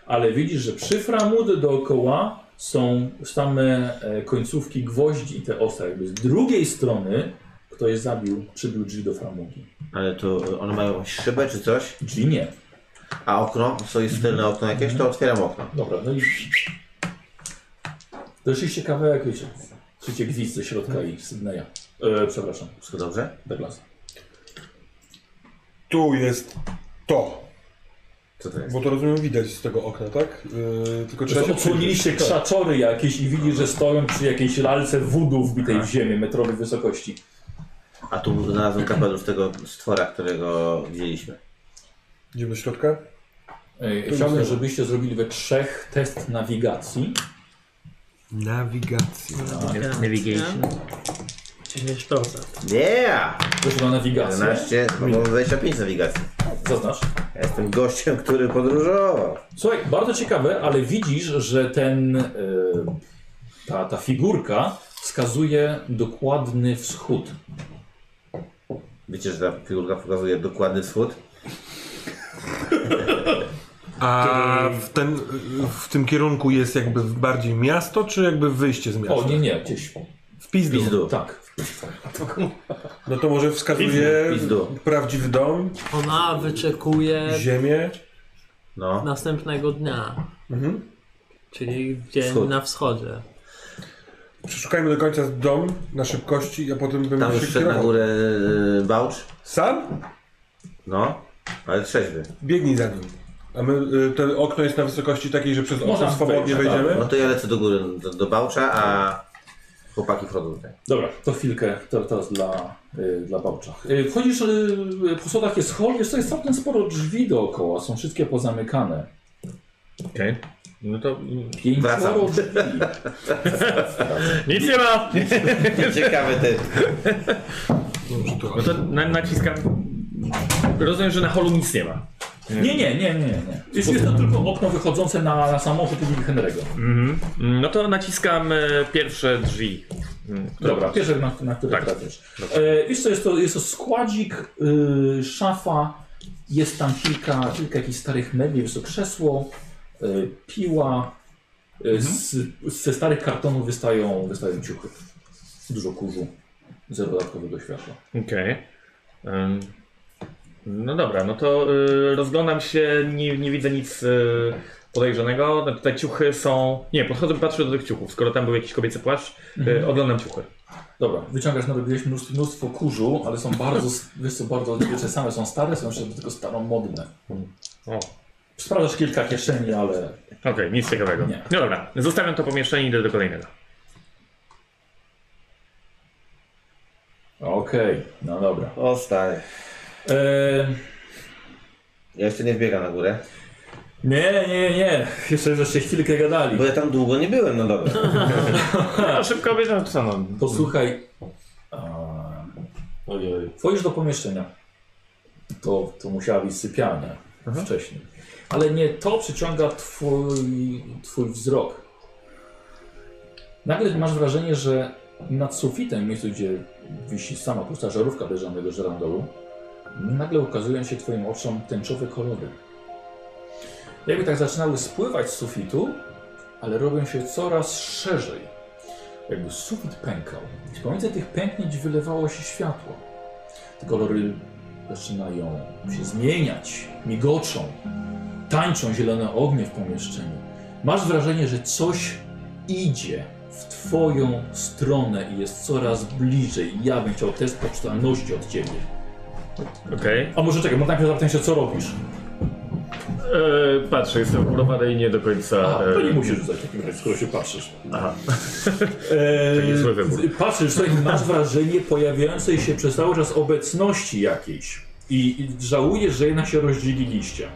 Speaker 2: ale widzisz, że przy framudze dookoła są same e, końcówki gwoździ, te ostre jakby z drugiej strony ktoś zabił, przybił drzwi do framugi.
Speaker 3: Ale to one mają szybę czy coś?
Speaker 2: Drzwi nie.
Speaker 3: A okno? Co jest tylne
Speaker 5: Mhm.
Speaker 3: okno jakieś? To otwieram okno.
Speaker 2: Dobra, no i... Doszliście kawałek, wiecie, Słyszycie gwizd ze środka i Sydneya. E, przepraszam. Wszystko dobrze? Douglasa.
Speaker 5: Tu jest to.
Speaker 3: Co to jest?
Speaker 5: Bo to rozumiem widać z tego okna, tak? Yy, tylko trzeba się
Speaker 2: Odsłoniliście
Speaker 5: przyjrzeć.
Speaker 2: krzaczory jakieś i widzisz, że stoją przy jakiejś lalce wódu wbitej
Speaker 5: Tak.
Speaker 2: w ziemię, metrowej wysokości.
Speaker 3: A tu znalazłem kapelusz tego stwora, którego widzieliśmy.
Speaker 5: Idziemy do środka?
Speaker 2: E, Chciałbym, żebyście zrobili we trzech test nawigacji.
Speaker 5: Nawigacja.
Speaker 6: Navigation. 10%.
Speaker 3: Yeah!
Speaker 2: Proszę na nawigację.
Speaker 3: 11, no mam 25 nawigacji.
Speaker 2: Zaznacz.
Speaker 3: Ja jestem gościem, który podróżował.
Speaker 2: Słuchaj, bardzo ciekawe, ale widzisz, że ten, e, ta, ta figurka wskazuje dokładny wschód.
Speaker 3: Wiecie, że ta figurka pokazuje dokładny wschód?
Speaker 5: A w, ten, w tym kierunku jest jakby bardziej miasto, czy jakby wyjście z miasta?
Speaker 2: O, nie, nie, gdzieś.
Speaker 5: W pizdu.
Speaker 2: Tak.
Speaker 5: No to może wskazuje
Speaker 3: Pizdu.
Speaker 5: prawdziwy dom,
Speaker 6: Ona wyczekuje
Speaker 5: ziemię.
Speaker 3: No.
Speaker 6: następnego dnia,
Speaker 5: Mhm.
Speaker 6: czyli dzień
Speaker 3: Wschód.
Speaker 6: na wschodzie.
Speaker 5: Przeszukajmy do końca dom na szybkości, a potem będę
Speaker 3: Tam
Speaker 5: się
Speaker 3: już wszedł na
Speaker 5: kierował.
Speaker 3: górę e, Bałcz.
Speaker 5: Sam?
Speaker 3: No, ale trzeźwy.
Speaker 5: Biegnij za nim. A my, y, to okno jest na wysokości takiej, że przez okno
Speaker 2: Można
Speaker 5: swobodnie
Speaker 2: wejść, tak.
Speaker 5: wejdziemy?
Speaker 3: No to ja lecę do góry, do, do Bałcza, a chłopaki wchodzą tutaj.
Speaker 2: Dobra, to chwilkę, to teraz dla, y, dla Bałcza. Y, wchodzisz, y, y, po schodach jest hol, jest tutaj całkiem sporo drzwi dookoła, są wszystkie pozamykane.
Speaker 4: Okej. No to mm,
Speaker 2: Pięcioro
Speaker 3: Wracam.
Speaker 2: drzwi.
Speaker 6: No.
Speaker 4: nic nie ma!
Speaker 3: Ciekawy ty.
Speaker 5: Dobrze, to
Speaker 4: No to na, naciskam. Rozumiem, że na holu nic nie ma.
Speaker 2: Nie, nie, nie, nie, nie. Jest, jest to tylko okno wychodzące na, na samochód i Henry'ego.
Speaker 4: Mhm. No to naciskam e, pierwsze drzwi. Mm, które-
Speaker 2: Dobra, pierwsze na, na które
Speaker 4: Tak.
Speaker 2: trafiasz. E, wiesz co, jest to, jest to składzik, y, szafa, jest tam kilka, kilka jakichś starych mebli, jest to krzesło, y, piła, y,
Speaker 4: Mhm.
Speaker 2: z, ze starych kartonów wystają, wystają ciuchy. Dużo kurzu, zero dodatkowego światła.
Speaker 4: Okej. Em, No dobra, no to y, rozglądam się, nie, nie widzę nic y, podejrzanego. No, Te ciuchy są. Nie, podchodzę, patrzę do tych ciuchów. Skoro tam był jakiś kobiecy płaszcz, y, oglądam ciuchy.
Speaker 2: Dobra, wyciągasz, narobiłeś mnóstwo, mnóstwo kurzu, ale są bardzo, wiesz co, bardzo same są stare, są jeszcze do tego staromodne.
Speaker 4: Mhm. O,
Speaker 2: Sprawdzasz kilka kieszeni, ale
Speaker 4: Okej, nic ciekawego.
Speaker 2: Nie.
Speaker 4: No dobra, zostawiam to pomieszczenie i idę do kolejnego.
Speaker 2: okej, no dobra.
Speaker 3: O stary.
Speaker 2: E,
Speaker 3: Ja jeszcze nie wbiegam na górę.
Speaker 2: Nie, nie, nie. Jeszcze żeście chwilkę gadali.
Speaker 3: Bo ja tam długo nie byłem, no dobra.
Speaker 4: No, szybko wiedziałem co no.
Speaker 2: Posłuchaj. Ojej. Wchodzisz do pomieszczenia. To, to musiała być sypialnia wcześniej. Ale nie to przyciąga twój, twój wzrok. Nagle masz wrażenie, że nad sufitem, w miejscu gdzie wisi sama pusta żarówka leżanego żerandołu, nagle ukazują się twoim oczom tęczowe kolory. Jakby tak zaczynały spływać z sufitu, ale robią się coraz szerzej. Jakby sufit pękał. I pomiędzy tych pęknięć wylewało się światło. Te kolory zaczynają się zmieniać, migoczą, tańczą zielone ognie w pomieszczeniu. Masz wrażenie, że coś idzie w twoją stronę i jest coraz bliżej. Ja bym chciał test poczytalności od ciebie.
Speaker 4: Okej.
Speaker 2: A może czekaj, bo najpierw zapytam się, co robisz?
Speaker 4: E, Patrzę, jestem urowany i nie do końca.
Speaker 2: A, to nie
Speaker 4: e,
Speaker 2: musisz rzucać w takim razie, skoro się patrzysz.
Speaker 4: Aha.
Speaker 2: Eee,
Speaker 4: Taki zły wybór.
Speaker 2: patrzysz, słuchaj, masz wrażenie pojawiającej się przez cały czas obecności jakiejś. I, I żałujesz, że jednak się rozdzieliliście.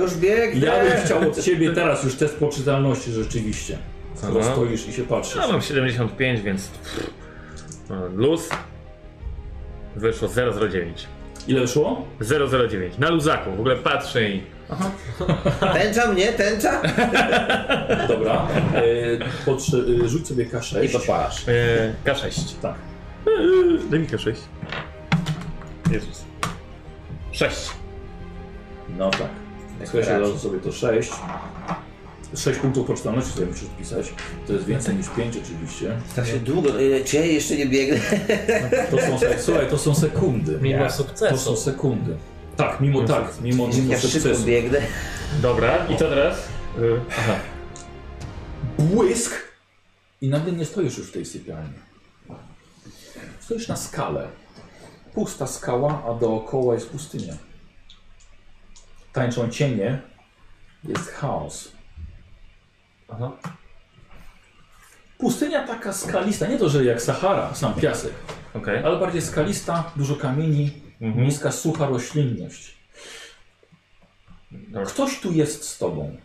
Speaker 3: Już biegnę.
Speaker 2: Ja bym chciał od ciebie teraz już test poczytalności rzeczywiście. Skoro
Speaker 4: Aha.
Speaker 2: stoisz i się patrzysz.
Speaker 4: Ja No, mam 75, więc. pff, e, Luz. Wyszło 009.
Speaker 2: Ile szło?
Speaker 4: 009. Na luzaku, w ogóle patrzę i.
Speaker 3: Tęcza mnie, tęcza?
Speaker 2: Dobra. Eee, potrze- e, rzuć sobie K6.
Speaker 3: I podpalasz.
Speaker 4: E, K6.
Speaker 2: Tak.
Speaker 4: E, Daj mi K6. Jezus. 6.
Speaker 2: No tak. Słuchajcie, dał sobie to 6. 6 punktów poczytalności sobie musisz wpisać. To jest więcej niż 5 oczywiście.
Speaker 3: Strasznie długo. e, Czy ja jeszcze nie biegnę?
Speaker 2: To są, se- słuchaj, to są sekundy.
Speaker 6: Mimo
Speaker 2: To
Speaker 6: sukcesu.
Speaker 2: są sekundy. Tak, mimo tak, mimo, mimo
Speaker 3: Ja szybko
Speaker 2: sukcesu.
Speaker 3: biegnę.
Speaker 4: Dobra, i co teraz? E,
Speaker 2: Błysk I nagle nie stoisz już w tej sypialni. Stoisz na skale. Pusta skała, a dookoła jest pustynia. Tańczą cienie. Jest chaos. Aha. Pustynia taka skalista, nie to, że jak Sahara, sam piasek,
Speaker 4: Okej.
Speaker 2: ale bardziej skalista, dużo kamieni,
Speaker 4: Mhm.
Speaker 2: niska, sucha roślinność.
Speaker 4: Tak.
Speaker 2: Ktoś tu jest z tobą.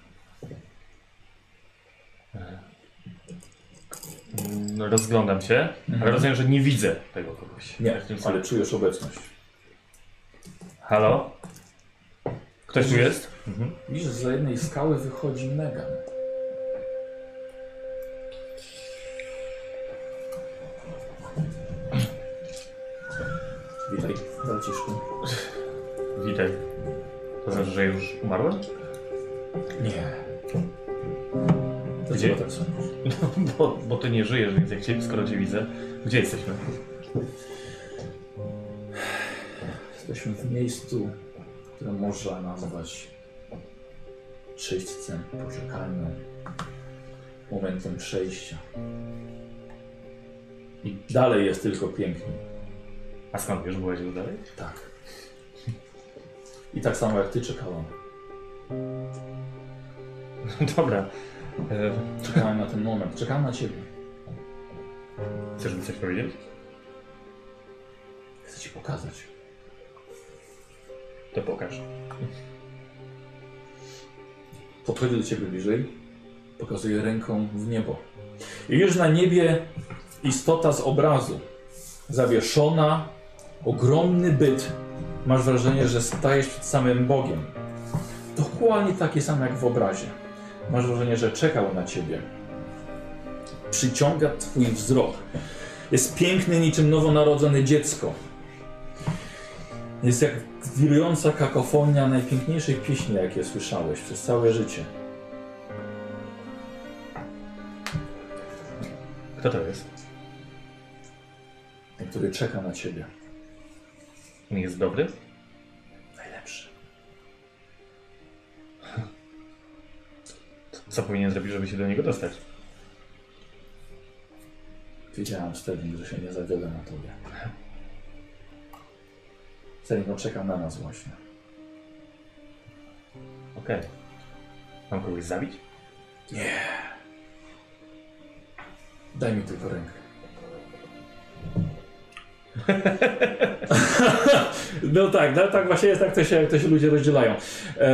Speaker 4: Mm, Rozglądam się, ale
Speaker 2: Mhm.
Speaker 4: rozumiem, że nie widzę tego kogoś.
Speaker 2: Nie,
Speaker 4: W tym
Speaker 2: ale
Speaker 4: sensie.
Speaker 2: czujesz obecność.
Speaker 4: Halo? Ktoś tu jest?
Speaker 2: Mhm. Widzisz, że za jednej skały wychodzi Megan. Witaj, braciszku.
Speaker 4: Witaj. To znaczy, że już umarłem?
Speaker 2: Nie.
Speaker 4: Gdzie?
Speaker 2: tak sądzisz?
Speaker 4: No, bo, bo ty nie żyjesz, więc jak cię, skoro cię widzę, gdzie jesteśmy?
Speaker 2: Jesteśmy w miejscu, które można nazwać czystcem, poczekalnią, momentem przejścia. I dalej jest tylko pięknie.
Speaker 4: A skąd wiesz, byłeś już dalej?
Speaker 2: Tak. I tak samo jak ty czekałam.
Speaker 4: Dobra.
Speaker 2: Czekałem na ten moment, czekałem na ciebie.
Speaker 4: Chcesz mi coś powiedzieć?
Speaker 2: Chcę ci pokazać.
Speaker 4: To pokaż.
Speaker 2: Podchodzę do ciebie bliżej, pokazuję ręką w niebo. I już na niebie istota z obrazu. Zawieszona, ogromny byt. Masz wrażenie, że stajesz przed samym Bogiem. Dokładnie taki sam jak w obrazie. Masz wrażenie, że czekał na ciebie. Przyciąga twój wzrok. Jest piękny niczym nowonarodzone dziecko. Jest jak wirująca kakofonia najpiękniejszej pieśni, jakie słyszałeś przez całe życie.
Speaker 4: Kto to jest?
Speaker 2: Ten, który czeka na ciebie.
Speaker 4: Nie jest dobry?
Speaker 2: Najlepszy.
Speaker 4: Co powinien zrobić, żeby się do niego dostać?
Speaker 2: Wiedziałam wtedy, że się nie zawiodę na tobie. Celino czeka na nas właśnie.
Speaker 4: Okej. Mam kogoś zabić?
Speaker 2: Nie. Daj mi tylko rękę. no tak, no tak właśnie jest, tak to się, jak to się ludzie rozdzielają. E,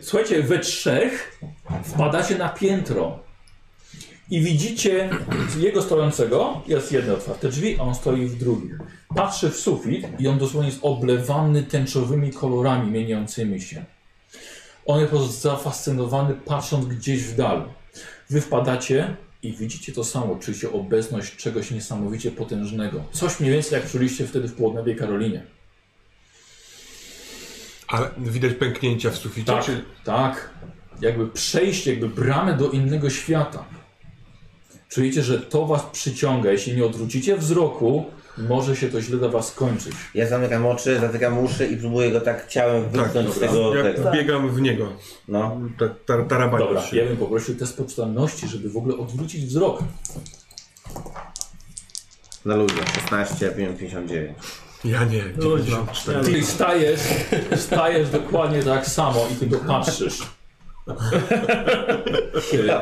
Speaker 2: słuchajcie, we trzech wpadacie na piętro i widzicie jego stojącego, jest jedno otwarte drzwi, a on stoi w drugim. Patrzy w sufit i on dosłownie jest oblewany tęczowymi kolorami mieniącymi się. On jest po prostu zafascynowany, patrząc gdzieś w dal. Wy wpadacie i widzicie to samo, czujecie obecność czegoś niesamowicie potężnego. Coś mniej więcej jak czuliście wtedy w południowej Karolinie.
Speaker 5: Ale widać pęknięcia w suficie,
Speaker 2: Tak,
Speaker 5: czy...
Speaker 2: tak. Jakby przejście, jakby bramę do innego świata. Czujecie, że to was przyciąga. Jeśli nie odwrócicie wzroku, może się to źle dla was skończyć.
Speaker 3: Ja zamykam oczy, zatykam uszy i próbuję go tak ciałem wypchnąć z
Speaker 5: dobra.
Speaker 3: tego...
Speaker 5: Ja
Speaker 3: tego.
Speaker 5: biegam w niego.
Speaker 3: No.
Speaker 5: Tak, tar, tarabaniam
Speaker 2: Dobra,
Speaker 5: się.
Speaker 2: ja bym poprosił test poczytalności, żeby w ogóle odwrócić wzrok.
Speaker 3: Na ludzie. 16, 59.
Speaker 5: Ja nie,
Speaker 2: No,
Speaker 6: Luźno.
Speaker 5: 94.
Speaker 2: Ty stajesz, stajesz dokładnie tak samo i ty go patrzysz.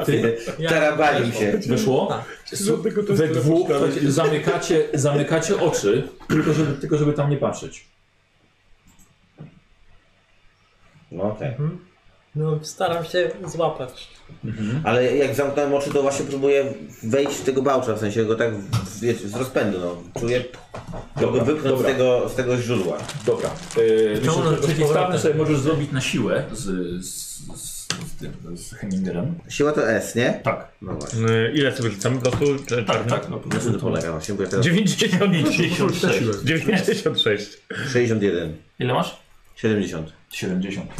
Speaker 2: Ty,
Speaker 3: Tarabali się.
Speaker 2: wyszło?
Speaker 7: Żadnego testu
Speaker 2: We
Speaker 7: nie
Speaker 2: dwóch
Speaker 7: przeczytałeś.
Speaker 2: słuchajcie, zamykacie, zamykacie oczy, tylko żeby, tylko żeby tam nie patrzeć.
Speaker 3: No okej.
Speaker 6: No, staram się złapać.
Speaker 3: Ale jak zamknąłem oczy, to właśnie próbuję wejść w tego bałcza, w sensie go tak w- wiecie, z rozpędu, no. Czuję,
Speaker 2: Dobra,
Speaker 3: żeby wypchnąć z
Speaker 2: dobra.
Speaker 3: tego, z tego źródła.
Speaker 2: Dobra. Yy,
Speaker 6: Wyciągnąć
Speaker 2: myślę, że
Speaker 6: z
Speaker 2: przeciwstawny
Speaker 6: powrotem.
Speaker 2: sobie możesz zrobić na siłę z, z, z, z tym, z Hemingerem.
Speaker 3: Siła to S, nie?
Speaker 2: Tak.
Speaker 3: No właśnie.
Speaker 4: Yy, ile sobie rzucamy? Po prostu cze- czarny?
Speaker 2: Tak, no po
Speaker 3: Na
Speaker 2: prostu
Speaker 3: czym to
Speaker 2: to
Speaker 3: polega właśnie? Bo ja teraz
Speaker 4: 96. 96.
Speaker 3: 61,
Speaker 11: Ile masz?
Speaker 3: 70.
Speaker 2: 70.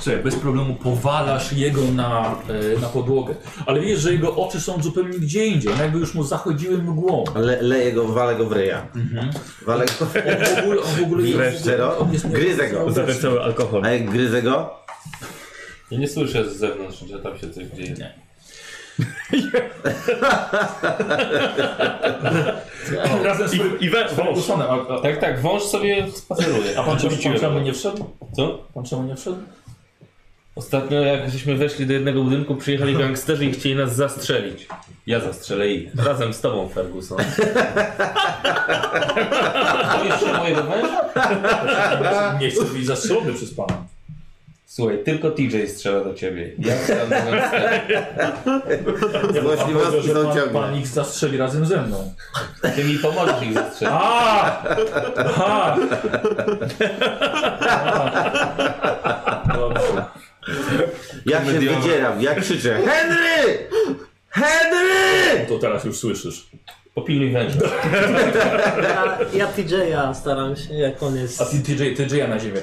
Speaker 2: Słuchaj, bez problemu powalasz jego na, e, na podłogę. Ale wiesz, że jego oczy są zupełnie gdzie indziej. one Jakby już mu zachodziły mgłą.
Speaker 3: Le, leję go, walę go w ryja. Walę go...
Speaker 2: On w ogóle, on w ogóle
Speaker 3: Wreszcie, no.
Speaker 2: on jest nie-
Speaker 3: Gryzę go.
Speaker 4: Za ten cały alkohol.
Speaker 3: A jak gryzę go?
Speaker 9: Ja nie słyszę z zewnątrz, że tam się coś dzieje.
Speaker 2: Nie. Razem z
Speaker 4: I, i we, wąż.
Speaker 2: Fergusonem, a- a-
Speaker 9: Tak, tak, wąż sobie spaceruje.
Speaker 2: A pan czemu, pan
Speaker 9: Rzuciłem.
Speaker 2: czemu nie wszedł?
Speaker 9: Co?
Speaker 2: Pan czemu nie wszedł?
Speaker 9: Ostatnio jak żeśmy weszli do jednego budynku, przyjechali gangsterzy i chcieli nas zastrzelić. Ja zastrzelę ich. Razem z tobą, Ferguson.
Speaker 2: To jeszcze mojego męża? Nie chcę być zastrzelony przez pana.
Speaker 9: Słuchaj, tylko TJ strzela do ciebie. Ja strzelam do gangsterów.
Speaker 2: Ja bym pan
Speaker 3: Właśnie
Speaker 2: powiedział,
Speaker 3: was
Speaker 2: że pan,
Speaker 3: ciągnie.
Speaker 2: pan ich zastrzeli razem ze mną.
Speaker 9: Ty mi pomożesz ich zastrzelić.
Speaker 2: A! A! Dobrze.
Speaker 3: Ja się
Speaker 4: Komediowe.
Speaker 3: wydzieram, ja krzyczę Henry! Henry!
Speaker 2: No To teraz już słyszysz.
Speaker 9: Popilnuj węża.
Speaker 6: Ja, ja TJ-a staram się, jak on jest.
Speaker 2: A ty TJ, TJ na ziemię.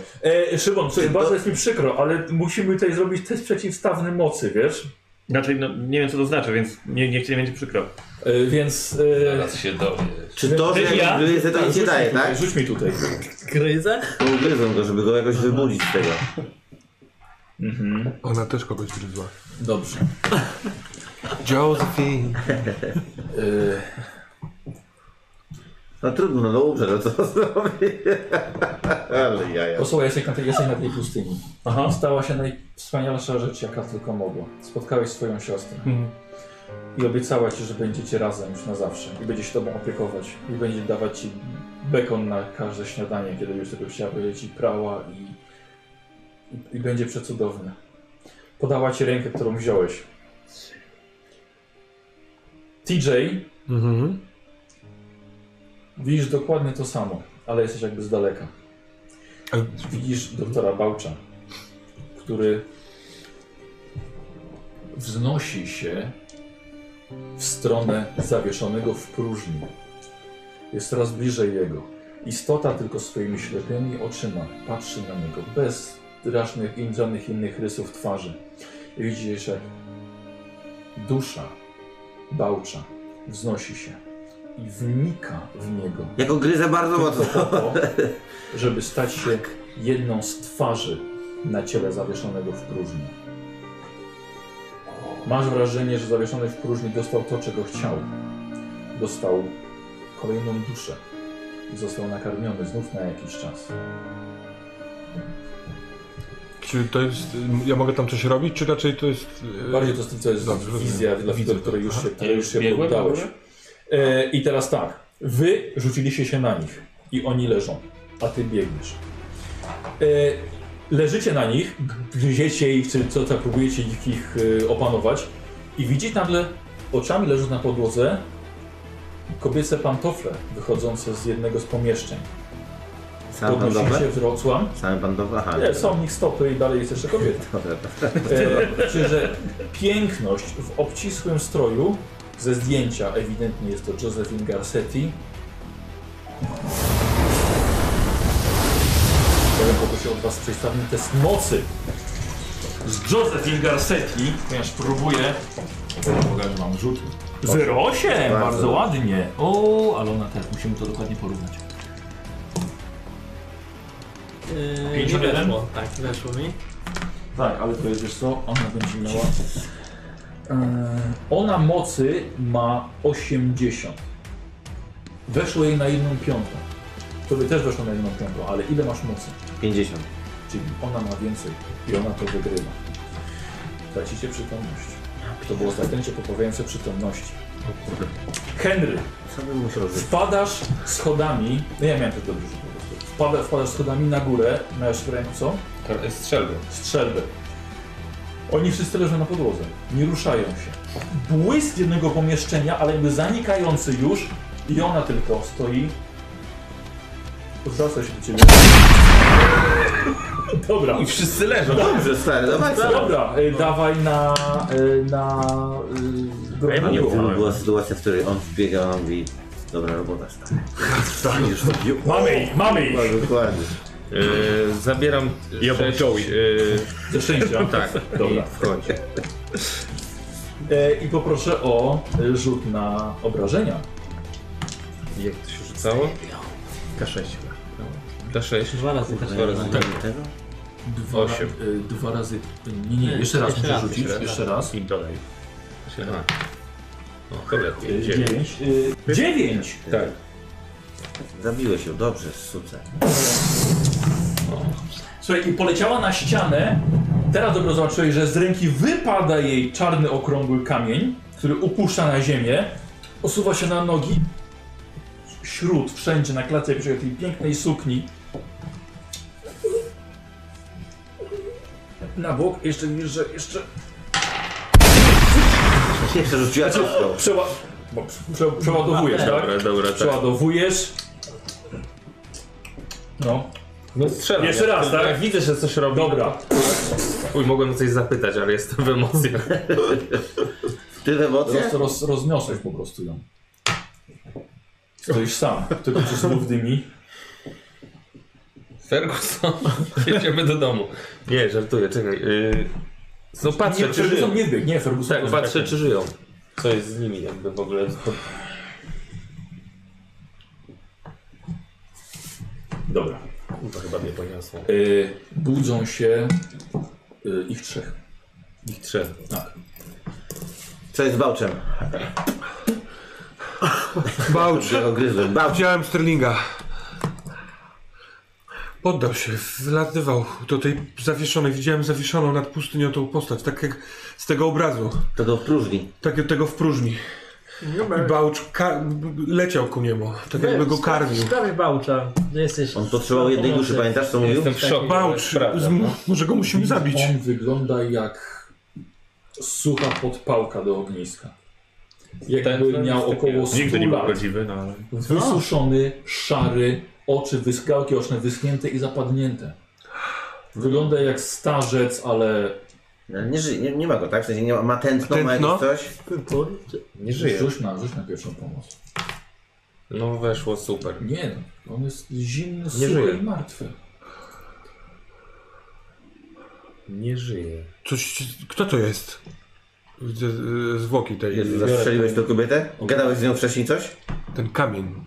Speaker 2: E, Szymon, słuchaj, bardzo jest mi przykro, ale musimy tutaj zrobić test przeciwstawny mocy, wiesz?
Speaker 10: Znaczy, no, nie wiem co to znaczy, więc nie, niech ci nie będzie przykro.
Speaker 2: E, więc... E,
Speaker 9: Zaraz się dowiesz.
Speaker 3: Czy to, że
Speaker 2: Ty,
Speaker 3: jak
Speaker 2: ja?
Speaker 3: gryzę, to nic nie daje, tak?
Speaker 2: Rzuć mi tutaj.
Speaker 6: Gryzę?
Speaker 3: To ugryzą go, żeby go jakoś wybudzić z tego.
Speaker 5: Ona też kogoś gryzła.
Speaker 2: Dobrze.
Speaker 5: Josephine.
Speaker 2: E,
Speaker 3: No trudno, no dobrze, no co zrobię? Ale jaja.
Speaker 2: Posłuchaj, jesteś na, tej, jesteś na tej pustyni.
Speaker 10: Aha.
Speaker 2: Stała się najwspanialsza rzecz, jaka tylko mogła. Spotkałeś swoją siostrę. I obiecała ci, że będziecie razem już na zawsze. I będzie się tobą opiekować. I będzie dawać ci bekon na każde śniadanie, kiedy już tego chciała. Będzie ci prała i, i, i będzie przecudowna. Podała ci rękę, którą wziąłeś. TJ,
Speaker 5: Mhm.
Speaker 2: widzisz dokładnie to samo, ale jesteś jakby z daleka.
Speaker 5: Ale-
Speaker 2: Widzisz doktora Bałcza, który wznosi się w stronę zawieszonego w próżni. Jest coraz bliżej jego. Istota tylko swoimi ślepymi oczyma patrzy na niego bez drażnych, in- żadnych innych rysów twarzy. I widzisz, jak dusza Bałcza wznosi się i wnika w niego
Speaker 3: Ja go gryzę bardzo mocno.
Speaker 2: po to, żeby stać się jedną z twarzy na ciele zawieszonego w próżni. Masz wrażenie, że zawieszony w próżni dostał to, czego chciał. Dostał kolejną duszę i został nakarmiony znów na jakiś czas.
Speaker 5: Czy to jest... Ja mogę tam coś robić, czy raczej to jest... e,
Speaker 2: Bardziej to z tym, co jest
Speaker 5: Dobrze, rozumiem.
Speaker 2: wizja, dla
Speaker 5: Widzę
Speaker 2: widzów,
Speaker 5: to.
Speaker 2: której już się,
Speaker 9: A
Speaker 2: której
Speaker 9: ja
Speaker 2: już się
Speaker 9: biegłem w
Speaker 2: poddałeś.
Speaker 9: ogóle?
Speaker 2: E, I teraz tak. Wy rzuciliście się na nich i oni leżą, a ty biegniesz. E, leżycie na nich, gryziecie ich, czy co tam, próbujecie ich, ich e, opanować i widzicie nagle oczami leżąc na podłodze kobiece pantofle wychodzące z jednego z pomieszczeń.
Speaker 3: Same
Speaker 2: Podnosicie
Speaker 3: bandowe?
Speaker 2: wzrocłam.
Speaker 3: Same bandowe? Aha.
Speaker 2: Nie, są w nich stopy i dalej jest jeszcze kobieta.
Speaker 3: Dobra.
Speaker 2: E, Czy że piękność w obcisłym stroju ze zdjęcia ewidentnie jest to Josephine Garcetti. Ja bym poprosił od Was przedstawny test mocy z Josephine Garcetti, ponieważ próbuję.
Speaker 11: Pokażę, że mam rzuty.
Speaker 2: 08! Bardzo,
Speaker 3: Bardzo.
Speaker 2: ładnie. O, ale ona też, musimy to dokładnie porównać.
Speaker 6: Yy,
Speaker 2: Pięć
Speaker 6: nie
Speaker 2: jeden?
Speaker 6: weszło. Tak, weszło mi.
Speaker 2: Tak, ale to jest wiesz co, ona będzie miała. E, ona mocy ma 80. Weszło jej na jedną piątą. Tobie też weszło na jedną piątą, ale ile masz mocy?
Speaker 3: 50.
Speaker 2: Czyli ona ma więcej i ona to wygrywa. Tracicie przytomność. To było zaklęcie poprawiające przytomności. Henry,
Speaker 3: Co bym musiał zrobić?
Speaker 2: wpadasz schodami. No ja miałem to dobrze, że po prostu. Wpada, wpadasz schodami na górę, masz w ręce
Speaker 9: Kar- Strzelby.
Speaker 2: strzelby. Oni wszyscy leżą na podłodze, nie ruszają się. Błysk jednego pomieszczenia, ale jakby zanikający już i ona tylko stoi. Zwraca się do ciebie. Dobra, No,
Speaker 9: I wszyscy leżą.
Speaker 3: Dobrze, stary, no dawaj sobie.
Speaker 2: dobra, y, dawaj na... Y, na... Y,
Speaker 3: A
Speaker 2: drobnego.
Speaker 3: nie, to była sytuacja, w której on wbiega, a on mówi Dobra robota, stary. Tak, już to bił.
Speaker 2: mamy ich, mamy ich!
Speaker 3: Dokładnie.
Speaker 4: Y,
Speaker 9: Yy, zabieram
Speaker 10: Ja bym
Speaker 9: sześć,
Speaker 10: Joey.
Speaker 9: yy,
Speaker 2: Ze szczęścia.
Speaker 9: tak,
Speaker 2: Dobra.
Speaker 9: dobra. Wchodzi.
Speaker 2: Y, I poproszę o y, rzut na obrażenia.
Speaker 9: Jak to się rzucało?
Speaker 10: K6.
Speaker 9: K6.
Speaker 6: Dwa razy tak.
Speaker 9: Dwa razy.
Speaker 3: Tak. Tego?
Speaker 2: Dwa,
Speaker 9: Osiem.
Speaker 2: y, dwa razy... Nie, nie, jeszcze raz
Speaker 6: Jeszcze
Speaker 2: musisz
Speaker 6: raz,
Speaker 2: rzucić,
Speaker 6: jeszcze raz.
Speaker 2: jeszcze raz.
Speaker 10: I dodaj.
Speaker 4: Aha. No, tyle,
Speaker 2: Y,
Speaker 4: dziewięć.
Speaker 2: dziewięć. Y, Dziewięć!
Speaker 4: Tak.
Speaker 3: Zabiłeś ją, dobrze, suce.
Speaker 2: Słuchaj, i poleciała na ścianę. Teraz dobrze zobaczyłeś, że z ręki wypada jej czarny, okrągły kamień, który upuszcza na ziemię, osuwa się na nogi. Śród, wszędzie, na klatce jakiejś tej pięknej sukni. Na bok, jeszcze niżej, jeszcze...
Speaker 3: Jeszcze rzuciła
Speaker 2: Znaczy,
Speaker 3: kostką.
Speaker 2: przeła... bo prze, przeładowujesz, tak?
Speaker 9: Dobra, dobra, tak.
Speaker 2: Przeładowujesz. No.
Speaker 9: No strzelam.
Speaker 2: Jeszcze
Speaker 9: Jak-
Speaker 2: raz, tak?
Speaker 9: Jak widzę, że coś robi.
Speaker 2: Dobra.
Speaker 9: Uj, mogłem o coś zapytać, ale jestem w emocjach.
Speaker 3: Ty w emocjach?
Speaker 2: Roz, roz, rozniosłeś po prostu ją. Stoisz sam, tylko przez znów dymi.
Speaker 9: Ferguson, jedziemy do domu. Nie, żartuję, czekaj. Yy... No patrzę,
Speaker 2: nie,
Speaker 9: czy żyją.
Speaker 2: Ferguson nie biegł, nie, Ferguson.
Speaker 9: Tak, patrzę, czy żyją. Co jest z nimi jakby w ogóle.
Speaker 2: Dobra.
Speaker 9: To chyba mnie poniosło.
Speaker 2: Y, budzą się y, ich trzech.
Speaker 9: Ich trzech.
Speaker 2: Tak.
Speaker 3: Co jest z Bałczem?
Speaker 5: Bałcz.
Speaker 3: Ja go gryzłem. Bałcz.
Speaker 5: Widziałem Sterlinga. Poddał się, wlatywał do tej zawieszonej. Widziałem zawieszoną nad pustynią tą postać, tak jak z tego obrazu,
Speaker 3: To go wpróżni.
Speaker 5: tak jak tego w próżni. I Bałcz ka- leciał ku niemu, tak jakby go karmił.
Speaker 6: Sprawie Bałcza. Że jesteś...
Speaker 3: On potrzebował jednej duszy, pamiętasz co mówił?
Speaker 9: Jestem w szoku.
Speaker 5: Bałcz, z- może go musimy zabić.
Speaker 2: On wygląda jak sucha podpałka do ogniska. Jakby
Speaker 9: Ten-
Speaker 2: miał
Speaker 9: ten-
Speaker 2: około 100
Speaker 4: Nigdy nie był
Speaker 2: lat.
Speaker 4: prawdziwy, no ale...
Speaker 2: Wysuszony, szary, oczy, wys- gałki oczne wyschnięte i zapadnięte. Wygląda jak starzec, ale
Speaker 3: No, nie, ży- nie, nie ma go, tak? W sensie nie ma, ma tętno, ma
Speaker 5: Tętno?
Speaker 3: jakieś coś.
Speaker 9: Nie żyje.
Speaker 2: rzuć na, rzuć na pierwszą pomoc.
Speaker 9: No weszło super.
Speaker 2: Nie, no, on jest zimny,
Speaker 9: żyje.
Speaker 2: suchy i martwy.
Speaker 9: Nie żyje.
Speaker 5: Coś, kto to jest? Widzę y, zwłoki tej,
Speaker 3: Jezu, zastrzeliłeś tę kobietę? Gadałeś z nią wcześniej coś?
Speaker 5: ten kamień.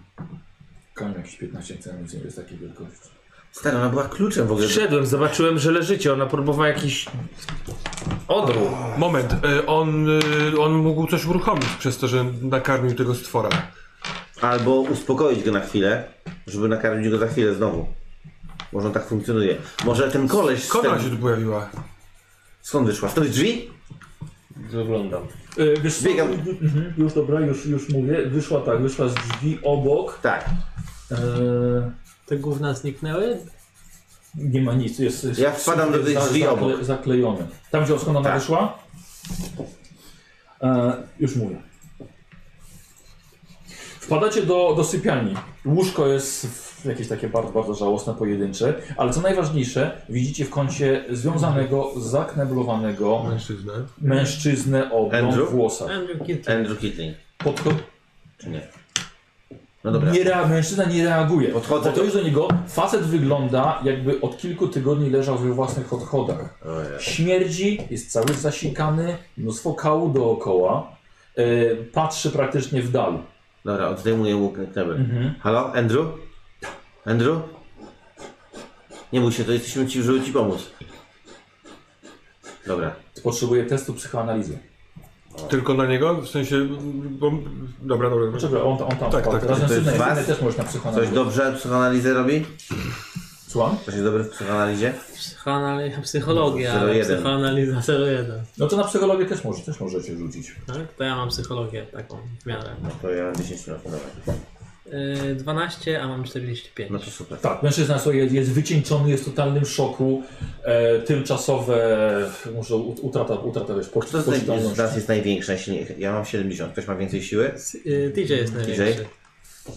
Speaker 2: Kamień jakiś 15 cm jest takiej wielkości.
Speaker 3: Stary, ona była kluczem w ogóle.
Speaker 9: Wszedłem, zobaczyłem, że leżycie. Ona próbowała jakiś odruch.
Speaker 5: Moment, y, on, y, on mógł coś uruchomić przez to, że nakarmił tego stwora.
Speaker 3: Albo uspokoić go na chwilę, żeby nakarmić go za chwilę znowu. Może on tak funkcjonuje. Może ten koleś z
Speaker 5: Skąd ona się
Speaker 3: ten...
Speaker 5: tu pojawiła?
Speaker 3: Skąd wyszła? Z tych drzwi?
Speaker 9: Wyglądam.
Speaker 2: Yy, wiesz, co,
Speaker 3: Biegam.
Speaker 2: mhm, już dobra, już, już mówię. Wyszła tak, wyszła z drzwi obok.
Speaker 3: Tak.
Speaker 2: Eee,
Speaker 6: Te gówna zniknęły?
Speaker 2: nie ma nic, jest. jest
Speaker 3: Ja wpadam do tej
Speaker 2: jest za-
Speaker 3: drzwi
Speaker 2: zakle-
Speaker 3: obok.
Speaker 2: Zaklejony. Tam gdzie skąd ona
Speaker 3: Tak.
Speaker 2: wyszła? Eee, już mówię. Wpadacie do, do sypialni. Łóżko jest w- jakieś takie bardzo, bardzo żałosne, pojedyncze, ale co najważniejsze, widzicie w kącie związanego, zakneblowanego
Speaker 5: Mężczyznę.
Speaker 2: mężczyznę o blond
Speaker 3: Andrew?
Speaker 2: włosach.
Speaker 6: Andrew Kitty.
Speaker 3: Andrew Kitling.
Speaker 2: Podcho-
Speaker 3: Czy nie? No dobra.
Speaker 2: Nie rea- mężczyzna nie reaguje.
Speaker 3: Podchodzę.
Speaker 2: Podchodzisz do niego, facet wygląda jakby od kilku tygodni leżał we własnych odchodach.
Speaker 3: Ojej.
Speaker 2: Śmierdzi, jest cały zasikany, mnóstwo kału dookoła. E, patrzy praktycznie w dal.
Speaker 3: Dobra, odejmuję mu knebel.
Speaker 2: Mhm.
Speaker 3: Halo, Andrew? Andrew? Nie bój się, to jesteśmy ci, żeby ci pomóc. Dobra.
Speaker 2: Potrzebuje testu psychoanalizy.
Speaker 5: Tylko na niego? W sensie. mm, Bo, dobra, dobra. dobra.
Speaker 2: Czekaj, on, on tam
Speaker 5: Tak,
Speaker 2: wpadł.
Speaker 5: tak,
Speaker 2: Teraz
Speaker 3: tak. To jest
Speaker 2: mężczyzna jest
Speaker 3: was?
Speaker 2: inny, też możesz na
Speaker 3: Coś
Speaker 2: psychoanalizę.
Speaker 3: dobrze psychoanalizę robi?
Speaker 2: Słucham?
Speaker 3: Coś jest dobre w psychoanalizie?
Speaker 6: Psychoanaliza, psychologia, ale
Speaker 3: 01.
Speaker 6: psychoanaliza 01.
Speaker 2: No to na psychologię też, może, też możecie rzucić.
Speaker 6: Tak? To ja mam psychologię taką w miarę.
Speaker 3: No to ja mam 10 minut, dobra.
Speaker 6: Yy, 12, a mam 45.
Speaker 3: No to super.
Speaker 2: Tak, mężczyzna sobie jest, jest wycieńczony, jest w totalnym szoku. E, tymczasowe, może ut- utrata, utrata wiesz, poczy-
Speaker 3: Kto z, naj- z
Speaker 2: poczytalności.
Speaker 3: nas jest największa? Jeśli ja mam 70, ktoś ma więcej siły?
Speaker 6: Yy, DJ jest największy.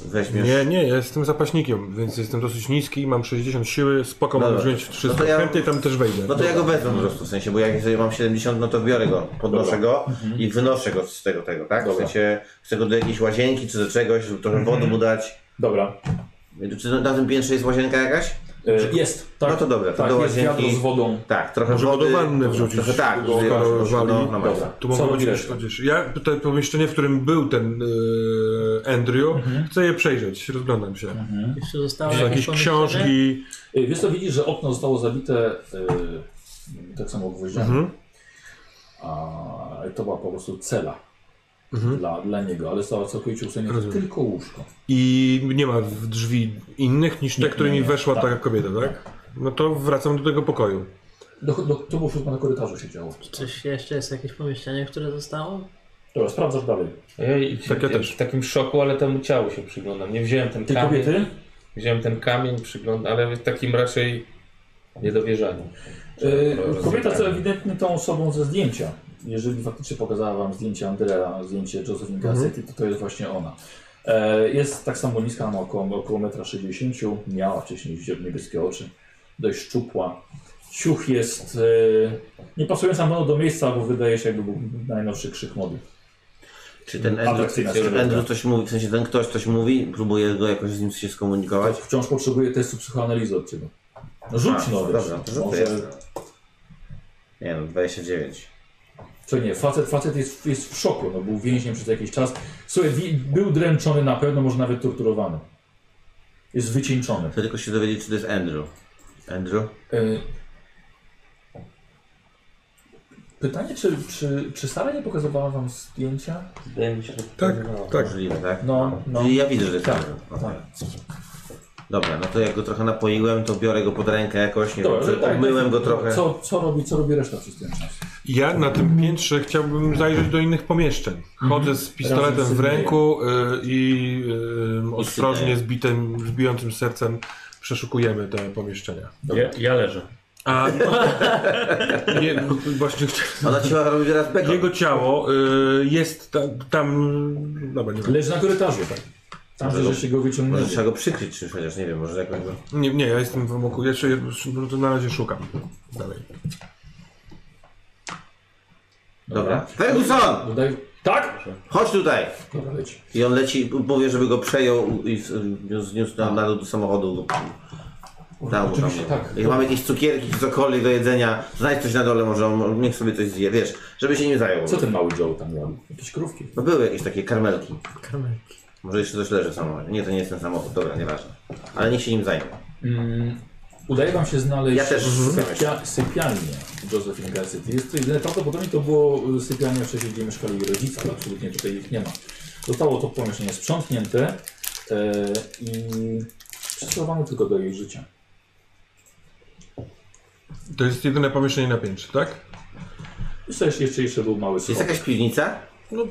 Speaker 3: Weźmiesz.
Speaker 5: Nie, nie, ja jestem zapaśnikiem, więc jestem dosyć niski, mam 60 siły, spoko,
Speaker 3: Dobra.
Speaker 5: mam wziąć
Speaker 3: No
Speaker 5: 300
Speaker 3: to ja-
Speaker 5: chęty i tam też wejdę.
Speaker 3: No to ja go wezmę po prostu, w sensie, bo jak sobie mam 70, no to biorę go, podnoszę go i wynoszę go z tego, tego, tak?
Speaker 2: Mhm.
Speaker 3: W
Speaker 2: Dobra. Mhm.
Speaker 3: sensie, chcę go do jakiejś łazienki czy do czegoś, żeby trochę wody mu dać.
Speaker 2: Dobra.
Speaker 3: Czy na tym piętrze jest łazienka jakaś?
Speaker 2: E, jest, tak.
Speaker 3: No to dobra, to
Speaker 2: tak,
Speaker 3: do
Speaker 2: jest
Speaker 3: łazienki.
Speaker 2: wiadro z wodą.
Speaker 3: Tak, trochę
Speaker 5: Może go
Speaker 3: wody.
Speaker 5: do wanny wrzucić.
Speaker 3: Trochę tak,
Speaker 5: Skoro
Speaker 3: do, do,
Speaker 5: wali.
Speaker 3: no, masz.
Speaker 2: Dobra.
Speaker 5: Tu
Speaker 2: Co
Speaker 5: mogę
Speaker 2: robi
Speaker 5: być
Speaker 2: reszta?
Speaker 5: odzież. Ja to pomieszczenie, w którym był ten yy, Andrew,
Speaker 3: Mhm.
Speaker 5: chcę je przejrzeć, rozglądam się.
Speaker 6: Jeszcze zostało
Speaker 5: Czy są jakieś książki.
Speaker 2: E, y, Wiesz co, widzisz, że okno zostało zabite e, tak samo gwoździami.
Speaker 5: Mhm.
Speaker 2: A to była po prostu cela
Speaker 3: Mhm.
Speaker 2: dla, dla niego, ale została całkowicie usunięta
Speaker 5: Rozumiem.
Speaker 2: tylko łóżko.
Speaker 5: I nie ma w drzwi innych niż te, którymi weszła ta kobieta, tak? No to wracam do tego pokoju.
Speaker 2: Do, do, to było wszystko na korytarzu się działo.
Speaker 6: Czyż jeszcze jest jakieś pomieszczenie, które zostało?
Speaker 2: Dobra, sprawdzasz dalej.
Speaker 9: Ja
Speaker 5: Tak, ja też.
Speaker 9: w takim szoku, ale temu ciału się przyglądam. Nie wziąłem ten
Speaker 2: Tej
Speaker 9: kamień.
Speaker 2: kobiety?
Speaker 9: Wziąłem ten kamień, przyglądam, ale w takim raczej niedowierzaniu.
Speaker 2: Yy,
Speaker 3: Tak,
Speaker 9: Rozegranie.
Speaker 2: Kobieta, co ewidentnie tą osobą ze zdjęcia. Jeżeli faktycznie pokazała wam zdjęcie Andrea, zdjęcie Josephine Gazety, to to jest właśnie ona. E, jest tak samo niska, ma około, około 1,60 m, miała wcześniej zielone- niebieskie oczy, dość szczupła. Ciuch jest e, nie pasująca mną do miejsca, bo wydaje się jakby był najnowszy krzyk mody.
Speaker 3: Czy ten
Speaker 2: Atrakcyjna
Speaker 3: Andrew, znaczy,
Speaker 2: sylwetka.
Speaker 3: Andrew coś mówi, w sensie ten ktoś coś mówi, próbuje go jakoś z nim się skomunikować?
Speaker 2: Wciąż potrzebuje testu psychoanalizy od ciebie. No rzuć
Speaker 3: A,
Speaker 2: no, wiesz,
Speaker 3: Dobra, to
Speaker 2: może-
Speaker 3: rzucę. jasne. Nie no, 29.
Speaker 2: Co nie, facet, facet jest, jest w szoku, no był więźniem przez jakiś czas. Słuchaj, wi- był dręczony na pewno, może nawet torturowany. Jest wycieńczony.
Speaker 3: Chcę tylko się dowiedzieć, czy to jest Andrew. Andrew?
Speaker 2: Y, Pytanie, czy, czy, czy Sara nie pokazywała wam zdjęcia?
Speaker 9: Wydaje mi się, że
Speaker 5: Tak, tak.
Speaker 3: Możliwe, tak?
Speaker 2: No, no.
Speaker 3: Czyli ja widzę, że jest
Speaker 2: Tak,
Speaker 3: Andrew. Okej.
Speaker 2: tak.
Speaker 3: Dobra, no to jak go trochę napoiłem, to biorę go pod rękę jakoś, nie
Speaker 2: Dobra,
Speaker 3: wiem,
Speaker 2: tak,
Speaker 3: czy obmyłem go trochę.
Speaker 2: Co, co, robi, co robi reszta przez ten czas?
Speaker 5: Ja na tym piętrze chciałbym zajrzeć do innych pomieszczeń. Chodzę z pistoletem
Speaker 2: Mhm. Razem z
Speaker 5: w ręku y, i y, ostrożnie z, bitem, z bijącym sercem przeszukujemy te pomieszczenia.
Speaker 4: Ja, ja leżę.
Speaker 5: A je, właśnie chcia-
Speaker 3: Ona cię robi teraz peko.
Speaker 5: jego ciało y, jest tam, tam dobra, nie, wiem.
Speaker 2: Leży na korytarzu, tak. Tam, że żeście go
Speaker 3: Może
Speaker 2: wyciągnęli.
Speaker 3: trzeba go przykryć czymś chociaż, nie wiem, może jakoś go...
Speaker 5: nie, nie, ja jestem w omoku, jeszcze no to na razie szukam dalej.
Speaker 3: Dobra. Ferguson!
Speaker 2: Dodaj... Tak?
Speaker 3: Chodź tutaj!
Speaker 2: Dobra, leci.
Speaker 3: I on leci, mówię, żeby go przejął i z- zniósł na, na dół do samochodu. Dał mu tam.
Speaker 2: Oczywiście, tak.
Speaker 3: Jak mamy jakieś cukierki, czy cokolwiek do jedzenia, znajdź coś na dole, może on niech sobie coś zje, wiesz, żeby się nie zajął.
Speaker 2: Co ten mały Joe tam robi? Jakieś krówki.
Speaker 3: No były jakieś takie karmelki.
Speaker 6: Kamerki.
Speaker 3: Może jeszcze coś leży w samochodzie. Nie, to nie jest ten samochód, dobra, nieważne. Ale niech się nim zajmie.
Speaker 2: Mm, udaje wam się znaleźć
Speaker 3: Ja też Mhm.
Speaker 2: sypia sypialnię Josephine Garcetti. Jest to jedyne, prawdopodobnie to było y, sypialnia wcześniej, gdzie mieszkali jej rodzice, ale absolutnie tutaj ich nie ma. Zostało to pomieszczenie sprzątnięte e, i przystosowano tylko do jej życia.
Speaker 5: To jest jedyne pomieszczenie na piętrze, tak?
Speaker 2: Jeszcze, jeszcze, jeszcze, jeszcze był mały
Speaker 3: Czy jest
Speaker 2: schod.
Speaker 3: jakaś piwnica?
Speaker 5: No.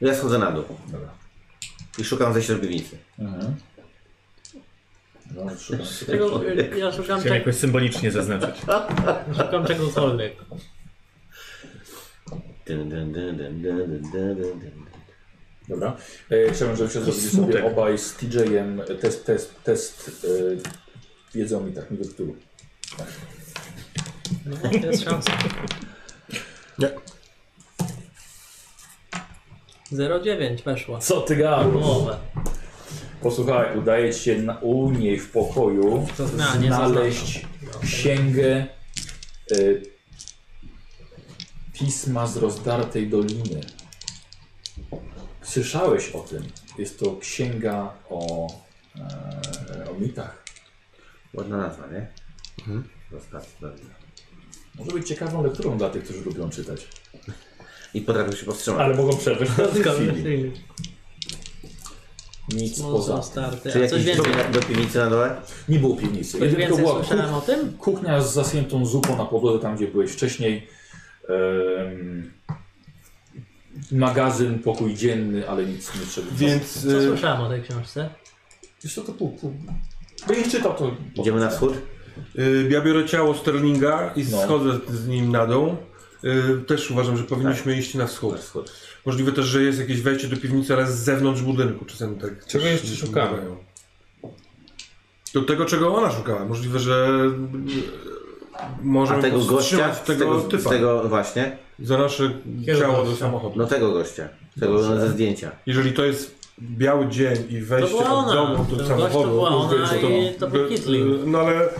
Speaker 3: Ja schodzę na dół
Speaker 2: Dobra.
Speaker 3: i szukam zejścia do piwnicy.
Speaker 2: Mhm. No, szukam tutaj.
Speaker 6: Czego, e, ja szukam,
Speaker 4: Chciałem
Speaker 2: Tak.
Speaker 6: cze,
Speaker 4: jakoś symbolicznie zaznaczyć.
Speaker 6: szukam czegokolwiek.
Speaker 3: Dyn, dyn, dyn, dyn, dyn, dyn, dyn, dyn, dyn.
Speaker 2: Dobra. E, chciałbym, żebyście zrobili sobie obaj z TJ-em test, test, test e, wiedzą mi tak, mi do tyłu.
Speaker 6: No, jest szansa.
Speaker 5: Nie.
Speaker 6: 0,9 weszła.
Speaker 2: Co ty gadasz?
Speaker 6: Umowę.
Speaker 2: Posłuchaj, udaje ci się na, u niej w pokoju
Speaker 6: Zaznaczam.
Speaker 2: znaleźć księgę y, pisma z rozdartej doliny. Słyszałeś o tym. Jest to księga o, e, o mitach.
Speaker 3: Ładna nazwa, nie? Mhm. Rozkaz, dobrze.
Speaker 2: Może być ciekawą lekturą dla tych, którzy lubią czytać.
Speaker 3: I potrafię się powstrzymać.
Speaker 2: Ale mogą przerwać w każdej chwili.
Speaker 6: Kolejny.
Speaker 2: Nic
Speaker 6: Mocno
Speaker 2: poza.
Speaker 3: Czy
Speaker 6: starty. A coś
Speaker 3: jakiś
Speaker 6: więcej?
Speaker 3: drugi do piwnicy na dole?
Speaker 2: Nie było piwnicy.
Speaker 6: Coś
Speaker 2: Jedynie to
Speaker 6: więcej
Speaker 2: była kuchnia.
Speaker 6: słyszałem o tym?
Speaker 2: Kuchnia z zasniętą zupą na podłodze, tam gdzie byłeś wcześniej. Em, magazyn, pokój dzienny, ale nic nie trzeba.
Speaker 5: Więc
Speaker 6: Co
Speaker 5: y,
Speaker 6: słyszałem o tej książce?
Speaker 2: Wiesz co, to pół, pół. Będziesz czytał to.
Speaker 3: Idziemy na wschód?
Speaker 5: Y, Ja biorę ciało Sterlinga i
Speaker 2: No.
Speaker 5: schodzę z nim na dół. Y, Też uważam, że powinniśmy
Speaker 3: Tak.
Speaker 5: iść na
Speaker 3: Na
Speaker 5: wschód.
Speaker 3: wschód.
Speaker 5: Możliwe też, że jest jakieś wejście do piwnicy, ale z zewnątrz budynku. Czasem tak.
Speaker 9: Czego
Speaker 5: też
Speaker 9: jeszcze szukamy?
Speaker 5: bywają. Do tego, czego ona szukała. Możliwe, że y,
Speaker 3: A
Speaker 5: możemy
Speaker 3: tego gościa,
Speaker 5: powstrzymać
Speaker 3: z
Speaker 5: tego,
Speaker 3: tego, z
Speaker 5: typa
Speaker 3: tego właśnie,
Speaker 5: za nasze ciało do samochodu.
Speaker 3: no tego gościa, tego ze zdjęcia.
Speaker 5: Jeżeli to jest biały dzień i
Speaker 6: To
Speaker 5: wejście
Speaker 6: była
Speaker 5: od
Speaker 6: ona.
Speaker 5: domu
Speaker 6: Ten
Speaker 5: do
Speaker 6: gość
Speaker 5: samochodu,
Speaker 6: to była ona
Speaker 5: więc
Speaker 6: i to był Hitler.
Speaker 5: No ale no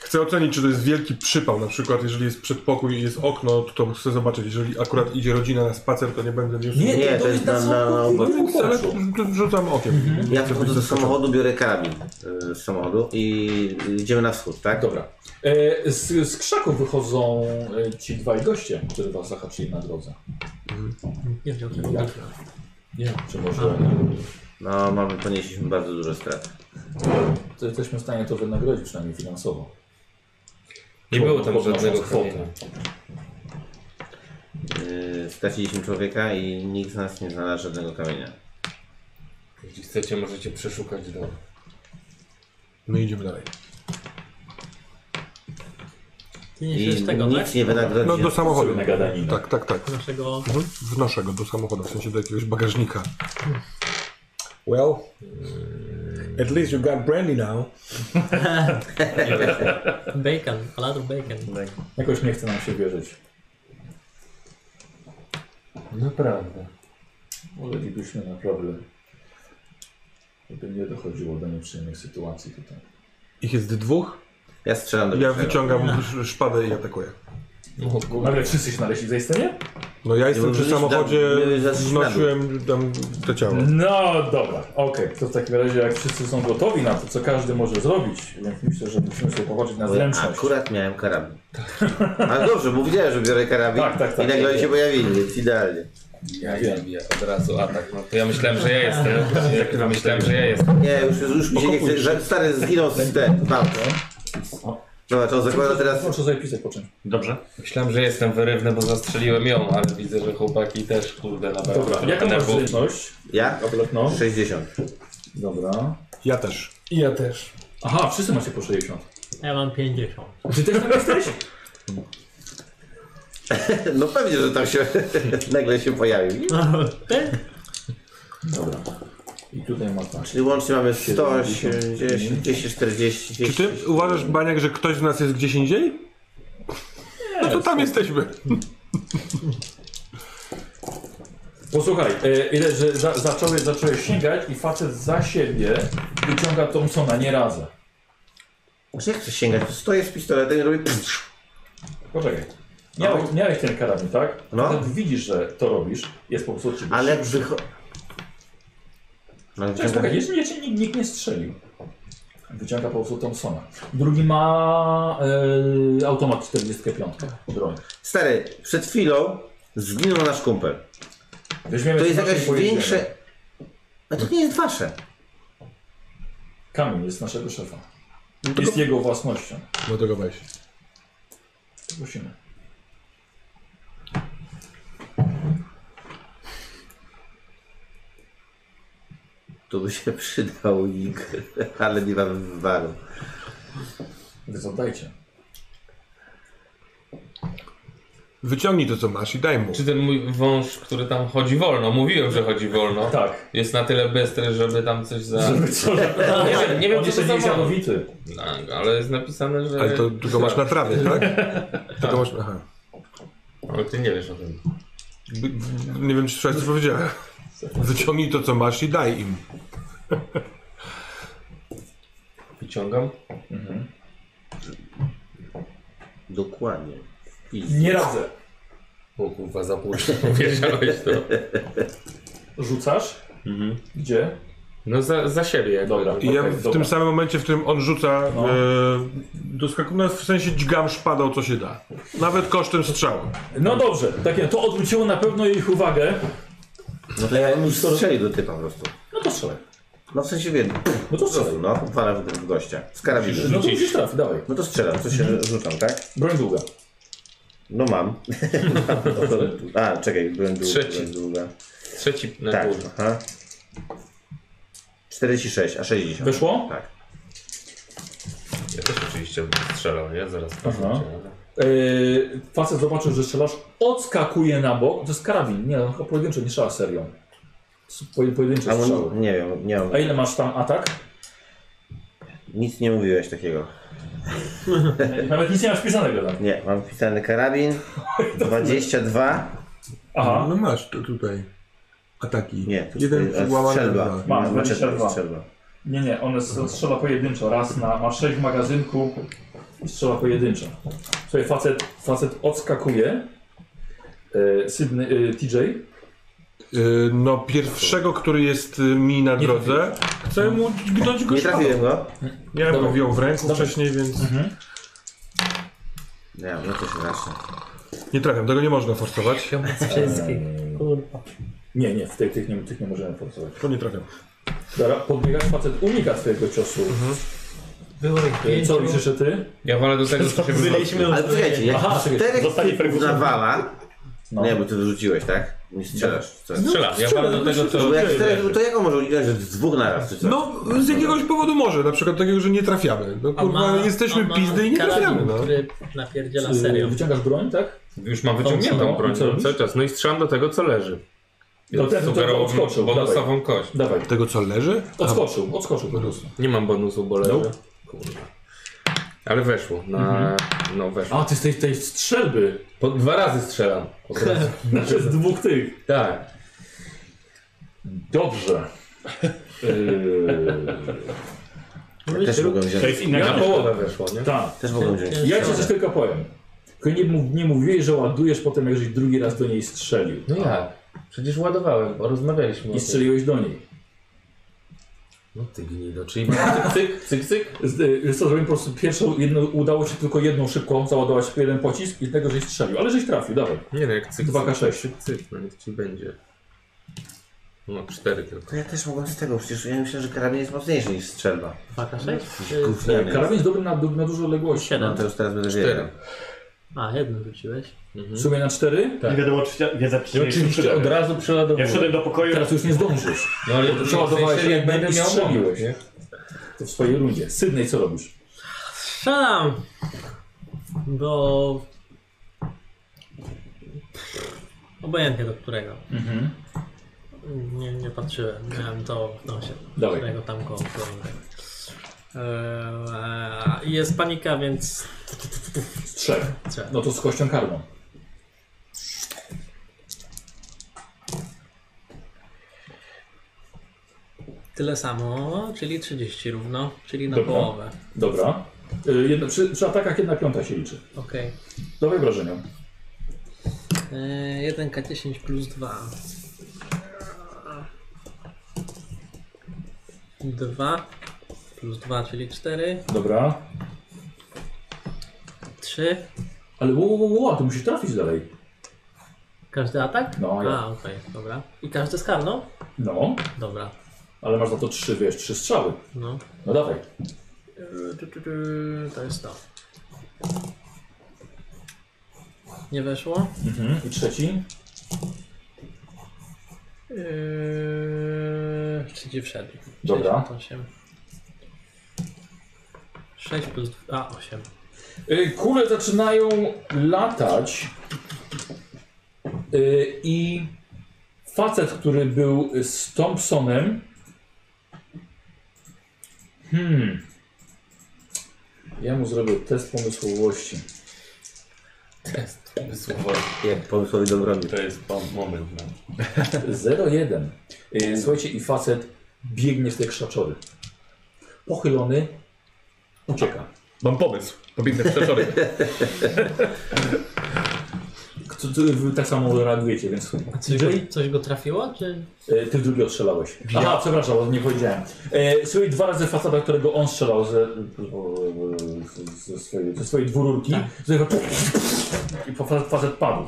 Speaker 5: Chcę ocenić, czy to jest wielki przypał. Na przykład, jeżeli jest przedpokój i jest okno, to, to chcę zobaczyć. Jeżeli akurat idzie rodzina na spacer, to nie będę wiesz.
Speaker 2: Nie, to jest na- na- na
Speaker 3: obrotce.
Speaker 5: Ale tu rzucam okiem.
Speaker 2: Mhm.
Speaker 5: Nie
Speaker 3: Ja
Speaker 5: chcę
Speaker 3: wychodzę
Speaker 5: być
Speaker 3: do
Speaker 5: zaskoczony.
Speaker 3: samochodu, biorę karabin y, z samochodu i idziemy na wschód, tak?
Speaker 2: Dobra. E, z, z krzaków wychodzą e, ci dwaj goście, którzy was zahaczyli na drodze.
Speaker 6: Nie wziął tego.
Speaker 2: Jak? Nie, czy może...
Speaker 3: No, mamy, ponieśliśmy bardzo dużo strat.
Speaker 2: To jesteśmy w stanie to wynagrodzić, przynajmniej finansowo.
Speaker 9: Nie było tam
Speaker 2: Podnosząc
Speaker 9: żadnego
Speaker 2: kwotę.
Speaker 9: kamienia.
Speaker 3: Y, Straciliśmy człowieka i nikt z nas nie znalazł żadnego kamienia.
Speaker 9: Jeśli chcecie, możecie przeszukać dom.
Speaker 5: My idziemy dalej.
Speaker 6: Ty
Speaker 3: I
Speaker 6: nie tego,
Speaker 3: nic
Speaker 6: tak?
Speaker 3: nie wynagrodził.
Speaker 5: No do samochodu.
Speaker 2: Sobie no. nagadanina.
Speaker 5: Tak, tak, tak.
Speaker 6: Naszego...
Speaker 5: Mhm. Wnoszę go do samochodu, w sensie do jakiegoś bagażnika. Well, at least you got brandy now.
Speaker 6: Bacon, Alador Bacon.
Speaker 2: Jakoś nie chce nam się wierzyć.
Speaker 9: Naprawdę.
Speaker 2: Uleglibyśmy na problem. Gdyby nie dochodziło do nieprzyjemnych sytuacji tutaj.
Speaker 5: Ich jest dwóch.
Speaker 3: Ja strzelam do
Speaker 5: Ja
Speaker 3: pierwszego.
Speaker 2: No.
Speaker 5: wyciągam sz- szpadę i atakuję.
Speaker 2: Ale wszyscy się znaleźli w tej scenie?
Speaker 5: No ja
Speaker 3: bo
Speaker 5: jestem przy
Speaker 3: byliśmy tam-
Speaker 5: samochodzie,
Speaker 3: były za śladu.
Speaker 5: znosiłem tam to ciało.
Speaker 2: No dobra, okej. To w takim razie jak wszyscy są gotowi na to, co każdy może zrobić, więc myślę, że musimy sobie popatrzeć na
Speaker 3: Bo
Speaker 2: zręczność.
Speaker 3: Akurat miałem karabin. Ale dobrze, bo wiedziałem, że biorę karabin
Speaker 2: Tak, tak, tak.
Speaker 3: i nagle oni się pojawili, więc idealnie.
Speaker 9: Ja nie wiem, ja od razu atak. No to ja myślałem, że ja jestem.
Speaker 2: Tak,
Speaker 9: Ja myślałem, że ja jestem.
Speaker 3: Nie, już, już mi się nie chce, że stary zginął z ten, tam. Dobra, to on zakłada teraz...
Speaker 2: Muszę sobie pisać po czym.
Speaker 10: Dobrze.
Speaker 9: Myślałem, że jestem wyrywny, bo zastrzeliłem ją, ale widzę, że chłopaki też kurde na
Speaker 2: Dobra, jaką masz zręczność?
Speaker 3: Ja?
Speaker 2: Obletną.
Speaker 3: 60.
Speaker 2: Dobra.
Speaker 5: Ja też.
Speaker 7: I ja też.
Speaker 2: Aha, wszyscy macie po 60.
Speaker 6: Ja mam 50.
Speaker 2: Ty też tam jesteś?
Speaker 3: No pewnie, że tam się nagle się pojawił.
Speaker 6: Ty?
Speaker 2: Dobra. I tutaj masz tak.
Speaker 3: Czyli łącznie mamy 180, 240,
Speaker 5: Czy ty uważasz, Baniak, że ktoś z nas jest gdzieś indziej? No to tam jesteśmy.
Speaker 2: Posłuchaj, e, ile, że za, zacząłeś, zacząłeś sięgać i facet za siebie wyciąga Thompsona nie razem.
Speaker 3: Czy jak chcesz sięgać? Stoję z pistoletem i robię...
Speaker 2: Poczekaj. Miałeś, miałeś ten karabin, tak?
Speaker 3: No.
Speaker 2: Facet widzisz, że to robisz. Jest po prostu od ciebie.
Speaker 3: Ale jak wychodzi... No,
Speaker 2: Cześć, czekaj, jeszcze, jeszcze nikt, nikt nie strzelił. Wyciąga po prostu Thompsona. Drugi ma e, automat 45. Broń.
Speaker 3: Stary, przed chwilą zginął nasz kumpel.
Speaker 2: Weźmiemy
Speaker 3: To jest
Speaker 2: nasze
Speaker 3: jakaś
Speaker 2: pojedziemy.
Speaker 3: większe... A to nie jest wasze.
Speaker 2: Kamień jest naszego szefa. Jest jego własnością.
Speaker 5: No tego weź.
Speaker 2: Musimy.
Speaker 3: Tu by się przydał ig, ale nie mamy wywaru.
Speaker 2: Więc oddajcie.
Speaker 5: Wyciągnij to, co masz i daj mu.
Speaker 9: Czy ten mój wąż, który tam chodzi wolno, mówiłem, że chodzi wolno,
Speaker 2: Tak.
Speaker 9: jest na tyle bystry, żeby tam coś za...
Speaker 2: Co, że...
Speaker 9: Nie wiem, nie
Speaker 2: Nie
Speaker 9: wiem,
Speaker 2: On
Speaker 9: co to
Speaker 2: jeszcze nie
Speaker 9: za
Speaker 2: jest
Speaker 9: wąż.
Speaker 2: jadowity.
Speaker 9: No, ale jest napisane, że...
Speaker 5: Ale to tylko masz na trawie, tak? Tylko masz... Aha.
Speaker 9: Ale ty nie wiesz o tym.
Speaker 5: B- b- Nie wiem, czy słyszałeś, co powiedziałem. Wyciągnij to, co masz i daj im.
Speaker 9: Wyciągam.
Speaker 3: Dokładnie. Pizd-
Speaker 2: Nie radzę.
Speaker 9: O kurwa, za późno powiedziałeś to.
Speaker 2: Rzucasz? Gdzie?
Speaker 9: No za, za siebie jak
Speaker 2: Dobra.
Speaker 5: Mhm. I ja
Speaker 2: Okej,
Speaker 5: w
Speaker 2: dobra.
Speaker 5: tym samym momencie, w którym on rzuca,
Speaker 2: No.
Speaker 5: e, doskakuję, no, w sensie dźgam szpadą, co się da. Nawet kosztem strzału.
Speaker 2: No dobrze, takie, to odwróciło na pewno ich uwagę.
Speaker 3: No to ja bym strzelił do typa po prostu.
Speaker 2: No to strzelaj.
Speaker 3: No w sensie wiem.
Speaker 2: No to
Speaker 3: Po prostu,
Speaker 2: strzelaj.
Speaker 3: no. Parę w w gościa. Z
Speaker 2: No
Speaker 3: karabinu.
Speaker 2: to musisz trafić, dawaj.
Speaker 3: No to strzelam, to się rzucam, tak?
Speaker 2: Broń długa.
Speaker 3: No mam. A, czekaj, byłem długo.
Speaker 9: Trzeci.
Speaker 3: Byłem długa.
Speaker 9: Trzeci no, na
Speaker 3: Tak,
Speaker 9: górze.
Speaker 3: aha. 46, a 60.
Speaker 2: Weszło?
Speaker 3: Tak.
Speaker 9: Ja też oczywiście bym strzelał, nie? Zaraz
Speaker 2: Aha.
Speaker 9: Aha.
Speaker 2: Yy, facet zobaczył, że strzelasz, odskakuje na bok. To jest karabin, nie, no, chyba pojedynczy, nie strzela serią. To są poje- Pojedyncze
Speaker 3: A
Speaker 2: strzały.
Speaker 3: mu, nie wiem, nie mam.
Speaker 2: A ile masz tam atak?
Speaker 3: Nic nie mówiłeś takiego.
Speaker 2: Nawet nic nie masz pisanego tam.
Speaker 3: Nie, mam wpisany karabin. 22.
Speaker 2: Aha,
Speaker 5: No masz to tutaj. Ataki.
Speaker 3: Nie, tu
Speaker 5: Jeden
Speaker 3: jest
Speaker 5: łamany
Speaker 3: strzelba. No,
Speaker 5: dwa.
Speaker 2: Mam,
Speaker 3: Maczeta jest
Speaker 2: 22.
Speaker 3: Strzelba.
Speaker 2: nie, nie, on strzela pojedynczo, raz na, masz 6 w magazynku, i strzela pojedyncza. Słuchaj, facet, facet odskakuje. E, Sydney, e, TJ.
Speaker 5: Y, No, pierwszego, który jest y, mi na drodze, chcę mu gnąć go
Speaker 3: Nie trafiłem go.
Speaker 5: Miałem
Speaker 2: Dobra.
Speaker 5: go wiął w ręku
Speaker 2: Dobra.
Speaker 5: wcześniej, więc
Speaker 3: Nie, no to się raczej.
Speaker 5: nie trafiam. Tego nie można forsować.
Speaker 6: Wszystkich. Kurwa.
Speaker 2: Nie, nie, w tych, tych, nie, tych nie możemy forsować.
Speaker 5: To nie trafiam.
Speaker 2: Dobra, podbiegasz, facet unika twojego ciosu.
Speaker 6: Było ich
Speaker 2: E,
Speaker 6: pięciu.
Speaker 2: Co robisz jeszcze ty?
Speaker 9: Ja walę do tego, co się wyrzucił.
Speaker 3: Ale poczekajcie, jak
Speaker 2: Aha, czekaj,
Speaker 3: czterech
Speaker 10: zostanie
Speaker 3: typów
Speaker 10: perkusja.
Speaker 3: nawala...
Speaker 2: No.
Speaker 3: Nie, bo ty wyrzuciłeś, tak? Nie strzelasz. Co?
Speaker 5: No,
Speaker 4: Strzela, ja walę do tego, co...
Speaker 3: Bo jak czterech, to jak on może unikać, że z dwóch naraz czy co?
Speaker 5: No, z jakiegoś powodu może, na przykład takiego, że nie trafiamy. No kurwa, jesteśmy pizdy i nie
Speaker 6: karabin,
Speaker 5: trafiamy, no.
Speaker 6: który napierdziela
Speaker 2: Y,
Speaker 6: serio.
Speaker 2: Wyciągasz broń, tak?
Speaker 9: Już mam wyciągniętą broń
Speaker 2: Co robisz?
Speaker 9: cały czas. No i strzelam do tego, co leży.
Speaker 2: No ten, co
Speaker 9: Sugerował
Speaker 2: odskoczył,
Speaker 9: bonusową kość.
Speaker 2: Dawaj.
Speaker 5: Tego, co leży?
Speaker 2: Odskoczył, odskoczył po prostu.
Speaker 9: Nie mam bonusu, bo leży.
Speaker 2: Nope.
Speaker 9: Kurwa. Ale weszło. Na... No weszło.
Speaker 2: Mhm. A, ty z tej, tej strzelby.
Speaker 9: Po dwa razy strzelam. Od razu.
Speaker 2: Znaczy z dwóch tych.
Speaker 9: tak.
Speaker 2: Dobrze. E,
Speaker 3: Też mogą wziąć.
Speaker 10: To jest inna
Speaker 9: Na
Speaker 10: gra.
Speaker 9: połowę weszło, nie?
Speaker 2: tak.
Speaker 3: Też mogą wziąć.
Speaker 2: Ja ci coś tylko powiem. Tylko nie, mów, nie mówiłeś, że ładujesz potem, jak żeś drugi raz do niej strzelił.
Speaker 9: No jak? Przecież ładowałem, bo rozmawialiśmy
Speaker 2: I
Speaker 9: o tym.
Speaker 2: strzeliłeś do niej.
Speaker 9: No ty gnido, czyli mam cyk, cyk, cyk, cyk.
Speaker 2: Z- y, Wiesz co, zrobiłem po prostu pierwszą, jedną, udało się tylko jedną szybko załadować jeden pocisk i tego żeś strzelił. Ale żeś trafił, dawaj.
Speaker 9: Nie no, jak cyk,
Speaker 2: Dwa
Speaker 9: cyk,
Speaker 2: K6.
Speaker 9: cyk, cyk, no niech ci będzie. No, cztery tylko.
Speaker 3: To ja też mogłem z tego, przecież ja myślę, że karabin jest mocniejszy niż strzelba.
Speaker 6: Faka 6?
Speaker 3: Gówniany.
Speaker 2: Karabin jest dobry na, du- na duże odległości.
Speaker 3: No
Speaker 6: 7.
Speaker 3: to już teraz będę wiedział.
Speaker 9: Cztery.
Speaker 6: A, jedno rzuciłeś.
Speaker 2: W sumie na cztery?
Speaker 9: Tak.
Speaker 11: Nie wiadomo, czy ja- wiedza
Speaker 9: I
Speaker 11: przyjdzie.
Speaker 9: oczywiście od razu
Speaker 11: Ja
Speaker 9: przeładowałem.
Speaker 11: wszedłem do pokoju.
Speaker 2: Teraz już nie zdążysz.
Speaker 9: No ale
Speaker 2: Bo
Speaker 9: to
Speaker 2: przeładowałeś
Speaker 9: przeładowałeś jak
Speaker 2: jednym
Speaker 9: będę
Speaker 2: i
Speaker 9: miał
Speaker 2: strzeliłeś.
Speaker 9: moment, nie?
Speaker 2: To w swojej rundzie. Sydney, co robisz?
Speaker 6: Strzelam! Do... Obojętnie do którego.
Speaker 2: Mhm.
Speaker 6: Nie, nie patrzyłem, miałem to w nosie.
Speaker 2: Dawaj.
Speaker 6: Którego tam koło. Eee, jest panika, więc
Speaker 2: Z trzech.
Speaker 6: Trzech.
Speaker 2: No to z kością karną.
Speaker 6: tyle samo, czyli 30 równo, czyli na
Speaker 2: Dobra.
Speaker 6: połowę.
Speaker 2: Dobra. Y, Jedna, przy, przy atakach jedna piąta się liczy.
Speaker 6: Okej.
Speaker 2: Dawaj wrażenia.
Speaker 6: Eee, 1K10 plus 2. 2 plus 2, czyli 4.
Speaker 2: Dobra.
Speaker 6: 3.
Speaker 2: Ale wow, wow, wow, ty musisz trafić dalej.
Speaker 6: Każdy atak?
Speaker 2: No, ja.
Speaker 6: A, okej, dobra. I każdy z karną?
Speaker 2: No,
Speaker 6: Dobra,
Speaker 2: ale masz za to trzy, wiesz, trzy strzały.
Speaker 6: no.
Speaker 2: No dawaj.
Speaker 6: Eee, tu, tu, tu, To jest to. Nie weszło.
Speaker 2: Mhm. I trzeci.
Speaker 6: Eee, Czyli wszedł.
Speaker 2: Dobra.
Speaker 6: 68. 6 plus 2, 8.
Speaker 2: Y, Kule zaczynają latać y, i facet, który był z Thompsonem hmm ja mu zrobię test pomysłowości.
Speaker 9: Słowo,
Speaker 3: Jak pomysłowi Dobromir.
Speaker 9: to jest pan moment. No.
Speaker 2: 0-1. Y, Słuchajcie, i facet biegnie w te krzaczory. Pochylony, ucieka.
Speaker 10: Mam pomysł. Pobiegnę w przeczory.
Speaker 2: Co- co- Wy tak samo reagujecie, więc...
Speaker 6: Coś go, coś go trafiło, czy?
Speaker 2: E, Ty drugi odstrzelałeś. Aha, przepraszam, bo nie powiedziałem. E, słuchaj, dwa razy fasada, którego on strzelał ze, ze, swojej, ze swojej dwururki. Słuchaj, I po fa- facet padł.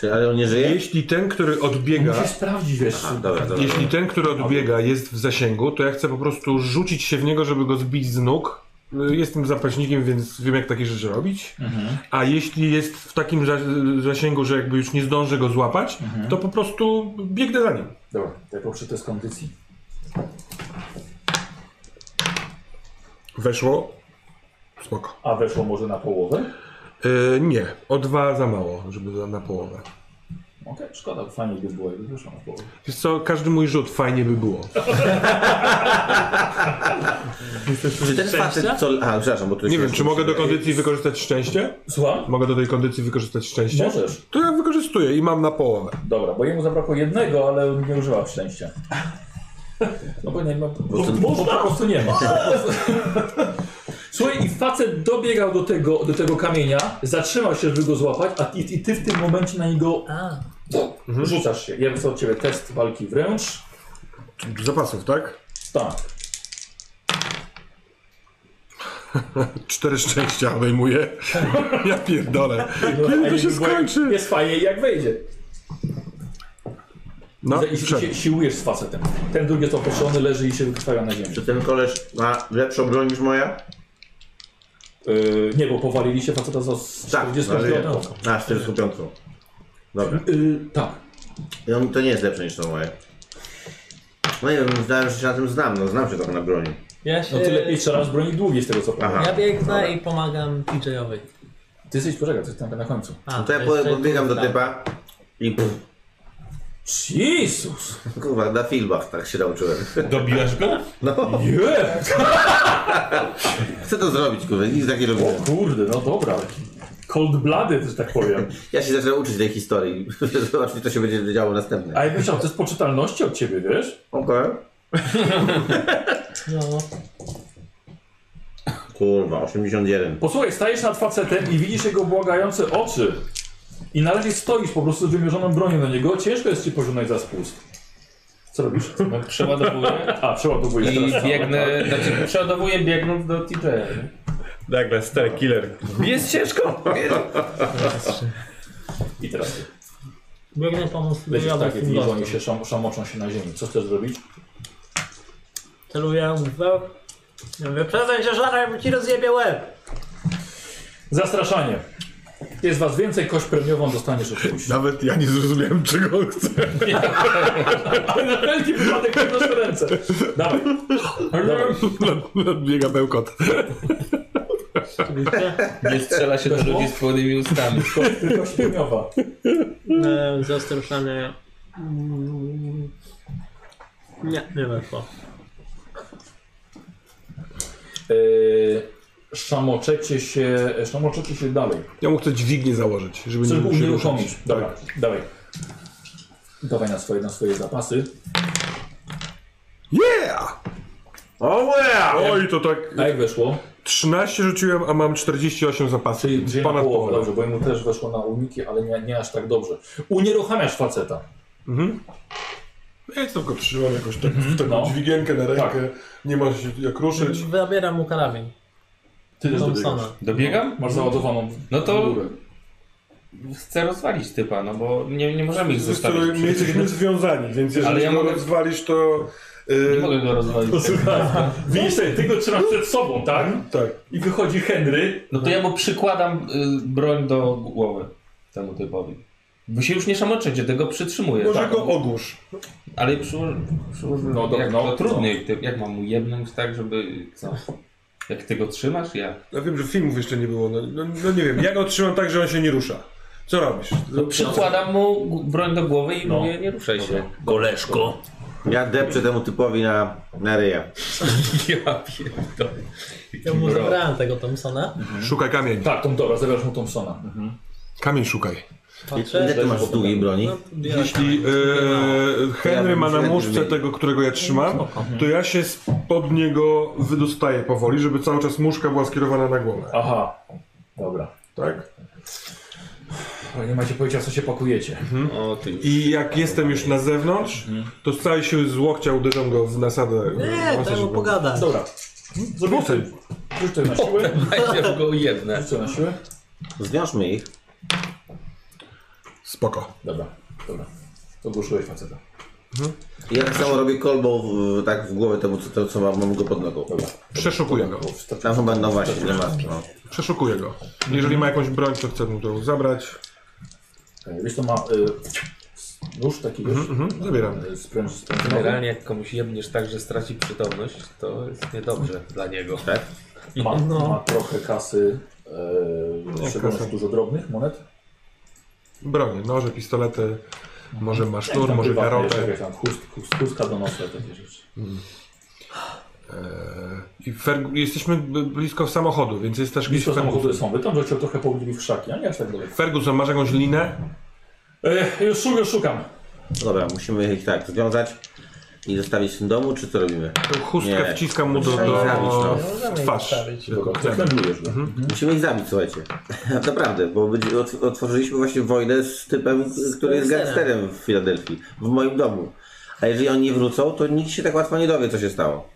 Speaker 3: Czy, ale on nie żyje?
Speaker 5: Jeśli ten, który odbiega,
Speaker 2: Musisz sprawdzić, wiesz.
Speaker 3: A, dobra, dobra.
Speaker 5: jeśli ten, który odbiega jest w zasięgu, to ja chcę po prostu rzucić się w niego, żeby go zbić z nóg. Y, Jestem zapaśnikiem, więc wiem jak takie rzeczy robić.
Speaker 2: Mhm.
Speaker 5: A jeśli jest w takim za- zasięgu, że jakby już nie zdążę go złapać, to po prostu biegnę za nim.
Speaker 2: Dobra, to ja poproszę test kondycji.
Speaker 5: Weszło. Spoko.
Speaker 2: A weszło może na połowę?
Speaker 5: Y, nie, o dwa za mało, żeby za- na połowę.
Speaker 2: Okej, szkoda, bo fajnie by było, jakby weszło na połowę.
Speaker 5: Wiesz co, każdy mój rzut fajnie by było.
Speaker 3: Czy ten facet co... A, przepraszam, bo tu
Speaker 5: Nie
Speaker 3: się-
Speaker 5: wiem, czy mogę do kondycji wykorzystać szczęście?
Speaker 2: Słucham?
Speaker 5: Mogę do tej kondycji wykorzystać szczęście?
Speaker 2: Możesz.
Speaker 5: To ja wykorzystuję i mam na połowę.
Speaker 2: Dobra, bo jemu zabrakło jednego, ale on nie używał szczęścia. No bo nie ma. Bo, bo, po prostu nie ma. Słuchaj, i facet dobiegał do tego, do tego kamienia, zatrzymał się, żeby go złapać, a i, i ty w tym momencie na niego Mhm. rzucasz się. Ja bym od ciebie test walki wręcz.
Speaker 5: Zapasów, tak?
Speaker 2: Tak.
Speaker 5: Cztery szczęścia obejmuje. Ja pierdolę.
Speaker 2: No,
Speaker 5: Kiedy to się skończy?
Speaker 2: Jest fajnie jak wejdzie.
Speaker 5: No,
Speaker 2: I
Speaker 5: wszedł.
Speaker 2: się, siłujesz z facetem. Ten drugi jest opuszczony, leży i się wykrwawia na ziemi.
Speaker 3: Czy ten koleż ma lepszą broń niż moja? Tak.
Speaker 2: Yy, nie, bo powaliliście faceta
Speaker 5: Tak,
Speaker 2: za z 40
Speaker 3: no, ale-
Speaker 2: piątką.
Speaker 3: A, 45. Dobra.
Speaker 2: Yy, tak.
Speaker 3: I on to nie jest lepsze niż to moje. No nie wiem, zdałem, że się na tym znam, no znam się trochę na broni.
Speaker 6: Ja się...
Speaker 2: No ty
Speaker 4: Eee,
Speaker 2: lepiej strzelasz z broni długiej z tego co pamiętam.
Speaker 6: Ja biegnę i pomagam TJ-owi.
Speaker 2: Ty jesteś, poczekaj, ty tam na końcu.
Speaker 6: A,
Speaker 3: No to ja
Speaker 6: to jest- tak.
Speaker 3: po- podbiegam do typa i pff,
Speaker 2: Jezus!
Speaker 3: kurwa, na filmach tak się nauczyłem.
Speaker 4: Dobiłaś go?
Speaker 3: No,
Speaker 2: Nie!
Speaker 3: chcę to zrobić, kurwa, nic tak nie robiłem.
Speaker 2: Kurde, no dobra. Cold blooded, że tak powiem.
Speaker 3: Ja się zacząłem uczyć tej historii. Zobaczmy, co się będzie działo następne.
Speaker 2: A ja myślałem, to jest poczytalności od ciebie, wiesz?
Speaker 3: Okej.
Speaker 6: No,
Speaker 3: Kurwa, 81.
Speaker 2: Posłuchaj, stajesz nad facetem i widzisz jego błagające oczy. I na razie stoisz po prostu z wymierzoną bronią do niego. Ciężko jest ci pociągnąć za spust. Co robisz?
Speaker 9: No, przeładowuję
Speaker 2: A, przeładowujesz
Speaker 9: i
Speaker 2: teraz.
Speaker 9: biegnę, znaczy przeładowuję biegnąc do TJ.
Speaker 4: Nagle, stary killer.
Speaker 9: Jest ciężko!
Speaker 2: I teraz ty.
Speaker 6: biegnę pomóc
Speaker 2: Lecisz
Speaker 6: TJ-owi
Speaker 2: tak,
Speaker 6: z
Speaker 2: jak
Speaker 6: tym
Speaker 2: widzisz, oni
Speaker 6: gościem.
Speaker 2: się szam, szamoczą się na ziemi. Co chcesz zrobić?
Speaker 6: Celuję w łeb. no, Ja mówię, przestań się żarać, bo ci rozjebie łeb.
Speaker 2: Zastraszanie. Jest was więcej, kość premiową dostaniesz od pójść.
Speaker 5: Nawet ja nie zrozumiałem, czego on chce.
Speaker 2: Ale na wszelki wypadek podnoszę ręce. Dawaj. Dawaj.
Speaker 5: Biega bełkot.
Speaker 9: Nie strzela się do ludzi z pełnymi ustami.
Speaker 2: Kość- Kość premiowa.
Speaker 6: E, Zastraszany. Mm, Nie, nie weszło.
Speaker 2: Yy, szamoczecie się, szamoczecie się dalej.
Speaker 5: Ja mu chcę dźwignię założyć, żeby
Speaker 2: Chcesz
Speaker 5: nie
Speaker 2: go
Speaker 5: mógł się
Speaker 2: unieruchomić.
Speaker 5: ruszać. Tak.
Speaker 2: Dobra, dawaj. Dawaj na swoje, na swoje zapasy.
Speaker 5: Yeah!
Speaker 3: O yeah!
Speaker 5: Oj, to tak.
Speaker 2: A jak weszło?
Speaker 5: 13 rzuciłem, a mam 48 zapasów.
Speaker 2: Czyli, czyli na
Speaker 5: Ponad
Speaker 2: połowę,
Speaker 5: połowę.
Speaker 2: dobrze, bo mu też weszło na uniki, ale nie, nie aż tak dobrze. Unieruchamiasz faceta.
Speaker 5: Ja tylko trzymam jakoś tak, w taką
Speaker 2: No. Tak.
Speaker 5: dźwigienkę na rękę. Nie ma się jak ruszyć.
Speaker 6: Zabieram mu karabin.
Speaker 2: Ty też dobiegasz.
Speaker 6: Thompsona.
Speaker 9: Dobiegam?
Speaker 2: Masz załadowaną.
Speaker 9: No to
Speaker 2: górę.
Speaker 9: chcę rozwalić typa, no bo nie, nie możemy ich
Speaker 5: Z którym
Speaker 9: zostawić.
Speaker 5: my jesteśmy związani, więc jeżeli
Speaker 9: Ale ja
Speaker 5: go
Speaker 9: mogę-
Speaker 5: rozwalisz, to.
Speaker 9: Nie
Speaker 5: Yy,
Speaker 9: mogę go rozwalić.
Speaker 2: Posłuchaj, widzisz, sobie, ty go trzymasz przed sobą, tak?
Speaker 5: tak.
Speaker 2: I wychodzi Henry.
Speaker 9: No to ja mu przykładam y, broń do głowy temu typowi. Wy się już nie szamoczycie, tego przytrzymuję.
Speaker 5: Może
Speaker 9: tak?
Speaker 5: go ogłusz.
Speaker 9: Ale przy, przy,
Speaker 2: No
Speaker 9: no,
Speaker 2: dobra,
Speaker 9: jak,
Speaker 2: no,
Speaker 9: to
Speaker 2: no.
Speaker 9: trudniej, ty, jak mam mu jebnąć tak, żeby co? Jak ty go trzymasz? Ja.
Speaker 5: Ja wiem, że filmów jeszcze nie było. No, no, no nie wiem, ja go trzymam tak, że on się nie rusza. Co robisz?
Speaker 9: Przykładam mu g- broń do głowy i
Speaker 2: No.
Speaker 9: mówię nie ruszaj się.
Speaker 11: Koleżko.
Speaker 3: Ja depczę temu typowi na, na ryja.
Speaker 9: Ja pierdolę.
Speaker 6: Ja mu
Speaker 9: Bro.
Speaker 6: zabrałem tego Thompsona.
Speaker 5: Szukaj kamień.
Speaker 2: Tak, tą dobra, zabierasz mu Thompsona.
Speaker 5: Mhm. Kamień szukaj.
Speaker 6: Patrzę.
Speaker 3: Ile ty masz długiej broni?
Speaker 6: No, biorę.
Speaker 5: Jeśli e, Henry
Speaker 3: bym
Speaker 5: ma na
Speaker 3: średnio
Speaker 5: muszce
Speaker 3: wymienił.
Speaker 5: tego, którego ja trzymam, to ja się spod niego wydostaję powoli, żeby cały czas muszka była skierowana na głowę.
Speaker 2: Aha, dobra.
Speaker 5: Tak?
Speaker 2: Ale nie macie pojęcia, w co się pakujecie.
Speaker 5: Mhm.
Speaker 9: O ty.
Speaker 5: I jak jestem już na zewnątrz, to z całej siły z łokcia uderzam go w nasadę.
Speaker 6: Nie,
Speaker 5: Masaż
Speaker 6: temu
Speaker 5: głowy.
Speaker 6: pogadać.
Speaker 2: Dobra. Zrobię sobie. Rzuć sobie na siłę.
Speaker 5: No.
Speaker 9: Najpierw go jebnę.
Speaker 2: Rzuć sobie na siłę.
Speaker 3: Zwiążmy ich.
Speaker 5: Spoko.
Speaker 2: Dobra, dobra. To głoszyłeś faceta.
Speaker 3: Ja tak samo robię kolbą w, tak w głowę temu, co, to, co mam, mam go pod nogą.
Speaker 5: Przeszukuję go.
Speaker 3: Tam chyba, no właśnie, nie ma. No.
Speaker 5: Przeszukuję go. Jeżeli ma jakąś broń, to chcę mu to zabrać.
Speaker 2: E, Wiesz, to ma y, nóż taki, wiesz?
Speaker 5: mhm, zabieram.
Speaker 2: y, Spręż, spręż
Speaker 9: Generalnie jak komuś jebniesz tak, że straci przytomność, to jest niedobrze dla niego.
Speaker 2: ma, ma trochę kasy, e,
Speaker 5: No. Jak
Speaker 2: szczególnie
Speaker 5: kasa?
Speaker 2: dużo drobnych monet.
Speaker 5: Bronie, noże, pistolety, może ma
Speaker 2: Jakieś
Speaker 5: sznur,
Speaker 2: tam
Speaker 5: może
Speaker 2: prywatne,
Speaker 5: garotę.
Speaker 2: jeszcze jakieś tam chust, chust, chustka do nosa, takie rzeczy.
Speaker 5: I Fer- jesteśmy b- blisko samochodu, więc jest też gdzieś
Speaker 2: Blisko samochodu
Speaker 5: Ferguson.
Speaker 2: są, wy tam rzucił trochę południ w krzaki, a nie aż tak daleko.
Speaker 5: Ferguson, masz jakąś linę?
Speaker 2: E, już szukam, już szukam.
Speaker 3: Dobra, musimy ich tak związać. I zostawić w tym domu, czy co robimy?
Speaker 5: Tą chustkę
Speaker 3: Nie.
Speaker 5: wciskam mu do, do,
Speaker 3: Musimy ich zabić, no.
Speaker 5: w twarz.
Speaker 2: Tak.
Speaker 11: no.
Speaker 2: Mhm.
Speaker 3: Musimy ich zabić, słuchajcie. Naprawdę, bo będzie- otw- otworzyliśmy właśnie wojnę z typem, który jest gangsterem w Filadelfii, w moim domu. A jeżeli oni nie wrócą, to nikt się tak łatwo nie dowie, co się stało.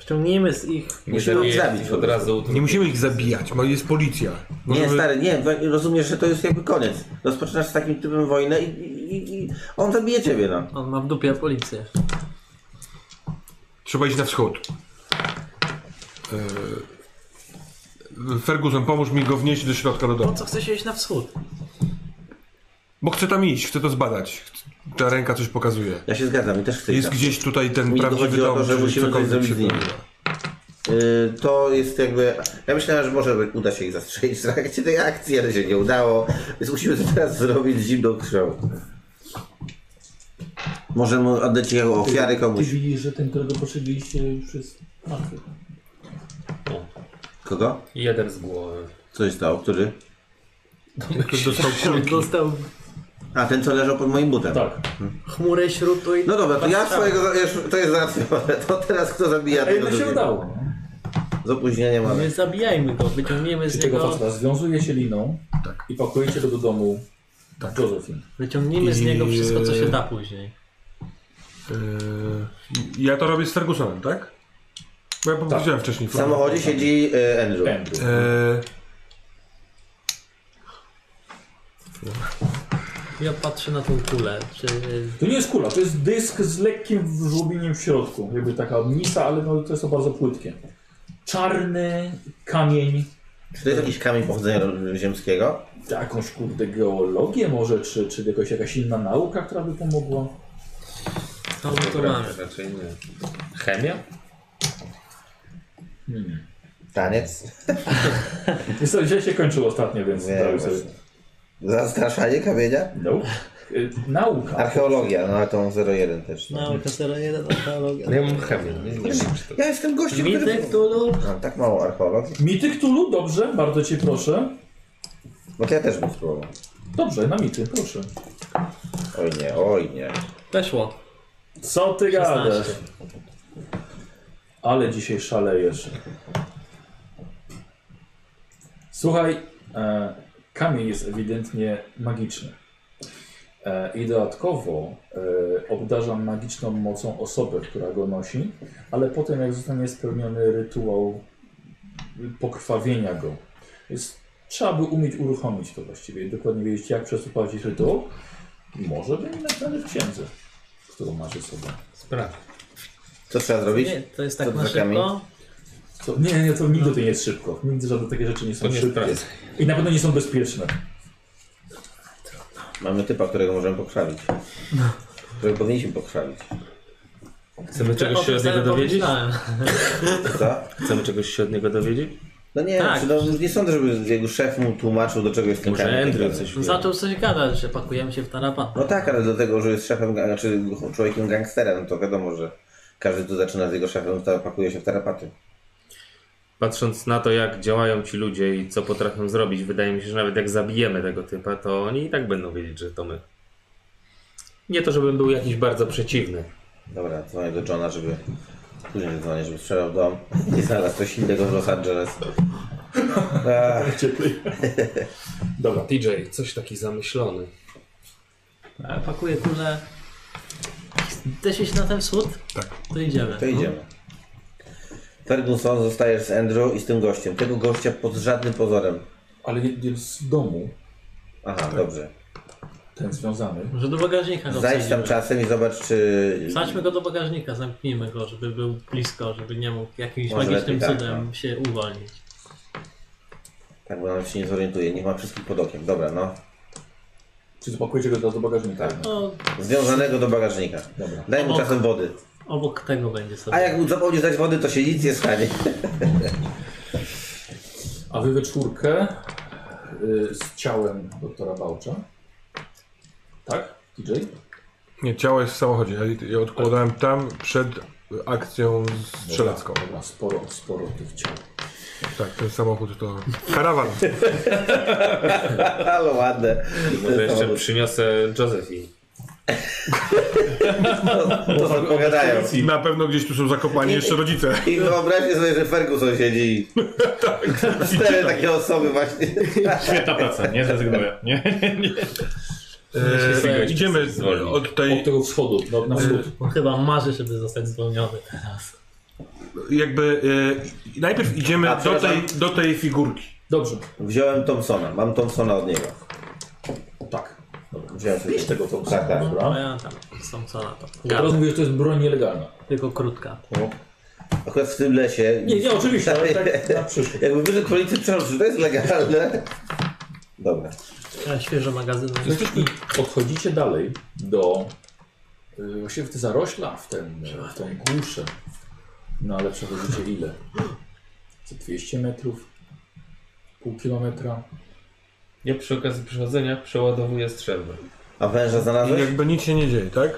Speaker 6: Ściągnijmy z ich...
Speaker 3: Musimy ich zabić po prostu.
Speaker 5: Nie musimy ich zabijać, bo jest policja.
Speaker 3: Nie,
Speaker 5: Możemy-
Speaker 3: stary, nie, wa- rozumiesz, że to jest jakby koniec. Rozpoczynasz z takim typem wojnę i, i, i- i on zabije ciebie, no.
Speaker 6: On ma w dupie policję.
Speaker 5: Trzeba iść na wschód. E, Ferguson, pomóż mi go wnieść do środka do domu.
Speaker 6: Po co chcesz iść na wschód?
Speaker 5: Bo chcę tam iść, chcę to zbadać. Chc- Ta ręka coś pokazuje.
Speaker 3: Ja się zgadzam, mi też chce
Speaker 5: Jest
Speaker 3: iść.
Speaker 5: gdzieś tutaj ten
Speaker 3: Mi tylko
Speaker 5: prawdziwy
Speaker 3: chodzi o
Speaker 5: dom,
Speaker 3: to, że
Speaker 5: czy
Speaker 3: musimy coś
Speaker 5: cokolwiek
Speaker 3: zrobić
Speaker 5: się
Speaker 3: z nimi.
Speaker 5: pojawia.
Speaker 3: Y, To jest jakby. Ja myślałem, że może uda się ich zastrzelić w trakcie tej akcji, ale się nie udało. Więc musimy to teraz zrobić z zimną krwią. Możemy oddać jego ofiary komuś.
Speaker 11: Ty widzisz, że ten, którego poszybiliście już jest martwy.
Speaker 3: Kogo?
Speaker 9: Jeden z głowy.
Speaker 3: Co się stało? Który?
Speaker 5: Dostał kulki.
Speaker 6: Dostał
Speaker 3: A ten, co leżał pod moim butem.
Speaker 11: Tak.
Speaker 6: chmurę śrutu i...
Speaker 3: No dobra, to ja
Speaker 6: Patrzałem.
Speaker 3: swojego. ja już- To jest załatwione. To teraz kto zabija
Speaker 11: Ej, no się
Speaker 3: drugiego?
Speaker 11: udało.
Speaker 3: Z opóźnieniem, ale.
Speaker 6: My zabijajmy go, wyciągniemy
Speaker 2: Czy
Speaker 6: z
Speaker 2: tego
Speaker 6: niego...
Speaker 2: faceta związujecie liną
Speaker 5: Tak.
Speaker 2: i pakujecie go do domu tak. Josephine.
Speaker 6: Wyciągnijmy z
Speaker 5: I-
Speaker 6: niego wszystko, co się da później.
Speaker 5: E, Ja to robię z Fergusonem, tak? Bo ja
Speaker 3: Tak.
Speaker 5: powiedziałem wcześniej.
Speaker 3: W samochodzie siedzi y, Andrew.
Speaker 2: Andrew.
Speaker 5: E,
Speaker 6: Ja patrzę na tą kulę, czy... e,
Speaker 2: To nie jest kula, to jest dysk z lekkim żłobieniem w środku. Jakby taka misa, ale no, to jest to bardzo płytkie. Czarny kamień,
Speaker 3: Czy to jest jakiś kamień pochodzenia ziemskiego?
Speaker 2: jakąś kurde geologię może, czy, czy jakoś jakaś inna nauka, która by pomogła.
Speaker 6: Co my tu mamy?
Speaker 9: Raczej nie. Chemia?
Speaker 3: Taniec?
Speaker 2: Jest to źle się kończył ostatnio, więc
Speaker 3: Nie,
Speaker 2: dałem
Speaker 3: właśnie.
Speaker 2: sobie.
Speaker 3: Zastraszanie kamienia?
Speaker 2: No. Y, Nauka.
Speaker 3: Archeologia, no ale tą 01 też. No.
Speaker 6: Nauka 01, archeologia.
Speaker 9: No ja mam chemię. Nie, nie,
Speaker 3: Ja jestem gościem,
Speaker 6: Mity,
Speaker 3: który...
Speaker 6: Cthulhu?
Speaker 3: Mam tak mało archeologii.
Speaker 2: Mity Cthulhu, dobrze, bardzo cię proszę.
Speaker 3: No to ja też bym spróbował.
Speaker 2: Dobrze, na mity, proszę.
Speaker 3: Oj nie, oj nie.
Speaker 6: Weszło.
Speaker 2: Co ty
Speaker 6: 16.
Speaker 2: gadasz? Ale dzisiaj szalejesz. Słuchaj, e, kamień jest ewidentnie magiczny. E, I dodatkowo e, obdarza magiczną mocą osobę, która go nosi, ale potem jak zostanie spełniony rytuał pokrwawienia go. Jest, trzeba by umieć uruchomić to właściwie i dokładnie wiedzieć jak przeprowadzić rytuał. Może będzie napisane w księdze, którą masz ze sobą.
Speaker 9: Spraw.
Speaker 3: Co trzeba zrobić?
Speaker 6: Nie, to jest
Speaker 3: Co
Speaker 6: tak
Speaker 3: to
Speaker 6: na
Speaker 3: za kamień?
Speaker 6: szybko.
Speaker 2: Co? Nie, nie, to nigdy to nie jest szybko. Nigdy żadne takie rzeczy nie są
Speaker 9: To nie
Speaker 2: szybkie.
Speaker 9: sprawdzę.
Speaker 2: I na pewno nie są bezpieczne.
Speaker 3: Mamy typa, którego możemy pokrwawić. Którego powinniśmy pokrwawić.
Speaker 9: Chcemy
Speaker 6: O
Speaker 9: czegoś się
Speaker 6: tym
Speaker 9: od niego
Speaker 6: sobie
Speaker 9: dowiedzieć?
Speaker 6: pomyślałem.
Speaker 3: Co?
Speaker 9: Chcemy czegoś się od niego dowiedzieć?
Speaker 3: No nie,
Speaker 6: Tak.
Speaker 3: czy no, nie sądzę, żeby jego szef mu tłumaczył do czego jest ten
Speaker 9: Może
Speaker 3: kamień.
Speaker 9: Andrew coś wie.
Speaker 6: Zaczął coś gadać, że pakujemy się w tarapat.
Speaker 3: No tak, ale do tego, że jest szefem, ga- znaczy człowiekiem gangsterem, to wiadomo, że każdy tu zaczyna z jego szefem, to pakuje się w tarapaty.
Speaker 9: Patrząc na to, jak działają ci ludzie i co potrafią zrobić, wydaje mi się, że nawet jak zabijemy tego typa, to oni i tak będą wiedzieć, że to my. Nie to, żebym był jakiś bardzo przeciwny.
Speaker 3: Dobra, dzwonię do Johna, żeby... Później dzwonię, żeby strzelał dom i znalazł coś innego w Los Angeles. Ach.
Speaker 2: Cieplej.
Speaker 9: Dobra, TJ, coś taki zamyślony.
Speaker 6: A E, pakuję kulę. Chcesz iść na ten wschód?
Speaker 5: Tak.
Speaker 6: To idziemy.
Speaker 3: To idziemy. Ferguson zostajesz z Andrew i z tym gościem. Tego gościa pod żadnym pozorem.
Speaker 2: Ale nie, nie z domu,
Speaker 3: Aha, dobrze.
Speaker 2: ten związany.
Speaker 6: Może do bagażnika go
Speaker 3: Zajdź tam
Speaker 6: wsadzimy.
Speaker 3: czasem i zobacz, czy.
Speaker 6: Wsadźmy go do bagażnika, zamknijmy go, żeby był blisko, żeby nie mógł jakimś
Speaker 3: Może
Speaker 6: magicznym
Speaker 3: lepiej tak,
Speaker 6: cudem się uwolnić.
Speaker 3: Tak, bo on się nie zorientuje. Niech ma wszystkich pod okiem. Dobra, no.
Speaker 2: Czy zapakujecie go teraz do bagażnika?
Speaker 6: No,
Speaker 3: Związanego do bagażnika.
Speaker 2: Dobra.
Speaker 3: Daj mu
Speaker 6: Obok.
Speaker 3: czasem wody.
Speaker 6: obok tego będzie
Speaker 3: A
Speaker 6: sobie.
Speaker 3: jak mu zapomnisz dać wody, to się nic nie stanie.
Speaker 2: A wy we czwórkę y, z ciałem doktora Bałcza. Tak? DJ?
Speaker 5: nie, ciało jest w samochodzie. Ja, ja odkładałem tam przed akcją strzelacką.
Speaker 2: Dobra, sporo, sporo tych ciał.
Speaker 5: Tak, ten samochód to karawan.
Speaker 3: Ale ładne.
Speaker 9: Może jeszcze przyniosę Josephine.
Speaker 3: To co odpowiadają.
Speaker 5: Na pewno gdzieś tu są zakopani jeszcze rodzice.
Speaker 3: I wyobraźcie sobie, że Ferguson siedzi. tak. Cztery takie osoby właśnie.
Speaker 10: Świetna praca, nie zrezygnuję. Nie, nie, nie.
Speaker 5: E, idziemy od tej,
Speaker 2: Od tego wschodu, no, na wschód.
Speaker 6: On chyba marzy, żeby zostać zwolniony teraz.
Speaker 5: jakby, e, najpierw idziemy
Speaker 3: A,
Speaker 5: do
Speaker 3: przepraszam.
Speaker 5: tej, do tej figurki.
Speaker 2: Dobrze.
Speaker 3: Wziąłem Thompsona, mam Thompsona od niego.
Speaker 2: Tak. Dobra.
Speaker 3: Wziąłem sobie.
Speaker 2: Pisz tego tą
Speaker 3: Tak, tak.
Speaker 6: No ja tam, są co na to.
Speaker 2: Teraz mówię, że to jest broń nielegalna.
Speaker 6: Tylko krótka.
Speaker 3: tak. Akurat w tym lesie.
Speaker 2: Nie, nie, oczywiście, ale tak na przyszłość.
Speaker 3: Jakby wyszedł policji, przepraszam, czy to jest legalne? Dobra.
Speaker 6: Ja świeżo magazyn.
Speaker 2: Jesteśmy, podchodzicie dalej do y, właściwie w te zarośla, w, ten, w tą głuszę. No ale przechodzicie ile? Co 200 metrów? Pół kilometra?
Speaker 9: Ja przy okazji przechodzenia przeładowuję strzelbę.
Speaker 3: A węża
Speaker 5: I
Speaker 3: znalazłeś?
Speaker 5: jakby nic się nie dzieje, tak?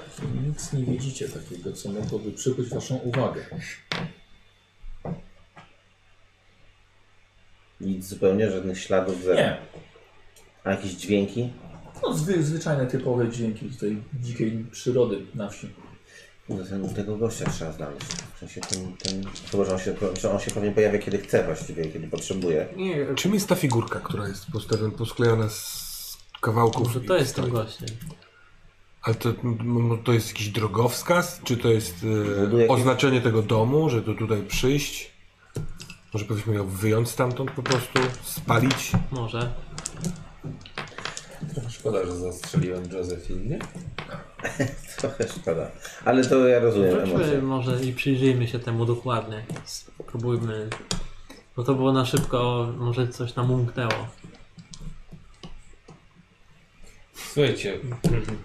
Speaker 2: Nic nie widzicie takiego, co mogłoby przykuć waszą uwagę.
Speaker 3: Nic zupełnie, żadnych śladów, zero.
Speaker 2: Nie,
Speaker 3: A jakieś dźwięki?
Speaker 2: no zwy, zwyczajne typowe dźwięki z tej dzikiej przyrody na wsi.
Speaker 3: No, ten, tego gościa trzeba znaleźć. W sensie ten, ten... Chyba, że on się, czy on się pewnie pojawia kiedy chce właściwie, kiedy potrzebuje.
Speaker 5: Czym jest ta figurka, która jest postawiona, posklejona z kawałków?
Speaker 6: Może
Speaker 5: i
Speaker 6: to jest ten
Speaker 5: stoi?
Speaker 6: gościem.
Speaker 5: Ale to, m- m- to jest jakiś drogowskaz? Czy to jest e,
Speaker 3: jakieś-
Speaker 5: oznaczenie tego domu, że to tutaj przyjść? Może powinniśmy ją wyjąć stamtąd po prostu, spalić?
Speaker 6: Może.
Speaker 9: Szkoda, że zastrzeliłem Josephine, nie?
Speaker 3: Trochę szkoda. Ale to ja rozumiem
Speaker 6: Wróćmy
Speaker 3: emocje.
Speaker 6: może i przyjrzyjmy się temu dokładnie. Spróbujmy. Bo to było na szybko, może coś nam umknęło.
Speaker 9: Słuchajcie,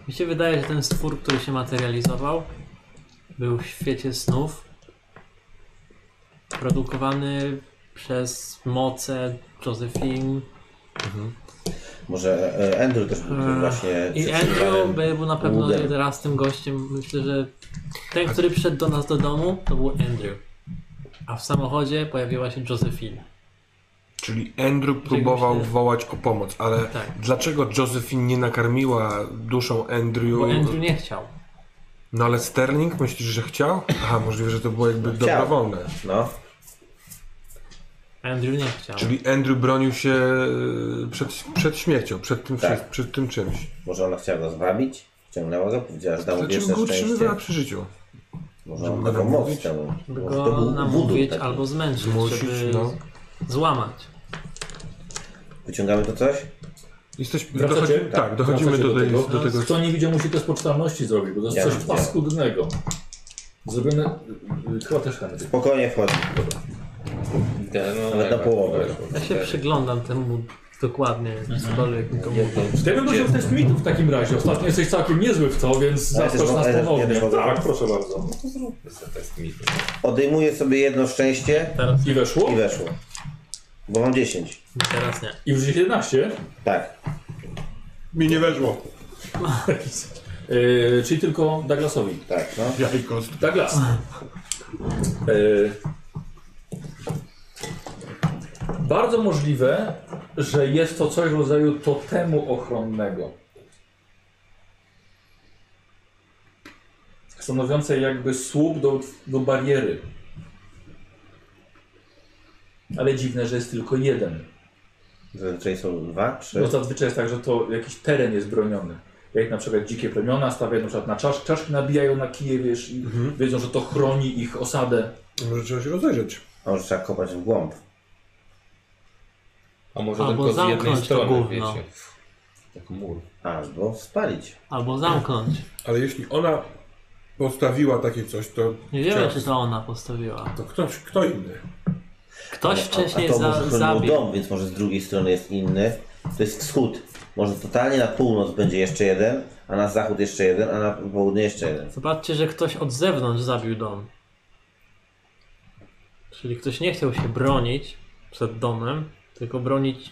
Speaker 6: Mi się wydaje, że ten stwór, który się materializował, był w świecie snów. Produkowany przez moce Josephine.
Speaker 3: Może e, Andrew też był
Speaker 6: Mm.
Speaker 3: właśnie...
Speaker 6: I
Speaker 3: przetrzymywany
Speaker 6: Andrew był na pewno
Speaker 3: łudem.
Speaker 6: teraz tym gościem. Myślę, że ten, który przyszedł do nas do domu, to był Andrew. A w samochodzie pojawiła się Josephine.
Speaker 5: Czyli Andrew próbował
Speaker 6: myślę-
Speaker 5: wołać o pomoc, ale
Speaker 6: Tak.
Speaker 5: dlaczego Josephine nie nakarmiła duszą Andrew?
Speaker 6: Bo Andrew nie chciał.
Speaker 5: No ale Sterling, myślisz, że chciał? Aha, możliwe, że to było jakby
Speaker 3: Chciał.
Speaker 5: dobrowolne.
Speaker 3: No.
Speaker 6: Andrew nie chciał.
Speaker 5: Czyli Andrew bronił się e, przed, przed śmiercią, przed tym,
Speaker 3: Tak.
Speaker 5: wszy- przed tym czymś.
Speaker 3: Może ona chciała go zwabić? Wciągnęła go, powiedziała, że da mu
Speaker 5: Dlaczego
Speaker 3: wieczne
Speaker 5: Znaczy, go utrzymywała
Speaker 3: szczęście.
Speaker 5: przy życiu?
Speaker 3: Może on
Speaker 5: Żeby
Speaker 3: taką
Speaker 5: go
Speaker 3: moc
Speaker 5: namówić?
Speaker 3: temu.
Speaker 6: By
Speaker 3: Może to
Speaker 6: go
Speaker 3: był tak wódół
Speaker 6: namówić
Speaker 3: taki.
Speaker 6: albo zmęczyć,
Speaker 5: Zmusić,
Speaker 6: żeby
Speaker 5: no.
Speaker 6: złamać.
Speaker 3: Wyciągamy to coś?
Speaker 5: Jesteśmy,
Speaker 2: Wracacie?
Speaker 5: dochodzi, tak,
Speaker 2: Tak,
Speaker 5: dochodzimy
Speaker 2: wracacie
Speaker 5: do,
Speaker 2: do
Speaker 5: tej,
Speaker 2: tego.
Speaker 5: do tego.
Speaker 2: Kto nie widział, musi też poczytalności zrobić, bo to jest
Speaker 3: Ja
Speaker 2: coś
Speaker 3: widziałem.
Speaker 2: paskudnego. Zrobione... y, y, Chyba też Henry.
Speaker 3: Spokojnie wchodzi.
Speaker 9: idę, no,
Speaker 3: Nawet na
Speaker 9: tak,
Speaker 3: połowę.
Speaker 9: weszło.
Speaker 6: Ja się przyglądam temu dokładnie, cokolwiek mi to mówi.
Speaker 2: Ja bym dojrzał też mitów w takim razie. Ostatnio jesteś całkiem niezły w to, więc
Speaker 3: Ale
Speaker 2: zaskocz
Speaker 3: też-
Speaker 2: nas
Speaker 3: ale też-
Speaker 2: ponownie.
Speaker 3: ja też-
Speaker 2: Tak, proszę bardzo.
Speaker 3: Odejmuję sobie jedno szczęście
Speaker 6: Teraz,
Speaker 2: I weszło?
Speaker 3: i weszło. Bo mam 10.
Speaker 6: teraz nie.
Speaker 2: I już jest 11.
Speaker 3: Tak.
Speaker 5: Mi nie weszło.
Speaker 2: Yy, czyli tylko Douglasowi.
Speaker 3: Tak, no.
Speaker 5: Jajkost.
Speaker 2: Douglas. Yy, bardzo możliwe, że jest to coś w rodzaju totemu ochronnego. Stanowiące jakby słup do, do bariery. Ale dziwne, że jest tylko jeden.
Speaker 3: Zazwyczaj są dwa, trzy.
Speaker 2: No zazwyczaj jest tak, że to jakiś teren jest broniony. Jak na przykład dzikie plemiona stawiają na przykład na czas, czaszki nabijają na kije, wiesz, i wiedzą, że to chroni ich osadę.
Speaker 5: Może trzeba się rozejrzeć.
Speaker 3: A może trzeba kopać w głąb.
Speaker 9: A może
Speaker 6: Albo no.
Speaker 9: tylko z jednej
Speaker 6: zamknąć to
Speaker 9: strony,
Speaker 6: gówno.
Speaker 9: wiecie. Jak mur.
Speaker 3: Albo spalić.
Speaker 6: Albo zamknąć.
Speaker 5: Ale jeśli ona postawiła takie coś, to.
Speaker 6: Nie wiemy,
Speaker 5: Chciałem-
Speaker 6: czy to ona postawiła.
Speaker 5: To ktoś, kto inny.
Speaker 6: Ktoś wcześniej
Speaker 3: a, a to
Speaker 6: za,
Speaker 3: może chronił
Speaker 6: zabił.
Speaker 3: dom, więc może z drugiej strony jest inny. To jest wschód. Może totalnie na północ będzie jeszcze jeden, a na zachód jeszcze jeden, a na południe jeszcze jeden.
Speaker 6: Zobaczcie, że ktoś od zewnątrz zabił dom. Czyli ktoś nie chciał się bronić przed domem, tylko bronić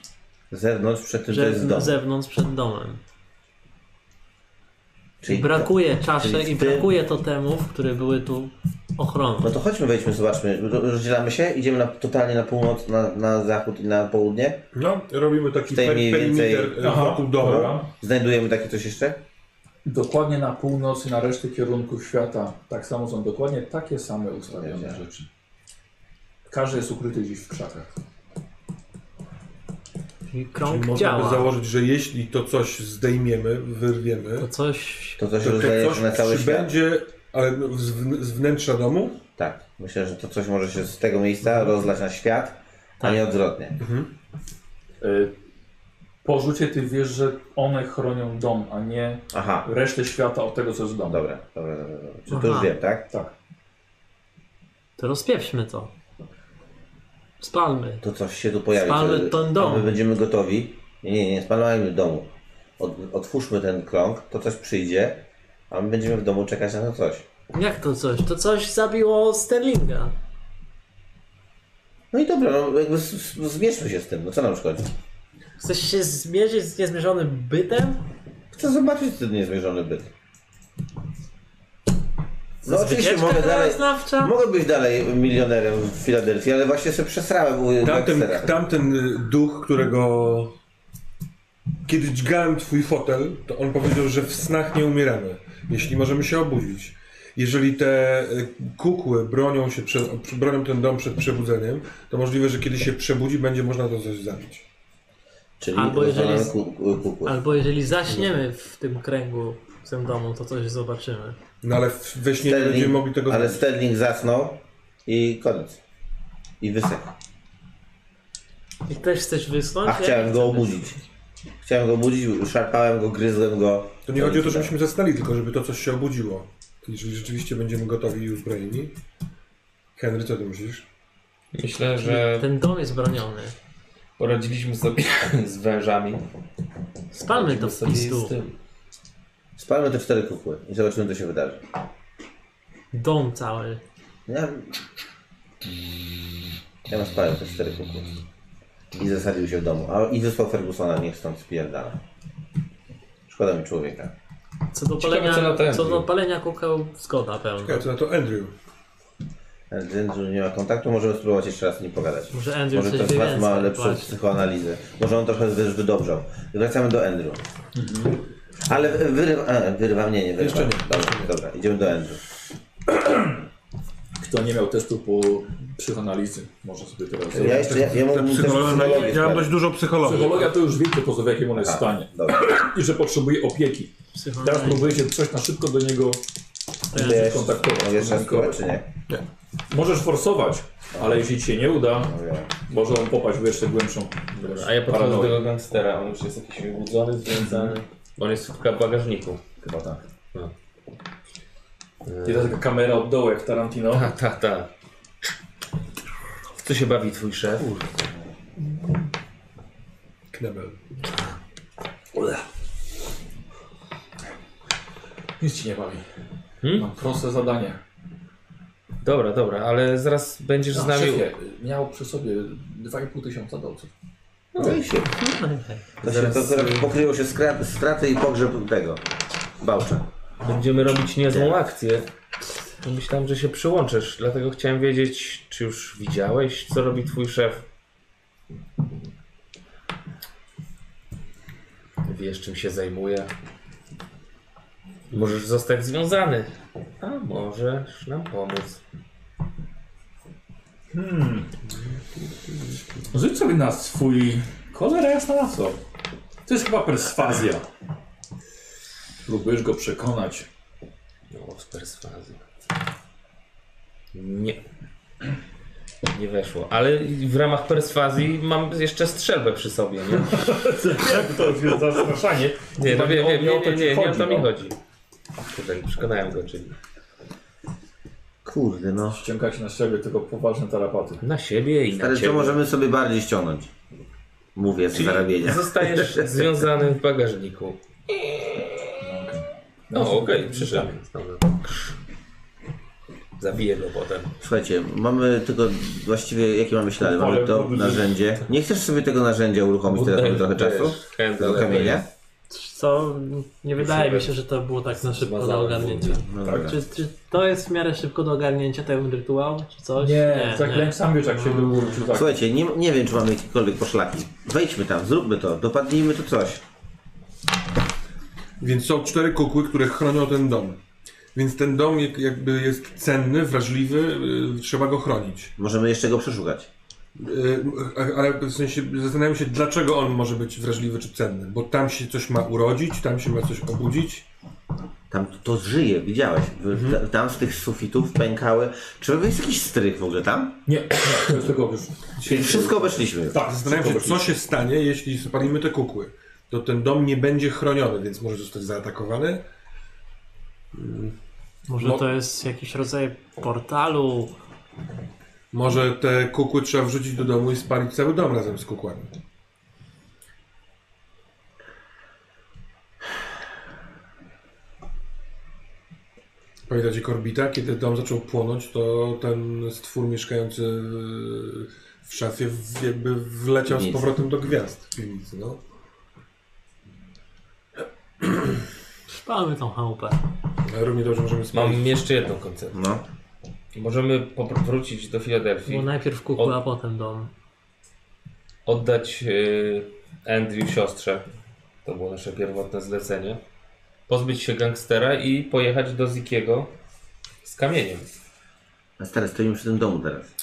Speaker 3: Z zewnątrz przed tym, że
Speaker 6: że
Speaker 3: jest dom.
Speaker 6: z zewnątrz przed domem.
Speaker 3: Czyli tak.
Speaker 6: Brakuje
Speaker 3: czyli
Speaker 6: czaszek
Speaker 3: w
Speaker 6: i
Speaker 3: tym-
Speaker 6: brakuje totemów, które były tu ochroną.
Speaker 3: No to chodźmy, wejdźmy, zobaczmy. Ro- Rozdzielamy się, idziemy na, totalnie na północ, na, na zachód i na południe.
Speaker 5: No, robimy taki
Speaker 3: Tej
Speaker 5: per,
Speaker 3: mniej
Speaker 5: perimeter
Speaker 3: więcej-
Speaker 5: e, wokół domu.
Speaker 2: Dobra.
Speaker 3: Znajdujemy takie coś jeszcze?
Speaker 2: Dokładnie na północ i na resztę kierunków świata tak samo są dokładnie takie same ustawione rzeczy. Każdy jest ukryty gdzieś w krzakach.
Speaker 6: Czyli
Speaker 5: Czyli
Speaker 6: krąg
Speaker 5: można by
Speaker 6: działa.
Speaker 5: założyć, że jeśli to coś zdejmiemy, wyrwiemy,
Speaker 6: To coś...
Speaker 3: To coś
Speaker 5: to
Speaker 3: rozleje
Speaker 5: coś
Speaker 3: się na cały świat.
Speaker 5: przybędzie, ale no, z, w- z wnętrza domu?
Speaker 3: Tak. Myślę, że to coś może się z tego miejsca
Speaker 5: Mhm.
Speaker 3: rozlać na świat,
Speaker 5: Tak.
Speaker 3: a nie odwrotnie.
Speaker 2: Y, Po rzucie ty wiesz, że one chronią dom, a nie
Speaker 3: Aha.
Speaker 2: resztę świata od tego, co jest w domu.
Speaker 3: Dobra, dobra, dobra. dobra. Czy
Speaker 6: Aha.
Speaker 3: to już wiem, tak?
Speaker 2: Tak.
Speaker 6: To rozpieprzmy to. Spalmy.
Speaker 3: To coś się tu pojawi.
Speaker 6: Spalmy
Speaker 3: to-
Speaker 6: ten dom.
Speaker 3: a My będziemy gotowi. Nie, nie, nie spalajmy domu. Od, otwórzmy ten krąg, to coś przyjdzie, a my będziemy w domu czekać na to coś.
Speaker 6: Jak to coś? To coś zabiło Sterlinga.
Speaker 3: No i dobra, no jakby z- z- zmierzmy się z tym, no co nam szkodzi?
Speaker 6: Chcesz się zmierzyć z niezmierzonym bytem?
Speaker 3: Chcę zobaczyć ten niezmierzony byt. No
Speaker 6: Za
Speaker 3: oczywiście
Speaker 6: zwyciężka
Speaker 3: mogę dalej,
Speaker 6: krajoznawcza?
Speaker 3: mogę być dalej milionerem w Filadelfii, ale właśnie sobie przesrałem u
Speaker 5: Tamten,
Speaker 3: Baxtera.
Speaker 5: tamten y, duch, którego kiedy dźgałem twój fotel, to on powiedział, że w snach nie umieramy, jeśli możemy się obudzić. Jeżeli te y, kukły bronią, się przed, bronią ten dom przed przebudzeniem, to możliwe, że kiedy się przebudzi, będzie można to coś zabić.
Speaker 3: Czyli
Speaker 6: Albo jeżeli-
Speaker 3: rozwalamy ku, ku, kukły.
Speaker 6: Albo jeżeli zaśniemy w tym kręgu, w tym domu, to coś zobaczymy.
Speaker 5: No ale w- we śnie nie będziemy mogli
Speaker 3: Sterling,
Speaker 5: tego
Speaker 3: ale
Speaker 5: zrobić.
Speaker 3: Sterling zasnął i koniec. I wysechł.
Speaker 6: I też chcesz wysnąć?
Speaker 3: A
Speaker 6: Ja nie
Speaker 3: chciałem
Speaker 6: chcę
Speaker 3: go obudzić. Chciałem go obudzić, szarpałem go, gryzłem go.
Speaker 5: To nie chodzi o to,
Speaker 3: udało.
Speaker 5: żebyśmy zasnęli, tylko żeby to coś się obudziło. Jeżeli rzeczywiście będziemy gotowi i uzbrojeni. Henry, co ty myślisz?
Speaker 9: Myślę,
Speaker 6: wysnąć.
Speaker 9: że
Speaker 6: Ten dom jest broniony.
Speaker 9: poradziliśmy sobie z wężami.
Speaker 6: Spalmy to
Speaker 9: Poradzimy
Speaker 6: w
Speaker 9: sobie
Speaker 6: pistu.
Speaker 9: z tym.
Speaker 3: Spalmy te cztery kukły i zobaczymy, co się wydarzy.
Speaker 6: Dom cały.
Speaker 3: Ja, ja spałem te cztery kukły. I zasadził się w domu. A, I wysłał Fergusona, niech stąd spierdala. Szkoda mi człowieka.
Speaker 6: Co do
Speaker 9: Ciekawe,
Speaker 6: palenia,
Speaker 9: co na ten
Speaker 6: co do
Speaker 9: był.
Speaker 6: palenia kukeł, zgoda pełna.
Speaker 5: Czekaj, co na to Andrew.
Speaker 3: Andrew nie ma kontaktu, możemy spróbować jeszcze raz z nim pogadać.
Speaker 6: Może Andrew
Speaker 3: Może
Speaker 6: coś
Speaker 3: ktoś z
Speaker 6: wie
Speaker 3: Was
Speaker 6: więcej,
Speaker 3: ma lepszą
Speaker 6: właśnie.
Speaker 3: psychoanalizę. Może on trochę też wydobrzał. Wracamy do Andrew. Ale wyrywa, a, wyrywa mnie, nie wyrywa.
Speaker 5: Jeszcze nie.
Speaker 3: Dobra, dobra, idziemy do Andrew.
Speaker 2: Kto nie miał testu po psychoanalizy, może sobie teraz zrobić.
Speaker 3: Ja jeszcze, ja, ja mógłbym też psychologię
Speaker 5: Ja mam
Speaker 3: sprawdzić.
Speaker 5: dość dużo psychologów.
Speaker 2: Psychologia to już wiecie, po co w jakim ona jest
Speaker 3: A,
Speaker 2: stanie.
Speaker 3: Dobra,
Speaker 2: I że potrzebuje opieki. Teraz
Speaker 6: Psychoanaliz-
Speaker 2: próbujecie coś na szybko do niego
Speaker 3: Mogę jeszcze-
Speaker 2: kontaktować.
Speaker 3: mogę jeszcze raz spróbować, czy nie?
Speaker 2: Możesz forsować, ale jeśli ci się nie uda,
Speaker 3: Mówię.
Speaker 2: może on popaść w jeszcze głębszą
Speaker 9: A ja podchodzę do
Speaker 2: paranoję.
Speaker 9: tego gangstera, on już jest jakiś wybudzony, związany. On jest w bagażniku.
Speaker 2: Chyba tak. I ta taka kamera od dołu jak Tarantino.
Speaker 9: Ta, ta, ta. W co się bawi twój szef?
Speaker 5: Knebel.
Speaker 2: Nic ci nie bawi.
Speaker 9: Hmm?
Speaker 2: Mam proste zadanie.
Speaker 9: Dobra, dobra, ale zaraz będziesz
Speaker 10: No,
Speaker 9: z nami.
Speaker 2: szefie, miał przy sobie 2,5 tysiąca dolców.
Speaker 3: No i się. To się to, to pokryło się skra- straty i pogrzeb tego. Bałcza.
Speaker 9: Będziemy robić niezłą
Speaker 2: Tak.
Speaker 9: akcję. To No, Myślałem, że się przyłączysz, dlatego chciałem wiedzieć, czy już widziałeś, co robi twój szef. Wiesz, czym się zajmuje. Możesz zostać związany, a możesz nam pomóc.
Speaker 2: Rzuć sobie na swój... Cholera jasna na co? To jest chyba perswazja. Próbujesz go przekonać.
Speaker 9: No, z perswazji. Nie. Nie weszło, ale w ramach perswazji mam jeszcze strzelbę przy sobie, nie?
Speaker 11: Jak to jest zastraszanie?
Speaker 9: Nie, no wiem,
Speaker 2: o-
Speaker 9: wiem,
Speaker 2: nie o
Speaker 9: nie,
Speaker 2: to
Speaker 9: nie,
Speaker 2: ci
Speaker 9: nie, nie o
Speaker 2: chodzi,
Speaker 9: to mi
Speaker 2: no.
Speaker 9: chodzi. Kurde, przekonałem go, czyli
Speaker 3: Kurde no.
Speaker 2: Ściągać na siebie tylko poważne tarapaty.
Speaker 9: na siebie i na
Speaker 3: Ale
Speaker 9: ciebie.
Speaker 3: co możemy sobie bardziej ściągnąć? Mówię z zarabienia.
Speaker 9: Zostajesz związany w bagażniku. No okej, przyszedł. Dobra. Zabiję go potem.
Speaker 3: Słuchajcie, mamy tylko właściwie jakie mamy ślady? Mamy to narzędzie. Nie chcesz sobie tego narzędzia uruchomić teraz mamy trochę
Speaker 9: Wiesz,
Speaker 3: czasu?
Speaker 9: chętnie,
Speaker 3: Do
Speaker 9: ale
Speaker 3: kamienia?
Speaker 6: Co? Nie wydaje mi się, że to było tak na szybko do
Speaker 9: Zmazałem
Speaker 6: ogarnięcia.
Speaker 3: No dobra.
Speaker 6: Czy, czy to jest w miarę szybko do ogarnięcia ten rytuał, czy coś?
Speaker 2: Nie, zaklęć sam wiesz jak się wyłączył. Tak.
Speaker 3: Słuchajcie, nie, nie wiem czy mamy jakiekolwiek poszlaki. Wejdźmy tam, zróbmy to, dopadnijmy tu coś.
Speaker 7: Więc są cztery kukły, które chronią ten dom. Więc ten dom jak- jakby jest cenny, wrażliwy, y, trzeba go chronić.
Speaker 3: Możemy jeszcze go przeszukać.
Speaker 7: Y, a- Ale w sensie zastanawiam się, dlaczego on może być wrażliwy czy cenny. Bo tam się coś ma urodzić, tam się ma coś obudzić.
Speaker 3: Tam to, to żyje, widziałeś. W-
Speaker 2: Mhm.
Speaker 3: ta- Tam z tych sufitów pękały. Czy jest jakiś strych w ogóle tam?
Speaker 2: Nie, to jest tylko już.
Speaker 3: Czyli wszystko obeszliśmy.
Speaker 7: Tak, zastanawiam się, co się stanie, jeśli spalimy te kukły. To ten dom nie będzie chroniony, więc może zostać zaatakowany. Mm,
Speaker 6: Może
Speaker 7: Mo-
Speaker 6: to jest jakiś rodzaj portalu.
Speaker 7: Może te kukły trzeba wrzucić do domu i spalić cały dom razem z kukłami. Pamiętacie Korbita? Kiedy dom zaczął płonąć, to ten stwór mieszkający w szafie w- jakby wleciał z
Speaker 3: Piwnicy.
Speaker 7: powrotem do gwiazd w piwnicy, no.
Speaker 6: Spalmy tą chałupę.
Speaker 7: Ale równie dobrze możemy spalić.
Speaker 9: Mam jeszcze jedną koncepcję.
Speaker 3: No.
Speaker 9: Możemy popr- wrócić do Filadelfii,
Speaker 6: Bo najpierw kukły, a potem dom.
Speaker 9: oddać y, Andrew siostrze. To było nasze pierwotne zlecenie. Pozbyć się gangstera i pojechać do Zikiego z kamieniem.
Speaker 3: A stary, stoimy przy tym domu teraz.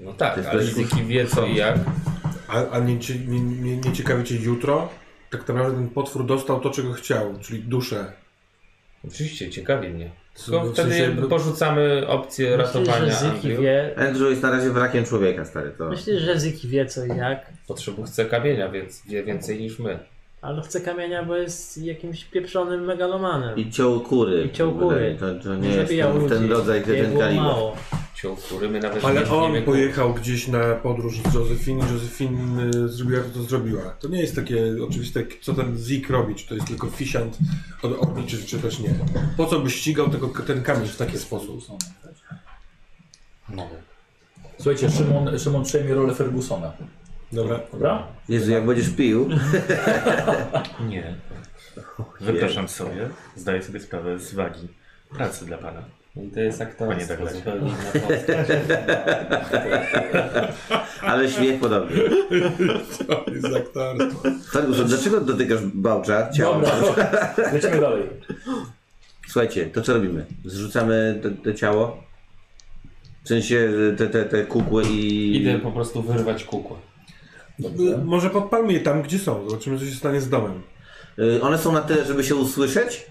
Speaker 9: No
Speaker 3: To
Speaker 9: tak,
Speaker 3: jest
Speaker 9: ale
Speaker 3: dość
Speaker 9: Ziki wie co i jak.
Speaker 7: A, a nie, cie- nie, nie, nie ciekawi cię jutro? Tak naprawdę ten potwór dostał to, czego chciał, czyli duszę.
Speaker 9: Oczywiście, ciekawi mnie.
Speaker 7: W
Speaker 9: Tylko wtedy
Speaker 7: sensie jakby-
Speaker 9: porzucamy opcję
Speaker 6: Myślisz, że
Speaker 9: ratowania
Speaker 6: Zyki
Speaker 9: Andrew.
Speaker 6: wie.
Speaker 3: Andrew jest na razie wrakiem człowieka, stary. To...
Speaker 6: Myślisz, że Zyki wie co i jak,
Speaker 9: Potrzebu chce kamienia, więc wie więcej niż my.
Speaker 6: ale chce kamienia, bo jest jakimś pieprzonym megalomanem.
Speaker 3: I ciął kury.
Speaker 6: I ciął kury.
Speaker 3: To, to
Speaker 6: Nie
Speaker 3: nie jest
Speaker 6: zabijał
Speaker 3: ten, ten
Speaker 6: ludzi.
Speaker 3: rodzaj, ten,
Speaker 6: Jego
Speaker 3: ten kaliber.
Speaker 6: mało.
Speaker 9: Ciął kury, my nawet nie
Speaker 7: Ale
Speaker 9: wiemy,
Speaker 7: on pojechał gdzieś na podróż z Josephine i Josephine y, zrobiła to, co zrobiła. To nie jest takie oczywiste, k- co ten Zik robi, czy to jest tylko fisiant od obliczy, czy też nie. Po co by ścigał tego, ten kamień w taki sposób?
Speaker 2: Słuchajcie, Szymon, Szymon przejmie rolę Fergusona.
Speaker 7: Dobra.
Speaker 5: Tak.
Speaker 2: Dobra?
Speaker 3: Jezu, jak będziesz pił.
Speaker 4: Nie. Wypraszam sobie, zdaję sobie sprawę z wagi pracy dla pana.
Speaker 9: I to jest
Speaker 4: Panie
Speaker 9: aktorstwo,
Speaker 4: Douglasie.
Speaker 9: zupełnie inna postać.
Speaker 3: Ale śmiech podobny.
Speaker 7: To jest aktorstwo.
Speaker 3: Ferguson, dlaczego dotykasz bałcza? Ciała
Speaker 2: Dobra,
Speaker 3: bałcza?
Speaker 2: lecimy dalej.
Speaker 3: Słuchajcie, to co robimy? Zrzucamy te- te ciało? W sensie te, te, te kukły i...
Speaker 9: Idę po prostu wyrwać kukłę.
Speaker 7: Y, Może podpalmy je tam, gdzie są. Zobaczymy, co się stanie z domem.
Speaker 3: Y, One są na tyle, żeby się usłyszeć?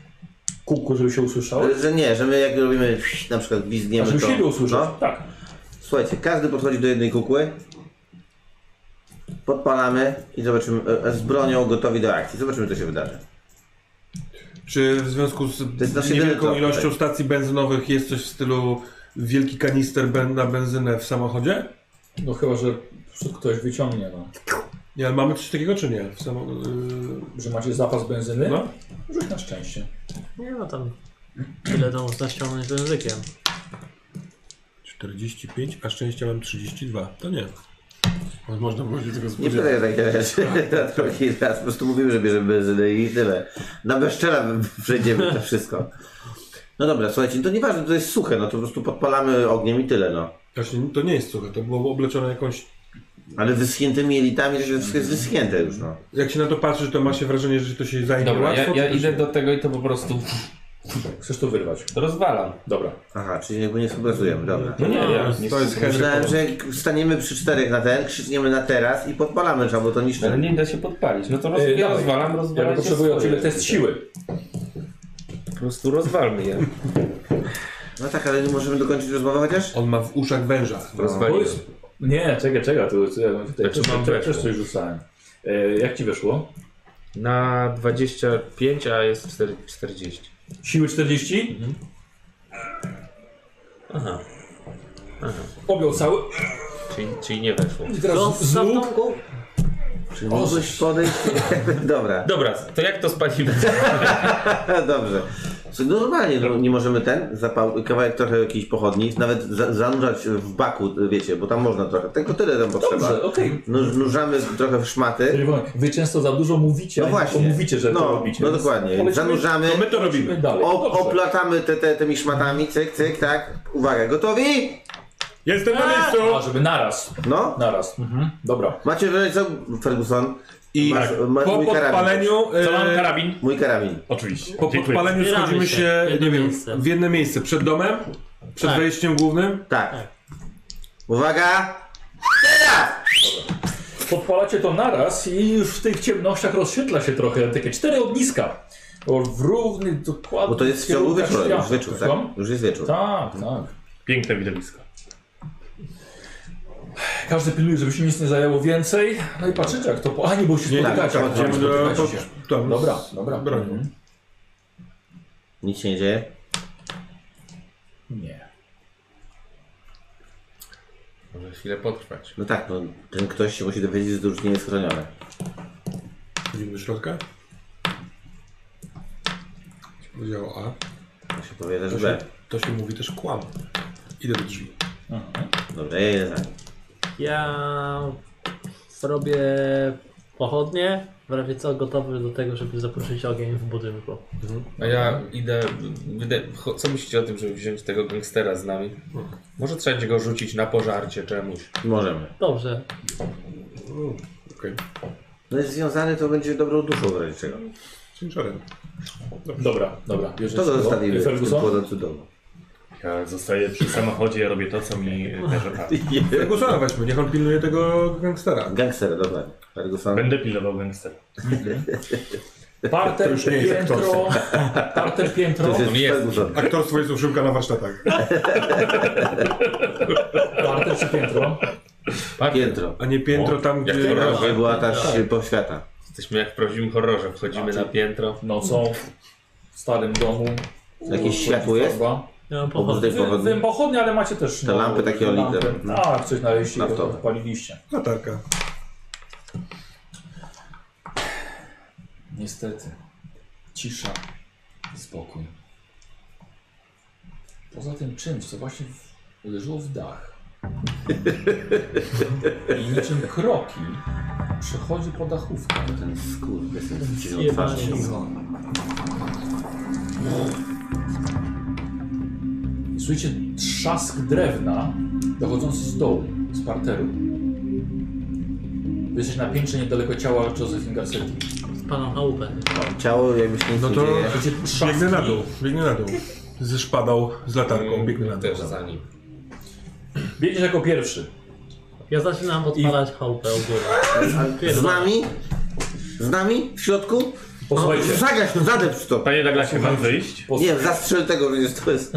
Speaker 2: Kółko, żeby się usłyszało.
Speaker 3: Y, Że nie, że my jak robimy na przykład
Speaker 2: A
Speaker 3: gwizdniemy
Speaker 2: żeby
Speaker 3: to...
Speaker 2: siebie usłyszeć.
Speaker 3: No.
Speaker 2: Tak.
Speaker 3: Słuchajcie, każdy podchodzi do jednej kukły. Podpalamy i zobaczymy, y, y, z bronią gotowi do akcji. Zobaczymy, co się wydarzy.
Speaker 7: Czy w związku z
Speaker 3: jest nasz jedyny
Speaker 7: niewielką
Speaker 3: krok,
Speaker 7: ilością
Speaker 3: tak.
Speaker 7: stacji benzynowych jest coś w stylu wielki kanister ben- na benzynę w samochodzie?
Speaker 2: No chyba, że ktoś wyciągnie, no.
Speaker 7: Nie, ale mamy coś takiego czy nie? W samo...
Speaker 5: y,
Speaker 2: Że macie zapas benzyny?
Speaker 7: yy, no?
Speaker 2: Rzuć na szczęście.
Speaker 6: Nie no tam tyle domów da ściągnąć językiem.
Speaker 7: 45, a szczęścia mam 32. To nie. Mo- Można było się tego
Speaker 3: Nie
Speaker 7: spodziewać.
Speaker 3: pytaj o takie rzeczy. Drugi raz po prostu mówimy, że bierzemy benzynę i tyle. Na bezczela przejdziemy to wszystko. No dobra, słuchajcie, to nieważne, to jest suche, no to po prostu podpalamy ogniem i tyle, no.
Speaker 5: Znaczy,
Speaker 7: Właśnie to nie jest suche, to było obleczone jakąś...
Speaker 3: Ale wyschniętymi elitami to się wszystko jest wyschnięte już, no.
Speaker 7: Jak się na to patrzy, to ma się wrażenie, że to się zajmie
Speaker 9: Dobra, ja,
Speaker 7: łatwo.
Speaker 9: ja
Speaker 7: czy też
Speaker 9: idę
Speaker 7: nie?
Speaker 9: do tego i to po prostu
Speaker 2: Chcesz to wyrwać.
Speaker 9: rozwalam.
Speaker 2: Dobra.
Speaker 3: Aha, czyli jakby nie współpracujemy, dobra.
Speaker 9: No nie, ja nie
Speaker 7: To jest Henry
Speaker 3: Myślałem,
Speaker 7: Poland.
Speaker 3: że jak staniemy przy czterech na ten, krzyczniemy na teraz i podpalamy trzeba, bo to
Speaker 9: Ale
Speaker 3: niszczy.
Speaker 9: nie da się podpalić. No to roz...
Speaker 2: E,
Speaker 9: ja
Speaker 2: dawaj.
Speaker 9: rozwalam, rozwalam.
Speaker 2: Ja potrzebuję o tyle test siły.
Speaker 9: Po prostu rozwalmy je.
Speaker 3: No tak, ale nie możemy dokończyć rozmowę chociaż?
Speaker 7: On ma w uszach węża.
Speaker 2: To
Speaker 9: Rozwaliłem.
Speaker 2: jest- Nie, czekaj, czekaj, to, to, ja tutaj
Speaker 9: Znaczy,
Speaker 2: też,
Speaker 9: mam
Speaker 2: też,
Speaker 9: weszło.
Speaker 2: też coś rzucałem. E, jak ci weszło?
Speaker 9: Na 25, a jest 4, 40.
Speaker 2: Siły 40? Mhm.
Speaker 9: Aha.
Speaker 2: Objął cały.
Speaker 9: Czyli, czyli nie weszło.
Speaker 2: I
Speaker 6: Co
Speaker 2: teraz
Speaker 6: za w
Speaker 2: znów
Speaker 6: domku?
Speaker 3: Czy mógłbyś podejść? dobra,
Speaker 9: Dobra, to jak to spalimy?
Speaker 3: dobrze. Słuchaj, no Normalnie no, nie możemy ten zapał, kawałek trochę jakiejś pochodni, nawet za, zanurzać w baku, wiecie, bo tam można trochę, tylko tyle tam potrzeba.
Speaker 2: Dobrze, okej.
Speaker 3: Nuż, nurzamy trochę w szmaty.
Speaker 2: Czerwony, Wy często za dużo mówicie,
Speaker 3: No
Speaker 2: a nie
Speaker 3: właśnie.
Speaker 2: tylko mówicie, że
Speaker 3: no,
Speaker 2: to robicie.
Speaker 3: No dokładnie.
Speaker 2: Polecimy-
Speaker 3: Zanurzamy,
Speaker 7: To my to robimy.
Speaker 2: Lecimy dalej.
Speaker 3: op-
Speaker 2: Dobrze.
Speaker 3: oplatamy te, te, tymi szmatami, cyk, cyk, tak. Uwaga, gotowi?
Speaker 7: Jestem na miejscu!
Speaker 2: A, żeby naraz.
Speaker 3: No.
Speaker 2: Naraz. Mhm. Dobra.
Speaker 3: Macie wrażenie, co, Ferguson?
Speaker 5: I
Speaker 9: Tak.
Speaker 3: Masz- ma-
Speaker 5: po
Speaker 3: mój karabin
Speaker 5: podpaleniu...
Speaker 3: też.
Speaker 5: e,
Speaker 3: Co mam karabin? Mój karabin. Oczywiście.
Speaker 5: Po
Speaker 3: Dziękuję.
Speaker 5: podpaleniu
Speaker 3: Zbieramy
Speaker 5: schodzimy
Speaker 3: się.
Speaker 5: się,
Speaker 3: W jedno
Speaker 5: nie wiem,
Speaker 3: miejsce.
Speaker 5: w jedno miejsce. Przed domem? Przed
Speaker 3: Tak.
Speaker 5: wejściem głównym?
Speaker 3: Tak. Uwaga!
Speaker 2: Podpalacie to naraz i już w tych ciemnościach rozświetla się trochę, takie cztery ogniska. O, W równy, dokładnie.
Speaker 3: Bo to jest w ciągu
Speaker 2: kierunkach
Speaker 3: wieczora, już
Speaker 2: światła.
Speaker 3: wieczór, tak?
Speaker 2: Słucham?
Speaker 3: Już jest wieczór.
Speaker 2: Tak, tak.
Speaker 4: Piękne widowisko.
Speaker 2: Każdy pilnuje, żeby się nic nie zajęło więcej. No i patrzycie jak to... po- A, nie, bo się
Speaker 5: Nie,
Speaker 2: spotykacie.
Speaker 5: tak,
Speaker 2: A,
Speaker 5: tak,
Speaker 2: spotykacie
Speaker 5: to-
Speaker 2: się.
Speaker 5: tam
Speaker 2: Dobra,
Speaker 5: z
Speaker 2: dobra.
Speaker 5: bronią.
Speaker 2: Mhm.
Speaker 3: Nic się nie dzieje.
Speaker 2: Nie.
Speaker 9: Może chwilę potrwać.
Speaker 3: No tak, no, ten ktoś się musi dowiedzieć, że to już nie jest chronione.
Speaker 5: Wchodzimy do środka. To się Powiedziało A.
Speaker 3: To się powie też
Speaker 5: To się,
Speaker 3: B.
Speaker 5: to się mówi też kłam. Idę do drzwi.
Speaker 3: Dobra, ja jedę za nim.
Speaker 6: Ja zrobię pochodnie, w razie co gotowy do tego, żeby zaproszyć ogień w budynku.
Speaker 9: A ja idę. wyde- cho- Co myślicie o tym, żeby wziąć tego gangstera z nami? Może trzeba będzie go rzucić na pożarcie czemuś.
Speaker 3: Możemy.
Speaker 6: Dobrze.
Speaker 5: Okej.
Speaker 3: No jest związany, to będzie dobrą duszą w razie czego.
Speaker 5: Ciężarem.
Speaker 2: Dobra, dobra. Bierzesz
Speaker 3: To
Speaker 2: go.
Speaker 3: zostawimy w tym
Speaker 2: Ferguson?
Speaker 3: płonącym domu.
Speaker 4: Ja zostaję przy samochodzie, ja robię to, co mi każe prawo.
Speaker 5: Fergusona weźmy, niech on pilnuje tego gangstera.
Speaker 3: Gangster, dobra. Ferguson.
Speaker 4: Będę pilnował gangstera.
Speaker 2: Parter, piętro, parter, piętro.
Speaker 3: To
Speaker 9: On jest.
Speaker 3: Ferguson.
Speaker 5: Aktorstwo jest uszymka na warsztatach.
Speaker 2: Parter czy piętro?
Speaker 3: Piętro.
Speaker 5: A nie piętro
Speaker 9: O,
Speaker 5: tam,
Speaker 9: jak
Speaker 5: gdzie...
Speaker 9: to robi?
Speaker 3: To była ta po świata.
Speaker 9: Jesteśmy jak w prawdziwym horrorze. Wchodzimy na piętro.
Speaker 2: Nocą w starym domu.
Speaker 3: Jakieś światło jest?
Speaker 2: Farba.
Speaker 6: Ja mam
Speaker 3: Oprócz
Speaker 6: pochodnie.
Speaker 3: tej
Speaker 2: Wy, wy
Speaker 3: pochodni.
Speaker 2: pochodnie, ale macie też.
Speaker 3: Te lampy takie
Speaker 2: lampy.
Speaker 3: olite, no.
Speaker 2: Tak, coś znaleźliście i
Speaker 3: Naftowe.
Speaker 2: odpaliliście.
Speaker 5: Latarka.
Speaker 2: Niestety. Cisza. Spokój. Poza tym czymś, co właśnie w- uderzyło w dach. I niczym kroki przechodzi po dachówkę.
Speaker 3: Ten skór, bez sensu
Speaker 6: Zjebany.
Speaker 3: twarzy.
Speaker 2: Słyszycie trzask drewna dochodzący z dołu, z parteru. Wy Jesteś na piętrze niedaleko ciała Josephine Garcetti.
Speaker 6: Palam chałupę.
Speaker 3: Ciało jakby się nic
Speaker 5: No
Speaker 3: nie
Speaker 5: to
Speaker 3: dzieje.
Speaker 2: Słyszycie trzask
Speaker 5: Biegnę na dół, biegnę na dół. Ze szpadą, z latarką, biegnę na
Speaker 9: Ja
Speaker 5: dół.
Speaker 9: też za nim.
Speaker 2: Biegniesz jako pierwszy.
Speaker 6: Ja zaczynam odpalać chałupę u góry.
Speaker 3: Z nami? Z nami? W środku?
Speaker 2: Posłuchajcie.
Speaker 3: Zagaś, no zadepcz to.
Speaker 4: Panie Daglasie, mam wyjść?
Speaker 3: Nie, zastrzel tego, przecież to jest...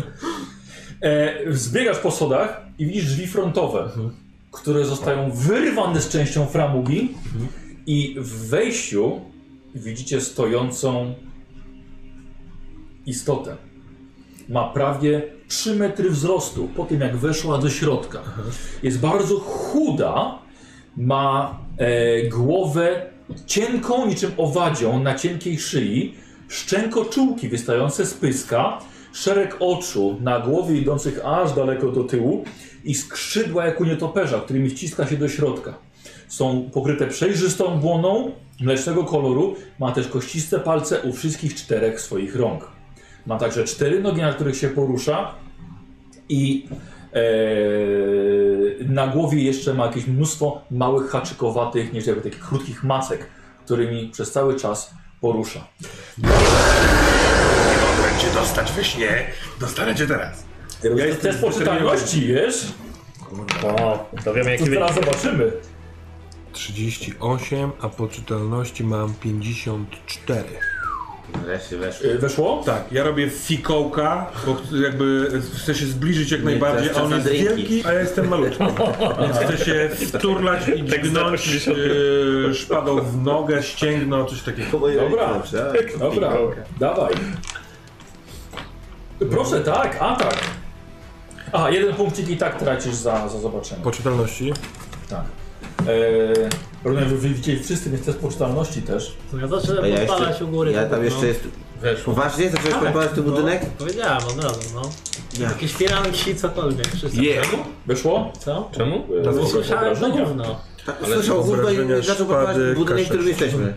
Speaker 2: E, zbiegasz po schodach i widzisz drzwi frontowe, które zostają wyrwane z częścią framugi i w wejściu widzicie stojącą istotę. Ma prawie 3 metry wzrostu po tym, jak weszła do środka. Jest bardzo chuda, ma e, głowę cienką niczym owadzią na cienkiej szyi, szczękoczułki wystające z pyska, szereg oczu na głowie idących aż daleko do tyłu i skrzydła jak u nietoperza, którymi wciska się do środka. Są pokryte przejrzystą błoną mlecznego koloru, ma też kościste palce u wszystkich czterech swoich rąk. Ma także cztery nogi, na których się porusza i Eee, na głowie jeszcze ma jakieś mnóstwo małych, haczykowatych, nie jakby takich krótkich masek, którymi przez cały czas porusza.
Speaker 7: Mogłem cię dostać we śnie, dostanę cię teraz.
Speaker 2: Ja jest test poczytalności, wiesz?
Speaker 4: O, to wiemy
Speaker 2: To
Speaker 4: jaki wynik.
Speaker 2: zaraz zobaczymy.
Speaker 5: 38, a po czytelności mam 54.
Speaker 3: Wreszcie weszło.
Speaker 2: Yy, Weszło?
Speaker 5: Tak, ja robię fikołka, bo ch- jakby chcę się zbliżyć jak najbardziej,
Speaker 3: teraz
Speaker 5: a
Speaker 3: czas
Speaker 5: on
Speaker 3: na
Speaker 5: jest
Speaker 3: drinki.
Speaker 5: wielki, a ja jestem malutki. Więc chcę się wturlać
Speaker 3: Tak
Speaker 5: i dźgnąć yy, szpadą w nogę, ścięgno, coś takiego.
Speaker 2: Dobra.
Speaker 3: Dobrze, a?
Speaker 2: Dobra, dawaj. Proszę, tak, atak. Aha, jeden punkcik i tak tracisz za, za zobaczenie.
Speaker 5: Po czytelności?
Speaker 2: Tak. Eee, rozumiem, że wy widzieli wszyscy, więc test poczytalności też.
Speaker 6: Ja
Speaker 3: A
Speaker 6: zaczynam
Speaker 3: ja
Speaker 6: odpalać
Speaker 3: jeszcze,
Speaker 6: u góry.
Speaker 3: ja
Speaker 6: tak,
Speaker 3: tam
Speaker 6: no.
Speaker 3: jeszcze jest...
Speaker 9: Weszło.
Speaker 3: Poważnie? Zacząłeś
Speaker 2: Tak.
Speaker 3: podpalać ten budynek?
Speaker 6: Powiedziałem od razu, no.
Speaker 3: Ja.
Speaker 6: Jakieś firanki, cokolwiek, wszystko.
Speaker 2: Weszło?
Speaker 6: Co?
Speaker 9: Czemu?
Speaker 6: Usłyszałem to
Speaker 2: Obrażenia.
Speaker 6: gówno,
Speaker 3: Tak,
Speaker 9: Ale
Speaker 3: słyszał gówno
Speaker 5: wyobrażenia
Speaker 3: i zaczął podpalać
Speaker 5: szpady,
Speaker 3: budynek, w którym
Speaker 5: kaszel.
Speaker 3: jesteśmy.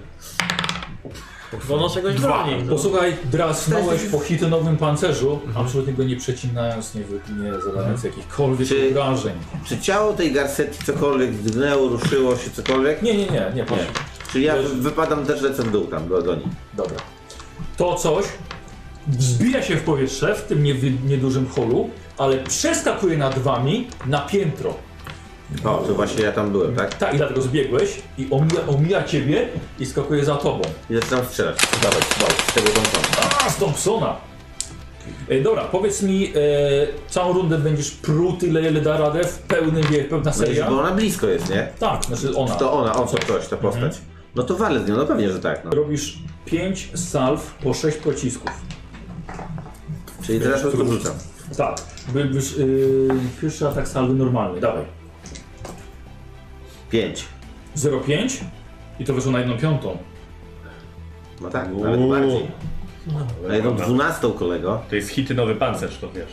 Speaker 6: bo ono czegoś broni. no.
Speaker 2: Posłuchaj, drasnąłeś po hitynowym pancerzu, absolutnie go nie przecinając, nie, wy- nie zadając jakichkolwiek
Speaker 3: Czy-
Speaker 2: obrażeń.
Speaker 3: Czy ciało tej garsetki cokolwiek drgnęło, ruszyło się, cokolwiek?
Speaker 2: Nie, nie, nie, nie, patrz.
Speaker 3: Czyli ja wypadam też lecę w dół tam do, do nich.
Speaker 2: Dobra. To coś wzbija się w powietrze w tym niewy- niedużym holu, ale przeskakuje nad wami na piętro.
Speaker 3: O, to właśnie ja tam byłem, tak?
Speaker 2: Tak, i dlatego zbiegłeś i omija, omija ciebie i skakuje za tobą.
Speaker 3: I zaczynam strzelać. Dawaj, dawaj, z tego tam
Speaker 2: A, z Thompsona! E, dobra, powiedz mi, e, całą rundę będziesz pruł tyle, ile da radę, w pełnym wie, pełna
Speaker 3: No i
Speaker 2: seria?
Speaker 3: bo ona blisko jest, nie?
Speaker 2: Tak, znaczy ona. Mhm.
Speaker 3: To ona, on co ktoś, ta postać. No to walę z nią, no pewnie, że tak. No.
Speaker 2: Robisz 5 salw po 6 pocisków.
Speaker 3: Czyli teraz po prostu rzucam.
Speaker 2: Tak, by, byś, yy, pierwszy atak salwy normalny, dawaj.
Speaker 3: 5.
Speaker 2: 0,5 i to wyszło na jedną piątą.
Speaker 3: No tak, nawet bardziej. Na jedną dwunastą kolego.
Speaker 4: To jest hity nowy pancerz, to wiesz.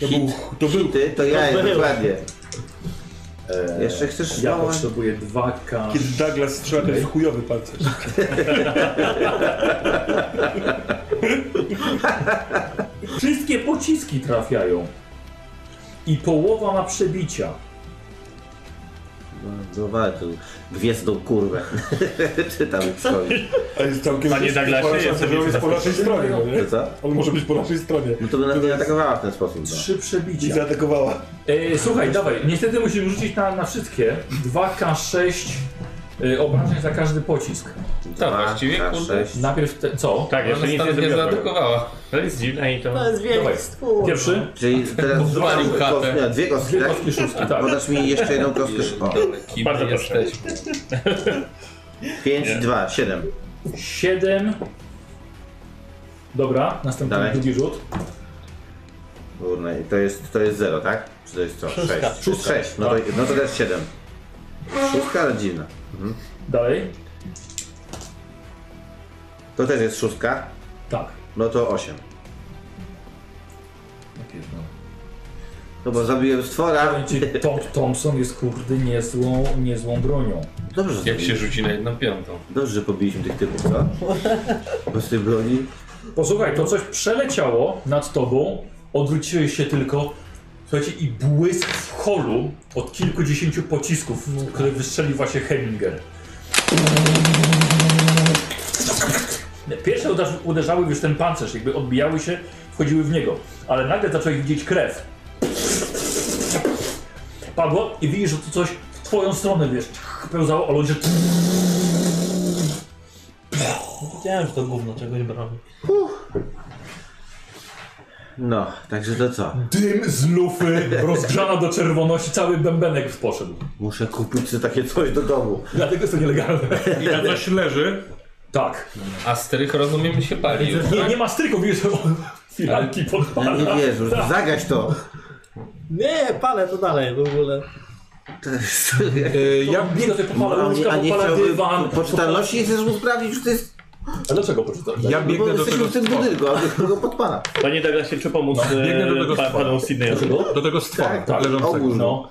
Speaker 3: To Hit, to hity, to ja,
Speaker 4: To był.
Speaker 3: dokładnie.
Speaker 2: Eee,
Speaker 3: Jeszcze chcesz
Speaker 2: Ja
Speaker 3: małe?
Speaker 2: potrzebuję 2K.
Speaker 7: Kiedy Douglas strzela, to jest chujowy pancerz.
Speaker 2: Wszystkie pociski trafiają. I połowa ma przebicia.
Speaker 3: No walę tu gwiezdą kurwę. Czytam sobie.
Speaker 7: A jest całkiem
Speaker 4: Panie Douglasie,
Speaker 7: po naszej-
Speaker 4: jestem
Speaker 7: on jest po naszej
Speaker 4: zaskoczony.
Speaker 7: stronie, no nie?
Speaker 3: To co?
Speaker 7: On może być po naszej stronie.
Speaker 3: No to by nas nie atakowała w ten sposób. No.
Speaker 2: Trzy
Speaker 7: I
Speaker 2: przebicia.
Speaker 7: zaatakowała.
Speaker 2: Eee, słuchaj, dawaj, niestety musimy rzucić na, na wszystkie. 2K6 e, obrażeń za każdy pocisk.
Speaker 3: Dwa,
Speaker 9: właściwie,
Speaker 3: dwa,
Speaker 9: kurde.
Speaker 3: sześć.
Speaker 2: Najpierw te, co?
Speaker 4: Tak, jeszcze
Speaker 9: Ona
Speaker 4: nic nie
Speaker 9: stąd nie
Speaker 4: zrobiłem.
Speaker 9: zaatakowała.
Speaker 4: To jest dziwne i to...
Speaker 6: To jest
Speaker 2: Dawaj.
Speaker 6: wielki stwór.
Speaker 2: Pierwszy?
Speaker 3: Czyli teraz
Speaker 9: Zwalił
Speaker 3: dwa-
Speaker 9: chatę.
Speaker 3: nie, dwie kostki,
Speaker 2: Dwie
Speaker 3: tak?
Speaker 2: kostki szóstki, tak.
Speaker 3: Podasz mi jeszcze jedną kostkę. O,
Speaker 9: Kim
Speaker 4: Bardzo proszę.
Speaker 9: jesteś?
Speaker 3: 5, 2, 7.
Speaker 2: 7. Dobra, następny
Speaker 3: Dalej.
Speaker 2: drugi rzut.
Speaker 3: Kurna, i to jest, to jest 0, tak? Czy to jest co? 6.
Speaker 2: Szóstka.
Speaker 3: 6. No to, no to teraz 7. Szóstka, ale dziwna.
Speaker 2: Dalej.
Speaker 3: To też jest szóstka,
Speaker 2: Tak.
Speaker 3: no to 8.
Speaker 2: Tak
Speaker 3: No bo zabiłem stwora.
Speaker 2: Powiem ci, Tom, Thompson jest kurde niezłą, niezłą bronią.
Speaker 3: Dobrze, że
Speaker 9: Jak
Speaker 3: zrobiliśmy.
Speaker 9: się rzuci na jedną piątą.
Speaker 3: Dobrze, że pobiliśmy tych typów, co? Bez tej broni.
Speaker 2: Posłuchaj, to coś przeleciało nad tobą, odwróciłeś się tylko, słuchajcie, i błysk w holu od kilkudziesięciu pocisków, które wystrzelił właśnie Heminger. Pierwsze uderz- uderzały już ten pancerz, jakby odbijały się, wchodziły w niego, ale nagle zacząłeś widzieć krew. Padło i widzisz, że to coś w twoją stronę, wiesz, pełzało, ale on się
Speaker 6: Wiedziałem, że to gówno czegoś broni.
Speaker 3: No, także to co?
Speaker 2: Dym z lufy rozgrzana do czerwoności, cały bębenek poszedł.
Speaker 3: Muszę kupić sobie takie coś do domu.
Speaker 2: Dlatego jest to nielegalne.
Speaker 5: I tam coś leży.
Speaker 2: Tak.
Speaker 9: A strych rozumiem się pali już,
Speaker 2: Nie,
Speaker 9: tak?
Speaker 2: nie ma stryków, wiesz, firanki
Speaker 3: Ja nie
Speaker 2: podpala.
Speaker 3: wiesz, zagaś to.
Speaker 6: Nie, palę to dalej w ogóle.
Speaker 3: To jest-
Speaker 5: E,
Speaker 2: Ja
Speaker 5: ja,
Speaker 2: nie, no to popala
Speaker 3: A nie,
Speaker 2: łóżka,
Speaker 3: a nie
Speaker 2: popala
Speaker 3: chciałbym
Speaker 2: dywan.
Speaker 3: po czytalności jest żeby sprawdzić, czy to jest...
Speaker 2: A dlaczego poczytać?
Speaker 5: ja
Speaker 3: No bo
Speaker 5: biegnę do
Speaker 3: jesteśmy
Speaker 5: tego
Speaker 3: w tym
Speaker 5: stwora.
Speaker 3: budynku, a kogo podpala.
Speaker 10: Panie Douglasie, czy pomóc
Speaker 5: No, biegnę do tego
Speaker 10: e, pa-
Speaker 5: stwora.
Speaker 10: panu Sydneyowi?
Speaker 5: Do tego stwora
Speaker 3: Tak, tak,
Speaker 5: leżącego.
Speaker 3: ogólnie.
Speaker 2: No.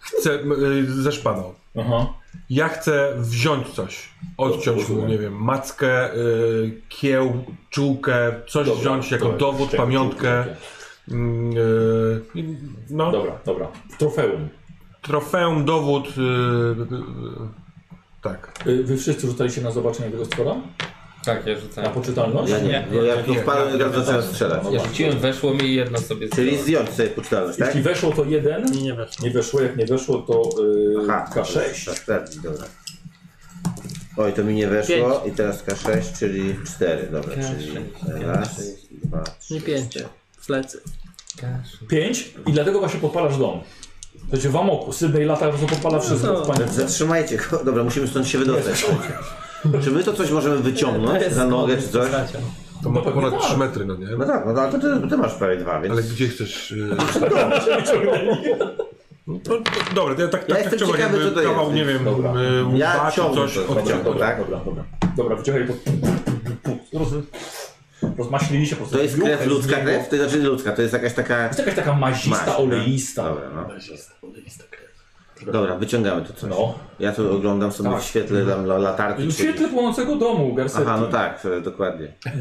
Speaker 5: Chcę m, y, ze szpadą.
Speaker 2: Aha.
Speaker 5: Ja chcę wziąć coś. Odciąć mu, nie wiem, mackę, y, kieł, czułkę, coś
Speaker 2: Dobra,
Speaker 5: wziąć jako
Speaker 2: dobra,
Speaker 5: dowód,
Speaker 2: szczęście,
Speaker 5: pamiątkę.
Speaker 2: dziękuję.
Speaker 5: Mm, y, no,
Speaker 2: Dobra, dobra. Trofeum.
Speaker 5: trofeum, dowód. y, y, y, tak.
Speaker 2: Y, Wy wszyscy rzucaliście na zobaczenie tego stwora?
Speaker 9: Tak, ja
Speaker 2: Na
Speaker 9: rzucałem.
Speaker 2: poczytalność?
Speaker 3: Ja nie, bo jak to wpadłem, to zacząłem strzelać.
Speaker 9: Ja rzuciłem, weszło mi i jedno sobie
Speaker 3: Czyli
Speaker 9: zdjąłem.
Speaker 3: zdjąć sobie poczytalność, tak?
Speaker 2: Jeśli weszło to jeden,
Speaker 6: Nie, nie weszło.
Speaker 2: nie weszło, jak nie weszło to y, K6.
Speaker 3: Tak, sprawdzić, dobra. Oj, to mi nie weszło i teraz K6, czyli 4, dobra, czyli raz, dwa, trzy,
Speaker 6: Nie pięć.
Speaker 3: cztery.
Speaker 6: W plecy.
Speaker 2: Pięć i dlatego właśnie podpalasz dom. To cię w amoku, Sydney lata, po prostu podpala wszystko
Speaker 6: No.
Speaker 2: w panice.
Speaker 3: Zatrzymajcie go, dobra, musimy stąd się wydostać. Czy my to coś możemy
Speaker 6: To
Speaker 3: wyciągnąć
Speaker 6: jest
Speaker 3: za nogę czy
Speaker 6: koniec,
Speaker 3: coś?
Speaker 6: bracia.
Speaker 5: To ma
Speaker 2: pewnie
Speaker 5: ponad
Speaker 2: tak.
Speaker 5: 3 metry, no nie?
Speaker 3: No tak, no ale to ty, ty masz prawie dwa, więc...
Speaker 5: Ale gdzie chcesz. y, No, to, to, dobra, to ja tak,
Speaker 3: Ja
Speaker 5: tak,
Speaker 3: jestem
Speaker 5: tak ciągle
Speaker 3: ciekawy,
Speaker 5: jakby
Speaker 3: co to jest.
Speaker 5: kawał, nie wiem,
Speaker 2: Dobra.
Speaker 5: y,
Speaker 3: Ja
Speaker 5: łba czy
Speaker 3: ciągnę
Speaker 5: coś
Speaker 3: to,
Speaker 5: odciągnął.
Speaker 2: Dobra,
Speaker 3: dobra.
Speaker 2: dobra, dobra. Dobra, wyciągaj po... Roz... Rozmaślili się po prostu.
Speaker 3: To jest krew
Speaker 2: Juchę
Speaker 3: ludzka
Speaker 2: z niego. Tak.
Speaker 3: krew? To znaczy ludzka, to jest jakaś taka...
Speaker 2: To jest jakaś taka mazista,
Speaker 3: Maź, tak.
Speaker 2: oleista.
Speaker 3: Dobra, no.
Speaker 2: przepraszam.
Speaker 3: Dobra, wyciągamy to coś.
Speaker 2: No.
Speaker 3: Ja tu oglądam sobie
Speaker 2: Tak.
Speaker 3: w świetle tam la- latarki.
Speaker 2: W
Speaker 3: czy-
Speaker 2: świetle płonącego domu Garcetti.
Speaker 3: Aha, no tak, e, dokładnie.
Speaker 2: Tak,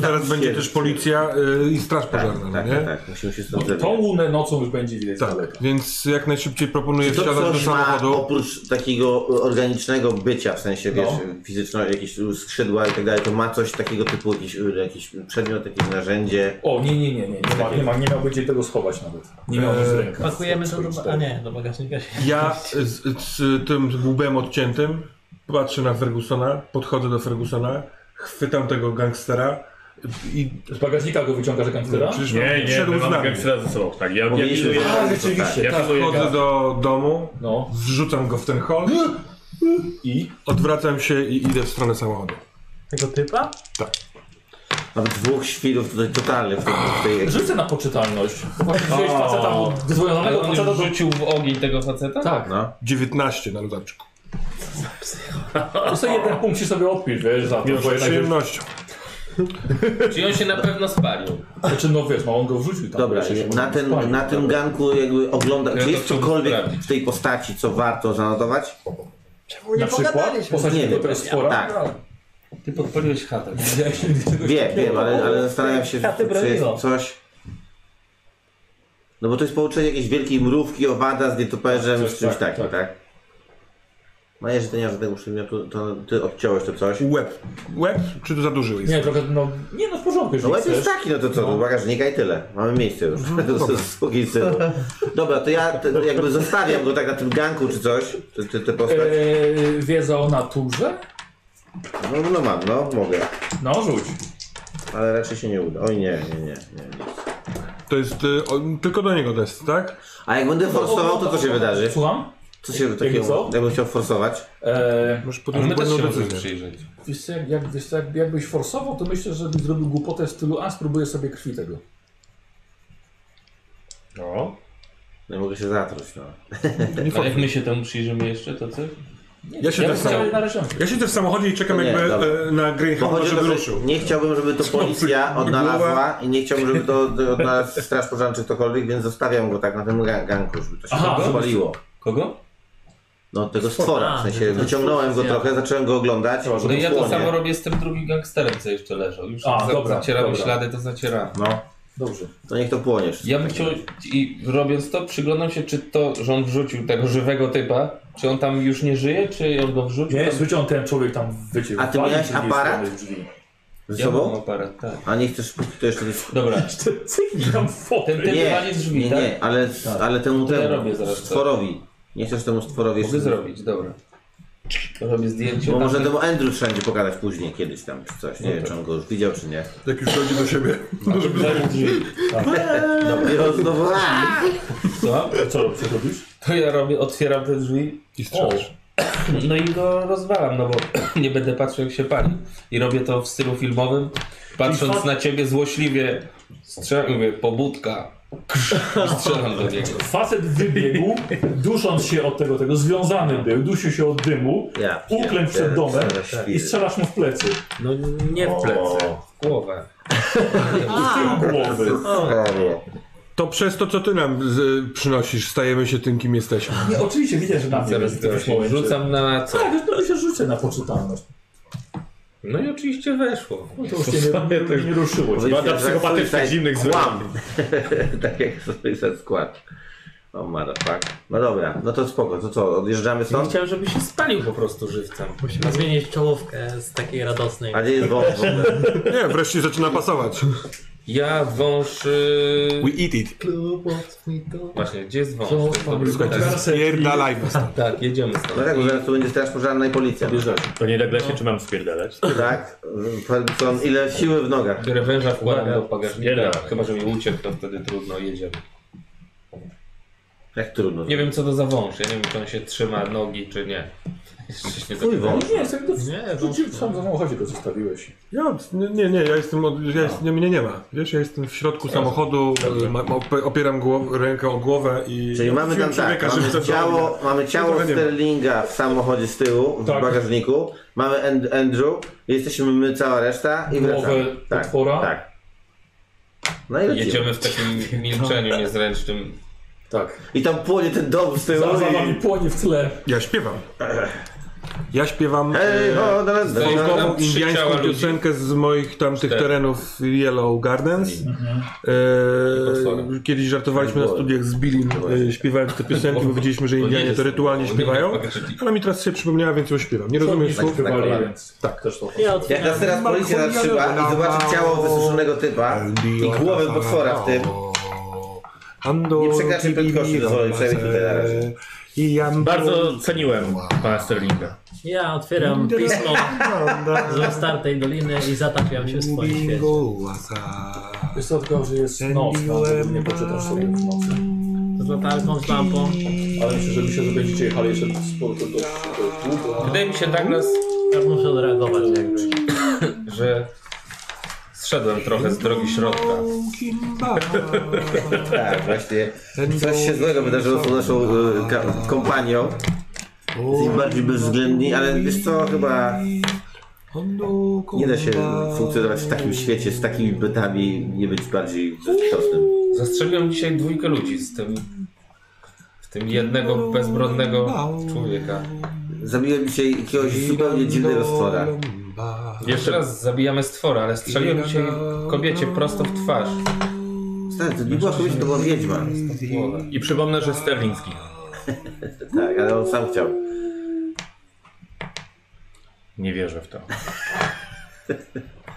Speaker 5: Zaraz będzie też policja y, i straż pożarna,
Speaker 3: Tak,
Speaker 5: no nie?
Speaker 3: tak, tak. Musimy się
Speaker 2: No,
Speaker 3: stąd zebrać.
Speaker 2: Tą łunę nocą już będzie widać z daleka.
Speaker 5: Tak, więc jak najszybciej proponuję
Speaker 3: Czy to
Speaker 5: wsiadać do
Speaker 3: coś ma
Speaker 5: samochodu.
Speaker 3: oprócz takiego organicznego bycia, w sensie wiesz,
Speaker 2: No.
Speaker 3: fizycznego, jakieś skrzydła i tak dalej, to ma coś takiego typu, jakiś, jakiś przedmiot, jakieś narzędzie.
Speaker 2: O, nie, nie, nie, nie, nie ma, nie ma, nie miałby gdzie tego schować nawet. Nie miałby z
Speaker 5: Eee,
Speaker 2: ręka.
Speaker 6: Pakujemy to do... ba- A nie, do bagażnika się...
Speaker 5: Ja z, z tym łbem odciętym patrzę na Fergusona, podchodzę do Fergusona, chwytam tego gangstera i
Speaker 2: Z bagażnika go wyciągasz jak gangstera?
Speaker 5: przecież
Speaker 4: Nie, nie,
Speaker 5: szedł
Speaker 4: my
Speaker 5: z
Speaker 4: mamy
Speaker 5: nami.
Speaker 4: gangstera ze sobą. Tak, ja, ja
Speaker 3: Mieliśmy-
Speaker 4: widuję,
Speaker 2: A, rzeczywiście,
Speaker 4: ja
Speaker 2: tak.
Speaker 4: widuję
Speaker 5: Wchodzę do domu,
Speaker 2: No.
Speaker 5: wrzucam go w ten hol i odwracam się i idę w stronę samochodu.
Speaker 6: Tego typa?
Speaker 3: Mam dwóch świrów tutaj totalnych w tej, w tej
Speaker 2: Rzucę na poczytalność. Właśnie wziąłeś faceta, zwolnionego
Speaker 9: Ale on
Speaker 2: faceta
Speaker 9: już
Speaker 2: do...
Speaker 9: rzucił w ogień tego faceta?
Speaker 2: Tak,
Speaker 3: no.
Speaker 5: 19 na ludaczku.
Speaker 2: to No sobie jeden punkt się sobie odpisz, wiesz, za to, bo
Speaker 5: Z
Speaker 2: jednak wiesz,
Speaker 5: przyjemnością.
Speaker 9: Czyli on się na pewno spalił.
Speaker 2: znaczy, no wiesz, no on go wrzucił tam.
Speaker 3: Dobra,
Speaker 2: wiesz, jeszcze
Speaker 3: na,
Speaker 2: może
Speaker 3: ten,
Speaker 2: spalił,
Speaker 3: na
Speaker 2: tak.
Speaker 3: tym ganku jakby ogląda,
Speaker 9: Ja
Speaker 3: czy
Speaker 9: to
Speaker 3: jest
Speaker 9: chciałbym
Speaker 3: cokolwiek
Speaker 9: sprawdzić.
Speaker 3: w tej postaci, co warto zanotować?
Speaker 2: Na przykład
Speaker 3: Nie
Speaker 2: posadził
Speaker 3: wiem.
Speaker 2: go teraz spora.
Speaker 3: Tak,
Speaker 11: Ty podpaliłeś chatę.
Speaker 3: wiem, wiem, ale, ale zastanawiam się,
Speaker 6: Ja ty
Speaker 3: czy jest
Speaker 6: broniło.
Speaker 3: coś... No bo to jest połączenie jakiejś wielkiej mrówki, owada z nietoperzem, z czymś
Speaker 2: tak,
Speaker 3: takim, tak? No jeżeli to nie ma żadnego przedmiotu, to ty odciąłeś to coś.
Speaker 5: Łeb. Łeb? Czy to za duży jest?
Speaker 2: Nie, trochę, no, nie no, w porządku,
Speaker 3: No
Speaker 2: jeżeli
Speaker 3: łeb
Speaker 2: chcesz. No,
Speaker 3: jest taki, no to co, no. bagażnika i tyle. Mamy miejsce już. Z drugiej strony. Dobra, to ja te, jakby zostawiam go tak na tym ganku czy coś, te, te, te postać.
Speaker 2: Eee, wiedza o naturze?
Speaker 3: No, no mam, no mogę.
Speaker 2: No, rzuć.
Speaker 3: Ale raczej się nie uda. Oj nie, nie, nie, nie. nic.
Speaker 5: To jest y, on, tylko do niego test, tak?
Speaker 3: A jak będę forsował, to co się wydarzy?
Speaker 2: Słucham?
Speaker 3: Co się takiego,
Speaker 2: co?
Speaker 3: jakbym chciał forsować?
Speaker 2: Eee,
Speaker 5: Możesz podjąć
Speaker 9: Ale my też się
Speaker 5: błędną
Speaker 9: możemy
Speaker 5: decyzję.
Speaker 9: przyjrzeć.
Speaker 2: Wiesz co, jak, jak, wiesz co, jak, jakbyś forsował, to myślę, że byś zrobił głupotę w stylu, a spróbuję sobie krwi tego.
Speaker 4: No.
Speaker 3: No mogę się zatruć, no.
Speaker 9: A jak my się temu przyjrzymy jeszcze, to co?
Speaker 5: Ja siedzę,
Speaker 3: tak
Speaker 5: w samochodzie.
Speaker 2: na resztę.
Speaker 5: ja siedzę w samochodzie i czekam
Speaker 3: No nie,
Speaker 5: jakby
Speaker 3: dobra.
Speaker 5: e, na
Speaker 3: Bo
Speaker 5: Greyhounda,
Speaker 3: chodzi o
Speaker 5: żeby
Speaker 3: to, że
Speaker 5: ruszył.
Speaker 3: nie chciałbym, żeby to policja odnalazła i nie chciałbym, żeby to to odnalazł straż pożarna czy ktokolwiek, więc zostawiam go tak na tym gan- ganku, żeby to się
Speaker 2: Aha,
Speaker 3: tam spaliło.
Speaker 9: Kogo?
Speaker 3: No tego stwora, w
Speaker 6: A,
Speaker 3: sensie
Speaker 6: że to
Speaker 3: wyciągnąłem go
Speaker 6: stwór zjadł.
Speaker 3: trochę, zacząłem go oglądać.
Speaker 2: Trzeba,
Speaker 9: No
Speaker 2: żeby
Speaker 9: i ja to
Speaker 3: Dłonie.
Speaker 9: samo robię z tym drugim gangsterem, co jeszcze leżał. Już
Speaker 2: A,
Speaker 9: za,
Speaker 2: dobra,
Speaker 9: zacieramy
Speaker 2: dobra.
Speaker 9: ślady, to zacieramy.
Speaker 3: No,
Speaker 2: Dobrze.
Speaker 3: to niech to płonie. wszystko.
Speaker 9: Ja bym chciał, i robiąc to, przyglądam się, czy to, że on wrzucił tego żywego typa, czy on tam już nie żyje, czy on go wrzucił.
Speaker 2: Nie,
Speaker 9: tam...
Speaker 2: jest wyciął ten człowiek tam wyciął.
Speaker 3: A ty
Speaker 2: Walił
Speaker 3: miałeś
Speaker 2: z drugiej
Speaker 3: aparat?
Speaker 2: strony drzwi.
Speaker 3: Ze
Speaker 9: Ja mam
Speaker 3: sobą?
Speaker 9: aparat, tak.
Speaker 3: A nie chcesz, póki to jeszcze nie...
Speaker 9: Dobra,
Speaker 2: Cyknij tam
Speaker 9: ten
Speaker 2: fotę.
Speaker 9: typ
Speaker 3: Nie,
Speaker 9: wali z drzwi,
Speaker 3: nie,
Speaker 9: tak?
Speaker 3: nie, ale, ale temu
Speaker 9: To ja
Speaker 3: temu,
Speaker 9: robię zaraz to.
Speaker 3: stworowi. Nie chcesz temu stworowi
Speaker 9: Mogę zrobić, Tak. dobra. Robię zdjęcie.
Speaker 3: Bo
Speaker 9: tam-
Speaker 3: może temu Andrew trzeba będzie pokazać później kiedyś tam czy coś.
Speaker 9: No
Speaker 3: Nie wiem,
Speaker 9: tak.
Speaker 3: czy on go już widział, czy nie.
Speaker 5: Jak już chodzi do siebie.
Speaker 3: Dobra, i on znowu...
Speaker 9: Co?
Speaker 2: Co robisz? Co robisz?
Speaker 9: To ja robię, otwieram te drzwi.
Speaker 5: I strzelasz.
Speaker 9: No i go rozwalam, no bo nie będę patrzył jak się pali. I robię to w stylu filmowym, patrząc na ciebie złośliwie. Strzelam, mówię, pobudka. I strzelam do niego.
Speaker 2: Facet wybiegł, dusząc się od tego, tego związany był, dusił się od dymu,
Speaker 3: Ja
Speaker 2: uklękł przed
Speaker 3: pierdzielę,
Speaker 2: domem
Speaker 3: zaraz
Speaker 2: i strzelasz mu w plecy.
Speaker 6: No nie w plecy.
Speaker 9: W głowę.
Speaker 2: W tył głowy.
Speaker 3: Prawie.
Speaker 5: To przez to, co ty nam
Speaker 7: y,
Speaker 5: z, przynosisz, stajemy się tym, kim jesteśmy.
Speaker 2: Nie, oczywiście widzę, że na mnie
Speaker 9: Zaraz
Speaker 2: jest w tym
Speaker 9: się
Speaker 2: momencie.
Speaker 9: rzucam na co?
Speaker 2: Tak, no to się rzucę na poczytalność.
Speaker 9: No i oczywiście weszło.
Speaker 2: No to już cię nie, nie, nie ruszyło cię.
Speaker 3: Powiedzmy,
Speaker 10: Bada
Speaker 3: że
Speaker 10: psychopatycznych
Speaker 3: Suicide
Speaker 10: zimnych
Speaker 3: Kłam. tak jak Suicide Squad. O oh, motherfuck. No dobra, no to spoko, to co, odjeżdżamy stąd?
Speaker 9: Chciałem, żeby się spalił po prostu żywcem.
Speaker 6: Musimy zmienić czołówkę z takiej radosnej.
Speaker 3: A gdzie jest wąż w ogóle?
Speaker 5: Nie, wreszcie zaczyna pasować.
Speaker 9: Ja wąż... y,
Speaker 5: We eat it.
Speaker 9: Właśnie, gdzie jest wąż? To jest dobry
Speaker 5: Słuchajcie,
Speaker 9: pytanie.
Speaker 5: spierdalajmy stąd.
Speaker 9: Tak, jedziemy stąd.
Speaker 3: No tak, bo zaraz tu będzie straż pożarna i policja.
Speaker 10: To nie da się, czy mam spierdalać?
Speaker 3: Tak? Ferguson, ile siły w nogach?
Speaker 9: Które węża wkładam
Speaker 10: Uwaga.
Speaker 9: do bagażnika.
Speaker 10: Jeden.
Speaker 9: Chyba, że mi uciekł, to wtedy trudno, jedziemy.
Speaker 3: Jak trudno.
Speaker 9: Nie wiem co to za wąż, ja nie wiem czy on się trzyma nogi czy nie. Jeszcze się nie
Speaker 3: Twój
Speaker 9: zapytałem.
Speaker 3: wąż.
Speaker 2: No Nie, sobie to w,
Speaker 6: Nie,
Speaker 2: w sam samochodzie go zostawiłeś.
Speaker 5: Ja, nie, nie, nie, ja jestem, od, ja
Speaker 7: No.
Speaker 5: jest, nie, mnie nie ma. Wiesz, ja jestem w środku samochodu, e, ma, ma- op- opieram głow, rękę o głowę i...
Speaker 3: Czyli mamy tam
Speaker 5: Odwróciłem
Speaker 3: tak,
Speaker 5: człowieka, żywca
Speaker 3: mamy
Speaker 5: do
Speaker 3: ciało,
Speaker 5: ognia.
Speaker 3: mamy ciało
Speaker 5: Trochę nie ma.
Speaker 3: Sterlinga w samochodzie z tyłu, w
Speaker 2: Tak.
Speaker 3: bagażniku, mamy And- Andrew, jesteśmy my, cała reszta i
Speaker 2: Głowę
Speaker 3: wracamy.
Speaker 2: potwora.
Speaker 3: Tak. No i lecimy.
Speaker 9: Jedziemy w takim milczeniu niezręcznym.
Speaker 2: Tak.
Speaker 3: I tam płonie ten dom z tyłu.
Speaker 2: Za, za
Speaker 3: i-
Speaker 2: wami płonie w tle.
Speaker 7: Ja śpiewam. Ja śpiewam
Speaker 3: Hej, ho, na
Speaker 7: e,
Speaker 3: nas dojdą.
Speaker 7: folkową
Speaker 9: Tam krzyczała
Speaker 7: indiańską
Speaker 9: ludzi.
Speaker 7: piosenkę z moich tamtych
Speaker 9: Tak.
Speaker 7: terenów Yellow Gardens. E, kiedyś żartowaliśmy na studiach z Billim, e, śpiewając te piosenki, bo wiedzieliśmy, że Indianie to rytualnie śpiewają. Ona mi teraz się przypomniała, więc ją śpiewam. Nie rozumiem
Speaker 2: Przodni
Speaker 7: słów.
Speaker 2: śpiewali,
Speaker 3: kolana.
Speaker 2: więc tak. też to
Speaker 6: Ja
Speaker 3: Jak nas
Speaker 6: otwieram.
Speaker 3: teraz policja zatrzyma i zobaczy ciało wysuszonego typa i głowę potwora w tym,
Speaker 7: Ando,
Speaker 3: Nie przekraczaj prędkości dozwolonej, przynajmniej tutaj na razie.
Speaker 7: Yy, I jam-
Speaker 4: Bardzo ceniłem pana Sterlinga.
Speaker 6: Ja otwieram pismo z roztartej doliny i zatapiam się w swoim świecie.
Speaker 2: Wiesz co, tylko, że jest noc, no, żeby nie poczytasz sobie w nocy.
Speaker 6: Z latarką, z lampą.
Speaker 2: Ale myślę, że myślę, że będziecie jechali jeszcze sporo do, do, do długo.
Speaker 9: Wydaje mi się tak nas,
Speaker 6: Ja muszę odreagować jakby.
Speaker 9: że zszedłem trochę z drogi środka.
Speaker 3: Tak, właśnie. Coś się złego wydarzyło z tą naszą y, ka- kompanią. Jest im bardziej bezwzględni, ale wiesz co, chyba nie da się funkcjonować w takim świecie, z takimi bytami i nie być bardziej bezczosnym.
Speaker 9: Zastrzeliłem dzisiaj dwójkę ludzi z tym, w tym jednego bezbronnego człowieka.
Speaker 3: Zabiłem dzisiaj jakiegoś zupełnie dziwnego stwora.
Speaker 9: Jeszcze raz zabijamy stwora, ale strzeliłem dzisiaj kobiecie prosto w twarz.
Speaker 3: Stary, Tak, to nie była kobieta, to była wiedźma.
Speaker 9: w głowę.
Speaker 4: I przypomnę, że Sterlingski.
Speaker 3: Tak, ale on sam chciał.
Speaker 4: Nie wierzę w to.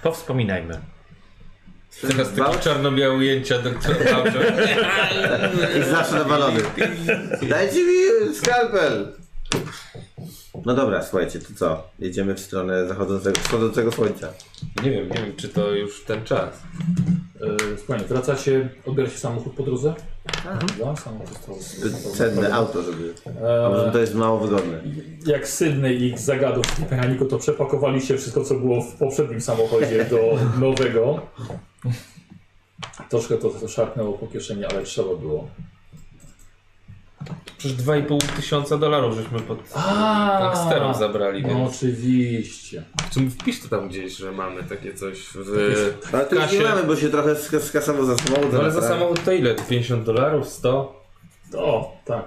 Speaker 4: Powspominajmy.
Speaker 9: Teraz takie
Speaker 3: Bałcz?
Speaker 9: czarno-białe ujęcia doktora Bałcza.
Speaker 3: I zawsze nawalony. Dajcie mi skalpel! No dobra, słuchajcie, to co? Jedziemy w stronę zachodzącego, wschodzącego słońca.
Speaker 9: Nie wiem, nie wiem czy to już ten czas.
Speaker 2: Yy, Spokojnie, wracacie, odbieracie samochód po drodze? Dobra, samochód został- został-
Speaker 3: Cenne auto, żeby...
Speaker 2: Eee,
Speaker 3: Może to jest mało wygodne.
Speaker 2: jak Sydney ich zagadał w tym mechaniku, to przepakowaliście wszystko, co było w poprzednim samochodzie do nowego. Troszkę to, to szarpnęło po kieszeni, ale trzeba było.
Speaker 9: Przecież 2,5 tysiąca dolarów żeśmy pod
Speaker 2: A.
Speaker 9: gangsterom zabrali,
Speaker 2: No
Speaker 9: więc...
Speaker 2: oczywiście.
Speaker 9: No, Czy mi wpisz to tam gdzieś, że mamy takie coś w...
Speaker 3: Ale
Speaker 9: w
Speaker 3: to już nie
Speaker 9: kasie?
Speaker 3: mamy, bo się trochę sk- skasowo za tak? samochód.
Speaker 9: No ale za
Speaker 3: zabrałem.
Speaker 9: samochód to ile? 50 dolarów? 100?
Speaker 2: O, tak.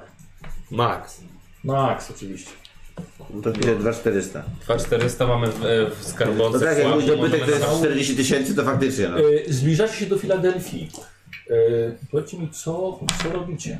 Speaker 9: Max.
Speaker 2: Max oczywiście.
Speaker 3: To będzie 2400.
Speaker 9: 2400 mamy w, e, w
Speaker 3: No
Speaker 9: skarbonce.
Speaker 3: tak, jak mój
Speaker 9: słabszy,
Speaker 3: dobytek to
Speaker 9: możemy
Speaker 3: jest
Speaker 9: na-
Speaker 3: 40 tysięcy, to faktycznie no.
Speaker 2: E, Zbliżacie się do Filadelfii. E, Powiedzcie mi, co, co robicie?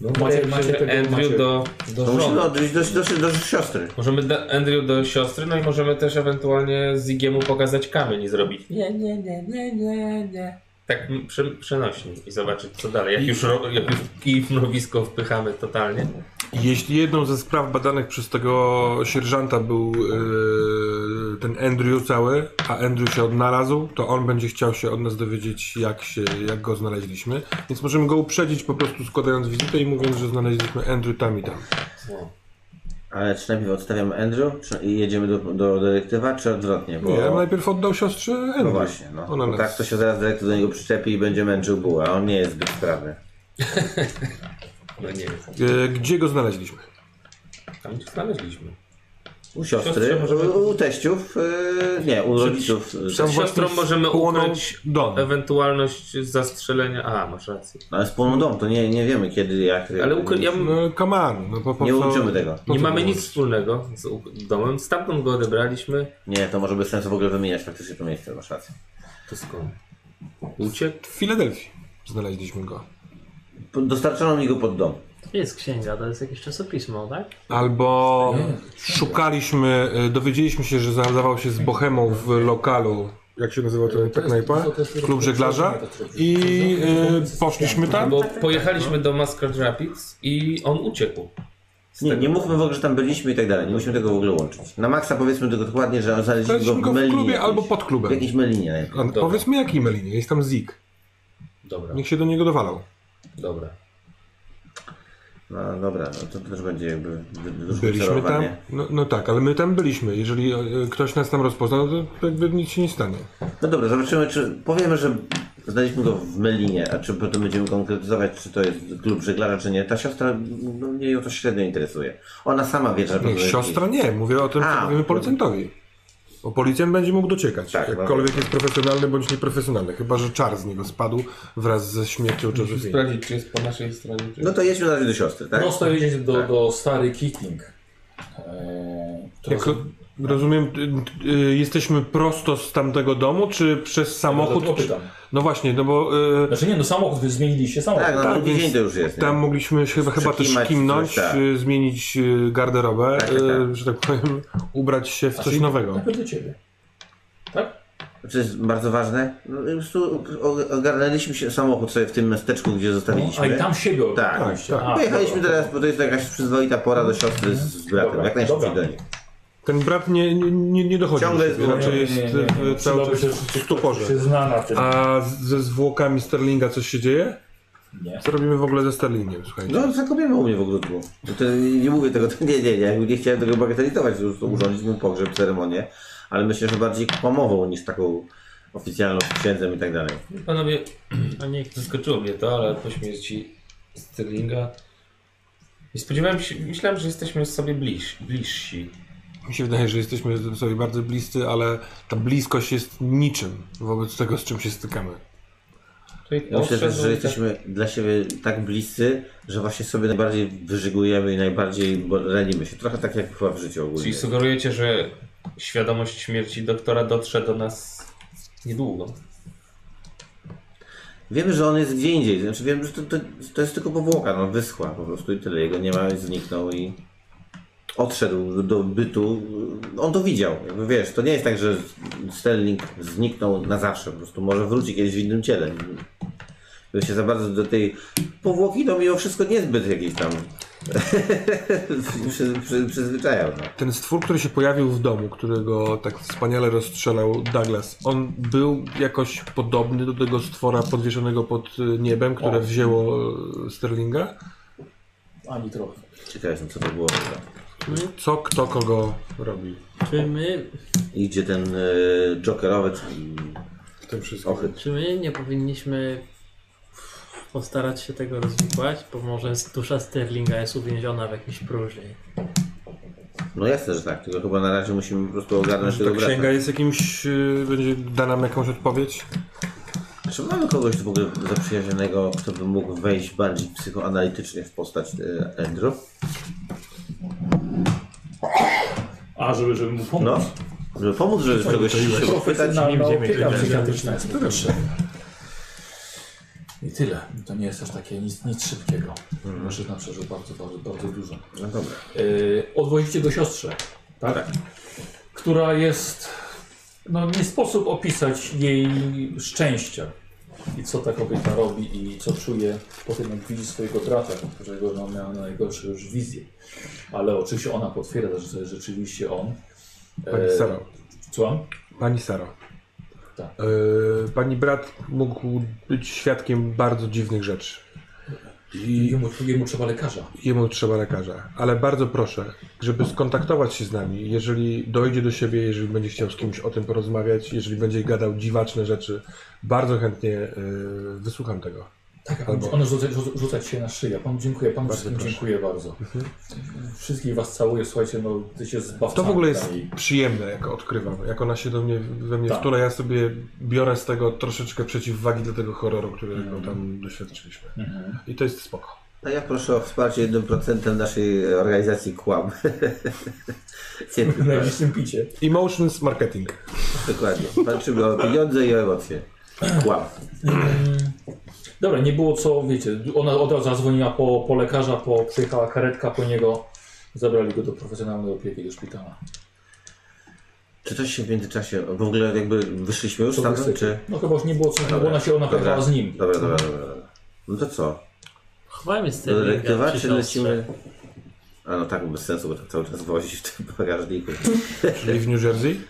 Speaker 2: No, macie, macie
Speaker 9: Możemy
Speaker 2: tego,
Speaker 9: Andrew
Speaker 2: macie...
Speaker 9: do, do
Speaker 3: To musimy
Speaker 9: żony.
Speaker 3: odwieźć do, do, do, do siostry.
Speaker 9: No Możemy da Andrew do siostry, no i możemy też ewentualnie Zigiemu pokazać kamień i zrobić. Nie, nie, nie, nie, nie, nie. Tak m- przy, przenośni i zobaczyć co dalej. Jak już, ro, jak już kij w mrowisko wpychamy totalnie.
Speaker 7: Jeśli jedną ze spraw badanych przez tego sierżanta był e, ten Andrew cały, a Andrew się odnalazł, to on będzie chciał się od nas dowiedzieć, jak, się, jak go znaleźliśmy. Więc możemy go uprzedzić po prostu składając wizytę i mówiąc, że znaleźliśmy Andrew tam i tam.
Speaker 3: Ale czy najpierw odstawiamy Andrew czy, i jedziemy do, do dyrektywa, czy odwrotnie? Bo...
Speaker 7: Nie, no ja najpierw oddał siostrze Andrew.
Speaker 3: No właśnie, no.
Speaker 7: Ona
Speaker 3: Bo
Speaker 7: nas...
Speaker 3: tak to się zaraz dyrektor do niego przyczepi i będzie męczył buła. a On nie jest zbyt sprawny.
Speaker 9: No nie wiem.
Speaker 7: E, Gdzie go znaleźliśmy?
Speaker 9: Tam gdzie znaleźliśmy.
Speaker 3: U siostry,
Speaker 9: Siostrze możemy-
Speaker 3: u, u teściów, yy, nie, u rodziców. yy,
Speaker 9: Przed siostrą
Speaker 7: właśnie
Speaker 9: możemy
Speaker 7: spłonął
Speaker 9: ukryć
Speaker 7: dom.
Speaker 9: ewentualność zastrzelenia. A, masz rację.
Speaker 3: No, Ale spłoną dom, to nie, nie wiemy kiedy, jak.
Speaker 9: Ale ukry... ja bym-
Speaker 7: No, come on. No, po, po
Speaker 3: Nie
Speaker 7: co-
Speaker 3: uczymy tego.
Speaker 7: po
Speaker 9: nie
Speaker 7: co
Speaker 9: mamy
Speaker 7: było?
Speaker 9: nic wspólnego z u- domem. Stamtąd go odebraliśmy.
Speaker 3: Nie, to może bez sensu w ogóle wymieniać faktycznie to miejsce, masz rację.
Speaker 9: To skąd? Uciekł?
Speaker 7: W Filadelfii znaleźliśmy go.
Speaker 3: Po- Dostarczono mi go pod dom.
Speaker 6: Jest księga, to jest jakieś czasopismo, tak?
Speaker 7: Albo szukaliśmy, e, dowiedzieliśmy się, że zadawał się z Bohemą w lokalu, jak się nazywa ten ta knajpa? Klub żeglarza. I
Speaker 5: y,
Speaker 7: e, poszliśmy tam.
Speaker 9: Bo pojechaliśmy do Muscat Rapids i on uciekł.
Speaker 3: Nie, nie mówmy w ogóle, że tam byliśmy i tak dalej. Nie musimy tego w ogóle łączyć. Na maksa powiedzmy tylko dokładnie, że znaleźliśmy go
Speaker 7: Znaleźliśmy
Speaker 3: w
Speaker 7: go w
Speaker 3: melinie.
Speaker 7: klubie
Speaker 3: jakiejś.
Speaker 7: albo pod
Speaker 3: W
Speaker 7: klubem.
Speaker 3: jakiejś melinie. najpierw.
Speaker 7: A No, Powiedzmy jakim Melinie, jest tam Zik.
Speaker 9: Dobra,
Speaker 7: Niech się do niego dowalał.
Speaker 9: dobra.
Speaker 3: No dobra, no to też będzie jakby wy- wy-
Speaker 7: Byliśmy tam.
Speaker 3: wycelowanie.
Speaker 7: No, no tak, ale my tam byliśmy. Jeżeli e, ktoś nas tam rozpoznał, to jakby nic się nie stanie.
Speaker 3: No dobra, zobaczymy, czy powiemy, że znaleźliśmy go w Melinie, a czy potem będziemy konkretyzować, czy to jest klub żeglarza, czy nie. Ta siostra, no mnie ją to średnio interesuje. Ona sama wie, że...
Speaker 7: Nie, siostra nie, mówię o tym, co
Speaker 3: A.
Speaker 7: mówimy producentowi.
Speaker 5: Bo policjant będzie mógł dociekać, jakkolwiek jest profesjonalny bądź nieprofesjonalny, chyba że czar z niego spadł wraz ze śmiercią
Speaker 9: Musimy
Speaker 5: Josephine.
Speaker 9: sprawdzić, czy jest po naszej stronie. Czy...
Speaker 3: No to jedźmy na razie do siostry, tak?
Speaker 2: No, to jedziecie do, do Stary Keating. Eee, która-
Speaker 5: Jak, ro- rozumiem, y, y, jesteśmy prosto z tamego domu, czy przez samochód?
Speaker 2: dlatego
Speaker 5: czy-
Speaker 2: pytam.
Speaker 5: No właśnie, no bo... y,
Speaker 2: Znaczy nie, no samochód, wy zmieniliście samochód.
Speaker 3: Tak, no, drugi
Speaker 5: więc
Speaker 3: dzień to już jest, nie?
Speaker 5: Tam mogliśmy się chyba, chyba też
Speaker 3: Przekimać
Speaker 5: kimnąć,
Speaker 3: coś, tak.
Speaker 5: y, zmienić y, garderobę,
Speaker 3: Tak, tak, tak.
Speaker 5: y, że tak powiem, ubrać się w coś
Speaker 2: Znaczy,
Speaker 5: nowego.
Speaker 2: Najpierw do ciebie.
Speaker 3: To jest bardzo ważne. No, po prostu o- ogarnęliśmy się samochód sobie w tym miasteczku, gdzie zostawiliśmy.
Speaker 2: No, A i tam siebie
Speaker 3: Tak.
Speaker 2: ogarnęliście.
Speaker 5: tak.
Speaker 2: A,
Speaker 3: Pojechaliśmy
Speaker 2: dobra,
Speaker 3: teraz, bo to jest jakaś przyzwoita pora do siostry z, z bratem.
Speaker 2: Dobra,
Speaker 3: jak najszybciej
Speaker 2: dobra.
Speaker 3: do niej.
Speaker 5: Ten brat nie, nie, nie dochodzi
Speaker 3: Ciągle
Speaker 5: do siebie,
Speaker 3: jest-
Speaker 5: raczej Znaczy jest
Speaker 2: Nie, nie, nie, nie.
Speaker 5: w cały
Speaker 2: Przydałoby
Speaker 5: czas
Speaker 2: się,
Speaker 5: w stuporze.
Speaker 2: Się zna na tym.
Speaker 5: A z- ze zwłokami Sterlinga coś się dzieje?
Speaker 2: Nie.
Speaker 5: Co robimy w ogóle ze Sterlingiem, słuchajcie?
Speaker 3: No, zakopiemy u mnie w ogródku. To, to, nie mówię tego, to, nie, nie, nie. Nie chciałem tego bagatelizować, po prostu urządzić mu pogrzeb, ceremonię, ale myślę, że bardziej kłamową niż taką oficjalną z księdzem i tak dalej.
Speaker 9: Panowie, no
Speaker 6: A niech
Speaker 9: zaskoczyło mnie to, ale po śmierci Sterlinga nie spodziewałem się, myślałem, że jesteśmy sobie bliż, bliżsi.
Speaker 5: Mi się wydaje, że jesteśmy sobie bardzo bliscy, ale ta bliskość jest niczym wobec tego, z czym się stykamy.
Speaker 9: Tutaj
Speaker 3: Ja myślę też, że
Speaker 9: odszedłem i tak-
Speaker 3: jesteśmy dla siebie tak bliscy, że właśnie sobie najbardziej wyżygujemy i najbardziej bo- ranimy się. Trochę tak jak chyba w życiu ogólnie.
Speaker 9: Czyli sugerujecie, że świadomość śmierci doktora dotrze do nas niedługo.
Speaker 3: Wiemy, że on jest gdzie indziej. Znaczy wiemy, że to, to, to jest tylko powłoka, no wyschła po prostu i tyle. Jego nie ma, zniknął i odszedł do bytu. On to widział. Jakby wiesz, to nie jest tak, że Sterling zniknął na zawsze. Po prostu może wróci kiedyś w innym ciele. By się za bardzo do tej powłoki, no mimo wszystko niezbyt jakiejś tam przy, przy, przyzwyczajał. No.
Speaker 5: Ten stwór, który się pojawił w domu, którego tak wspaniale rozstrzelał Douglas, on był jakoś podobny do tego stwora podwieszonego pod y, niebem, które
Speaker 3: Tak.
Speaker 2: O.
Speaker 5: wzięło y, Sterlinga?
Speaker 2: Ani trochę.
Speaker 3: Ciekaw jestem, co to było.
Speaker 5: Co, kto, kogo robił?
Speaker 6: Czy my,
Speaker 3: I gdzie ten e, jokerowiec
Speaker 5: W tym wszystkim.
Speaker 3: ochyt.
Speaker 6: czy my nie powinniśmy postarać się tego rozwikłać? Bo może dusza Sterlinga jest uwięziona w jakiejś próżni.
Speaker 3: No jasne, że tak, tylko chyba na razie musimy po prostu ogarnąć
Speaker 5: Ta
Speaker 3: tego brata.
Speaker 5: księga jest jakimś, y, będzie dana nam jakąś odpowiedź?
Speaker 3: Czy mamy kogoś w ogóle zaprzyjaźnionego, kto by mógł wejść bardziej psychoanalitycznie w postać e, Andrew?
Speaker 11: A, żeby, żeby mu pomóc.
Speaker 3: No, żeby pomóc, żeby czegoś się pochwytać.
Speaker 2: Profesjonalna
Speaker 10: nie będziemy
Speaker 2: opieka
Speaker 10: wiedzieć.
Speaker 2: psychiatryczna jest mi potrzebna. I tyle. To nie jest też takie nic, nic szybkiego. Muszę nam przeżył bardzo, bardzo, bardzo dużo.
Speaker 3: No dobra.
Speaker 2: Yy, odwozicie go siostrze, tak? Która jest. No nie sposób opisać jej szczęścia. I co ta kobieta robi i co czuje po tym, jak widzi swojego brata, którego no, miała najgorsze już wizje. Ale oczywiście ona potwierdza, że to jest rzeczywiście on.
Speaker 5: Pani
Speaker 2: E,
Speaker 5: Saro.
Speaker 2: Słucham?
Speaker 5: Pani Saro.
Speaker 2: Tak.
Speaker 5: Y, pani brat mógł być świadkiem bardzo dziwnych rzeczy.
Speaker 2: I jemu, jemu trzeba lekarza.
Speaker 5: Jemu trzeba lekarza, ale bardzo proszę, żeby skontaktować się z nami, jeżeli dojdzie do siebie, jeżeli będzie chciał z kimś o tym porozmawiać, jeżeli będzie gadał dziwaczne rzeczy, bardzo chętnie y, wysłucham tego.
Speaker 2: Tak, a
Speaker 5: Albo-
Speaker 2: ono rzuca, rzu- rzucać się na szyję. Panu dziękuję, panu
Speaker 5: Bardzo
Speaker 2: wszystkim
Speaker 5: proszę. Mhm.
Speaker 2: dziękuję bardzo. Wszystkich was całuję, słuchajcie, no ty się zbawcami.
Speaker 5: To w ogóle jest
Speaker 2: dali.
Speaker 5: przyjemne, jak odkrywam, jak ona się do mnie, we mnie
Speaker 2: Tak.
Speaker 5: wtula, ja sobie biorę z tego troszeczkę przeciwwagi do tego horroru, którego tam doświadczyliśmy.
Speaker 2: Mhm.
Speaker 5: I to jest spoko.
Speaker 3: A ja proszę o wsparcie 1% naszej organizacji Kłam. Nie,
Speaker 2: W najbliższym picie.
Speaker 5: Emotions marketing.
Speaker 3: Dokładnie. Walczymy o pieniądze i o emocje. Kłam.
Speaker 2: Dobra, nie było co, wiecie, ona od razu zadzwoniła po, po lekarza, po, przyjechała karetka po niego, zabrali go do profesjonalnej opieki do szpitala.
Speaker 3: Czy coś się w międzyczasie, w ogóle jakby wyszliśmy już
Speaker 2: Co wy
Speaker 3: stamtąd,
Speaker 2: chcecie?
Speaker 3: czy...
Speaker 2: No chyba już nie było co, no bo ona się, ona pojechała z nim.
Speaker 3: Dobra, dobra, dobra. dobra. No to co?
Speaker 6: Chowajmy
Speaker 3: Do
Speaker 6: Sterlinga
Speaker 3: detektywa,
Speaker 6: przy
Speaker 3: czy
Speaker 6: siostrze.
Speaker 3: lecimy... A no tak, bez sensu, bo to cały czas wozić w tym bagażniku.
Speaker 5: Czyli w New Jersey?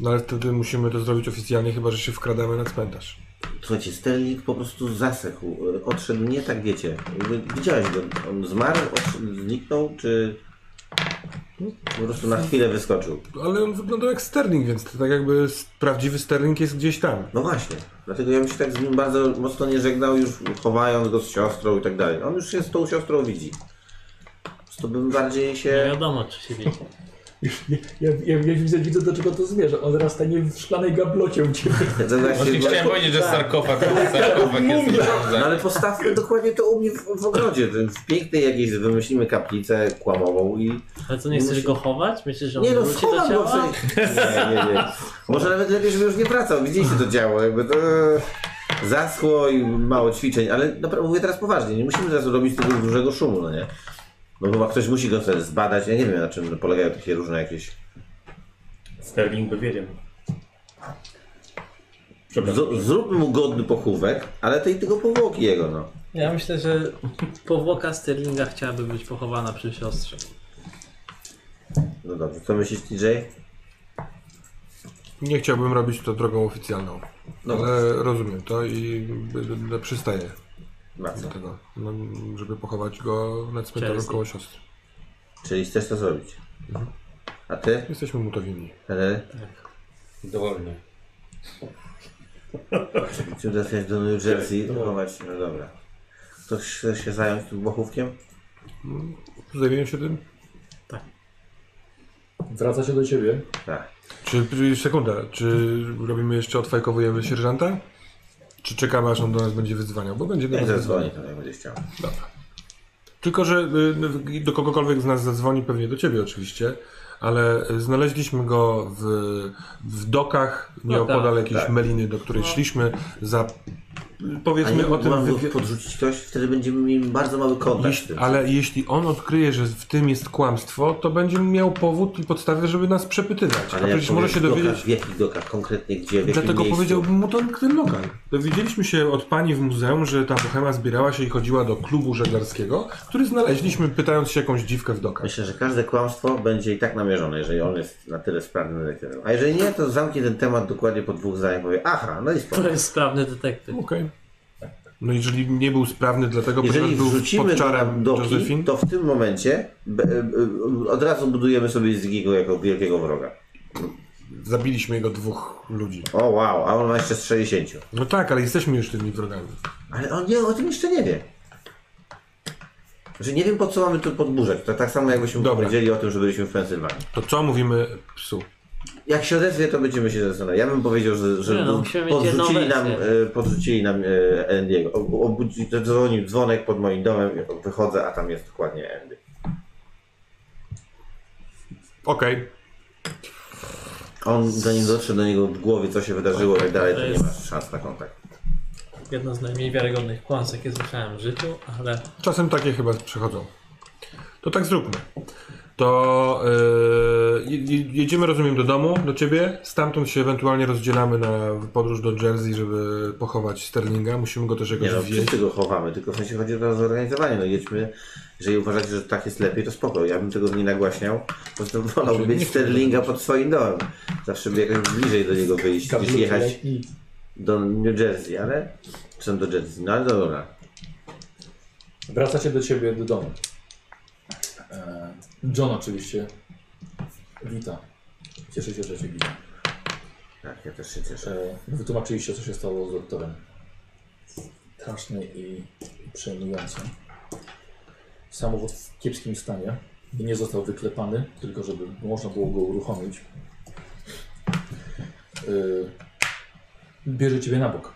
Speaker 5: No ale wtedy musimy to zrobić oficjalnie, chyba że się wkradamy na cmentarz.
Speaker 3: Słuchajcie, Sterling po prostu zasechł. y, Odszedł nie tak, wiecie. Jakby Widziałeś go. On zmarł, odszedł, zniknął, czy po prostu na chwilę wyskoczył.
Speaker 5: Ale on wyglądał jak Sterling, więc to tak jakby s- prawdziwy Sterling jest gdzieś tam.
Speaker 3: No właśnie. Dlatego ja bym się tak z nim bardzo mocno nie żegnał, już chowając go z siostrą i tak dalej. On już się z tą siostrą widzi. Więc To bym bardziej
Speaker 6: Nie
Speaker 3: się.
Speaker 6: wiadomo, czy się widzi.
Speaker 11: Już nie, ja, ja, ja widzę, widzę, do czego to zmierza. On rasta nie w szklanej gablocie u ciebie.
Speaker 3: To właśnie-
Speaker 9: Właśnie chciałem powiedzieć, że
Speaker 3: Tak.
Speaker 9: sarkofag, sarkofag jest
Speaker 3: No ale postawmy dokładnie to u mnie w, w ogrodzie. W pięknej jakiejś wymyślimy kaplicę kłamową i...
Speaker 6: Ale co, nie chcesz go chować? Myślisz, że on
Speaker 3: Nie no,
Speaker 6: wróci do
Speaker 3: schowam go w
Speaker 6: ciała?
Speaker 3: sensie... Nie, nie, nie. Może nawet lepiej, żeby już nie wracał. Widzieliście to działo, jakby to... e, Zaschło i mało ćwiczeń, ale naprawdę mówię teraz poważnie, nie musimy teraz robić tego dużego szumu, no nie? No chyba ktoś musi go teraz zbadać, ja nie wiem na czym polegają takie różne jakieś...
Speaker 4: Sterling by wiedział.
Speaker 3: Z- Zróbmy mu godny pochówek, ale tej tego powłoki jego, no.
Speaker 6: Ja myślę, że powłoka Sterlinga chciałaby być pochowana przy siostrze.
Speaker 3: No dobrze, co myślisz TJ?
Speaker 5: Nie chciałbym robić to drogą oficjalną.
Speaker 3: No
Speaker 5: ale rozumiem to i b- b- b- przystaję
Speaker 3: Na co?
Speaker 5: do tego, no, żeby pochować go na cmentarzu
Speaker 6: Chelsea.
Speaker 5: koło siostry.
Speaker 3: Czyli chcesz to zrobić. A ty?
Speaker 5: Jesteśmy mu to winni.
Speaker 3: Ale
Speaker 9: Dowolnie.
Speaker 3: czy dostać do New Jersey chować? No dobra. Ktoś chce się zająć tym bochówkiem?
Speaker 5: Zajmiemy się tym?
Speaker 2: Wraca się do ciebie.
Speaker 3: Tak.
Speaker 5: Czy, czy- sekunda, czy robimy jeszcze, odfajkowujemy sierżanta? Czy czekamy aż on do nas będzie wyzwaniał? Bo będzie do
Speaker 3: Nie
Speaker 5: nas
Speaker 3: zadzwoni
Speaker 5: wyzwaniał.
Speaker 3: tam, jak tak będzie chciał.
Speaker 5: Dobra. Tylko, że y, y, do kogokolwiek z nas zadzwoni, pewnie do ciebie oczywiście, ale y, znaleźliśmy go w, w dokach nieopodal
Speaker 6: tak,
Speaker 5: jakiejś meliny, do której szliśmy za y, powiedzmy
Speaker 3: A nie,
Speaker 5: o tym
Speaker 3: mam go
Speaker 5: wywi-
Speaker 3: podrzucić ktoś, wtedy będziemy mieli bardzo mały kontakt z
Speaker 5: jeśli,
Speaker 3: tym.
Speaker 5: ale jeśli on odkryje, że w tym jest kłamstwo, to będzie miał powód i podstawę, żeby nas przepytywać. A
Speaker 3: jak
Speaker 5: przecież może
Speaker 3: powiesz
Speaker 5: się
Speaker 3: w dokach,
Speaker 5: dowiedzieć.
Speaker 3: W jakich dokach konkretnie, gdzie, w jakim
Speaker 5: Dlatego
Speaker 3: miejscu.
Speaker 5: powiedziałbym mu ten, ten lokal. Dowiedzieliśmy się od pani w muzeum, że ta bohema zbierała się i chodziła do klubu żeglarskiego, który znaleźliśmy pytając się jakąś dziwkę w dokach.
Speaker 3: Myślę, że każde kłamstwo będzie i tak namierzone, jeżeli on jest na tyle sprawnym detektywem. A jeżeli nie, to zamknie ten temat dokładnie po dwóch zdaniach. Powie, aha, no i spoko.
Speaker 6: To jest sprawny detektyw.
Speaker 5: Okej. No jeżeli nie był sprawny, dlatego
Speaker 3: Jeżeli
Speaker 5: ponieważ był
Speaker 3: wrzucimy
Speaker 5: pod
Speaker 3: go na
Speaker 5: czarem
Speaker 3: doki,
Speaker 5: Josephine,
Speaker 3: to w tym momencie b, b, b, od razu budujemy sobie Zgiego jako wielkiego wroga.
Speaker 5: zabiliśmy jego dwóch ludzi.
Speaker 3: O wow, a on ma jeszcze z 60.
Speaker 5: No tak, ale jesteśmy już tymi wrogami.
Speaker 3: Ale on nie, o tym jeszcze nie wie. Znaczy nie wiem po co mamy tu podburzać. To tak samo jakbyśmy
Speaker 5: Dobra.
Speaker 3: powiedzieli o tym, że byliśmy w Pensylwanii.
Speaker 5: To co mówimy psu?
Speaker 3: Jak się odezwie, to będziemy się zastanawiać. Ja bym powiedział, że, że
Speaker 6: Nie, no, musimy mieć jedną
Speaker 3: podrzucili, nam,
Speaker 6: wersję.
Speaker 3: e, podrzucili nam e, Andy'ego. O- obudzi- Dzwonił dzwonek pod moim domem, wychodzę, a tam jest dokładnie Andy.
Speaker 5: Okej.
Speaker 3: On zanim dotrze do niego w głowie, co się wydarzyło i tak dalej, to nie ma szans na kontakt.
Speaker 6: Jedno z najmniej wiarygodnych kłamstw, jakie słyszałem w życiu, ale
Speaker 5: Czasem takie chyba przychodzą. To tak zróbmy. To yy, je- jedziemy, rozumiem, do domu, do ciebie. Stamtąd się ewentualnie rozdzielamy na podróż do Jersey, żeby pochować Sterlinga. Musimy go też jakoś
Speaker 3: Nie no,
Speaker 5: wieść.
Speaker 3: wszyscy go chowamy, tylko w sensie chodzi o zorganizowanie. No jedźmy, jeżeli uważacie, że tak jest lepiej, to spoko. Ja bym tego nie nagłaśniał. Po prostu wolałbym
Speaker 5: Znaczy, nie
Speaker 3: mieć Sterlinga pod swoim domem. Zawsze by jakoś bliżej do niego wyjść, niż jechać
Speaker 11: I
Speaker 3: do New Jersey, ale... Czy tam do Jersey? No ale dobra.
Speaker 2: Wracacie do ciebie do domu. E, John oczywiście wita. Cieszę się, że cię wita.
Speaker 3: Tak, ja też się cieszę.
Speaker 2: E, Wytłumaczyliście, co się stało z doktorem. Straszny i przejmujący. Samochód w kiepskim stanie. Nie został wyklepany, tylko żeby można było go uruchomić. E, Bierze ciebie na bok,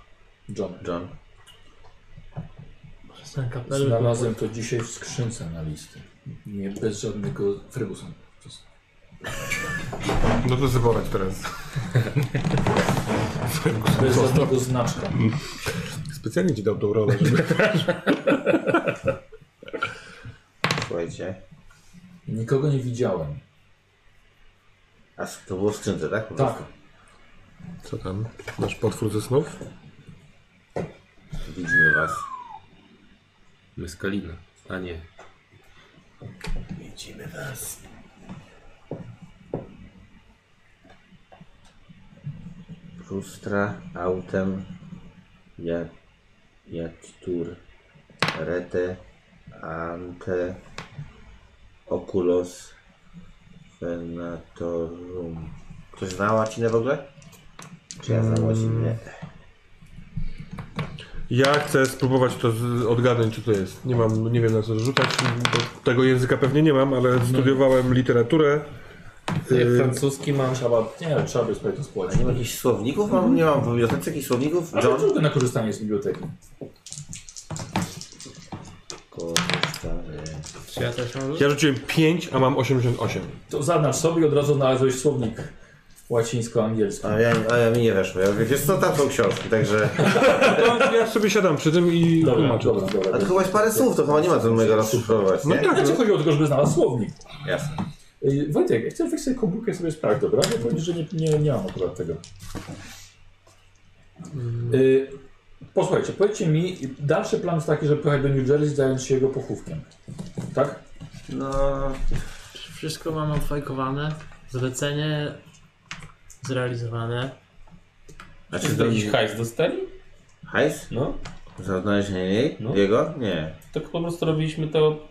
Speaker 2: John.
Speaker 3: John?
Speaker 6: przestałem kapelusz.
Speaker 2: Znalazłem to dzisiaj w skrzynce na listy. Nie bez żadnego Ferguson.
Speaker 5: No to zaborać teraz.
Speaker 2: Bez żadnego znaczka.
Speaker 5: Specjalnie ci dał tą rolę, żeby...
Speaker 3: Słuchajcie.
Speaker 2: Nikogo nie widziałem.
Speaker 3: A s- to było w skrzynce, tak? Po
Speaker 2: Tak.
Speaker 3: prostu.
Speaker 5: Co tam? Masz potwór ze snów?
Speaker 3: Widzimy was.
Speaker 9: Meskalina. A nie.
Speaker 3: Frustra, autem, ja, Jactur, Rete, Ante, Oculos, Fenatorum. Ktoś zna łacinę w ogóle? Czy ja znam łacinę?
Speaker 5: Ja chcę spróbować to z, odgadnąć, co to jest. Nie mam,
Speaker 3: No.
Speaker 5: nie wiem na co rzucać, bo tego języka pewnie nie mam, ale studiowałem literaturę
Speaker 9: Ty francuski mam.
Speaker 2: Trzeba, nie, trzeba by sprawdzić to społecznie.
Speaker 3: Nie ma jakichś słowników? Mam, nie mam w bibliotece jakichś słowników?
Speaker 2: Ale
Speaker 3: John?
Speaker 2: trudne na korzystanie z biblioteki.
Speaker 3: Korzystanie.
Speaker 6: Ja też mam
Speaker 5: Ja rzuciłem 5, a mam 88.
Speaker 2: To zaznacz sobie i od razu znalazłeś słownik łacińsko-angielski.
Speaker 3: A ja, a ja mi nie weszło. Ja mówię, wiesz co, tam są książki, także...
Speaker 5: Ja sobie siadam przy tym i
Speaker 2: Dobra,
Speaker 5: tłumaczę.
Speaker 2: dobra, dobra.
Speaker 3: A to chyba jest parę słów, to chyba nie ma co mojego rozszyfrować,
Speaker 5: No
Speaker 3: nie?
Speaker 5: tak,
Speaker 2: Znaczy chodziło tylko, żeby znalazł słownik.
Speaker 3: Jasne.
Speaker 2: Yy, Wojtek, jak chcesz wejść sobie komórkę sobie sprawdź, dobra? Bo powiem, że nie, nie, nie mam akurat tego. Yy, posłuchajcie, powiedzcie mi, dalszy plan jest taki, żeby pojechać do New Jersey zająć się jego pochówkiem. Tak?
Speaker 3: No...
Speaker 6: Wszystko mam odfajkowane. Zlecenie zrealizowane.
Speaker 3: A czy
Speaker 9: Czy jakiś
Speaker 3: zrobić
Speaker 9: hajs dostali?
Speaker 3: hajs?
Speaker 9: No.
Speaker 3: Za odnalezienie jej?
Speaker 9: No.
Speaker 3: Jego? Nie.
Speaker 9: Tak po prostu robiliśmy to...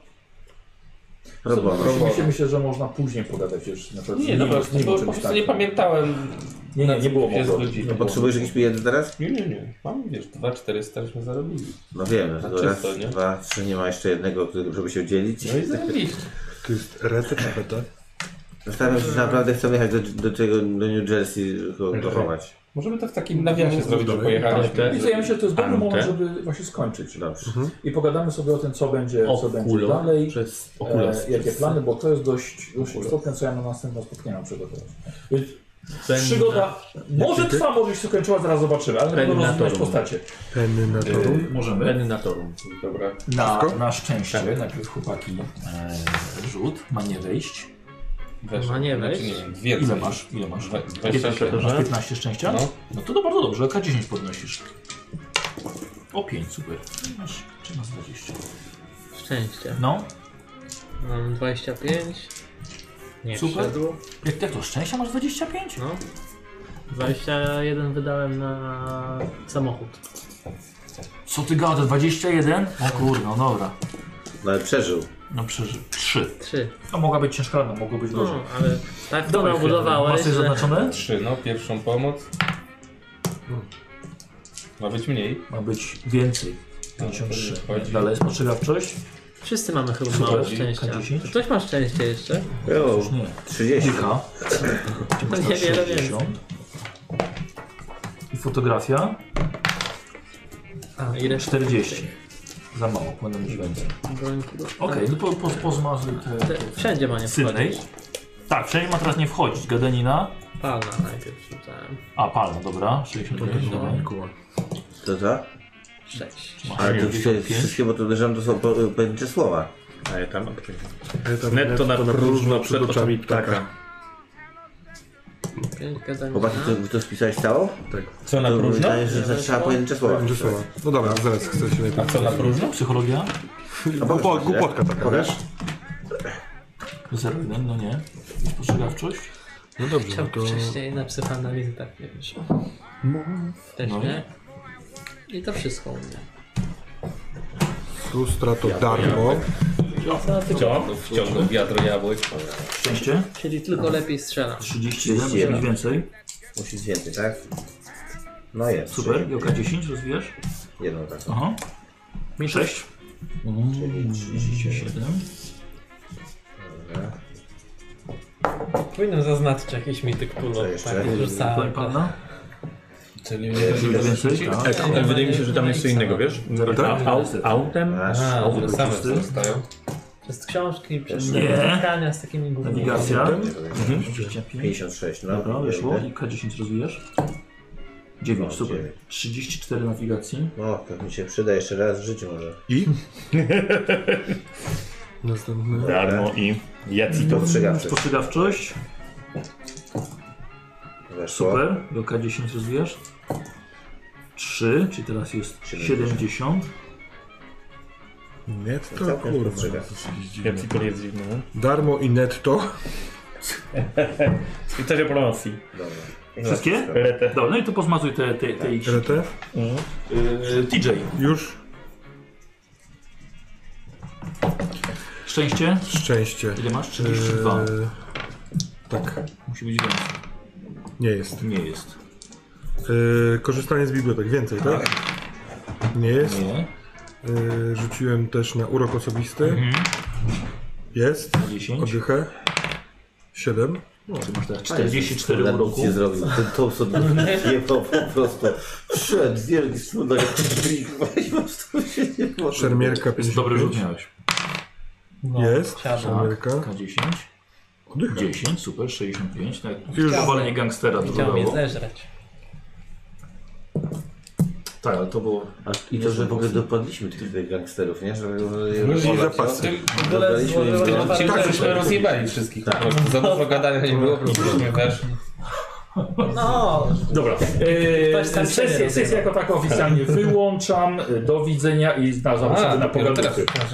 Speaker 3: Robono.
Speaker 2: Myślę, myślę, że można później pogadać już. Na przykład
Speaker 9: Nie,
Speaker 2: z
Speaker 9: no
Speaker 2: nim,
Speaker 9: po prostu,
Speaker 2: z nim o
Speaker 9: bo po
Speaker 2: czymś
Speaker 9: prostu nie
Speaker 2: takim.
Speaker 9: pamiętałem.
Speaker 2: tak. Nie, nie, nie było
Speaker 9: Się
Speaker 2: mowy. o tym.
Speaker 9: zgodzili.
Speaker 10: No,
Speaker 2: Nie było.
Speaker 3: Potrzebujesz jakiś bilet teraz?
Speaker 9: Nie, nie, nie. Mam, wiesz, 2400 żeśmy zarobili.
Speaker 3: No wiem, dlatego raz,
Speaker 9: czysto, nie?
Speaker 3: dwa, trzy, nie ma jeszcze jednego, który- żeby się dzielić.
Speaker 9: No i zarobiliście.
Speaker 5: To jest reset czy beta?
Speaker 3: Zastanawiam się, czy naprawdę chcę jechać do, do, tego, do New Jersey go dochować.
Speaker 9: Możemy to w takim nawiasie zrobić, że
Speaker 10: Tak,
Speaker 9: pojechaliśmy.
Speaker 2: I co, ja myślę, że to jest dobry
Speaker 10: Ante.
Speaker 2: moment, żeby właśnie skończyć. Mhm.
Speaker 3: Dobrze.
Speaker 2: I pogadamy sobie o tym, co będzie, co będzie
Speaker 10: Okulo-
Speaker 2: dalej.
Speaker 10: Przez
Speaker 2: e,
Speaker 10: okulos.
Speaker 2: jakie plany, bo to jest dość, dość istotne, co ja na następne spotkanie mam przygotować. Więc
Speaker 10: Ten-
Speaker 2: przygoda może trwa, może się skończyła, zaraz zobaczymy, ale będą
Speaker 10: Terminator.
Speaker 2: rozumieć postacie.
Speaker 5: Penny na to.
Speaker 2: Yy, możemy.
Speaker 10: Ten na torum.
Speaker 9: Dobra.
Speaker 2: Na, na szczęście, najpierw chłopaki e, rzut, ma nie wejść.
Speaker 9: Wiesz,
Speaker 6: No nie, weź.
Speaker 9: Znaczy, nie wiem, więcej.
Speaker 2: Ile masz? Ile masz?
Speaker 9: Dwa-
Speaker 2: Ile masz?
Speaker 9: 27.
Speaker 2: Masz 15 szczęścia?
Speaker 9: No.
Speaker 2: No to, to bardzo dobrze, K10 podnosisz. O 5, super. Masz, czy masz 20?
Speaker 6: Szczęście.
Speaker 2: No,
Speaker 6: Mam 25. Nie
Speaker 2: Super.
Speaker 6: wszedł.
Speaker 2: jak jak to, szczęścia masz 25?
Speaker 6: No. 21 wydałem na samochód.
Speaker 2: Co ty gada, 21? O kurde, no dobra.
Speaker 3: No ale przeżył.
Speaker 2: No przeżył. 3.
Speaker 6: 3.
Speaker 2: To mogła być ciężka rana, mogło być gorzej.
Speaker 6: No, ale tak to
Speaker 2: Dawaj,
Speaker 6: budowałeś,
Speaker 2: Masz coś
Speaker 6: że...
Speaker 2: zaznaczone?
Speaker 9: Trzy, no, pierwszą pomoc. Ma być mniej.
Speaker 2: Ma być więcej. 53.
Speaker 9: No, to nie wchodzi.
Speaker 2: Dalej jest postrzegawczość?
Speaker 6: Wszyscy mamy chyba
Speaker 2: Super,
Speaker 6: mało
Speaker 2: dzień,
Speaker 6: szczęścia.
Speaker 2: K10.
Speaker 6: Czy ktoś ma szczęście jeszcze?
Speaker 3: Jo,
Speaker 2: Już nie.
Speaker 3: 30.
Speaker 2: Kilka. Gdzie masz
Speaker 6: To
Speaker 2: tam
Speaker 6: niewiele
Speaker 2: 60. I fotografia?
Speaker 6: A, ile?
Speaker 2: 40. Za mało, będę mieć więcej.
Speaker 6: Brońki.
Speaker 2: Okej, no po, po, pozmazuj te...
Speaker 6: Te- Wszędzie ma nie
Speaker 2: Sydney.
Speaker 6: wchodzić.
Speaker 2: Tak, wszędzie ma teraz nie wchodzić. Gadanina.
Speaker 6: Palna najpierw rzucałem.
Speaker 2: A, palma, dobra.
Speaker 6: Mhm.
Speaker 2: 65. dobra.
Speaker 3: To co?
Speaker 6: 6.
Speaker 9: Tak,
Speaker 3: Ale to wszystkie,
Speaker 2: 95.
Speaker 3: wszystkie, bo to uderzam, to są po- pojedyncze słowa.
Speaker 10: A ja tam.
Speaker 5: Netto,
Speaker 10: Netto na próżno przed oczami ptaka.
Speaker 6: 5
Speaker 3: Chłopaki,
Speaker 6: gadanina.
Speaker 3: to, to spisałeś całą?
Speaker 9: Co na
Speaker 3: To
Speaker 9: próżno?
Speaker 3: Wydaje, że to trzeba pojedyncze słowa.
Speaker 5: Będzie słowa. No dobra, zaraz chcę się najpierw.
Speaker 9: Co na próżno?
Speaker 2: Psychologia?
Speaker 3: A pokaż,
Speaker 5: Głupo, głupotka taka,
Speaker 3: Pokaż.
Speaker 5: wiesz?
Speaker 2: 01, no nie. Spostrzegawczość?
Speaker 5: No dobrze, no
Speaker 6: Czemu
Speaker 5: to...
Speaker 6: wcześniej na psychoanalizę tak nie wyszło? Też
Speaker 2: No.
Speaker 6: nie. I to wszystko u mnie.
Speaker 5: Frustra to darmo.
Speaker 9: Wciągnął, wciągnął wiadro jabłek.
Speaker 2: Szczęście?
Speaker 6: Czyli tylko lepiej strzelam.
Speaker 2: 31, musisz mieć więcej.
Speaker 3: Musisz więcej, tak? No jest.
Speaker 2: Super,
Speaker 3: czyli
Speaker 2: Joka 10 rozwijasz.
Speaker 3: Jedną taką.
Speaker 2: Aha. Mhm. Mi 6.
Speaker 3: Czyli 37.
Speaker 2: 37.
Speaker 6: Powinienem zaznaczyć jakiś mityk pulo.
Speaker 3: Co jeszcze?
Speaker 6: Tak,
Speaker 2: Tutaj
Speaker 6: rzucałem.
Speaker 2: pana.
Speaker 9: Czyli
Speaker 2: Ile więcej? Tak.
Speaker 10: E, Ale wydaje mi się, że tam jest co innego, wiesz? A- au- Autem?
Speaker 3: Masz.
Speaker 9: A, one same zostają.
Speaker 6: Przez książki, przez
Speaker 2: Nie.
Speaker 6: spotkania z takimi głównymi.
Speaker 2: Nawigacja.
Speaker 3: Mhm.
Speaker 2: 25.
Speaker 3: 56, no.
Speaker 2: Dobra, wyszło.
Speaker 3: Jeden.
Speaker 2: I K10 rozwijasz. 9,
Speaker 3: No,
Speaker 2: super.
Speaker 3: dziewięć.
Speaker 2: 34 nawigacji.
Speaker 3: No, to mi się przyda jeszcze raz w życiu może.
Speaker 5: I? Następny.
Speaker 10: Darmo i Yeti.
Speaker 3: Postrzegawczy.
Speaker 2: Spostrzegawczość.
Speaker 3: Weszło.
Speaker 2: Super. Joka 10 rozwijasz. 3, czyli teraz jest 70.
Speaker 5: Netto,
Speaker 3: Całkiem
Speaker 5: kurwa.
Speaker 3: postrzega.
Speaker 10: Yeti to jest dziwne. no.
Speaker 5: Darmo i netto.
Speaker 10: I też o promocji.
Speaker 3: Dobra. I
Speaker 2: Wszystkie?
Speaker 3: naciskam.
Speaker 10: Retę.
Speaker 2: Dobra, no i tu pozmazuj te, te, te ich.
Speaker 5: Retę.
Speaker 2: Yy, TJ.
Speaker 5: Już
Speaker 2: Szczęście.
Speaker 5: szczęście.
Speaker 2: Ile masz? 32.
Speaker 5: Eee, tak,
Speaker 2: Musi być więcej.
Speaker 5: nie jest.
Speaker 2: Nie jest.
Speaker 5: Eee, korzystanie z bibliotek, więcej, tak? Nie jest.
Speaker 2: Nie.
Speaker 5: Eee, rzuciłem też na urok osobisty. Jest.
Speaker 2: 10.
Speaker 5: Oddychę. 7.
Speaker 11: No, ty masz teraz 44
Speaker 3: Jezus,
Speaker 11: uroku.
Speaker 3: Nic nie zrobił. Ten Thompson nie po prostu. Wszedł, wielki smutny, jak drzwi, po prostu się nie może.
Speaker 5: Szermierka 55.
Speaker 2: Dobry rzut miałeś.
Speaker 5: Jest,
Speaker 2: Tak,
Speaker 5: szermierka.
Speaker 2: K10. 10, super, 65. Nawet
Speaker 5: Już.
Speaker 2: Już powalenie gangstera to
Speaker 6: Chciałem je
Speaker 2: dało.
Speaker 6: zeżreć.
Speaker 2: Tak, ale to było...
Speaker 3: A, I to, że w ogóle dopadliśmy tych, tych gangsterów, nie? Że, że,
Speaker 5: No i
Speaker 3: że
Speaker 5: zapasy.
Speaker 6: W ogóle złożyłem
Speaker 9: Ci
Speaker 6: tak,
Speaker 9: żeśmy rozjebali wszystkich
Speaker 3: Tak.
Speaker 9: po prostu. Za dużo gadania nie było, po prostu żeśmy weszli.
Speaker 6: No,
Speaker 2: Dobra,
Speaker 6: Ktoś tam
Speaker 2: eee,
Speaker 6: siebie
Speaker 2: sesję,
Speaker 6: rozjebał.
Speaker 2: sesję jako taką oficjalnie wyłączam. E, Do widzenia i na zobaczenia na
Speaker 9: dopiero
Speaker 2: pogaduchy.
Speaker 9: teraz.